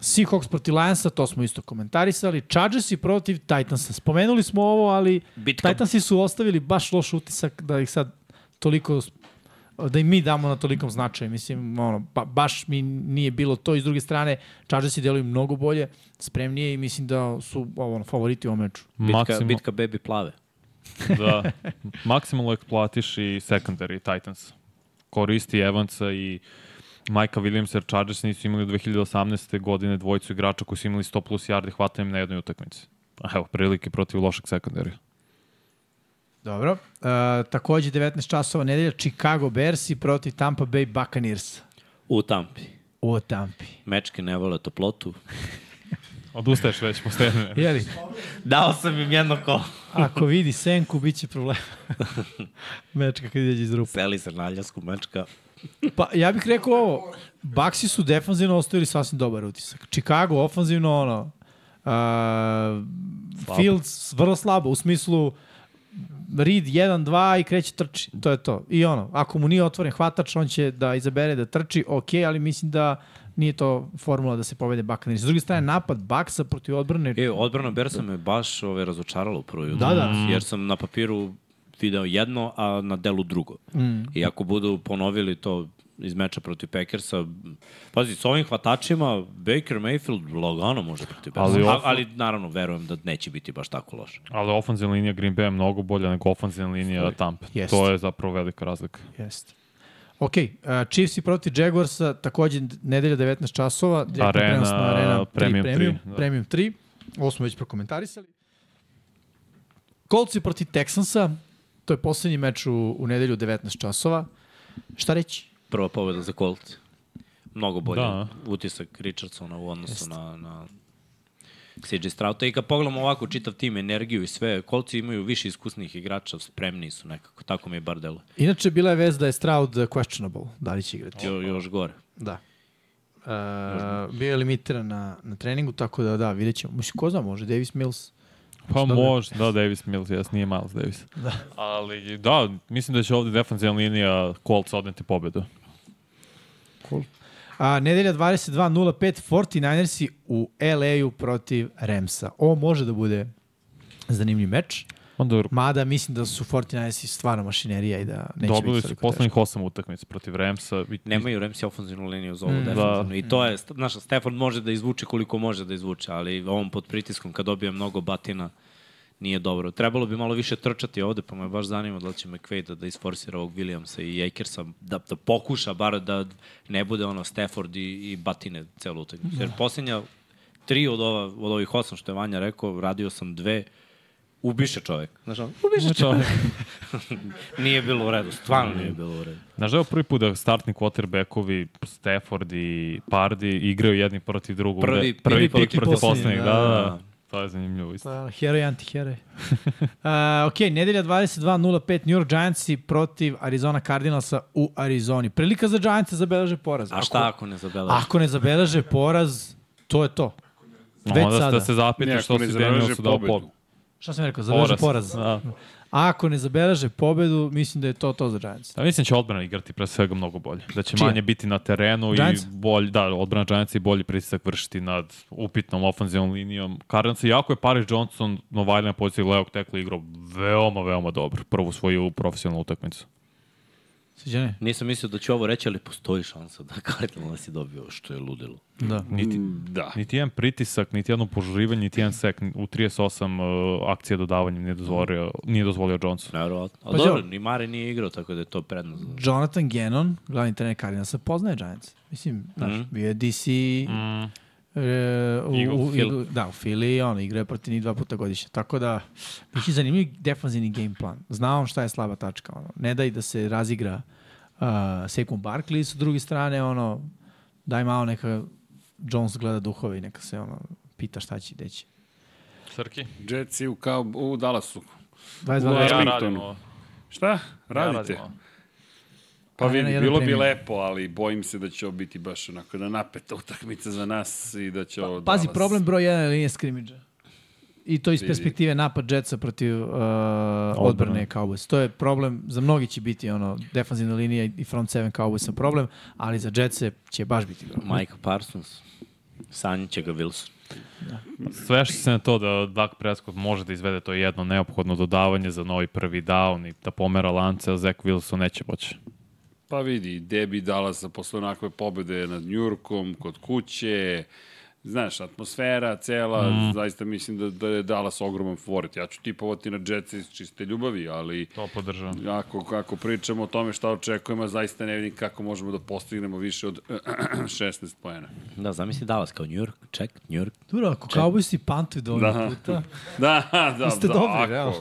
Seahawks protiv Lionsa, to smo isto komentarisali. Chargers i protiv Titansa. Spomenuli smo ovo, ali Bitka. Titansi su ostavili baš loš utisak da ih sad toliko da i mi damo na tolikom značaju. Mislim, ono, ba, baš mi nije bilo to. I s druge strane, Chargersi deluju mnogo bolje, spremnije i mislim da su ono, favoriti u ovom meču. Bitka, maksimal, bitka baby plave. da, maksimalno eksploatiš i secondary Titans. Koristi Evansa i Majka Williamsa jer Chargers nisu imali od 2018. godine dvojicu igrača koji su imali 100 plus yardi hvatanjem na jednoj utakmici. A Evo, prilike protiv lošeg secondary. Dobro. Uh, takođe 19 časova nedelja Chicago Bears i protiv Tampa Bay Buccaneers. U Tampi. O Tampi. Mečke ne vole toplotu. Odustaješ već, postajemo. Jeli, Dao sam im jedno kolo. ako vidi senku, bit će problem. Mečka kad izađe iz rupa. Seli se na ljasku mečka. Pa ja bih rekao ovo, Baxi su defanzivno ostavili sasvim dobar utisak. Chicago ofanzivno, ono, uh, Fields vrlo slabo, u smislu Reed 1-2 i kreće trči. To je to. I ono, ako mu nije otvoren hvatač, on će da izabere da trči, ok, ali mislim da nije to formula da se povede Buccaneers. S druge strane, napad Baksa protiv odbrane E, odbrana Bersa me baš ove, razočarala u prvoj Da, da. utakmici, Jer sam na papiru video jedno, a na delu drugo. Mm. I ako budu ponovili to iz meča protiv Packersa, pazi, s ovim hvatačima Baker Mayfield lagano može protiv Bersa. Ali Ali, ovo- ali naravno, verujem da neće biti baš tako loše. Ali ofanzivna linija Green Bay je mnogo bolja nego ofanzivna linija Tampa. Jest. To je zapravo velika razlika. Jeste. Ok, uh, Chiefs i protiv Jaguarsa, takođe nedelja 19 časova. direktno Arena, prenos na Arena Premium 3, tri, Premium, da. premium 3. Ovo smo već prokomentarisali. Colts i protiv Texansa, to je poslednji meč u, u nedelju 19 časova. Šta reći? Prva pobeda za Colts. mnogo bolji Da. da. utisak Richardsona u odnosu na, na CJ Strauta. E, I kad pogledamo ovako čitav tim, energiju i sve, kolci imaju više iskusnih igrača, spremni su nekako. Tako mi je bar delo. Inače, bila je vez da je Stroud questionable, da li će igrati. Jo, još gore. Da. E, bio je limitiran na, na treningu, tako da da, vidjet ćemo. Mislim, ko zna, može Davis Mills. Pa Šta možda, da, Davis Mills, jes, nije Miles Davis. Da. Ali, da, mislim da će ovde defensivna linija Colts odneti pobedu. A, nedelja 22.05, 49ersi u LA-u protiv Remsa. Ovo može da bude zanimljiv meč, Onda mada mislim da su 49ersi stvarno mašinerija i da neće dobili biti su toliko poslednjih osam utakmica protiv Remsa. i- Nemaju Remsi ofenzivnu liniju za ovu mm, defensivnu. Da. I to je, znaš, Stefan može da izvuče koliko može da izvuče, ali on pod pritiskom kad dobije mnogo batina nije dobro. Trebalo bi malo više trčati ovde, pa me baš zanima da li će McVay da, da isforsira ovog Williamsa i Akersa, da, da pokuša bar da ne bude ono Stafford i, i batine celu utakmicu. Jer posljednja tri od, ova, od ovih osam što je Vanja rekao, radio sam dve, ubiše čovek. Znaš, ono, ubiše čovek. nije bilo u redu, stvarno nije bilo u redu. Znaš da je ovo prvi put da startni quarterbackovi Stafford i Pardy igraju jedni protiv drugog. Prvi- da, prvi, prvi pik protiv protiv poslednjeg, poslednjeg, da, da, da, da. da. To je zanimljivo isto. Pa, heroj, antiheroj. uh, ok, nedelja 22.05, New York Giantsi protiv Arizona Cardinalsa u Arizoni. Prilika za Giants da zabeleže poraz. A šta ako ne zabeleži? Ako ne zabeleže poraz, to je to. Već Onda sada. da se zapitaš što Nijako ne si zaraže Danielsu dao pobedu. pobedu. Šta sam rekao? Zabeleže poraz. Da. A ako ne zabeleže pobedu, mislim da je to to za Giants. Da, mislim da će odbrana igrati pre svega mnogo bolje. Da će Čija? manje biti na terenu Giants? i bolj, da, odbrana Giantsa i bolji pritisak vršiti nad upitnom ofenzivnom linijom. Cardinals, iako je Paris Johnson novalja na poziciji levog tekla igrao veoma, veoma dobro. Prvu svoju profesionalnu utakmicu. Sviđane? Nisam mislio da ću ovo reći, ali postoji šansa da Cardinal si dobio, što je ludilo. Da. Niti, Da. niti jedan pritisak, niti jedno požurivanje, niti jedan sek. U 38 uh, akcija dodavanjem nije dozvolio, nije dozvolio Johnson. Naravno. A Pa pa dobro, Đo- ni Mare nije igrao, tako da je to prednost. Jonathan Gannon, glavni trener Cardinalsa, poznaje Giants. Mislim, znaš, bio je DC... Mm. E, u, Eagle, u, Phil. u, da, u Philly, on igra je protiv njih dva puta godišnje. Tako da, biće zanimljiv defanzivni game plan. Zna on šta je slaba tačka. Ono. Ne daj da se razigra uh, Sekun Barkley s druge strane, ono, daj malo neka Jones gleda duhove i neka se ono, pita šta će i gde će. Srki? Jetsi u, kao, u Dallasu. 22 Ja Ja radim radim ovo. Šta? Radite? ovo. Pa Ali na vidi, jedan bilo bi premijer. lepo, ali bojim se da će ovo biti baš onako da napeta utakmica za nas i da će ovo Pa, Pazi, Dallas- problem broj 1 je linija skrimidža. I to iz perspektive napad Jetsa protiv uh, odbrane Cowboys. To je problem, za mnogi će biti ono, defanzivna linija i front seven Cowboysa problem, ali za Jetsa će baš biti problem. Mike Parsons. Sanjiće ga Wilson. Svešće se na to da Dak Prescott može da izvede to jedno neophodno dodavanje za novi prvi down i da pomera lance, a Zach Wilson neće moći. Pa vidi, debi Dallasa posle onakve pobede nad Njurkom, kod kuće, znaš, atmosfera cela, Mhm. mm. zaista mislim da, da je Dallas ogroman favorit. Ja ću tipovati na Jetsi iz čiste ljubavi, ali To podržavam. ako, ako pričamo o tome šta očekujemo, ja zaista ne vidim kako možemo da postignemo više od 16 pojena. Da, zamisli Dallas kao New York, ček, New York. Dobro, ako Cowboysi pantuju do ovog Da. puta, Da, da, Jeste da, dobri, ako- realno.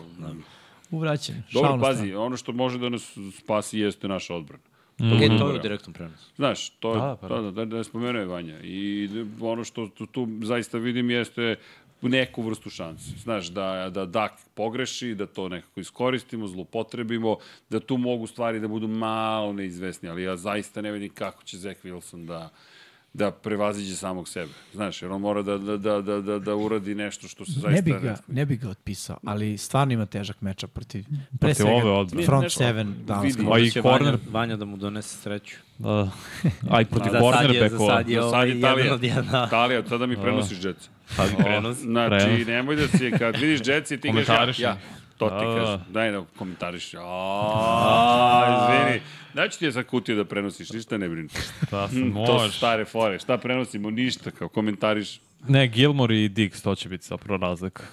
uvraćen. Dobro, šalno pazi, ono što može da nas spasi jeste naša odbrana. Mm. E, to je u direktnom prenosu. Znaš, to je, Da, da, pa da, da, da, spomenuo je Vanja. I ono što tu, tu zaista vidim jeste neku vrstu šanse. Znaš, da, da Dak pogreši, da to nekako iskoristimo, zlupotrebimo, da tu mogu stvari da budu malo neizvesni, ali ja zaista ne vidim kako će Zach Wilson da da prevaziđe samog sebe. Znaš, jer on mora da, da, da, da, da, da uradi nešto što se strano. Ne zaista... bi, ga, ne bi ga otpisao, ali stvarno ima težak meča protiv, pre Protiv svega, ove odbrane. front Nešto- seven Dallas. vidi. A i Će corner, Znači, Vanja, Vanja da mu donese sreću. da, da. a i protiv Za sad je, za cornerbackova. sad je, Za ovaj sad je jedan Italija. Da. od jedna. Italija, sada Da. mi prenosiš džetce. Pa mi prenosi. Znači, Prenos. nemoj da si, kad vidiš Jetsi, ti kažeš Komentariši. ja, ja. To ti Da, da. kažem. Daj da komentariš. Aaaa, izvini. Daću ti je za kutiju da prenosiš, ništa ne brini. Da, sad To su možeš. stare fore. Šta prenosimo? Ništa, kao komentariš. Ne, Gilmore i Diggs, to će biti zapravo razlika.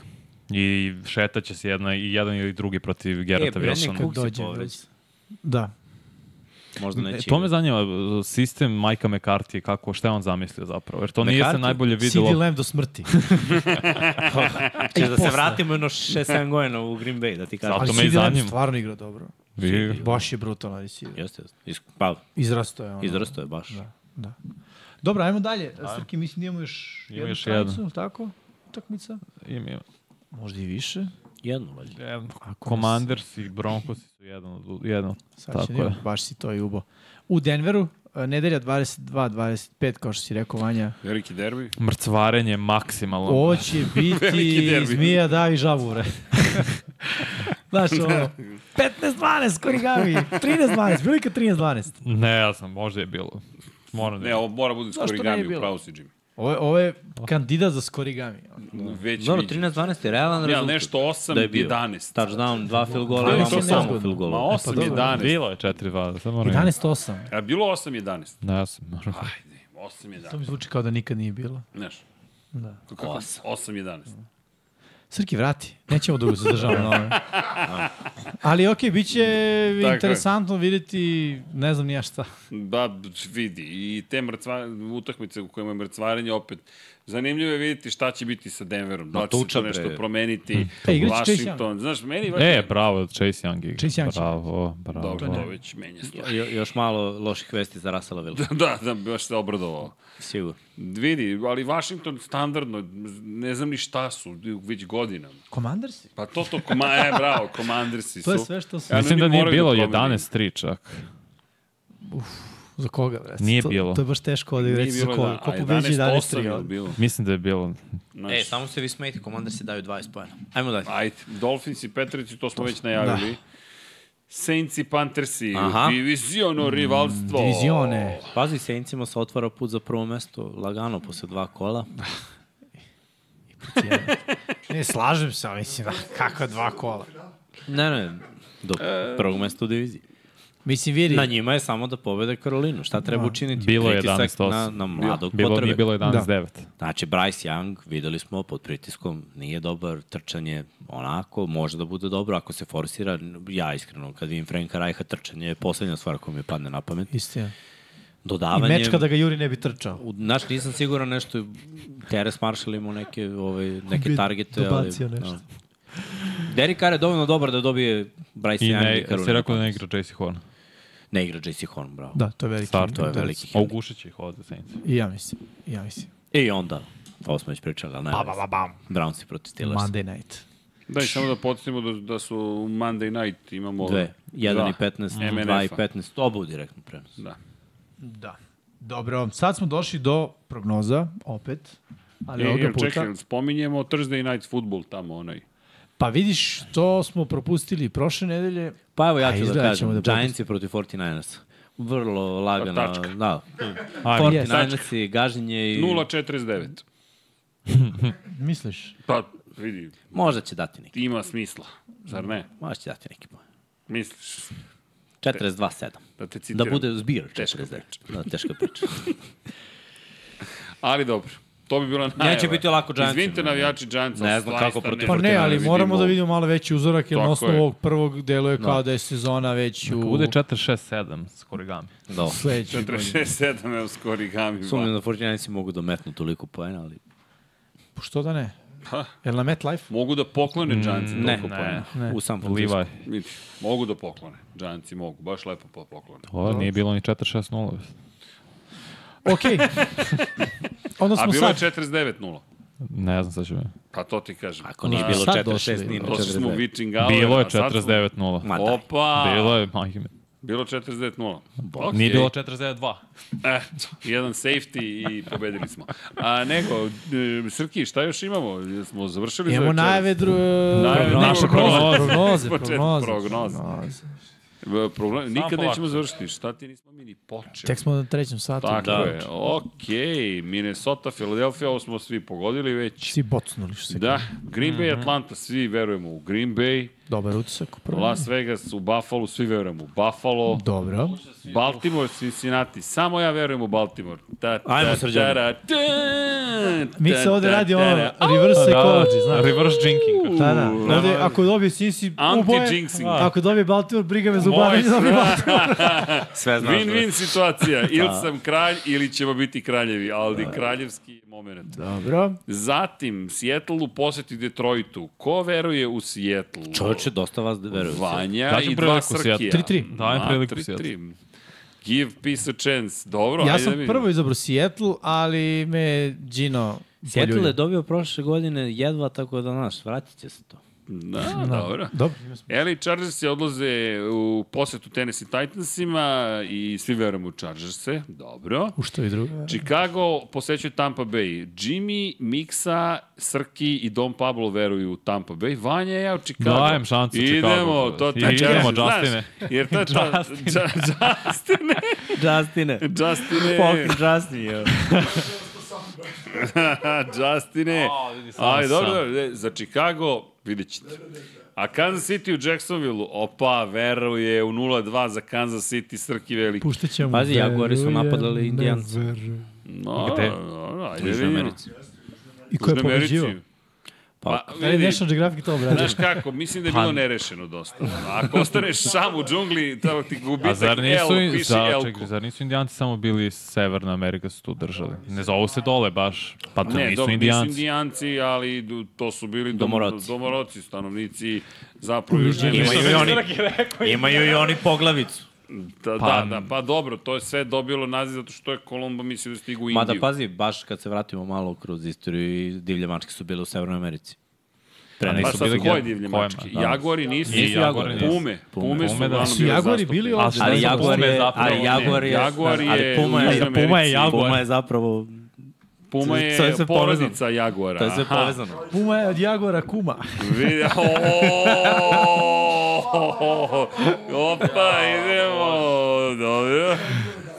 I šetaće se jedna, i jedan ili drugi protiv Gerata Brandon Wilsona. Cook. se Dođe, povređen. dođe. Da, Možda E, neće. Znači, to me zanima, e, sistem Majka McCarthy, kako, šta je on zamislio zapravo? Jer to nije se McCarthy? najbolje CD videlo. Lamb do smrti. Če da se vratimo jedno 6-7 godina u Green Bay, da ti kažem. Zato- Ali me i CD Lamb zanima. stvarno igra dobro. Vi- Baš je brutalan receiver. Jeste, jeste. Is- Pa, Izrasto je ono. izrasto je baš. Da, da. Dobro, ajmo dalje. Srki, mislim da imamo još Ima jednu još stranicu, jednu. tako? Utakmica. Im, im. Možda i više. Jedno, valjda. Commanders i Broncos su jedan od jedan. Sad Tako će da je. imamo, baš si to i ubo. U Denveru, e, nedelja 22-25, kao što si rekao, Vanja. Veliki derbi. Da. Mrcvarenje maksimalno. Ovo će Veliki biti derbi. zmija davi žavure. Znaš, ono, 15-12 korigami, 13-12, velika 13-12. Ne, ja sam, možda je bilo. Moram da Ne, ovo mora bude Zašto ne bi skorigami, bilo? u pravu si, Jimmy. Ovo je, ovo je kandidat za skorigami. Već Dobro, viđen. 13-12 je realan Ne, rezultat. ali nešto 8, da je bio. 11. Touchdown, dva field gola, Ali imamo to samo nezgodno. field Ma gola. 8, dobro. 11. Bilo je 4-2, sad moram. 11-8. A bilo 8, 11. Ne, ja sam moram. Ajde, 8, To 11. mi zvuči kao da nikad nije bilo. Znaš. Da. Kako? 8, 11. Srki, vrati. Nećemo dugo se zadržavamo na ovome. Ali okej, bit će je. interesantno vidjeti ne znam ni ja šta. Da, vidi. I te mrcva, utakmice u kojima je mrcvarenje opet. Zanimljivo je vidjeti šta će biti sa Denverom. Da li će se tuča, to bre. nešto promeniti. E, igrat će Chase Washington. Znaš, meni... E, bravo, Chase Young igra. Chase Young će Bravo, pa bravo. Dobro, to već menja stvar. Jo, još malo loših vesti za Rasala Vila, da, da, baš se obradovao. Da. sigurno. Vidi, ali Washington standardno, ne znam ni šta su, već godinama. Komandarsi? Pa to to, koma, e, bravo, komandersi su. To je sve što su. Ja, Mislim da oni nije moraju bilo promene. 11-3 čak. Za koga, bre? Nije to, bilo. To je baš teško da Nije reći za bilo koga. Ko a pobeđi 11-8 11-3. je ono. bilo. Mislim da je bilo... Znaš, E, samo se vi smijete, komandar se daju 20 pojena. Ajmo dalje. Ajde, Dolphins i Petrici, to smo već najavili. Da. Saints i Panthersi, Aha. Mm, diviziono rivalstvo. Divizione. Pazi, Sejncima se otvara put za prvo mesto, lagano, posle dva kola. Ne, slažem se, ali mislim, da, kakva dva kola. Ne, ne, do E. prvog mesta u diviziji. Mislim, vidi, Na njima je samo da pobede Karolinu. Šta treba učiniti? Da. Bilo je Pritisak 11-8. na, na mladog Bilo, potrebe. nije bilo Da. 11-9. Znači, Bryce Young, videli smo, pod pritiskom nije dobar, trčanje onako, može da bude dobro ako se forsira. Ja iskreno, kad vidim Franka Rajha, trčanje je poslednja stvar koja mi padne na pamet. istina. I Dodavanje... mečka da ga Juri ne bi trčao. U, znaš, nisam siguran nešto, Teres Marshall imao neke, ovaj, neke Bi targete, ali... dobacio nešto. Da. Derek Carr je dovoljno dobar da dobije Bryce I Young. ne, i Karolina si rekao da ne Panthers. igra J.C. Horn. Ne igra JC Horn, bravo. Da, to je veliki. Start, to je veliki A ugušit će ih ovde Saints. I ja mislim, i ja mislim. E, I onda, ovo smo već pričali, ali ne. Ba, ba, ba, bam. Browns i protiv Steelers. Monday night. Daj, samo da podsjetimo da, da su u Monday night imamo... Dve. 1 i Dva. 15, 2 i MNF-a. 15. Oba u direktnom prenosu. Da. Da. Dobro, sad smo došli do prognoza, opet. Ali E, ovoga jel, puta... čekaj, jel spominjemo Thursday night football tamo onaj. Pa vidiš, to smo propustili prošle nedelje. Pa evo ja A, ću da izgleda kažem, ćemo da da Giants je protiv 49ers. Vrlo lagana. Tačka. Da. Ajme. 49ers i gaženje i... 0.49. Misliš? Pa, vidi, Možda će dati neki. ima smisla, zar ne? Možda će dati neki poen. Misliš, 42-7. da te citiram. Da bude zbir Teška 49. Da, teška priča. Ali dobro, to bi bila najava. Neće biti lako Giantsima. Izvinite navijači Giantsa. Ne znam kako protiv Pa ne, ali moramo da vidimo malo veći uzorak, jer na Tako osnovu je. ovog prvog deluje kao da je sezona već u Ako bude 4-6-7 s korigami. Da. sledećoj godini. 4-6-7, evo skori gami. Sumnjam da 49ersi mogu da metnu toliko poena, ali Što da ne? Jel na MetLife? Mogu da poklone Giantsi ne, toliko poena. u San Francisco. Levi. Vidi, mogu da poklone. Giantsi mogu, baš lepo po- poklone. Ovo nije bilo ni 4-6-0. Okej. Onda A smo bilo je sad... 49-0. Ne znam sad ćemo. Pa to ti kažem. Ako nije Da. bilo Sad 46, došli. nije bilo To smo 49. Witching Hour. Bilo je a da, sad smo- da. 49-0. Ma daj. Opa! Bilo je, majke mi. Bilo 49-0. Okay. Nije bilo 49-2. E, jedan safety i pobedili smo. A nego, e, Srki, šta još imamo? Jel Smo završili za Imamo večeras? najave dru... Najave, naše prognoze. prognoze, Početak prognoze, prognoze. prognoze. E, Problem, nikad polako. nećemo završiti. Šta ti nismo mi ni počeli? Tek smo na trećem satu. Tako Da. je. Okej, Minnesota, Philadelphia, ovo smo svi pogodili već. Svi bocnuli što se Da, Green Mhm. Bay, Atlanta, svi verujemo u Green Bay. Dobar utisak u prvom. Las Vegas u Buffalo, svi verujemo u Buffalo. Dobro. Baltimore, Cincinnati, samo ja verujem u Baltimore. Ta, ta, Ajmo, Srđane. tara, ta, Mi se ta, ovde ta, radi tara. ono reverse psychology, znaš. Reverse jinking. Da, da. Ovde, ako dobije Cincy, oboje, Anti-jinxing. da. ako dobije Baltimore, briga me za ubave, ne dobije Baltimore. Sve znaš. Win-win situacija. Ili Da. sam kralj, ili ćemo biti kraljevi. Ali kraljevski moment. Dobro. Zatim, Seattle u poseti Detroitu. Ko veruje u Seattle? Čovječe, dosta vas veruje. Vanja Daćem i dva priliku Seattle. Srkija. 3-3. Dajem A, priliku 3-3. Give peace a chance. Dobro, Ja ajde sam da vidimo. prvo izabrao Seattle, ali me Gino Seattle je poljulja. dobio prošle godine jedva, tako da, znaš, vratit će se to. Da, dobro. Dobro, ima smisla. LA Chargersi odlaze u posetu Tennessee Titansima i svi verujemo u Chargerse. Dobro. u što i drugo. Chicago posećuje Tampa Bay. Jimmy, Miksa, Srki i Don Pablo veruju u Tampa Bay. Vanja i ja u Chicago. Dajem šansu Idemo, Chicagu. Idemo, to ti Idemo, Chargersi, znaš, Justine. Jer to je to... Justine. Justine. Justine. Justine. Justine. Justine. Aj, dobro, dobro, e, za Chicago vidjet ćete. A Kansas City u Jacksonville, opa, veruje u 0-2 za Kansas City, Srki veliki. Puštat ćemo. Pazi, Jaguari su da napadali Indijanci. No, Gde? no, no, ajde Južnoj vidimo. Americi. I ko je Južnoj Americi. pobeđivo? Pa, Ali vidi, National Geographic to obrađuje. Znaš kako, mislim da Pa- je bilo nerešeno dosta. Ako ostaneš sam u džungli, tamo ti A gubitak zar L, nisu, i- piši za, L-ku. čekaj, zar nisu indijanci samo bili Severna Amerika su tu držali? Ne zovu se dole baš. Pa to Ne, nisu dobro, nisu indijanci. indijanci, ali du- to su bili dom- Domoroci. domoroci stanovnici zapravo Južne Imaju i Amerike. oni, imaju i oni poglavicu. Da, pa, da, da, pa dobro, to je sve dobilo naziv zato što je Kolombo mislio da stigu u Indiju. Mada pa, pazi, baš kad se vratimo malo kroz istoriju, i divlje mačke su bile u Severnoj Americi. Pa pa nisu sad, bili koje gen- divlje kojima, mačke? da. Jaguari nisu. Nisu Jaguari, nisu. Pume. Pume, Pume su da. uglavnom Su bile Jaguari zastupljene. bili A ovdje? šta Ali je za Jaguar Pume je, zapravo? ali Jaguar je, Jaguar je ali Puma Južna je, Amerika. Puma je Jaguar. Puma je zapravo, Puma To je je sve povezano. porodica Jaguara. to je sve Aha. povezano. Puma je od Jaguara kuma. Vidi, Opa, idemo. Dobro.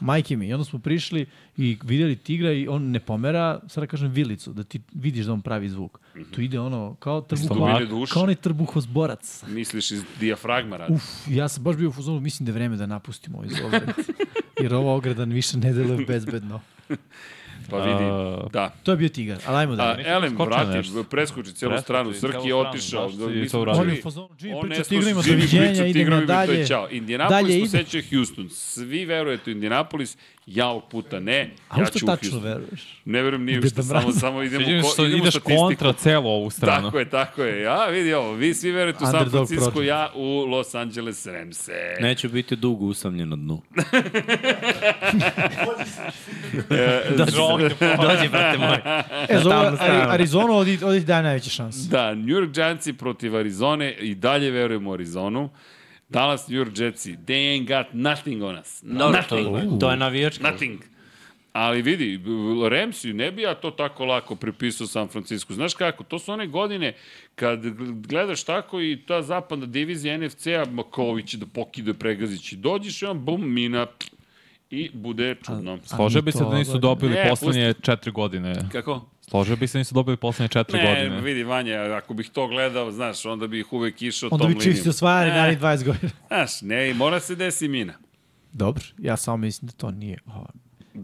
Majke mi. I onda smo prišli i vidjeli tigra i on ne pomera, sada kažem vilicu, da ti vidiš da on pravi zvuk. Tu ide ono kao trbuho, dubine duše. kao onaj trbuhozborac. Misliš iz dijafragma radi? Uf, ja sam baš bio u fuzonu, mislim da je vreme da napustimo ovaj zovret. Jer ova ograda više ne deluje bezbedno. Pa vidi, A- da. To je bio tigar, ali ajmo A, dalje. Elem, skočio vrati, nešto. preskuči cijelu Preskuči stranu. cijelu Srki je stranu, otišao. zašto Mi je to smo uradio? On čuli- je u fazonu, Jimmy On priča ne o tigrima, sluša, Jimmy priča doviđenja, o idemo tigrovima i to je dalje. Ćao. Dalje Indianapolis ide. posećuje Houston. Svi verujete u Indianapolis, ja ovog puta ne, A u ja što ću u tačno da Houston. veruješ? Ne verujem nije u Deda što, Mraz. samo, samo idemo, Vidim ko, što idemo ideš statistiku. kontra celu ovu stranu. Tako je, tako je. Ja, vidi ovo, vi svi verujete u San Underdog Francisco, project. ja u Los Angeles Ramse. Neću biti dugo usamljen na dnu. da, Dođi, brate moj. E, za ovo Tamna strana. Ari- Arizonu odi, odi daje najveće šanse. da, New York Giantsi protiv Arizone i dalje verujemo u Arizonu. Dallas New York Jetsi, they ain't got nothing on us. Dobro, nothing. to, to je navijačka. Nothing. Ali vidi, b- b- Ramsey, ne bi ja to tako lako prepisao San Francisco. Znaš kako, to su one godine kad gl- gledaš tako i ta zapadna divizija NFC-a, Maković da pokide Pregazić i dođeš i on bum, mina i bude čudno. Složio bi se da to- nisu dobili Ne, poslednje četiri godine. Kako? Složio bi se da nisu dobili poslednje četiri Ne, godine. vidi Vanja, ako bih to gledao, znaš, onda bih uvek išao Onda tom bi linijom. Chiefs osvajali Ne. narednih 20 godina. Znaš, ne, mora se desi mina. Dobro, ja samo mislim da to nije. ovo.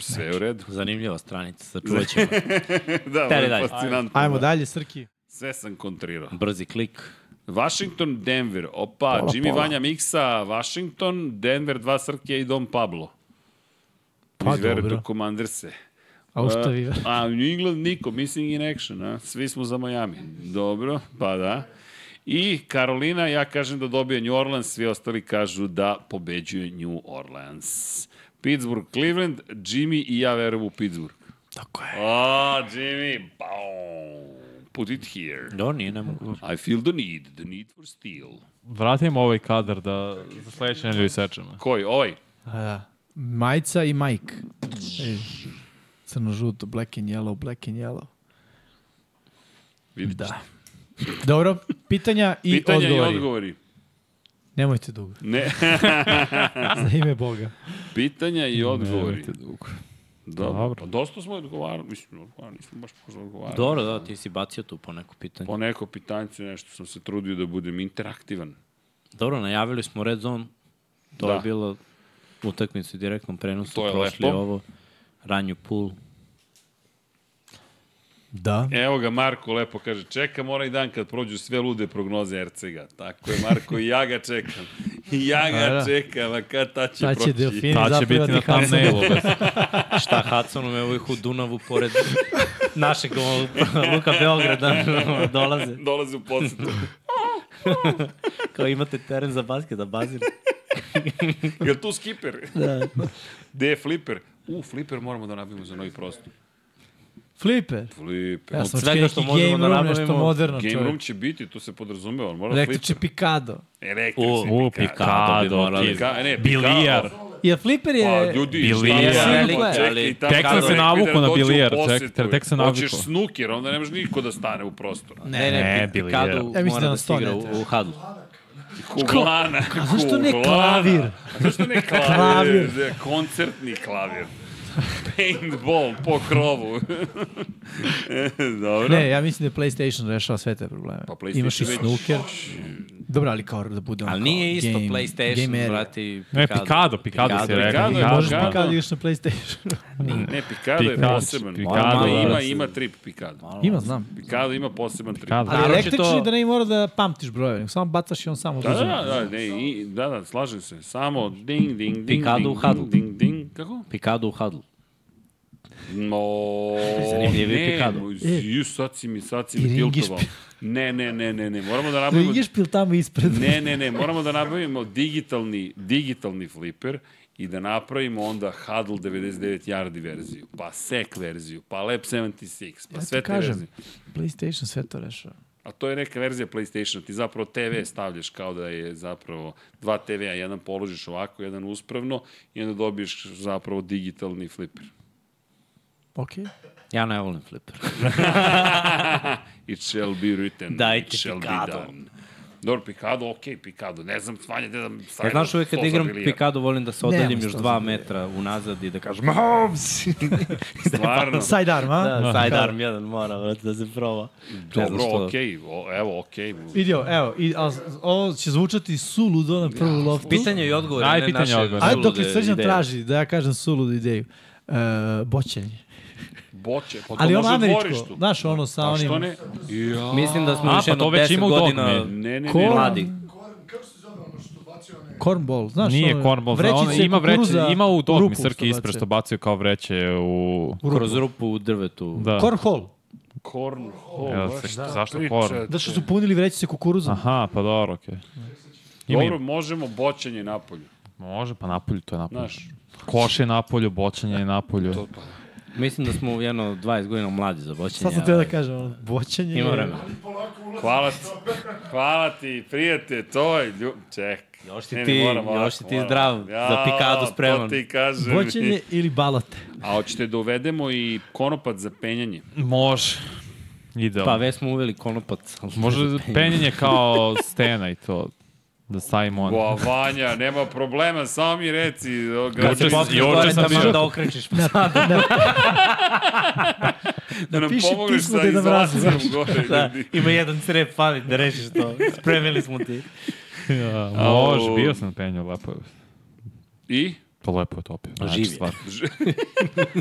Sve Znači. u redu. Zanimljiva stranica, sačuvat ćemo. je. da, ovo Teri je dalje. fascinantno. Ajmo dalje, Srki. Sve sam kontrirao. Brzi klik. Washington, Denver. Opa, Pola, Jimmy pola. Vanja Miksa, Washington, Denver, dva Srke i Don Pablo. Pa Izverete dobro. u Commanderse. A u šta vi? A u New England niko, missing in action, a? Svi smo za Miami. Dobro, pa da. I Karolina, ja kažem da dobije New Orleans, svi ostali kažu da pobeđuje New Orleans. Pittsburgh, Cleveland, Jimmy i ja verujem u Pittsburgh. Tako je. A, Jimmy, bau, put it here. Do, Da, nije nemoguće. I feel the need, the need for steel. Vratimo ovaj kadar da za sledeće nedelje sečemo. Koji, ovaj? A, da. Majca i Mike. Ej, Crno-žuto, black and yellow, black and yellow. Vidite. Da. Dobro, pitanja i Pitanja odgovori. i odgovori. Nemojte dugo, Ne, za ime Boga. pitanja i odgovori. dugo. Dobro. Dobro. Pa dosta smo odgovarali, mislim, odgovarali, nismo baš možda odgovarali. Dobro, da, ti si bacio tu po neko pitanje. Po neko pitanjcu nešto sam se trudio da budem interaktivan. Dobro, najavili smo Red Zone. To Da. je bilo utakmicu u direktnom prenosu. To je prošli lepo. ovo. Ranju Pul. Da. Evo ga, Marko lepo kaže, čekam onaj dan kad prođu sve lude prognoze Ercega. Tako je, Marko, i ja ga čekam. I ja ga A, da. čekam, a kad ta će Šta će proći? delfini Ta će biti zapevati na Hansa? thumbnailu. bez- Šta Hudsonom, evo ih u Dunavu pored našeg ovog Luka Beograda dolaze. Dolaze u posetu. Kao imate teren za basket, da bazir. Jel tu skiper? Da. Gde je fliper? U, fliper moramo da nabijemo za novi prostor. Flipe. Fliper. Ja sam svega očekio što neki možemo game da room, nešto nabavimo, moderno. Game čovjek. room će biti, to se podrazumeva, ali mora Rekli fliper. E, će Pikado. Električni U, Pikado bi Pikado, morali. Da, Pika, e, ne, Bilijar. Pikado. Jer Flipper je... Pa, ljudi, Bilijar. šta je Velika, ali- Tek sam se navuku da na bilijar, tek- tek- tek sam Hoćeš navuku. snukir, onda ne može niko da stane u prostoru. Ne, ne, Ne, ne bili je. Pikado Ja mislim mora da da, nam da se igra sto ne u, treba. u hadlu. Kuglana. A zašto ne kuglana. klavir? A Zašto ne klavir? klavir. Koncertni klavir. Paintball po krovu. Dobro. Ne, ja mislim da je PlayStation rešava sve te probleme. Pa Pa PlayStation Imaš i već- snooker. Dobro, ali kao da bude on Ali kao nije isto game, game PlayStation, area. brati. Ne, Pikado, Pikado si rekao. Pikado je Možeš Pikado. Pikado ideš na да PlayStation. Ne, Pikado je Pikado, poseban. Pikado, Pikado ima, brate. ima trip Pikado. Ima, znam. Pikado ima poseban trip. Pikado. Ali Naročito- električni da ne mora da pamtiš brojeve, да nego samo bacaš i on samo Da, da, oduzima. da, ne, i, da, da, slažem se. Samo ding, ding, ding, Pikado u ding, hadlu. ding, ding, ding. Kako? Pikado u hadlu. No, Zanimljiv je ne, Pikado. moj, ju, sad si mi, sad si mi I ringiš tiltovao. pi- Ne, ne, ne, ne, ne, moramo da Da nabavimo... igraš pil tamo ispred. Ne, ne, ne, moramo da nabavimo digitalni, digitalni fliper i da napravimo onda Huddle 99 yardi verziju, pa Sek verziju, pa Lab 76, pa Ja ja ti sve te kažem. kažem. verzije. PlayStation sve to rešava. A to je neka verzija PlayStationa, ti zapravo TV stavljaš kao da je zapravo dva TV-a, jedan položiš ovako, jedan uspravno i onda dobiješ zapravo digitalni fliper. Okej. Ja ne volim fliper. It shall be written, Dajte it shall be Pikado. done. Dobro, Pikado, okej, okay, Pikado. Ne znam, da svanje, ne znam, Ja, znaš, uvek kad igram Pikado volim da se odaljim Nemoj još sto dva za- metra unazad i da kažem Stvarno, Sidearm, a? Da, sidearm jedan mora, vrat, da se proba. Ne znam dobro, što. okej, okay, evo, okej. Okay. Vidio, evo, i, a, z- ovo će zvučati suludo na prvu loptu. Pitanje i odgovor, Aj, a ne pitanje i naše. odgovor. Ajde dok li sulude srđan ideje. traži da ja kažem suludu ideju. E, boćenje. Boće, pa to Ali ono može u američko, da, dvorištu. znaš ono sa A onim... što ne? Ja. Mislim da smo A, još pa jedno to već 10 ima u godina dogmi. Ne, ne, ne. Ko? mladi. Cornball, znaš Nije ono... kornbol, zna, on vrećice ima vreće, kukuruza ima u dogmi rupu Srki bace. ispred što bacio kao vreće u... U rupu. Kroz rupu u drvetu. Da. Cornhole, Korn. Jel, Oh, se- zašto korn? da što su punili vrećice kukuruza. Aha, pa dobro, okej. Ima Dobro, možemo boćanje napolju. Može, pa napolju to je napolju. Znaš, Koš je napolju, bočanje je napolju. Mislim da smo u jedno 20 godina mlađi za boćenje. Sad sam teo da kažem, ono, boćenje... Ima vremena. hvala ti. Hvala ti, prijatelj, to je ljub... Ček. Još si Ne, ne, ti- moram još ovako, si ti moram. zdrav, za pikadu spreman. To ti kažem. Boćenje ili balate. A hoćete da uvedemo i konopac za penjanje. Može. Idealno. Pa već smo uveli konopac. ali- Može Pa, penjanje kao stena i to. Da stavimo on. Ba, Vanja, nema problema, samo mi reci. Kad se Građani, popne Popne Joče gore sam da bio. možeš da okrećeš. Pa sad. da nam napiši pomogneš pismo sa Deda Mrazu, izlaskom gore. Da, ljudi. ima jedan crep pamet da rešiš to. Spremili smo ti. Ja, može, Au. bio sam na penju, lepo je. I? To lepo je topio. Znači, Živ je. stvar.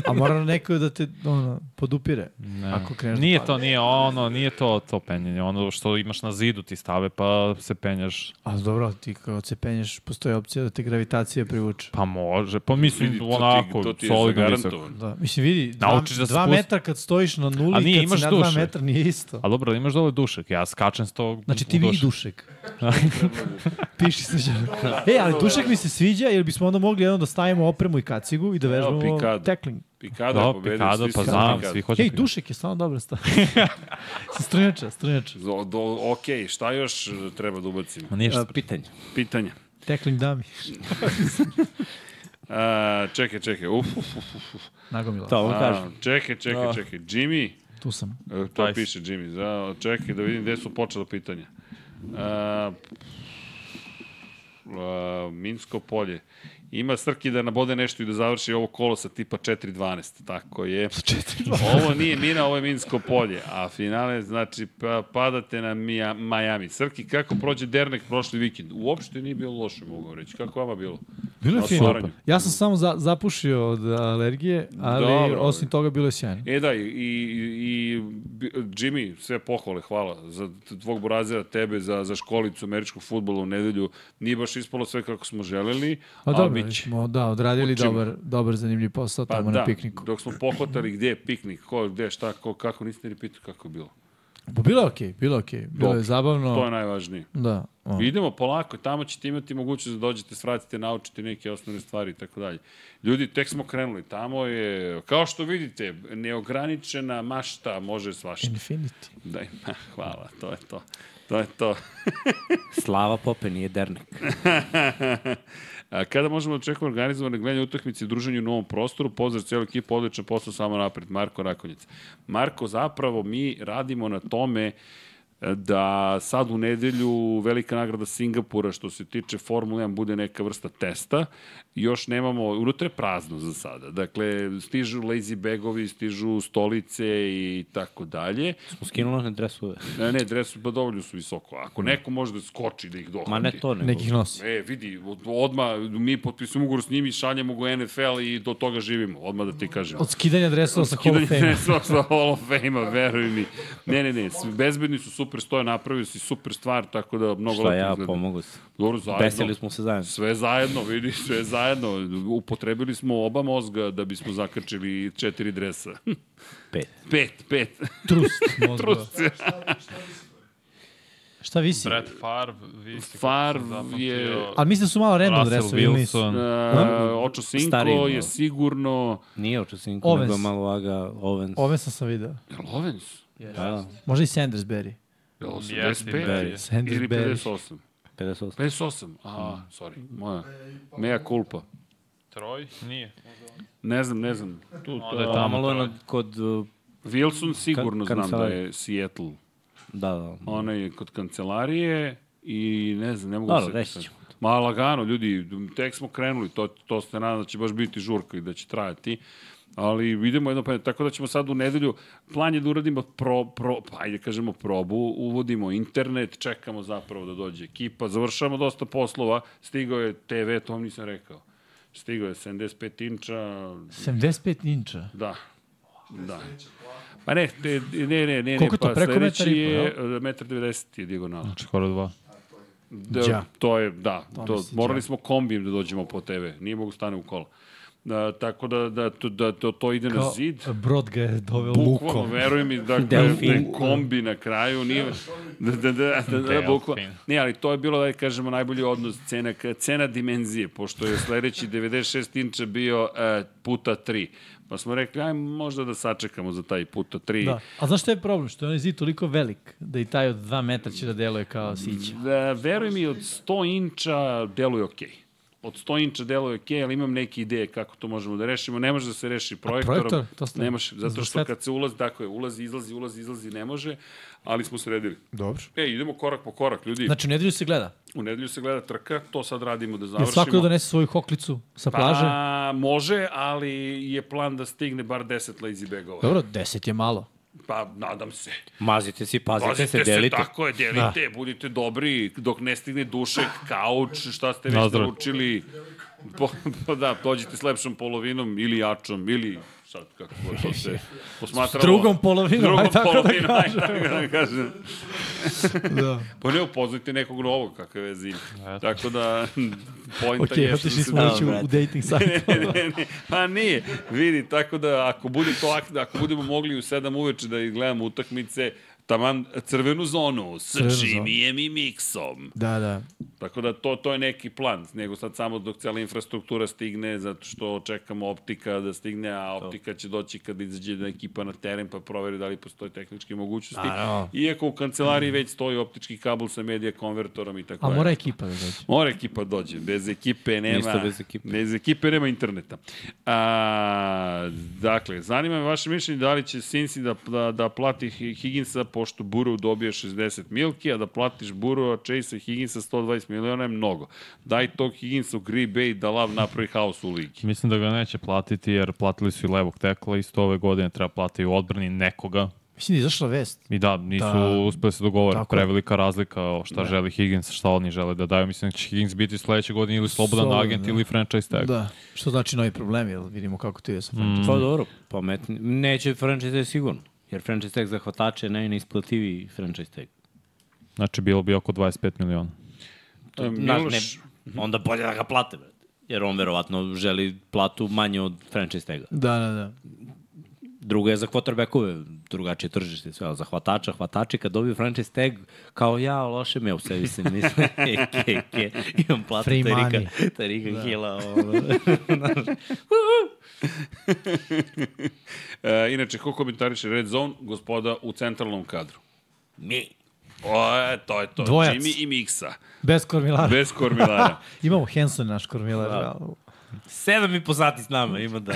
A mora neko da te ono, podupire. Ne. Ako kreneš Nije to, nije ono, nije to to penjanje. Ono što imaš na zidu ti stave pa se penjaš. A dobro, ti kao se penješ, postoji opcija da te gravitacija privuče. Pa može, pa mislim Vidi, to ti- Znači, onako, to ti je solidno visoko. zagarantovano. Da, mislim vidi, dva, Naučiš da se dva spust- metra kad stojiš na nuli, A nije, kad imaš si na dva duše. metra nije isto. A dobro, ali imaš dole dušek, ja skačem s tog Znači u ti vidi dušek. dušek. Piši se E, ali dušek mi se sviđa jer bismo onda mogli jedno da stavimo opremu i kacigu i da vežbamo pikado. tackling. Pikado je Da, pobedio. pikado, svi pa su za znam, Pikado. svi hoće Ej, pikado. dušek je stvarno dobra stvar. Sa strunjača, strunjača. Do, do, ok, šta još treba da ubacimo? Ma ništa. A, Pitanje. Pitanja. Tackling dami. A, E, čekaj, čekaj, uf, uf, uf, uf. Nagomila. To vam A, kažem. čekaj, Da. čekaj, čekaj. Jimmy, Tu sam. e, to Nice. piše Jimmy, za, čekaj da vidim gde su počela pitanja. A, a, Minsko polje. Ima Srki da nabode nešto i da završi ovo kolo sa tipa 4-12, tako je. Ovo nije Mina, ovo je Minsko polje, a finale znači pa, padate na Mija, Miami. Srki, kako prođe Dernek prošli vikend? Uopšte nije bilo loše, mogu vam reći. Kako vama bilo? Bilo je Na fino. otvaranju. Ja sam samo za, zapušio od alergije, ali Dobro. osim toga bilo je sjajno. E da, i, i, i bi- Jimmy, sve pohvale, hvala za t- tvog burazera, tebe, za, za školicu američkog futbola u nedelju. Nije baš ispalo sve kako smo želeli, Pa ali dobro, bit će. smo, da, odradili Učimo. dobar, dobar zanimljiv posao Pa tamo da, na pikniku. dok smo pohvatali gdje je piknik, ko, gdje, šta, ko, kako, niste ni pitali kako je bilo. Pa bilo je okej, bilo je okej. Bilo Dobro, je zabavno. To je najvažnije. Da. o. Idemo polako, tamo ćete imati mogućnost da dođete, svratite, naučite neke osnovne stvari i tako dalje. Ljudi, tek smo krenuli, tamo je, kao što vidite, neograničena mašta može svašta. Infinity. Da, ima, hvala, to je to. To je to. Slava Pope nije dernek. A kada možemo da očekujemo organizovane gledanje utakmice i druženje u novom prostoru? Pozdrav cijelu ekipu, odličan posao, samo napred, Marko Rakonjic. Marko, zapravo mi radimo na tome e, da sad u nedelju velika nagrada Singapura što se tiče Formule 1 bude neka vrsta testa. Još nemamo, unutra je prazno za sada. Dakle, stižu lazy bagovi, stižu stolice i tako dalje. Smo skinuli one dresove. Ne, ne, dresu pa dovoljno su visoko. Ako neko može da skoči da ih dohvati. Ma ne to, nego. Nekih nosi. E, vidi, od- odma mi potpisujemo ugovor s njim i šaljemo ga u NFL i do toga živimo, odma da ti kažem. Od skidanja dresova sa Hall Skidanje of Fame. NFL sa Hall of Fame-a, veruj mi. Ne, ne, ne, s- bezbedni su super stoje, napravio si super stvar, tako da mnogo Šta lepo ja, izgleda. pomogu se. Dobro, zajedno. Desili smo se zajedno. Sve zajedno, vidi, sve zajedno. Upotrebili smo oba mozga da bismo zakačili četiri dresa. Pet. pet, pet. Trust. Trust. Šta visi? Brett Favre, vi ste Favre kako sam je- zapamtio. Ali mislim da su malo random Russell dresovi ili nisu? Wilson, Uh, Očo Sinko Hm? Stariji da. malo. je sigurno... Nije oču sinko, Ovens. nego je malo aga Ovens. Ove sam sam video. Lovens? Da, Možda i Sandersberry. Jel Jeste, 85? Berry. Ili Sandersberry. 58? 58. 58, a, sorry, moja, Hm. mea culpa. Troj? Nije. Ne znam, ne znam. Tu, Onda je Da, tamo malo je troj. na- kod... uh, Wilson sigurno Ka- znam da kancelarija. je Seattle. Da, da. Ona je kod kancelarije i ne znam, ne mogu Dobro, se... reći ćemo. Ma lagano, ljudi, tek smo krenuli, to, to ste nadam da će baš biti žurka i da će trajati. Ali vidimo jedno pa tako da ćemo sad u nedelju, plan je da uradimo pro, pro, pa ajde kažemo probu, uvodimo internet, čekamo zapravo da dođe ekipa, završamo dosta poslova, stigao je TV, to vam nisam rekao. Stigao je 75 inča, 75 inča. Da. Da. Pa ne, te, ne, ne, ne, ne, Koliko je to, pa preko sledeći metar i po, je 1,90 je dijagonala. Znači, skoro dva. Da, Đa. To je, da, to, misli, morali smo kombijem da dođemo po TV, nije mogu stane u kola. Da, tako da, da, to, da to, to ide na Kao, Da, zid. Brod ga je doveo Bukvalno, lukom. veruj mi, dakle, Delfin. ne kombi na kraju, nije, da, da, da, da, da, da bukvalno. Ne, ali to je bilo, da kažemo, najbolji odnos cena, ka- cena dimenzije, pošto je sledeći 96 inča bio uh, puta 3. Pa smo rekli, aj možda da sačekamo za taj puta 3. Da. A znaš što je problem? Što je onaj zid toliko velik da i taj od 2 metra će da deluje kao sića. Da, veruj mi, od 100 inča deluje okej. Od 100 inča deluje okej, ali imam neke ideje kako to možemo da rešimo. Ne može da se reši projektorom. Pa, projektor? To ste- ne može, zato zbog što svetla? kad se ulazi, tako je, ulazi, izlazi, ulazi, izlazi, ne može, ali smo sredili. Dobro. E, idemo korak po korak, ljudi. Znači, u nedelju se gleda. U nedelju se gleda trka, to sad radimo da Jel završimo. svako da donese svoju hoklicu sa plaže? Pa, može, ali je plan da stigne bar 10 lazy bagova. Dobro, 10 je malo. Pa, nadam se. Mazite si, pazite, Pazite se, delite. tako je, delite, Da. budite dobri, dok ne stigne dušek, kauč, šta ste već Nazdrav. naručili. Po, pa da, dođite s lepšom polovinom ili jačom, ili sad kako god to se posmatralo. drugom polovinom, drugom aj tako da polovinom, aj tako da kažem. Da. Pa ne, upoznajte nekog novog, kakve veze ima. Tako da, pojenta Okej, je što otišli se smo da- već u, u dating sajt. ne, ne, ne, pa nije. Vidi, tako da ako bude to ak- ako budemo mogli u 7 uveče da gledamo utakmice, taman crvenu zonu s Crvenu zonu. Čimijem i Miksom. Da, da. Tako da to, to je neki plan, nego sad samo dok cela infrastruktura stigne, zato što čekamo optika da stigne, a optika će doći kad izađe jedna ekipa na teren pa proveri da li postoje tehničke mogućnosti. Naravno. Iako u kancelariji već stoji optički kabel sa medija konvertorom i tako A dalje. mora ekipa da dođe. Mora ekipa dođe, bez ekipe nema... Ništa bez ekipe. Bez ekipe nema interneta. A, dakle, zanima me vaše mišljenje da li će Sinsi da, da, da plati Hi- Higginsa pošto Burrow dobije 60 milki, a da platiš Burrowa, Chase i Higginsa 120 miliona je mnogo. Daj tog Higginsa u Green Bay da lav napravi haos u ligi. Mislim da ga neće platiti jer platili su i levog tekla, isto ove godine treba platiti u odbrani nekoga. Mislim da je izašla vest. I da, nisu Da. da, uspeli se dogovore. Tako Tako. je. Prevelika razlika o šta da. želi Higgins, šta oni žele da daju. Mislim da će Higgins biti sledeće godine ili slobodan Slobodan, agent da. ili franchise tag. Da. Da. Što znači novi problemi, jel vidimo kako ti je sa Mm. franchise. Pa dobro, pametni. Neće franchise tag sigurno. Jer franchise tag za hvatače je naj- neisplativiji franchise tag. Znači bilo bi oko 25 miliona. To, Znaš, Miloš, ne, onda bolje da ga plate, brate. Jer on verovatno želi platu manje od franchise taga. Da, da, da. Drugo je za quarterbackove, drugačije tržište i sve, ali za hvatača, hvatači kad dobiju franchise tag, kao ja, loše mi je, u sebi se mislim, ke, ke, ke, imam platu Free Tarika, money. Tarika da. Hila, ono. e, inače, ko komentariše Red Zone? Gospoda u centralnom kadru. mi. O, e, to je to. Dvojac. Jimmy i Miksa. Bez kormilara. Bez kormilara. Imamo Henson naš kormilar. Da. Sedam i po sati s nama ima da.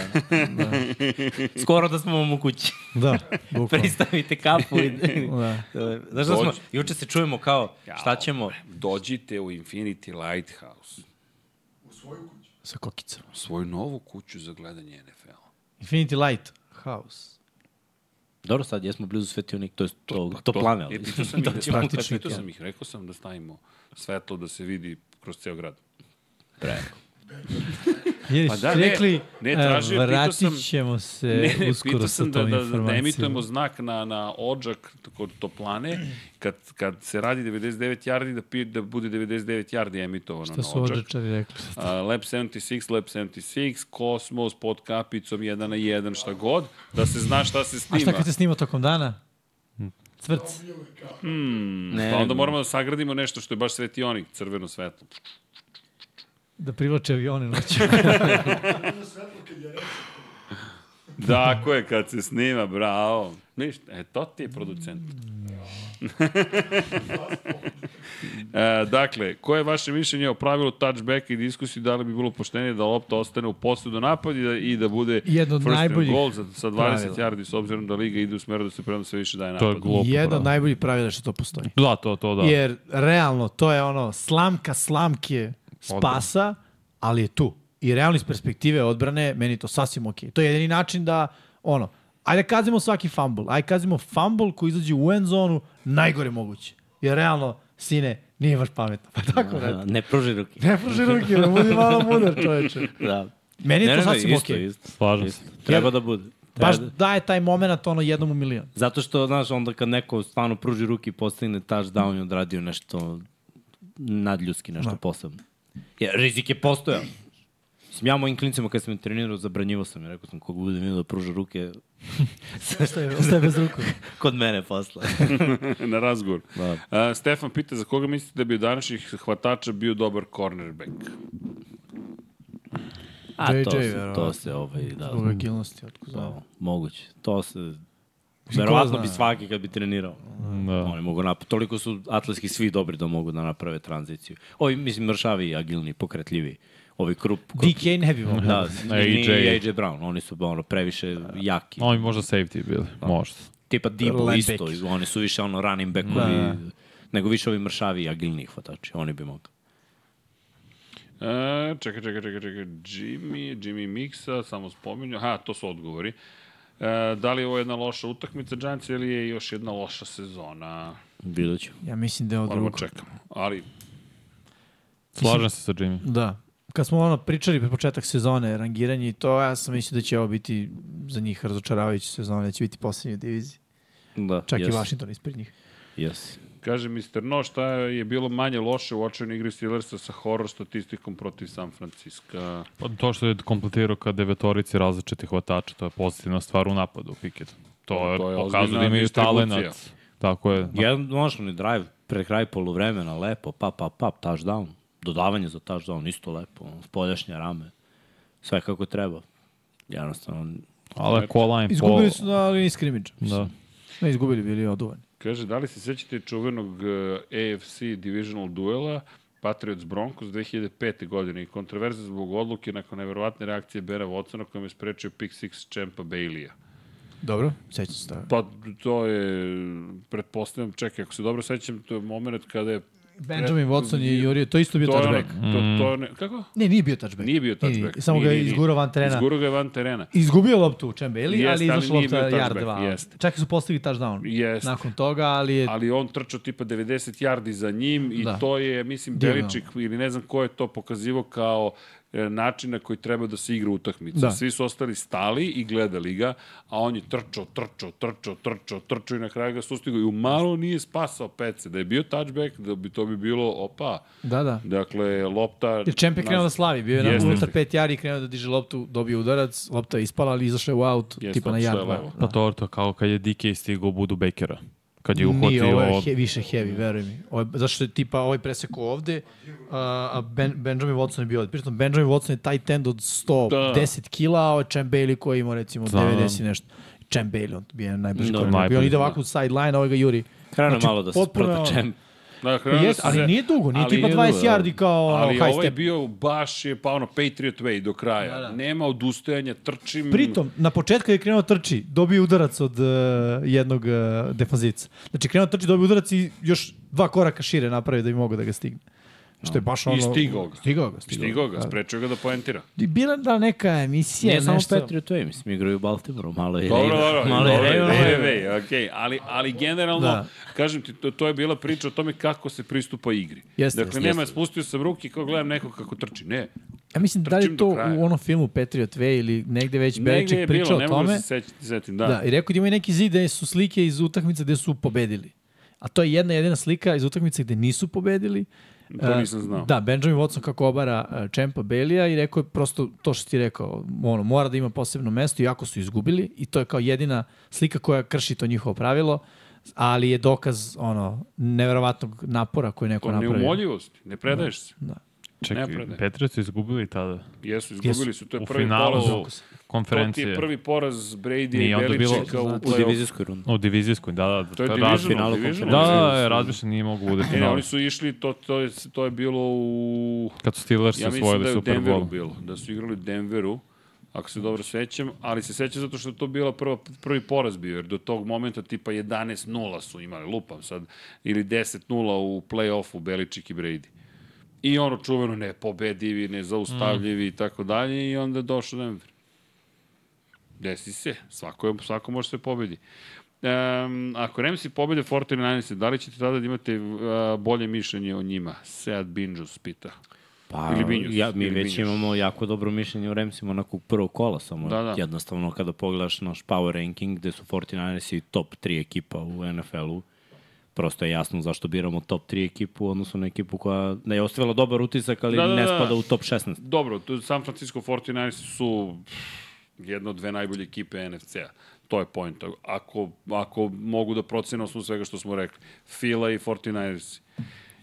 Skoro da smo vam u kući. Da, bukvalno. Pristavite kapu. I... Da. Znaš da smo, Dođi. juče se čujemo kao, šta ćemo, Dođite u Infinity Lighthouse. Sa kokicama. U svoju novu kuću za gledanje NFL. Infinity Light House. Dobro, sad jesmo blizu svetionik, to je to, to, plane. E, Ali. pitao sam, ih, da ćemo, praktično, pitao da. sam ih, rekao sam da stavimo svetlo da se vidi kroz ceo grad. Jer Pa pa da, da, ne, rekli, ne, e, tražio, pitao sam- vratit ćemo se Ne, ne, E, uskoro pitao sa sam tom da, da, informacijom. da emitujemo znak na, na odžak kod toplane, kad, kad se radi 99 yardi, da, pi, da bude 99 yardi emitovano Šta na su odžak. odrečari rekli? A, Lab 76, Lab 76, Kosmos, pod kapicom, 1 na 1, šta god, da se zna šta se A snima. Hm. šta kad se snima tokom dana? Cvrc. Ne, Pa onda moramo da sagradimo nešto što je baš svetionik, crveno svetlo. Da privlače avione noću. Tako je, kad se snima, bravo. Ništa, e, to ti je producent. e, dakle, koje je vaše mišljenje o pravilu touchbacka i diskusiji da li bi bilo poštenije da lopta ostane u posljedu napad i da, i da bude Jedno od first and najboljih goal za, sa 20 pravila. yardi s obzirom da liga ide u smeru da se prema sve više daje napad. To je glupo. Jedno od bravo. najboljih pravila što to postoji. Da, to, to, da. Da. Jer, realno, to je ono, slamka slamke spasa, ali je tu. I realno iz perspektive odbrane, meni je to sasvim okej. To je jedini način da, ono, ajde kazimo svaki fumble, ajde kazimo fumble koji izađe u end zonu, najgore moguće. Jer, realno, sine, nije baš pametno. Pa tako, ne, da, ne pruži ruke. ne pruži ruke, da budi malo mudar, čoveče. Da. Meni je Ne, to ne, ne, sasvim isto, okej. isto. Slažem se. Treba da bude. Treba Baš da. daje taj moment ono jednom u milion. Zato što, znaš, onda kad neko stvarno pruži ruke i postigne touchdown i odradio nešto nadljudski, nešto posebno. Ja, rizik je postojao. Mislim, ja mojim klincima kad sam ih trenirao, zabranjivo sam i rekao sam koga budem vidio da pruža ruke Ostaje, ostaje bez ruku. kod mene posle. na razgovor. Da. Uh, Stefan pita za koga mislite da bi od današnjih hvatača bio dobar cornerback? A JJ, to, se, verovatno. to se ovaj, da, Zbog agilnosti, otko znam. to, moguće. To se, verovatno zna? bi svaki kad bi trenirao. Da. Pa Oni mogu nap... Toliko su atletski svi dobri da mogu da naprave tranziciju. Ovi, mislim, mršavi, agilni, pokretljivi. Ovi krup... krup DK ne bi mogao. da, AJ. i AJ Brown. Oni su ono, previše jaki. Oni možda safety bili, možda. Tipa Debo Linebacker. isto. Oni su više ono running backovi. Da. Nego više ovi mršavi i agilni hvatači. Oni bi mogli. E, čekaj, čekaj, čekaj, čekaj. Jimmy, Jimmy Mixa, samo spominju. Aha, to su odgovori. E, da li je ovo jedna loša utakmica Giants ili je još jedna loša sezona? Vidjet ću. Ja mislim da je ovo Moramo drugo. čekamo. Ali, Slažem se sa Jimmy. Da. Kad smo ono pričali pre početak sezone, rangiranje i to, ja sam mislio da će ovo biti za njih razočaravajuća sezona, da će biti poslednji u diviziji. Da, Čak yes. i jes, Washington ispred njih. Jes. kaže Mr. No, šta je bilo manje loše u očajnoj igri Steelersa sa horror statistikom protiv San Francisco? Pa To što je kompletirao ka devetorici različitih hvatača, to je pozitivna stvar u napadu Pickett. To je, To je pokazuje ozbiljna da imaju distribucija. talenat. Tako je. Jedan nošni drive pre kraj polovremena, lepo, pap, pap, pap, touchdown. Dodavanje za touchdown, isto lepo, ono, spoljašnje rame. Sve kako treba. Jednostavno, Ali ko line po... Izgubili su na liniji skrimidža. Da. Ne, izgubili bili oduvani. Kaže, da li se sećate čuvenog e, AFC divisional duela Patriots Broncos 2005. godine i kontroverze zbog odluke nakon neverovatne reakcije Bera Watsona kojom je sprečio pick six Champa Bailey-a. Dobro, sećam se toga. Pa to je, pretpostavljam, čekaj, ako se dobro sećam, to je moment kada je Benjamin Watson je jurio, to isto bio To je ono, touchback. to, to je ono, kako? Ne, nije bio touchback. Nije bio touchback. Samo Nije, ga je nije, nije. izgurao van terena. Izgurao ga je van terena. Izgubio loptu u Čembeli, Jeste, ali je ali izašla nije lopta bio yard touchback, 2. jeste. Čak su postigli touchdown Jeste. nakon toga, ali je ali on trčao tipa 90 yardi za njim i Da. to je, mislim, Divno. Beličik ili ne znam ko je to pokazivo kao e, način na koji treba da se igra utakmica. Da. Svi su ostali stali i gledali ga, a on je trčao, trčao, trčao, trčao, trčao i na kraju ga sustigao. I u malo nije spasao pece. Da je bio touchback, da bi to bi bilo, opa, Da, da. dakle, lopta... Jer Čemp je krenuo da slavi, bio je Jeste, na unutar jeste. pet jari, krenuo da diže loptu, dobio udarac, lopta je ispala, ali izašao je u out, Jeste, tipa na otišla je yard 2. levo. Pa to, to je kao kad je DK stigao Budu Bakera. Kad je Nije, uhvatio... ovo je he, više heavy, veruj mi. Ovo je, zašto je tipa ovaj preseko ovde, a, a ben, Benjamin Watson je bio ovde. Pritom, Benjamin Watson je tight end od 110 kila, a ovo je Champ Bailey koji ima recimo Znam. 90 i nešto. Champ Bailey, on je najbrži Da, no, korak. I on najbolji, ide ovako u sideline, a ovaj ga juri. Krenu malo da se potpuno je ono- protačem. Dakle, Jes, ali nije dugo, nije tipa 20 yardi kao ono, ali high ovaj step. Da, bio baš je pa ono Patriot way do kraja. Nema odustajanja, trčim. Pritom, na početku je krenuo trči, dobio udarac od uh, jednog uh, defanzica. Znači, krenuo trči, dobio udarac i još dva koraka šire napravi da bi mogao da ga stigne. Što je baš ono... I stigao ga. Stigao ga, stigao, Stigao ga, Da. sprečio ga da poentira. I Bila da neka emisija, Nije ne, samo nešto... Patriot Way, mislim, igraju u Baltimoreu, malo je Dobro, Raven- dobro, malo dobro, je dobro, Raven- dobro, okej, ali, ali generalno, Da. kažem ti, to, to je bila priča o tome kako se pristupa igri. Jeste, dakle, jeste, nema, spustio sam ruke i kao gledam nekog kako trči. Ne, Ja mislim, da li Trčim je to do kraja. u onom filmu Patriot Way ili negde već negde Beliček je pričao bilo, o ne mogu da tome. se sećati, setim, Da. da. i rekao da imaju neki zid gde su slike iz utakmice gde su pobedili. A to je jedna jedina slika iz utakmice gde nisu pobedili. To nisam znao. Da, Benjamin Watson kako obara e, Čempa Belija i rekao je prosto to što ti rekao, ono, mora da ima posebno mesto, iako su izgubili i to je kao jedina slika koja krši to njihovo pravilo, ali je dokaz ono, neverovatnog napora koji je Da. neko napravio. Neumoljivost, ne predaješ se. Čekaj, Nepravda. Patriots su izgubili tada. Jesu, izgubili su, to je U prvi finalu poraz. To ti konferencije. je prvi poraz Brady i Nije onda bilo- Beličeka u U play-off. divizijskoj rundi. U divizijskoj, da, da. To je razmišljeno. divisional, finalu divisional. Da, da, da, razmišljeno nije mogu bude Ne, ne, final. oni E, su išli, to, to, je, to je bilo u... ovaj. Kad su Steelers Ja mislim osvojili da je u Super Denveru Bowl. bilo, da su igrali u Denveru, ako se dobro sećam, ali se sećam zato što je to bila prva, prvi poraz bio, jer do tog momenta tipa 11-0 su imali, lupam sad, ili 10-0 u play-offu Beličik i Brady. I ono čuveno nepobedivi, Mm. nezaustavljivi i tako dalje i onda je došao Denver. Desi se, svako, je, svako može da se pobedi. Um, ako Remsi pobede 49 da li ćete tada da imate uh, bolje mišljenje o njima? Sead Binjus pita. Pa, Ili Vinjus, ja, mi ili već Vinjus. imamo jako dobro mišljenje o Remsima onako prvog kola, samo Da, da. jednostavno kada pogledaš naš power ranking gde su 49ersi top 3 ekipa u NFL-u, prosto je jasno zašto biramo top 3 ekipu, odnosno na ekipu koja ne je ostavila dobar utisak, ali Da, da, ne da. spada u top 16. Dobro, tu San Francisco 49 su jedna od dve najbolje ekipe NFC-a. To je point. Ako, ako mogu da procenu osnovu svega što smo rekli. Fila i 49ers.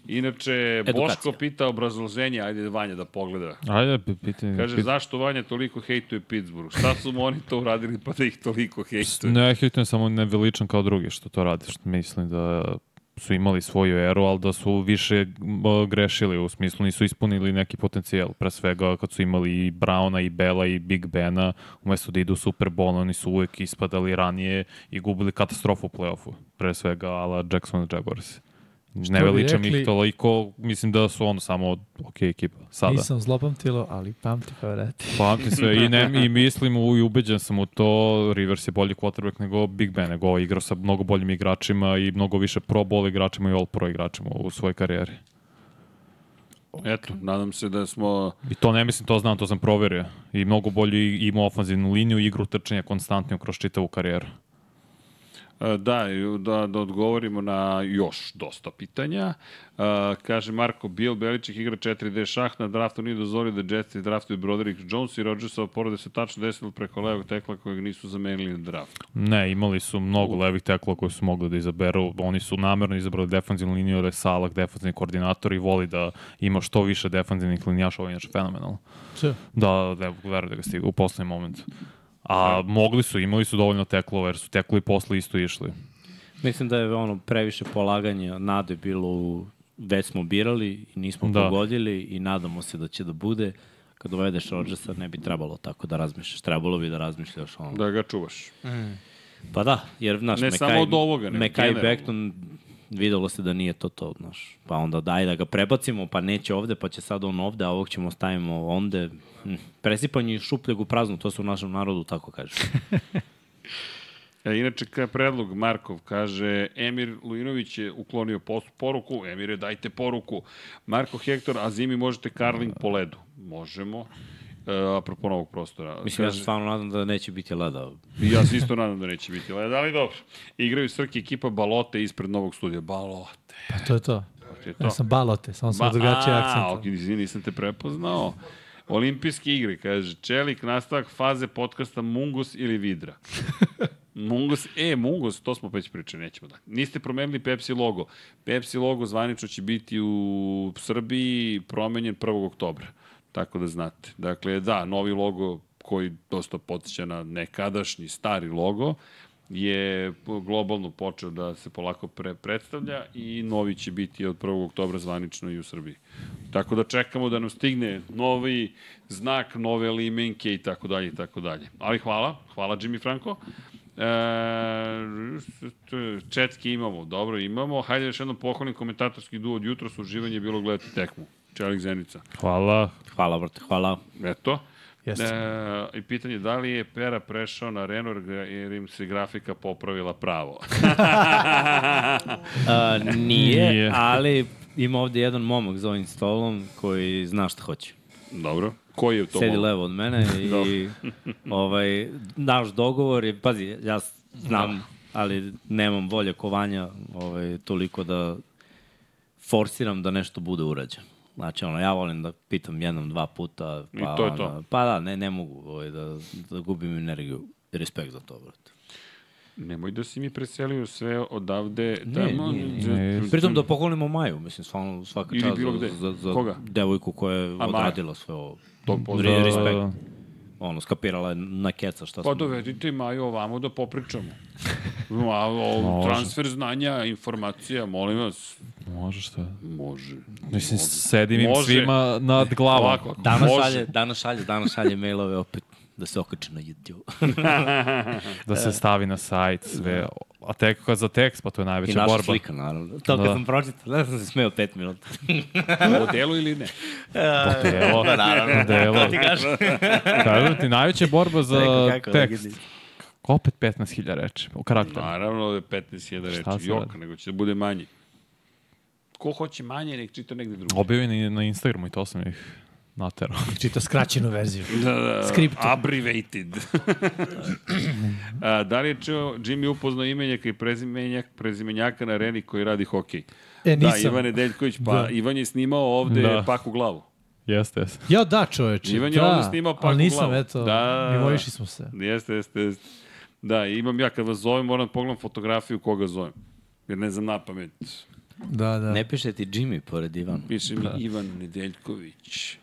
Inače, Boško pita obrazloženje, ajde Vanja da pogleda. Ajde, pi- pitanje. Kaže, pitanje. zašto Vanja toliko hejtuje Pittsburgh? Šta su mu oni to uradili pa da ih toliko hejtuje? Ne, ja hitujem samo ne veličam kao drugi što to radi, što mislim da su imali svoju eru, ali da su više m, grešili, u smislu nisu ispunili neki potencijal. Pre svega kad su imali i Brauna i Bela i Big Bena, umesto da idu u Super Bowl, oni su uvek ispadali ranije i gubili katastrofu u play-offu. Pre svega ala Jackson Jaguars. Ne bi veličam rekli- ih toliko, mislim da su ono samo ok ekipa. da, Sada. Nisam zlopamtilo, ali pa pamti favoriti. Pamtim sve i, ne, i mislim u, i ubeđen sam u to, Rivers je bolji quarterback nego Big Ben, nego ovo igrao sa mnogo boljim igračima i mnogo više pro bowl igračima i all pro igračima u svojoj karijeri. Eto, nadam se da smo... I to ne mislim, to znam, to sam proverio. I mnogo bolji ima ofanzivnu liniju, igru trčanja konstantniju kroz čitavu karijeru. E, Da, i da, da odgovorimo na još dosta pitanja. E, kaže Marko Bill, Beliček igra 4D šah, na draftu nije dozvolio da Jetsi draftuju Broderick Jones i Rodgersova porode se tačno desilo preko levog tekla kojeg nisu zamenili na draftu. Ne, imali su mnogo levih tekla koji su mogli da izaberu. Oni su namerno izabrali defanzivnu liniju, jer je Salah defanzivni koordinator i voli da ima što više defanzivnih linijaša, ovo je inače fenomenalno. Da, da, verujem da ga stigu u poslednji moment. Da. A mogli su, imali su dovoljno teklova, jer su tekli posle isto išli. Mislim da je ono previše polaganja nade bilo u već smo birali i nismo Da. da. pogodili i nadamo se da će da bude. Kad dovedeš Rodgersa ne bi trebalo tako da razmišljaš. Trebalo bi da razmišljaš ono. Da. Da ga čuvaš. Pa da, jer znaš, Ne samo od ovoga, nego Mekaj generalno. Becton videlo se da nije to to, znaš. Pa onda daj da ga prebacimo, pa neće ovde, pa će sad on ovde, a ovog ćemo stavimo onde. Hm. Presipanje iz šupljeg u prazno, to se u našem narodu tako kaže. E, inače, ka predlog Markov kaže, Emir Lujinović je uklonio pos- poruku, Emire, dajte poruku. Marko Hektor, a zimi možete karling po ledu. Možemo. E, apropo novog prostora. Mislim, ja se Kaže- stvarno nadam da neće biti leda. I Ja se isto nadam da neće biti leda, ali dobro. Igraju Srki ekipa Balote ispred novog studija. Balote. Pa to je to. To je to. Ja sam balote, samo sam drugačiji A, akcent. ok, izvini, nisam te prepoznao. Olimpijske igre, kaže, Čelik, nastavak faze podcasta Mungus ili Vidra. Mungus, e, Mungus, to smo već pričali, nećemo da. Niste promenili Pepsi logo. Pepsi logo zvanično će biti u Srbiji promenjen 1. oktobra. Tako da znate. Dakle, da, novi logo koji dosta podsjeća na nekadašnji stari logo je globalno počeo da se polako pre predstavlja i novi će biti od 1. oktobra zvanično i u Srbiji. Tako da čekamo da nam stigne novi znak, nove limenke i tako dalje i tako dalje. Ali hvala, hvala Jimmy Franco. E, četke imamo, dobro imamo. Hajde još jednom pohvalim komentatorski duo od jutra, uživanje je bilo gledati tekmu. Čelik Zenica. Hvala. Hvala, brate, hvala. Eto. Jeste. E, I pitanje da li je Pera prešao na Renault gra- jer im se grafika popravila pravo. A, nije, Nije. nije, ali ima ovde jedan momak za ovim stolom koji zna šta hoće. dobro. Koji je to Sedi momak? levo od mene i ovaj, naš dogovor je, pazi, ja s- Da. znam, ali nemam volje kovanja ovaj, toliko da forsiram da nešto bude urađeno. Znači, ono, ja volim da pitam jednom, dva puta. Pa, I to je to. Onda, pa da, ne, ne mogu ovaj, da, da gubim energiju. Respekt za to, brate. Nemoj da si mi preselio sve odavde. Ne, tamo. nije, Pritom da poklonimo Maju, mislim, stvarno svaka Mhm. Ili čast bilo za, gde. za, za Koga? devojku koja je Maja? odradila sve ovo. To Da, Re- pozdravljamo. respekt. Ono, skapirala je na keca šta Pa smo... dovedite Maju ovamo da popričamo. A, o, transfer znanja, informacija, molim vas. Može šta? Može. da- Mislim, sedim im Može. svima nad glavom. Da. Ovako, ako Danas može. šalje, danas šalje, danas šalje mailove opet da se okače na YouTube. Da se stavi na sajt sve. A tek kad za tekst, pa to je Da. I najveća naša borba. slika, naravno. To kad Da. sam pročitao, da sam se smeo pet minuta. O delu ili ne? Pa Delo, delo. Da, Ti kažeš Da, Kažem ti, najveća borba za kako, tekst. legenda. Opet 15.000 reči, u karakteru. Naravno da je 15.000 Šta reči. sad? Jok, nego će da bude manji. Ko hoće manje, nek čita negde drugo. Objavljen je na Instagramu i to sam ih naterao. Čita Znači, skraćenu verziju. Da, da, Skriptu. Abbreviated. A, da li je čuo Jimmy upoznao imenjaka i prezimenjak, prezimenjaka na areni koji radi hokej? E, Da, nisam. Ivane Deljković, pa da. Da. Ivan je snimao ovde Da. pak u glavu. Jeste, jeste. Ja da, čoveče. Ivan je da, ovde snimao pak ali u nisam, glavu. eto, Da. da. mimoišli smo se. Jeste, jeste, jeste. Da, imam ja, kad vas zovem, moram da pogledam fotografiju koga zovem. Jer ne znam na pamet. Da, da. Ne piše ti Jimmy pored Ivana. Piše mi Ivan Nedeljković.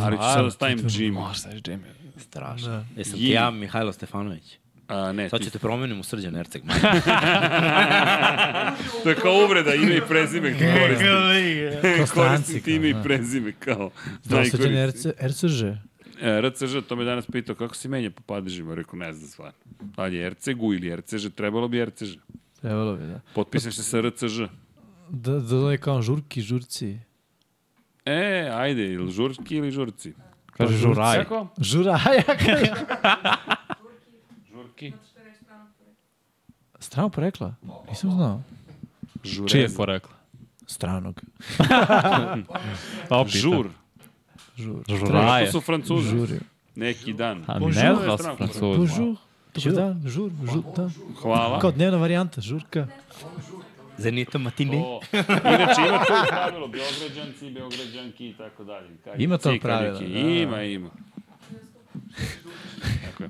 Ali ću sad da stavim Jimmy. Možda je Jimmy. Strašno. Da. Jesam ti Jimmy. ja, Mihajlo Stefanović. A, ne, Sad ti- ću te promenim u Srđan Erceg. To je kao uvreda, ime i prezime koristim. Kao Koristim stranci, ti ime kao, i da. prezime kao. Da, najkoristim. srđan RCŽ. E, RCŽ, to me danas pitao kako se menja po padežima. Rekao, ne znam stvarno. Da li je RCG ili RCŽ, trebalo bi RCŽ. Trebalo bi, da. Potpišeš se sa RCŽ. Da, da, da je kao žurki, žurci. E, ajde, ili žurki ili žurci? Kaže Žuraj. Kako? Žurajak. Žurki. Strano porekla? Nisam znao. Žurez. Čije je porekla? Stranog. Opita. Žur. Žur. Žuraje. To su francuzi. Žuri. Neki dan. A Bonjour ne je znam da su strano. francuzi. Bonjour. Dobar dan, žur, žur, da. Hvala. Kao dnevna varijanta, žurka. Zenita Matini. O, inače ima to pravilo, Beograđanci, Beograđanki i tako dalje. Kaj, Ima to cika pravilo, neki. da. Ima, ima. Tako je.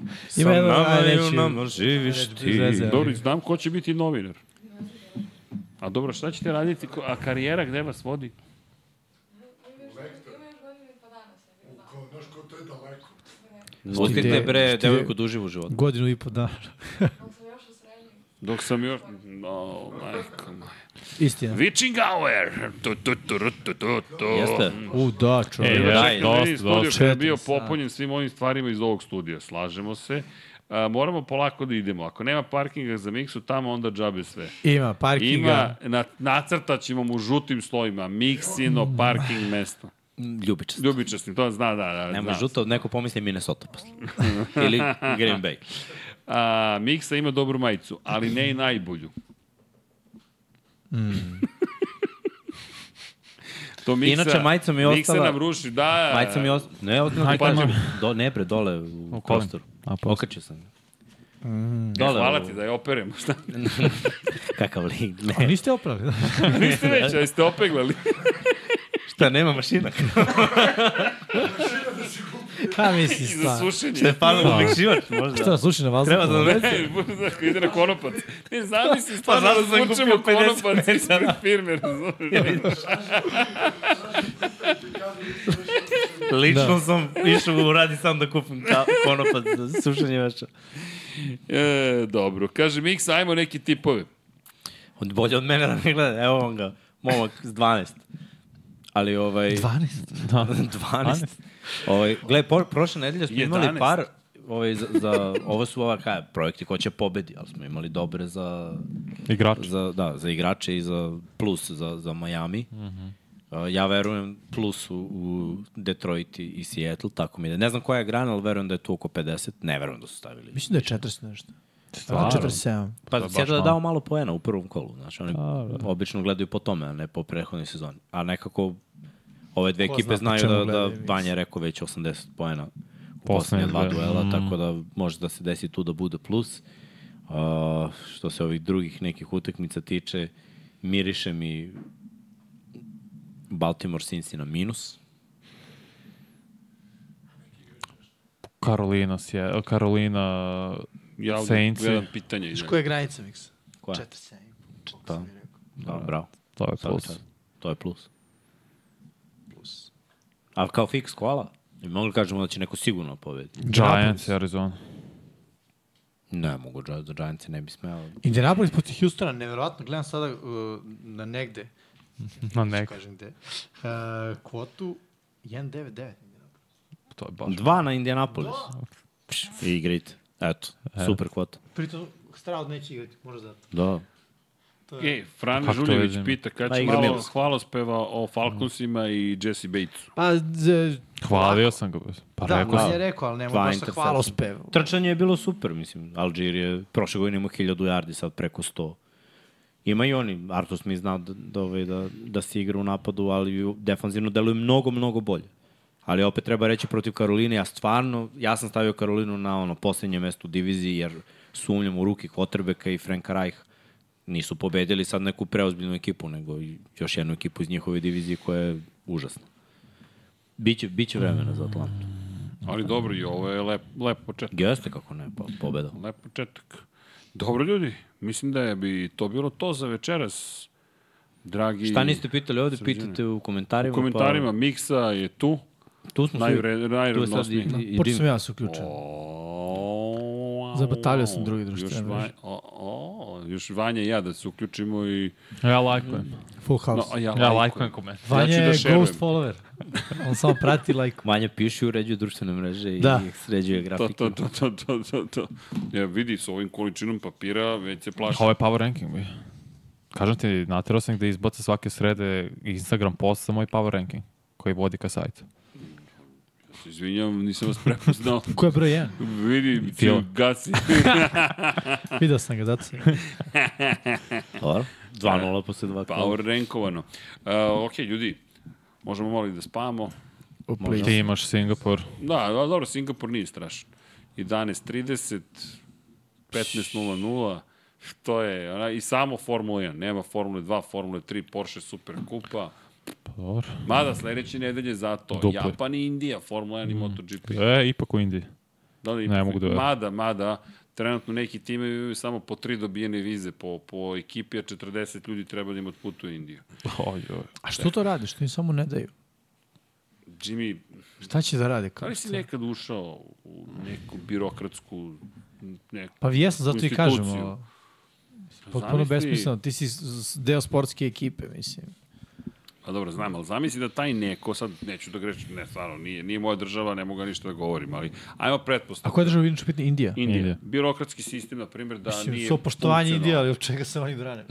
Sa Ima jedan nama i najveći... u nama živiš ti. Zezeo. Dobro, znam ko će biti novinar. A dobro, šta ćete raditi? Ko- A karijera gde vas vodi? Pustite Ti- bre, ti- devojku duživu životu. Godinu i po dana. Dok sam još... O, majko moja. Istina. Vičingauer! Tu, tu, tu, ru, tu, tu, tu. Jeste? U, da, čovjek. E, Čekaj, daj, meni dosta, studio dosta. koji je bio popunjen svim ovim stvarima iz ovog studija, slažemo se. Uh, A, moramo polako da idemo. Ako nema parkinga za miksu, tamo onda džabe sve. Ima parkinga. Ima, na, nacrtaćemo mu žutim slojima, miksino parking mesto. Ljubičast. Ljubičastim, to zna, da, da. Nema zna. žuto, neko pomisli Minnesota posle. Ili Green Bay. A, Miksa ima dobru majicu, ali ne i najbolju. Mm. to Miksa, Inače, majica mi je Miksa ostala- nam ruši, da. Majca mi os... Ne, ozbiljno ti Majka kažem. ima- Do, ne pre, dole u, U kolen. prostoru. A, pa. Okačio sam. ga. E, Dole, Hvala u- ti da je operemo, šta? Kakav lik. A Ne, niste oprali. Niste već, ali ste opeglali. šta, nema mašina. Ha, misli, I Pa, za stvarno. sušenje. Pano umekšivač, možda. Šta, slušaj na vas? Treba да da Ne, bude ako ide na konopac. Ne, zamisli, stvarno Pa, zato da sam kupio zvučemo da. 50 konopac ispred firme, razumiješ? Lično sam išao u radi sam da kupim ka- konopac za sušenje veša. E, dobro. Kaže, Miksa, ajmo neki tipove. Od bolje od mene da ne gleda. Evo on ga, momak s 12. Ali ovaj... 12. Da. 12. Ovaj, gle, por, prošle nedelje smo imali 11. par, ovaj, za, za, ovo su ova kaj, projekti ko će pobedi, ali smo imali dobre za, Igrač. za, da, za igrače i za plus za, za Miami. Mm -hmm. ja verujem plus u, u Detroit i- i Seattle, tako mi da. Ne znam koja je grana, ali verujem da je tu oko 50. Ne verujem da su stavili. Mislim da je 40 nešto. Stvarno? 47. Pa da Seattle je dao malo poena u prvom kolu. Znaš, oni Da, obično gledaju po tome, a ne po prethodnoj sezoni. A nekako ove dve Ko ekipe zna po znaju čemu da, da gledaju, Banja je rekao već 80 poena u poslednje Poslednje dva dve. duela, tako da može da se desi tu da bude plus. Uh, što se ovih drugih nekih utakmica tiče, miriše mi Baltimore Cincy na minus. Karolina, Sje, Karolina, Ja ovdje Saints. gledam pitanje. ide. Koja je granica, Miksa? Koja? 47. Pa, da, bravo. to je Svaka plus. čast. To je plus. Plus. A kao fiks koala? Mi mogli kažemo da će neko sigurno pobediti. Giants, Arizona. Ne mogu, Gi- za Giants ne bi smeo. Indianapolis protiv Houstona, nevjerovatno, gledam sada uh, na negde, Na Nek. neka. kažem gde, uh, kvotu 1.99. To je baš. Dva na Indianapolis. Pš, I igrajte. Eto, super kvota. Pritom, Stroud neće igrati, možda zato. Da. E, Fran Kako to Žuljević vidim? pita kada Pa će igra malo Milos. hvalospeva o Falconsima i Jesse Batesu. Pa, z, Hvalio sam ga. Pa da, rekao on sam. je rekao, ali nema Dva baš da sa intercepta. hvalospev. Trčanje je bilo super, mislim. Alžir je prošle godine imao 1000 yardi, sad preko 100. Ima i oni, Arthur Smith zna da, da, ovaj, da, da se igra u napadu, ali i u- defanzivno deluje mnogo, mnogo bolje. Ali opet treba reći protiv Karoline, ja stvarno, ja sam stavio Karolinu na ono poslednje mesto u diviziji, jer sumnjam u ruki Kotrbeka i Franka Rajha. Nisu pobedili sad neku preozbiljnu ekipu, nego i još jednu ekipu iz njihove divizije koja je užasna. Biće, biće vremena za Atlantu. Ali dobro, i ovo je lep, lep početak. Jeste kako ne, po, pobeda. Lep početak. Dobro, ljudi, mislim da je bi to bilo to za večeras. Dragi, Šta niste pitali ovde, pitajte u komentarima. u komentarima, Miksa je tu. Pa, tu smo svi, Najvre- tu je sad i, Da, Najrednostniji. i, i Počeo sam Jimmy. ja se uključen. O, Zabatalio sam druge Još, društvene va, mreže. o, o, još Vanja i ja da se uključimo i... Ja lajkujem. Full house. No, a ja, Ja lajkujem komentar. Vanja ja ću je da da šerujem. ghost follower. On samo prati like. Vanja piše i uređuje društvene mreže Da. i sređuje To, grafike. to, to, to, to, to, to. Ja vidi, s ovim količinom papira već se plašim. Ovo je power ranking. bi. Kažem ti, natjerao sam ih da izbace svake srede Instagram post sa moj power ranking koji vodi ka sajtu. Izvinjam, nisam vas prepoznao. Ko je broj 1? Vidi, ti Fila. gasi. Vidao sam ga, zato sam. Dobro. 2-0 posle 2 kola. Power rankovano. Uh, ok, ljudi, možemo malo i da spavamo. Ti imaš Singapur. Da, da, dobro, Singapur nije strašan. 11.30, 15.00, to je, ona, i samo Formula 1, nema Formule 2, Formule 3, Porsche Super Kupa. Pa dobro. Mada sledeće nedelje zato Dupli. Japan i Indija, Formula 1 i MotoGP. E, ipak u Indiji. Da li, Ne mogu da verujem. Mada, mada, trenutno neki timovi imaju samo po tri dobijene vize po, po ekipi, a 40 ljudi treba da im otputu u Indiju. Oj, oj. A što to rade? Što im samo ne daju? Jimmy, Šta će da rade? da Kako li si nekad ušao u neku birokratsku neku Pa jesam, zato i kažem. instituciju? Ovo. Potpuno Zamisli- besmisleno, ti si s- s- deo sportske ekipe, mislim. Pa dobro, znam, ali zamisli da taj neko, sad neću da grešim, ne, stvarno, nije, nije moja država, ne mogu ga ništa da govorim, ali ajmo A pretpostavku. koja država inače pitna? Indija. Indija. Indija. Birokratski sistem, na primjer, da Mislim, nije... svo poštovanje funkcionalan. Indija, ali od čega se oni brane?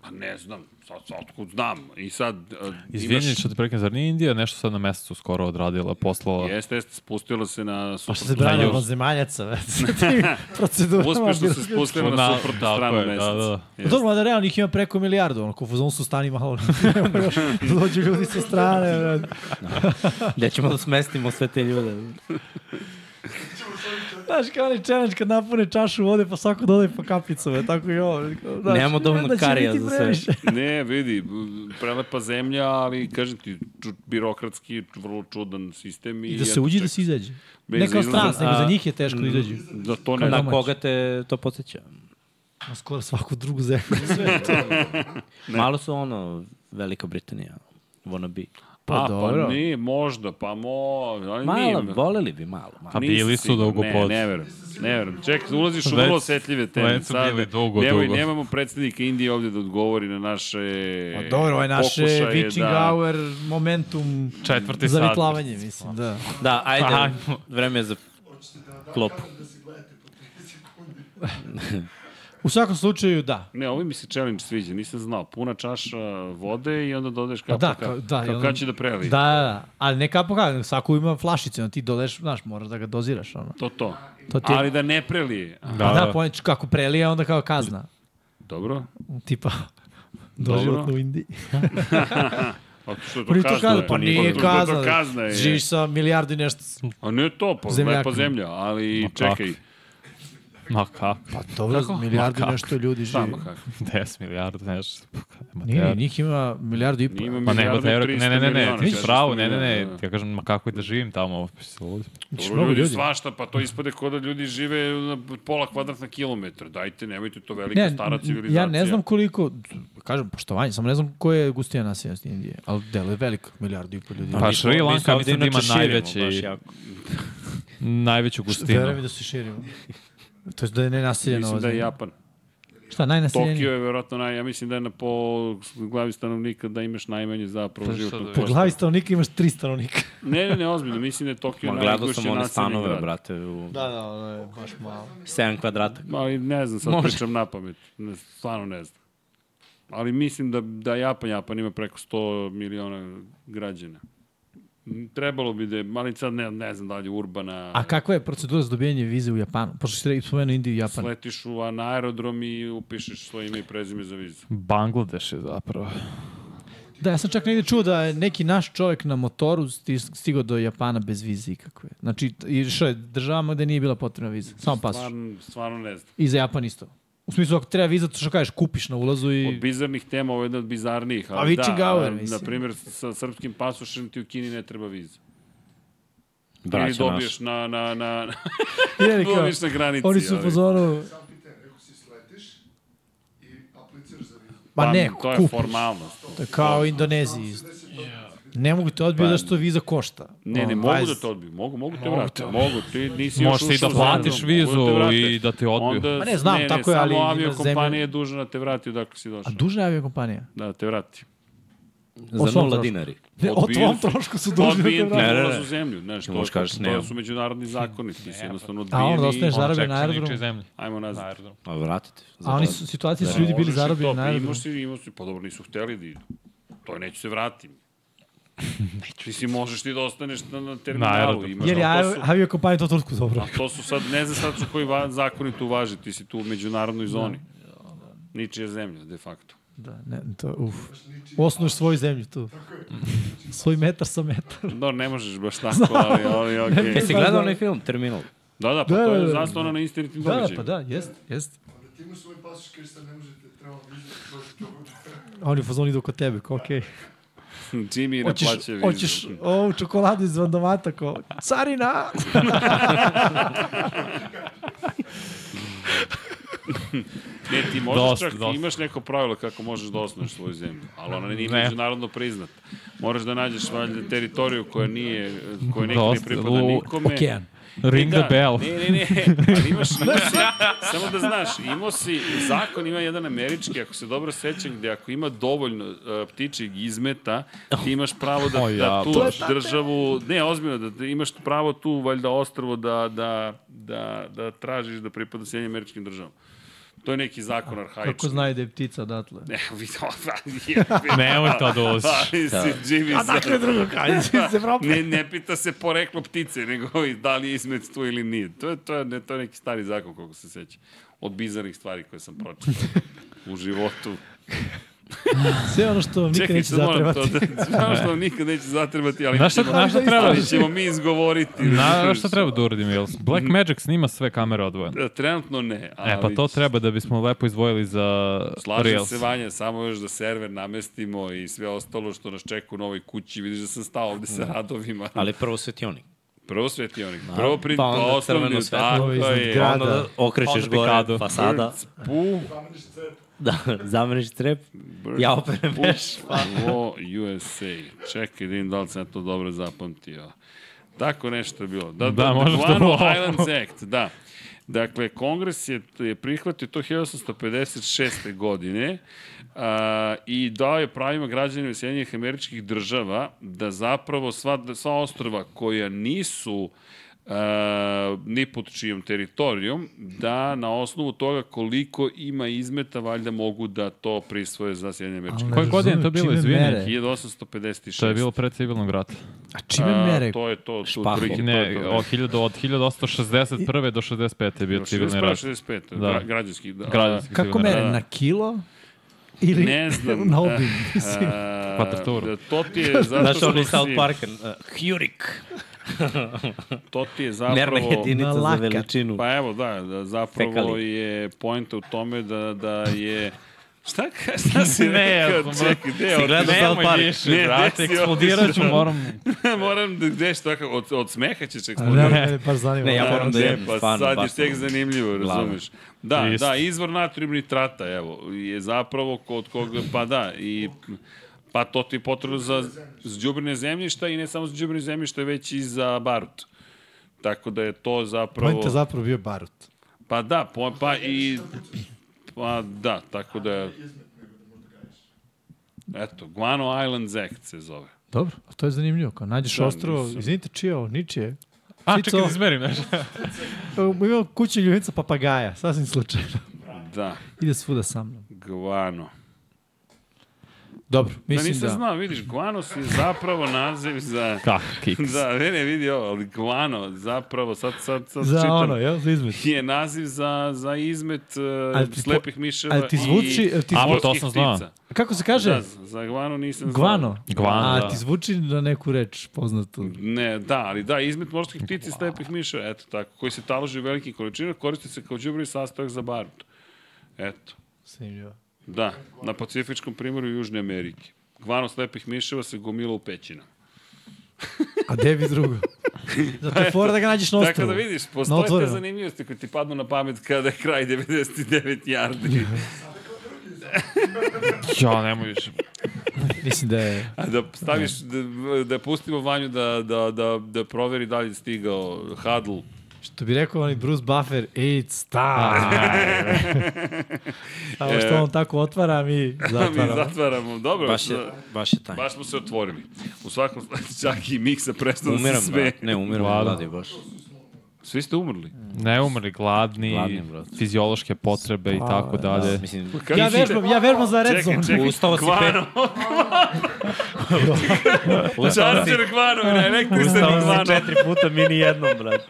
Pa ne znam, sad, sad otkud znam. I sad... Uh, Izvinjeni što te prekinem, zar nije Indija nešto sad na mesecu skoro odradila, poslala... Jeste, jeste, spustila se na... Pa što se suprotnu- brane još. od zemaljaca, već, sa tim procedurama. Uspešno se birokratskih. spustila na Da, suprotnu tako stranu je, da, meseca. da. Pa Dobro, da realno ih ima preko milijardu, ono, ko u fazonu su stani malo, dođu ljudi sa strane, brate. Gde ćemo da smestimo sve te ljude? Znaš, kao onaj challenge kad napune čašu vode, pa svako dodaje po kapicu, brate, tako i ovo. Znaš, Nemamo dovoljno onda će karija biti za sve. previše. Ne, vidi, b- prelepa zemlja, ali kažem ti, ču, birokratski, vrlo čudan sistem. I, I da se eto, uđe i da ček- se izađe. Bez Ne kao izlaza. stranac, nego za A- njih je teško da izađu. Da to ne Na znam. koga te to podsjeća? Na skoro svaku drugu zemlju. Malo su ono, Velika Britanija, wanna be. Pa, dobro. pa ne, možda, pa mo... Ali Malo, nije, voleli bi malo. malo. A bili su siguran, dugo pod. Ne, ne verujem. Ne verujem. Ček, ulaziš u Već- vrlo osetljive teme. već su sad. bili dugo, Nemoj, dugo. Nemamo predsednika Indije ovde da odgovori na naše E, Pa dobro, ovaj naše pokušaje witching da... hour, momentum Četvrti za sat. vitlavanje, mislim, da. Da, ajde, vreme je za klopu. U svakom slučaju, da. Ne, ovo mi se challenge sviđa, nisam znao. Puna čaša vode i onda dodaješ Pa kapu da, ka, kao, da. kao jel- kad će da preli. Da, da, da. Ali ne kapo kao, svako ima flašice, no ti dodeš, znaš, moraš da ga doziraš, ono. To to. To ti je- Ali da ne preli. A, Да, Da, da, da ponič, kako prelije, onda kao kazna. Dobro. Tipa, doživotno u Indiji. Pa što je to Prvi to kazna? kazna, je? pa nije to- kazna. To kazna je. Živiš sa milijardu i nešto. A ne to, pa Zemljak. lepa zemlja, ali Ma kak? čekaj. Ma kako? Pa dobro, milijardu i Ma nešto ljudi živi. Samo kako. 10 milijarda, nešto. Nema Nije, te- nije, njih ima milijardu i Ima pol. pa Ma ne, milijardu ne, i ne, ne, 300 ne, ne, miliona, ti si 400 pravo, ne, ne, miliona, ne, da. ja kažem, ma kako je da živim tamo, pa si lud. Znači, Dobro, mnogo ljudi, ljudi. svašta, pa to ispade kao da ljudi žive na pola kvadratna kilometra. Dajte, nemojte to velika Ne, stara civilizacija. ja ne znam koliko, kažem, poštovanje, samo ne znam koja je gustina naseljenost Indije, ali delo je veliko, milijardu i pol ljudi. Pa Šri Mi se Lanka ovde mislim da ima inače širimo baš najveći, jako. najveću Verujem mi gustinu. da se širimo. To je da je nenaseljeno Mislim ovo. da je zemlje. Japan. Šta, najnaseljenije? Tokio je verovatno naj... Ja mislim da je na po glavi stanovnika da imaš najmanje zapravo životnog da je? Po prostora. glavi stanovnika imaš tri stanovnika. Ne, ne, ne, ozbiljno. Mislim da je Tokio Ma gledao najgušće sam one naseljeni stanove, grad. brate, u Da, da, ono je baš malo. 7 kvadrata. Ali ne znam, sad pričam na pamet. Ne, stvarno ne znam. Ali mislim da, da Japan, Japan ima preko 100 miliona građana. M, Trebalo bi da je, ali sad ne, ne znam da li je urbana... A kakva je procedura za dobijanje vize u Japanu? Pošto si rekao- spomenuo Indiju i Japan. Sletiš u, a na aerodrom i upišeš svoje ime i prezime za vizu. Bangladeš je zapravo. Da, ja sam čak negde čuo da je neki naš čovjek na motoru sti- stigao do Japana bez vize ikakve. Znači, t- išao je državama gde nije bila potrebna viza. Samo pasoš. Stvarno, stvarno ne znam. I za Japan isto. U smislu, ako treba viza, to što kažeš, kupiš na ulazu Od i... bizarnih tema, ovo je jedna od bizarnijih. A Vici Gauer, Na mislim. primjer, sa srpskim pasošem ti u Kini ne treba viza. Ili Braća naša. dobiješ na, na, na, Ili kao, dobiješ na granici. Oni su u ali- fazonu... Sam pitanje, rekao si sletiš i apliciraš za vizu. Ma ne, Pa, to je kupiš. formalnost. To je kao u Indoneziji. isto. Ne mogu te odbiti zašto viza košta. Pa, Ne, ne, Ono, mogu da pazi. te odbiju, mogu, mogu te vrate, mogu, ti nisi još Možeš ti ušao da u zemlju, mogu platiš da te vizu vrate. i da te odbiju. Onda, Ma ne, znam, tako je, ali Samo ima aviokompanija zemlje- je dužna da te vrati odakle si A došao. dužna je aviokompanija? Da, te vrati. O Za svom nula trošku. dinari. Ne, o Odbijen tvom su. trošku su dužni da te Odbijen ti vrate. Ne, ne, ne. ulaz u zemlju, znaš, to, možeš kažeš, to ne. su međunarodni zakoni, ti si jednostavno A odbijeni. onda ostaneš zarobljen na Čekaj, aerodromu. zemlji. Ajmo na nazad. aerodrom. A Pa vratite. A oni su, situacije su Pa ljudi bili možeš i zarobljeni to, na pa aerodromu. Imaš si, imaš si, pa dobro, nisu hteli da idu. To neću se vratiti. Ti si možeš ti da ostaneš na, na terminalu. aerodromu. imaš, Jer je ali to avio- su- aviokompanija to toliko dobro. A to su sad, ne znam sad su koji va, zakoni tu važi, ti si tu u međunarodnoj zoni. Ničija zemlja, de facto. Da, ne, to, uf. Osnuješ svoju zemlju tu. Svoj metar sa metar. No, ne možeš baš tako, ali, ali okej. Jesi gledao onaj film, Terminal? Da, da, pa Da, to da, je da. zasnovano na istinitim Da, da, događajima. pa da, jest, jest. Onda ti imaš svoj pasoš, kažeš sad ne možete, treba vizu, možete ovo. A oni u fazonu idu kod tebe, kao okej. Jimmy ne Hoćeš, plaće vizu. hoćeš ovu čokoladu iz vandomata, kao, carina! Ne, ti možeš Dosta, čak, dosta. imaš neko pravilo kako možeš da osnoviš svoju zemlju, ali ona nije Ne. međunarodno priznata. Moraš da nađeš valjda teritoriju koja nije, koja nekde ne Dosta, pripada u- nikome. okean. Ring da, the bell. Ne, ne, ne, ali imaš, imaš samo da znaš, imao si, zakon ima jedan američki, ako se dobro sećam, gde ako ima dovoljno uh, ptičeg izmeta, ti imaš pravo da, da tužiš državu, ne, ozbiljno, da ti imaš pravo tu, valjda, ostrvo da, da, da, da tražiš da pripada Sjedinjenim američkim državama. To je neki zakon arhaični. Kako znaju da je ptica odatle? Ne, vidio, da, Nemoj to da ulaziš. Ali si Jimmy A dakle drugo kao, ne, ne pita se poreklo ptice, nego i da li je izmet tu ili nije. To je, to je, ne, to je neki stari zakon, koliko se seća. Od bizarnih stvari koje sam pročitao u životu. Sve ono što vam nikad Čekaj, neće sad moram to zatrebati. da... Znam što vam nikad neće zatrebati, ali, Znaš šta, ćemo, znaš šta treba? ali ćemo mi izgovoriti. Na, šta treba da uradimo, jel? Black Magic snima sve kamere odvojene. E, Trenutno ne. Ali E, pa to treba da bismo lepo izdvojili za Slažem Reels. se, Vanja, samo još da server namestimo i sve ostalo što nas čeka u novoj kući. Vidiš da sam stao ovde sa radovima. Ali prvo svetionik. Prvo svetionik, Da. prvo print, pa pa onda osnovni, crveno svetlo tako iznad je. grada. Onda da okrećeš Onda pikado. gore, fasada. Pu, Da, zameniš trep. Ja operem veš. Wo USA. Čekaj, da vidim da li sam ja to dobro zapamtio. Tako nešto je bilo. Da, da, da možda Guano ovo. Islands Act, da. Dakle, kongres je, je prihvatio to 1856. godine a, i dao je pravima građanima Sjedinjenih američkih država da zapravo sva, sva ostrva koja nisu Uh, ni pod čijom teritorijom, da na osnovu toga koliko ima izmeta, valjda mogu da to prisvoje za Sjedinjene američke Koje godine je to bilo, izvini? 1856. To je bilo pred civilnog rata. A čime mere? To je to, tu Špahom. otprilike, to je Ne, to. od, 1000, od 1861. do 65. je bio civilni rat. 65, Da. da. građanski. Da. Građanski Kako civilni rat. mere? Da. Na kilo? Ili Ne znam. na obim? Mislim, A, Kvadraturu. Da, to ti je zato Znaš, što oni si, South Park, uh, Hurik, to ti je merna zapravo... jedinica Na za lakat. veličinu. Pa evo, da, da zapravo Fekali. je pojenta u tome da, da je... Šta, ka- šta si Ne, ja rekao? sam- Čekaj, gde je Si otišao? gledao South Park? više, Ne, brate, desi, otišao. eksplodirat ću, moram... Moram, da- gde što, od, od smeha ćeš Ne, eksplodirati. ne, ne, baš zanima. Ne, ja ovaj Da, moram da Ne, jedem, pa stvarno, sad je baš tek moram. zanimljivo, Glava. razumeš. Da, Ist. da, izvor natrijum nitrata, evo, je zapravo kod koga, pa da, i pa to ti je potrebno za zđubrine zemljišta i ne samo za zđubrine zemljišta, već i za barut. Tako da je to zapravo... Poenta zapravo bio Barut. Pa da, po, pa i... Pa da, tako da je... Eto, Guano Islands Act se zove. Dobro, a to je zanimljivo. Kao nađeš Da, ostrovo, nisam. izvinite, čije je ovo? Ničije. A, Cico. čekaj da izmerim nešto. Imam kuću ljubica papagaja, sasvim slučajno. Da, Ide svuda sa mnom. Guano. Dobro, Mislim da mislim nisam da. znao, vidiš, Guanos je zapravo naziv za... Kak, kiks. Da, ne, ne, vidi ovo, ali guano, zapravo, sad, sad, sad Za da čitam, ono, jel, za izmet. je naziv za, za izmet Ali uh, ti po- slepih miševa ali ti zvuči- i ali ti A, pa to morskih sam znao. ptica. Kako se kaže? Da, za guano nisam znao. Guano. Guano, A, da. ti zvuči na neku reč poznatu. Ne, da, ali da, izmet morskih ptica i slepih miševa, eto tako, koji se taloži u velikim količinama, koriste se kao džubri sastojak za barut. Eto, Zanimljivo. da, na pacifičkom primoru Južne Amerike. Guano slepih miševa se gomila u pećinama. A gde bi drugo? Zato je fora da ga nađeš na Tako ostrovu. da vidiš, postoje te otvorenom. zanimljivosti koje ti padnu na pamet kada je kraj 99 yardi. Ja, nemoj više. Mislim da je... A da staviš, da, da pustimo Vanju da, da, da, da proveri da li je stigao Hadl. Što bi rekao onaj Bruce Buffer, it's time. Samo što on tako otvara, mi Mi zatvaramo. zatvaramo. Dobro, da, Baš je, baš je taj. baš smo se otvorili. U svakom slučaju, čak i Miksa prestao da se Umiram, sve. brat. Ne, umiram, Vlada. vladi, baš. Svi ste umrli. Ne umri, gladni, Gladni, brate. fiziološke potrebe i tako dalje. Mislim, Kad Ja ste- vežbam, ja vežbam za red Čekaj, zone. čekaj, Ustao si Kvano. Čarter Kvano, na električar Ustao si Kvano. četiri puta, mi ni jednom, brat.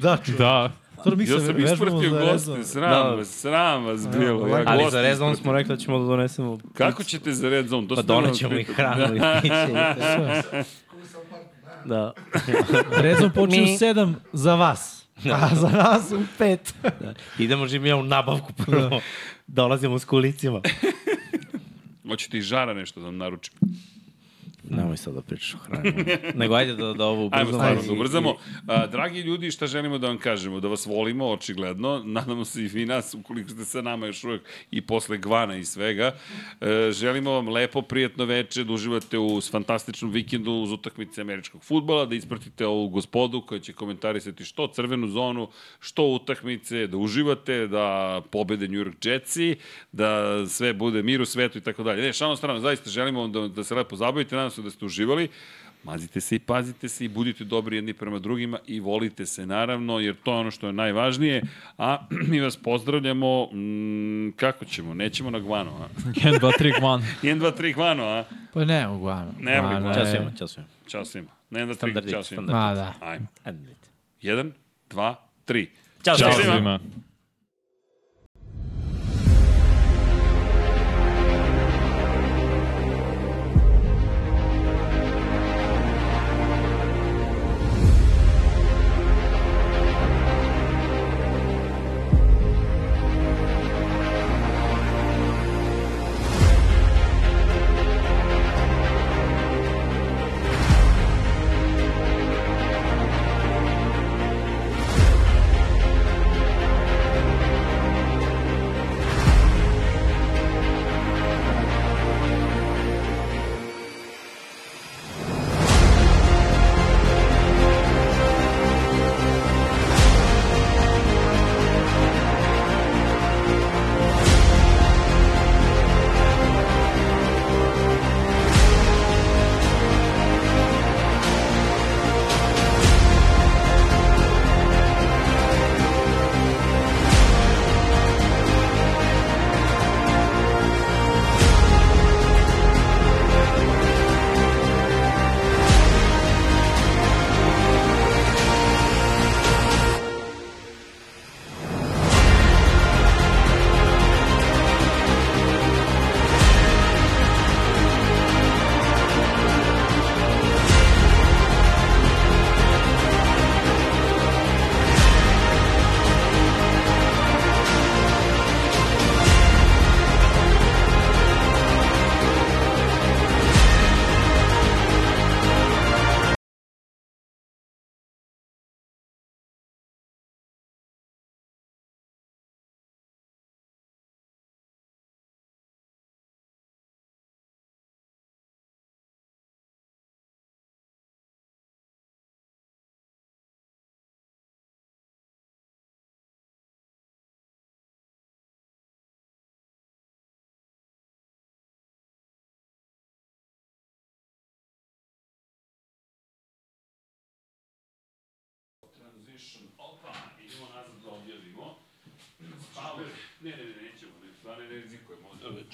Da, čuo. Da, Stvarno mi se Ja sam vežbamo ispratio za red zone. goste, sram vas, sram vas bilo. Ja Da. Ali goste za rezon smo rekli da ćemo da donesemo... Kako ćete za red zone? To Pa ste da nam donećemo i otkrili. hranu i piće. i sve. Da. Red zone počeo Mi- u sedam za vas. A za nas u pet. da. Idemo živim ja u nabavku prvo. Dolazimo s kulicima. Hoćete i žara nešto da vam naručim. Nemoj sad da pričaš o hrani. Nego ajde da, da ovo Ajmo ubrzamo. stvarno da I- ubrzamo. A, dragi ljudi, šta želimo da vam kažemo? Da vas volimo, očigledno. Nadamo se i vi nas, ukoliko ste sa nama još uvek i posle Gvana i svega. E, želimo vam lepo, prijatno veče, da uživate u fantastičnom vikendu uz utakmice američkog futbola, da ispratite ovu gospodu koja će komentarisati što crvenu zonu, što utakmice, da uživate, da pobede New York Jetsi, da sve bude mir u svetu i tako dalje. Ne, šalno strano, zaista želimo vam da, da se lepo zabavite, nadam se da ste uživali. Mazite se i pazite se i budite dobri jedni prema drugima i volite se naravno, jer to je ono što je najvažnije. A mi vas pozdravljamo, mm, kako ćemo, nećemo na Gvano, a? 1, 2, 3, 1. 1, 2, 3, Gvano, a? Pa ne, uglavnom. Ne mogu Gvano. Ćao svima, ćao svima. Ćao svima. Ne, 1, 2, 3, Standardic, čao svima. standardic. Ma da. Ajmo. Ajde, vidite. 1, 2, 3. Ćao Ćao svima. svima. Svima.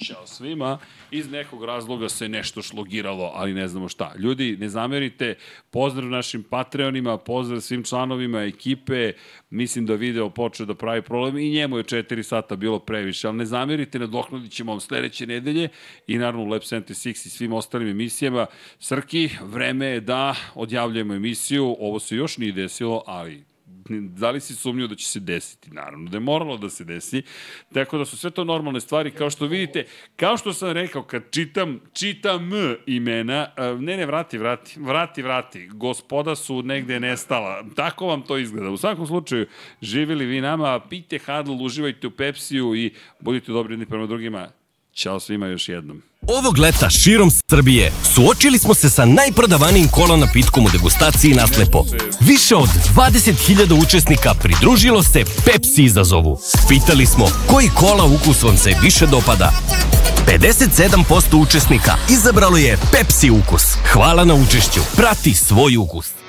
Ćao svima. Iz nekog razloga se nešto šlogiralo, ali ne znamo šta. Ljudi, ne zamerite, pozdrav našim Patreonima, pozdrav svim članovima ekipe, mislim da video počeo da pravi problem i njemu je 4 sata bilo previše, ali ne zamerite, nadoknadit ćemo vam sledeće nedelje i naravno u Lab 76 i svim ostalim emisijama. Srki, vreme je da odjavljujemo emisiju, ovo se još nije desilo, ali da li si sumnio da će se desiti? Naravno da je moralo da se desi. Tako da su sve to normalne stvari. Kao što vidite, kao što sam rekao, kad čitam, čitam M imena, e, ne, ne, vrati, vrati, vrati, vrati. Gospoda su negde nestala. Tako vam to izgleda. U svakom slučaju, živjeli vi nama, pijte Hadl, uživajte u Pepsiju i budite dobri jedni prema drugima. Ćao svima još jednom. Ovog leta širom Srbije suočili smo se sa najprodavanijim kola napitkom u degustaciji Naslepo. Više od 20.000 učesnika pridružilo se Pepsi izazovu. Pitali smo koji kola ukus vam se više dopada. 57% učesnika izabralo je Pepsi ukus. Hvala na učešću. Prati svoj ukus.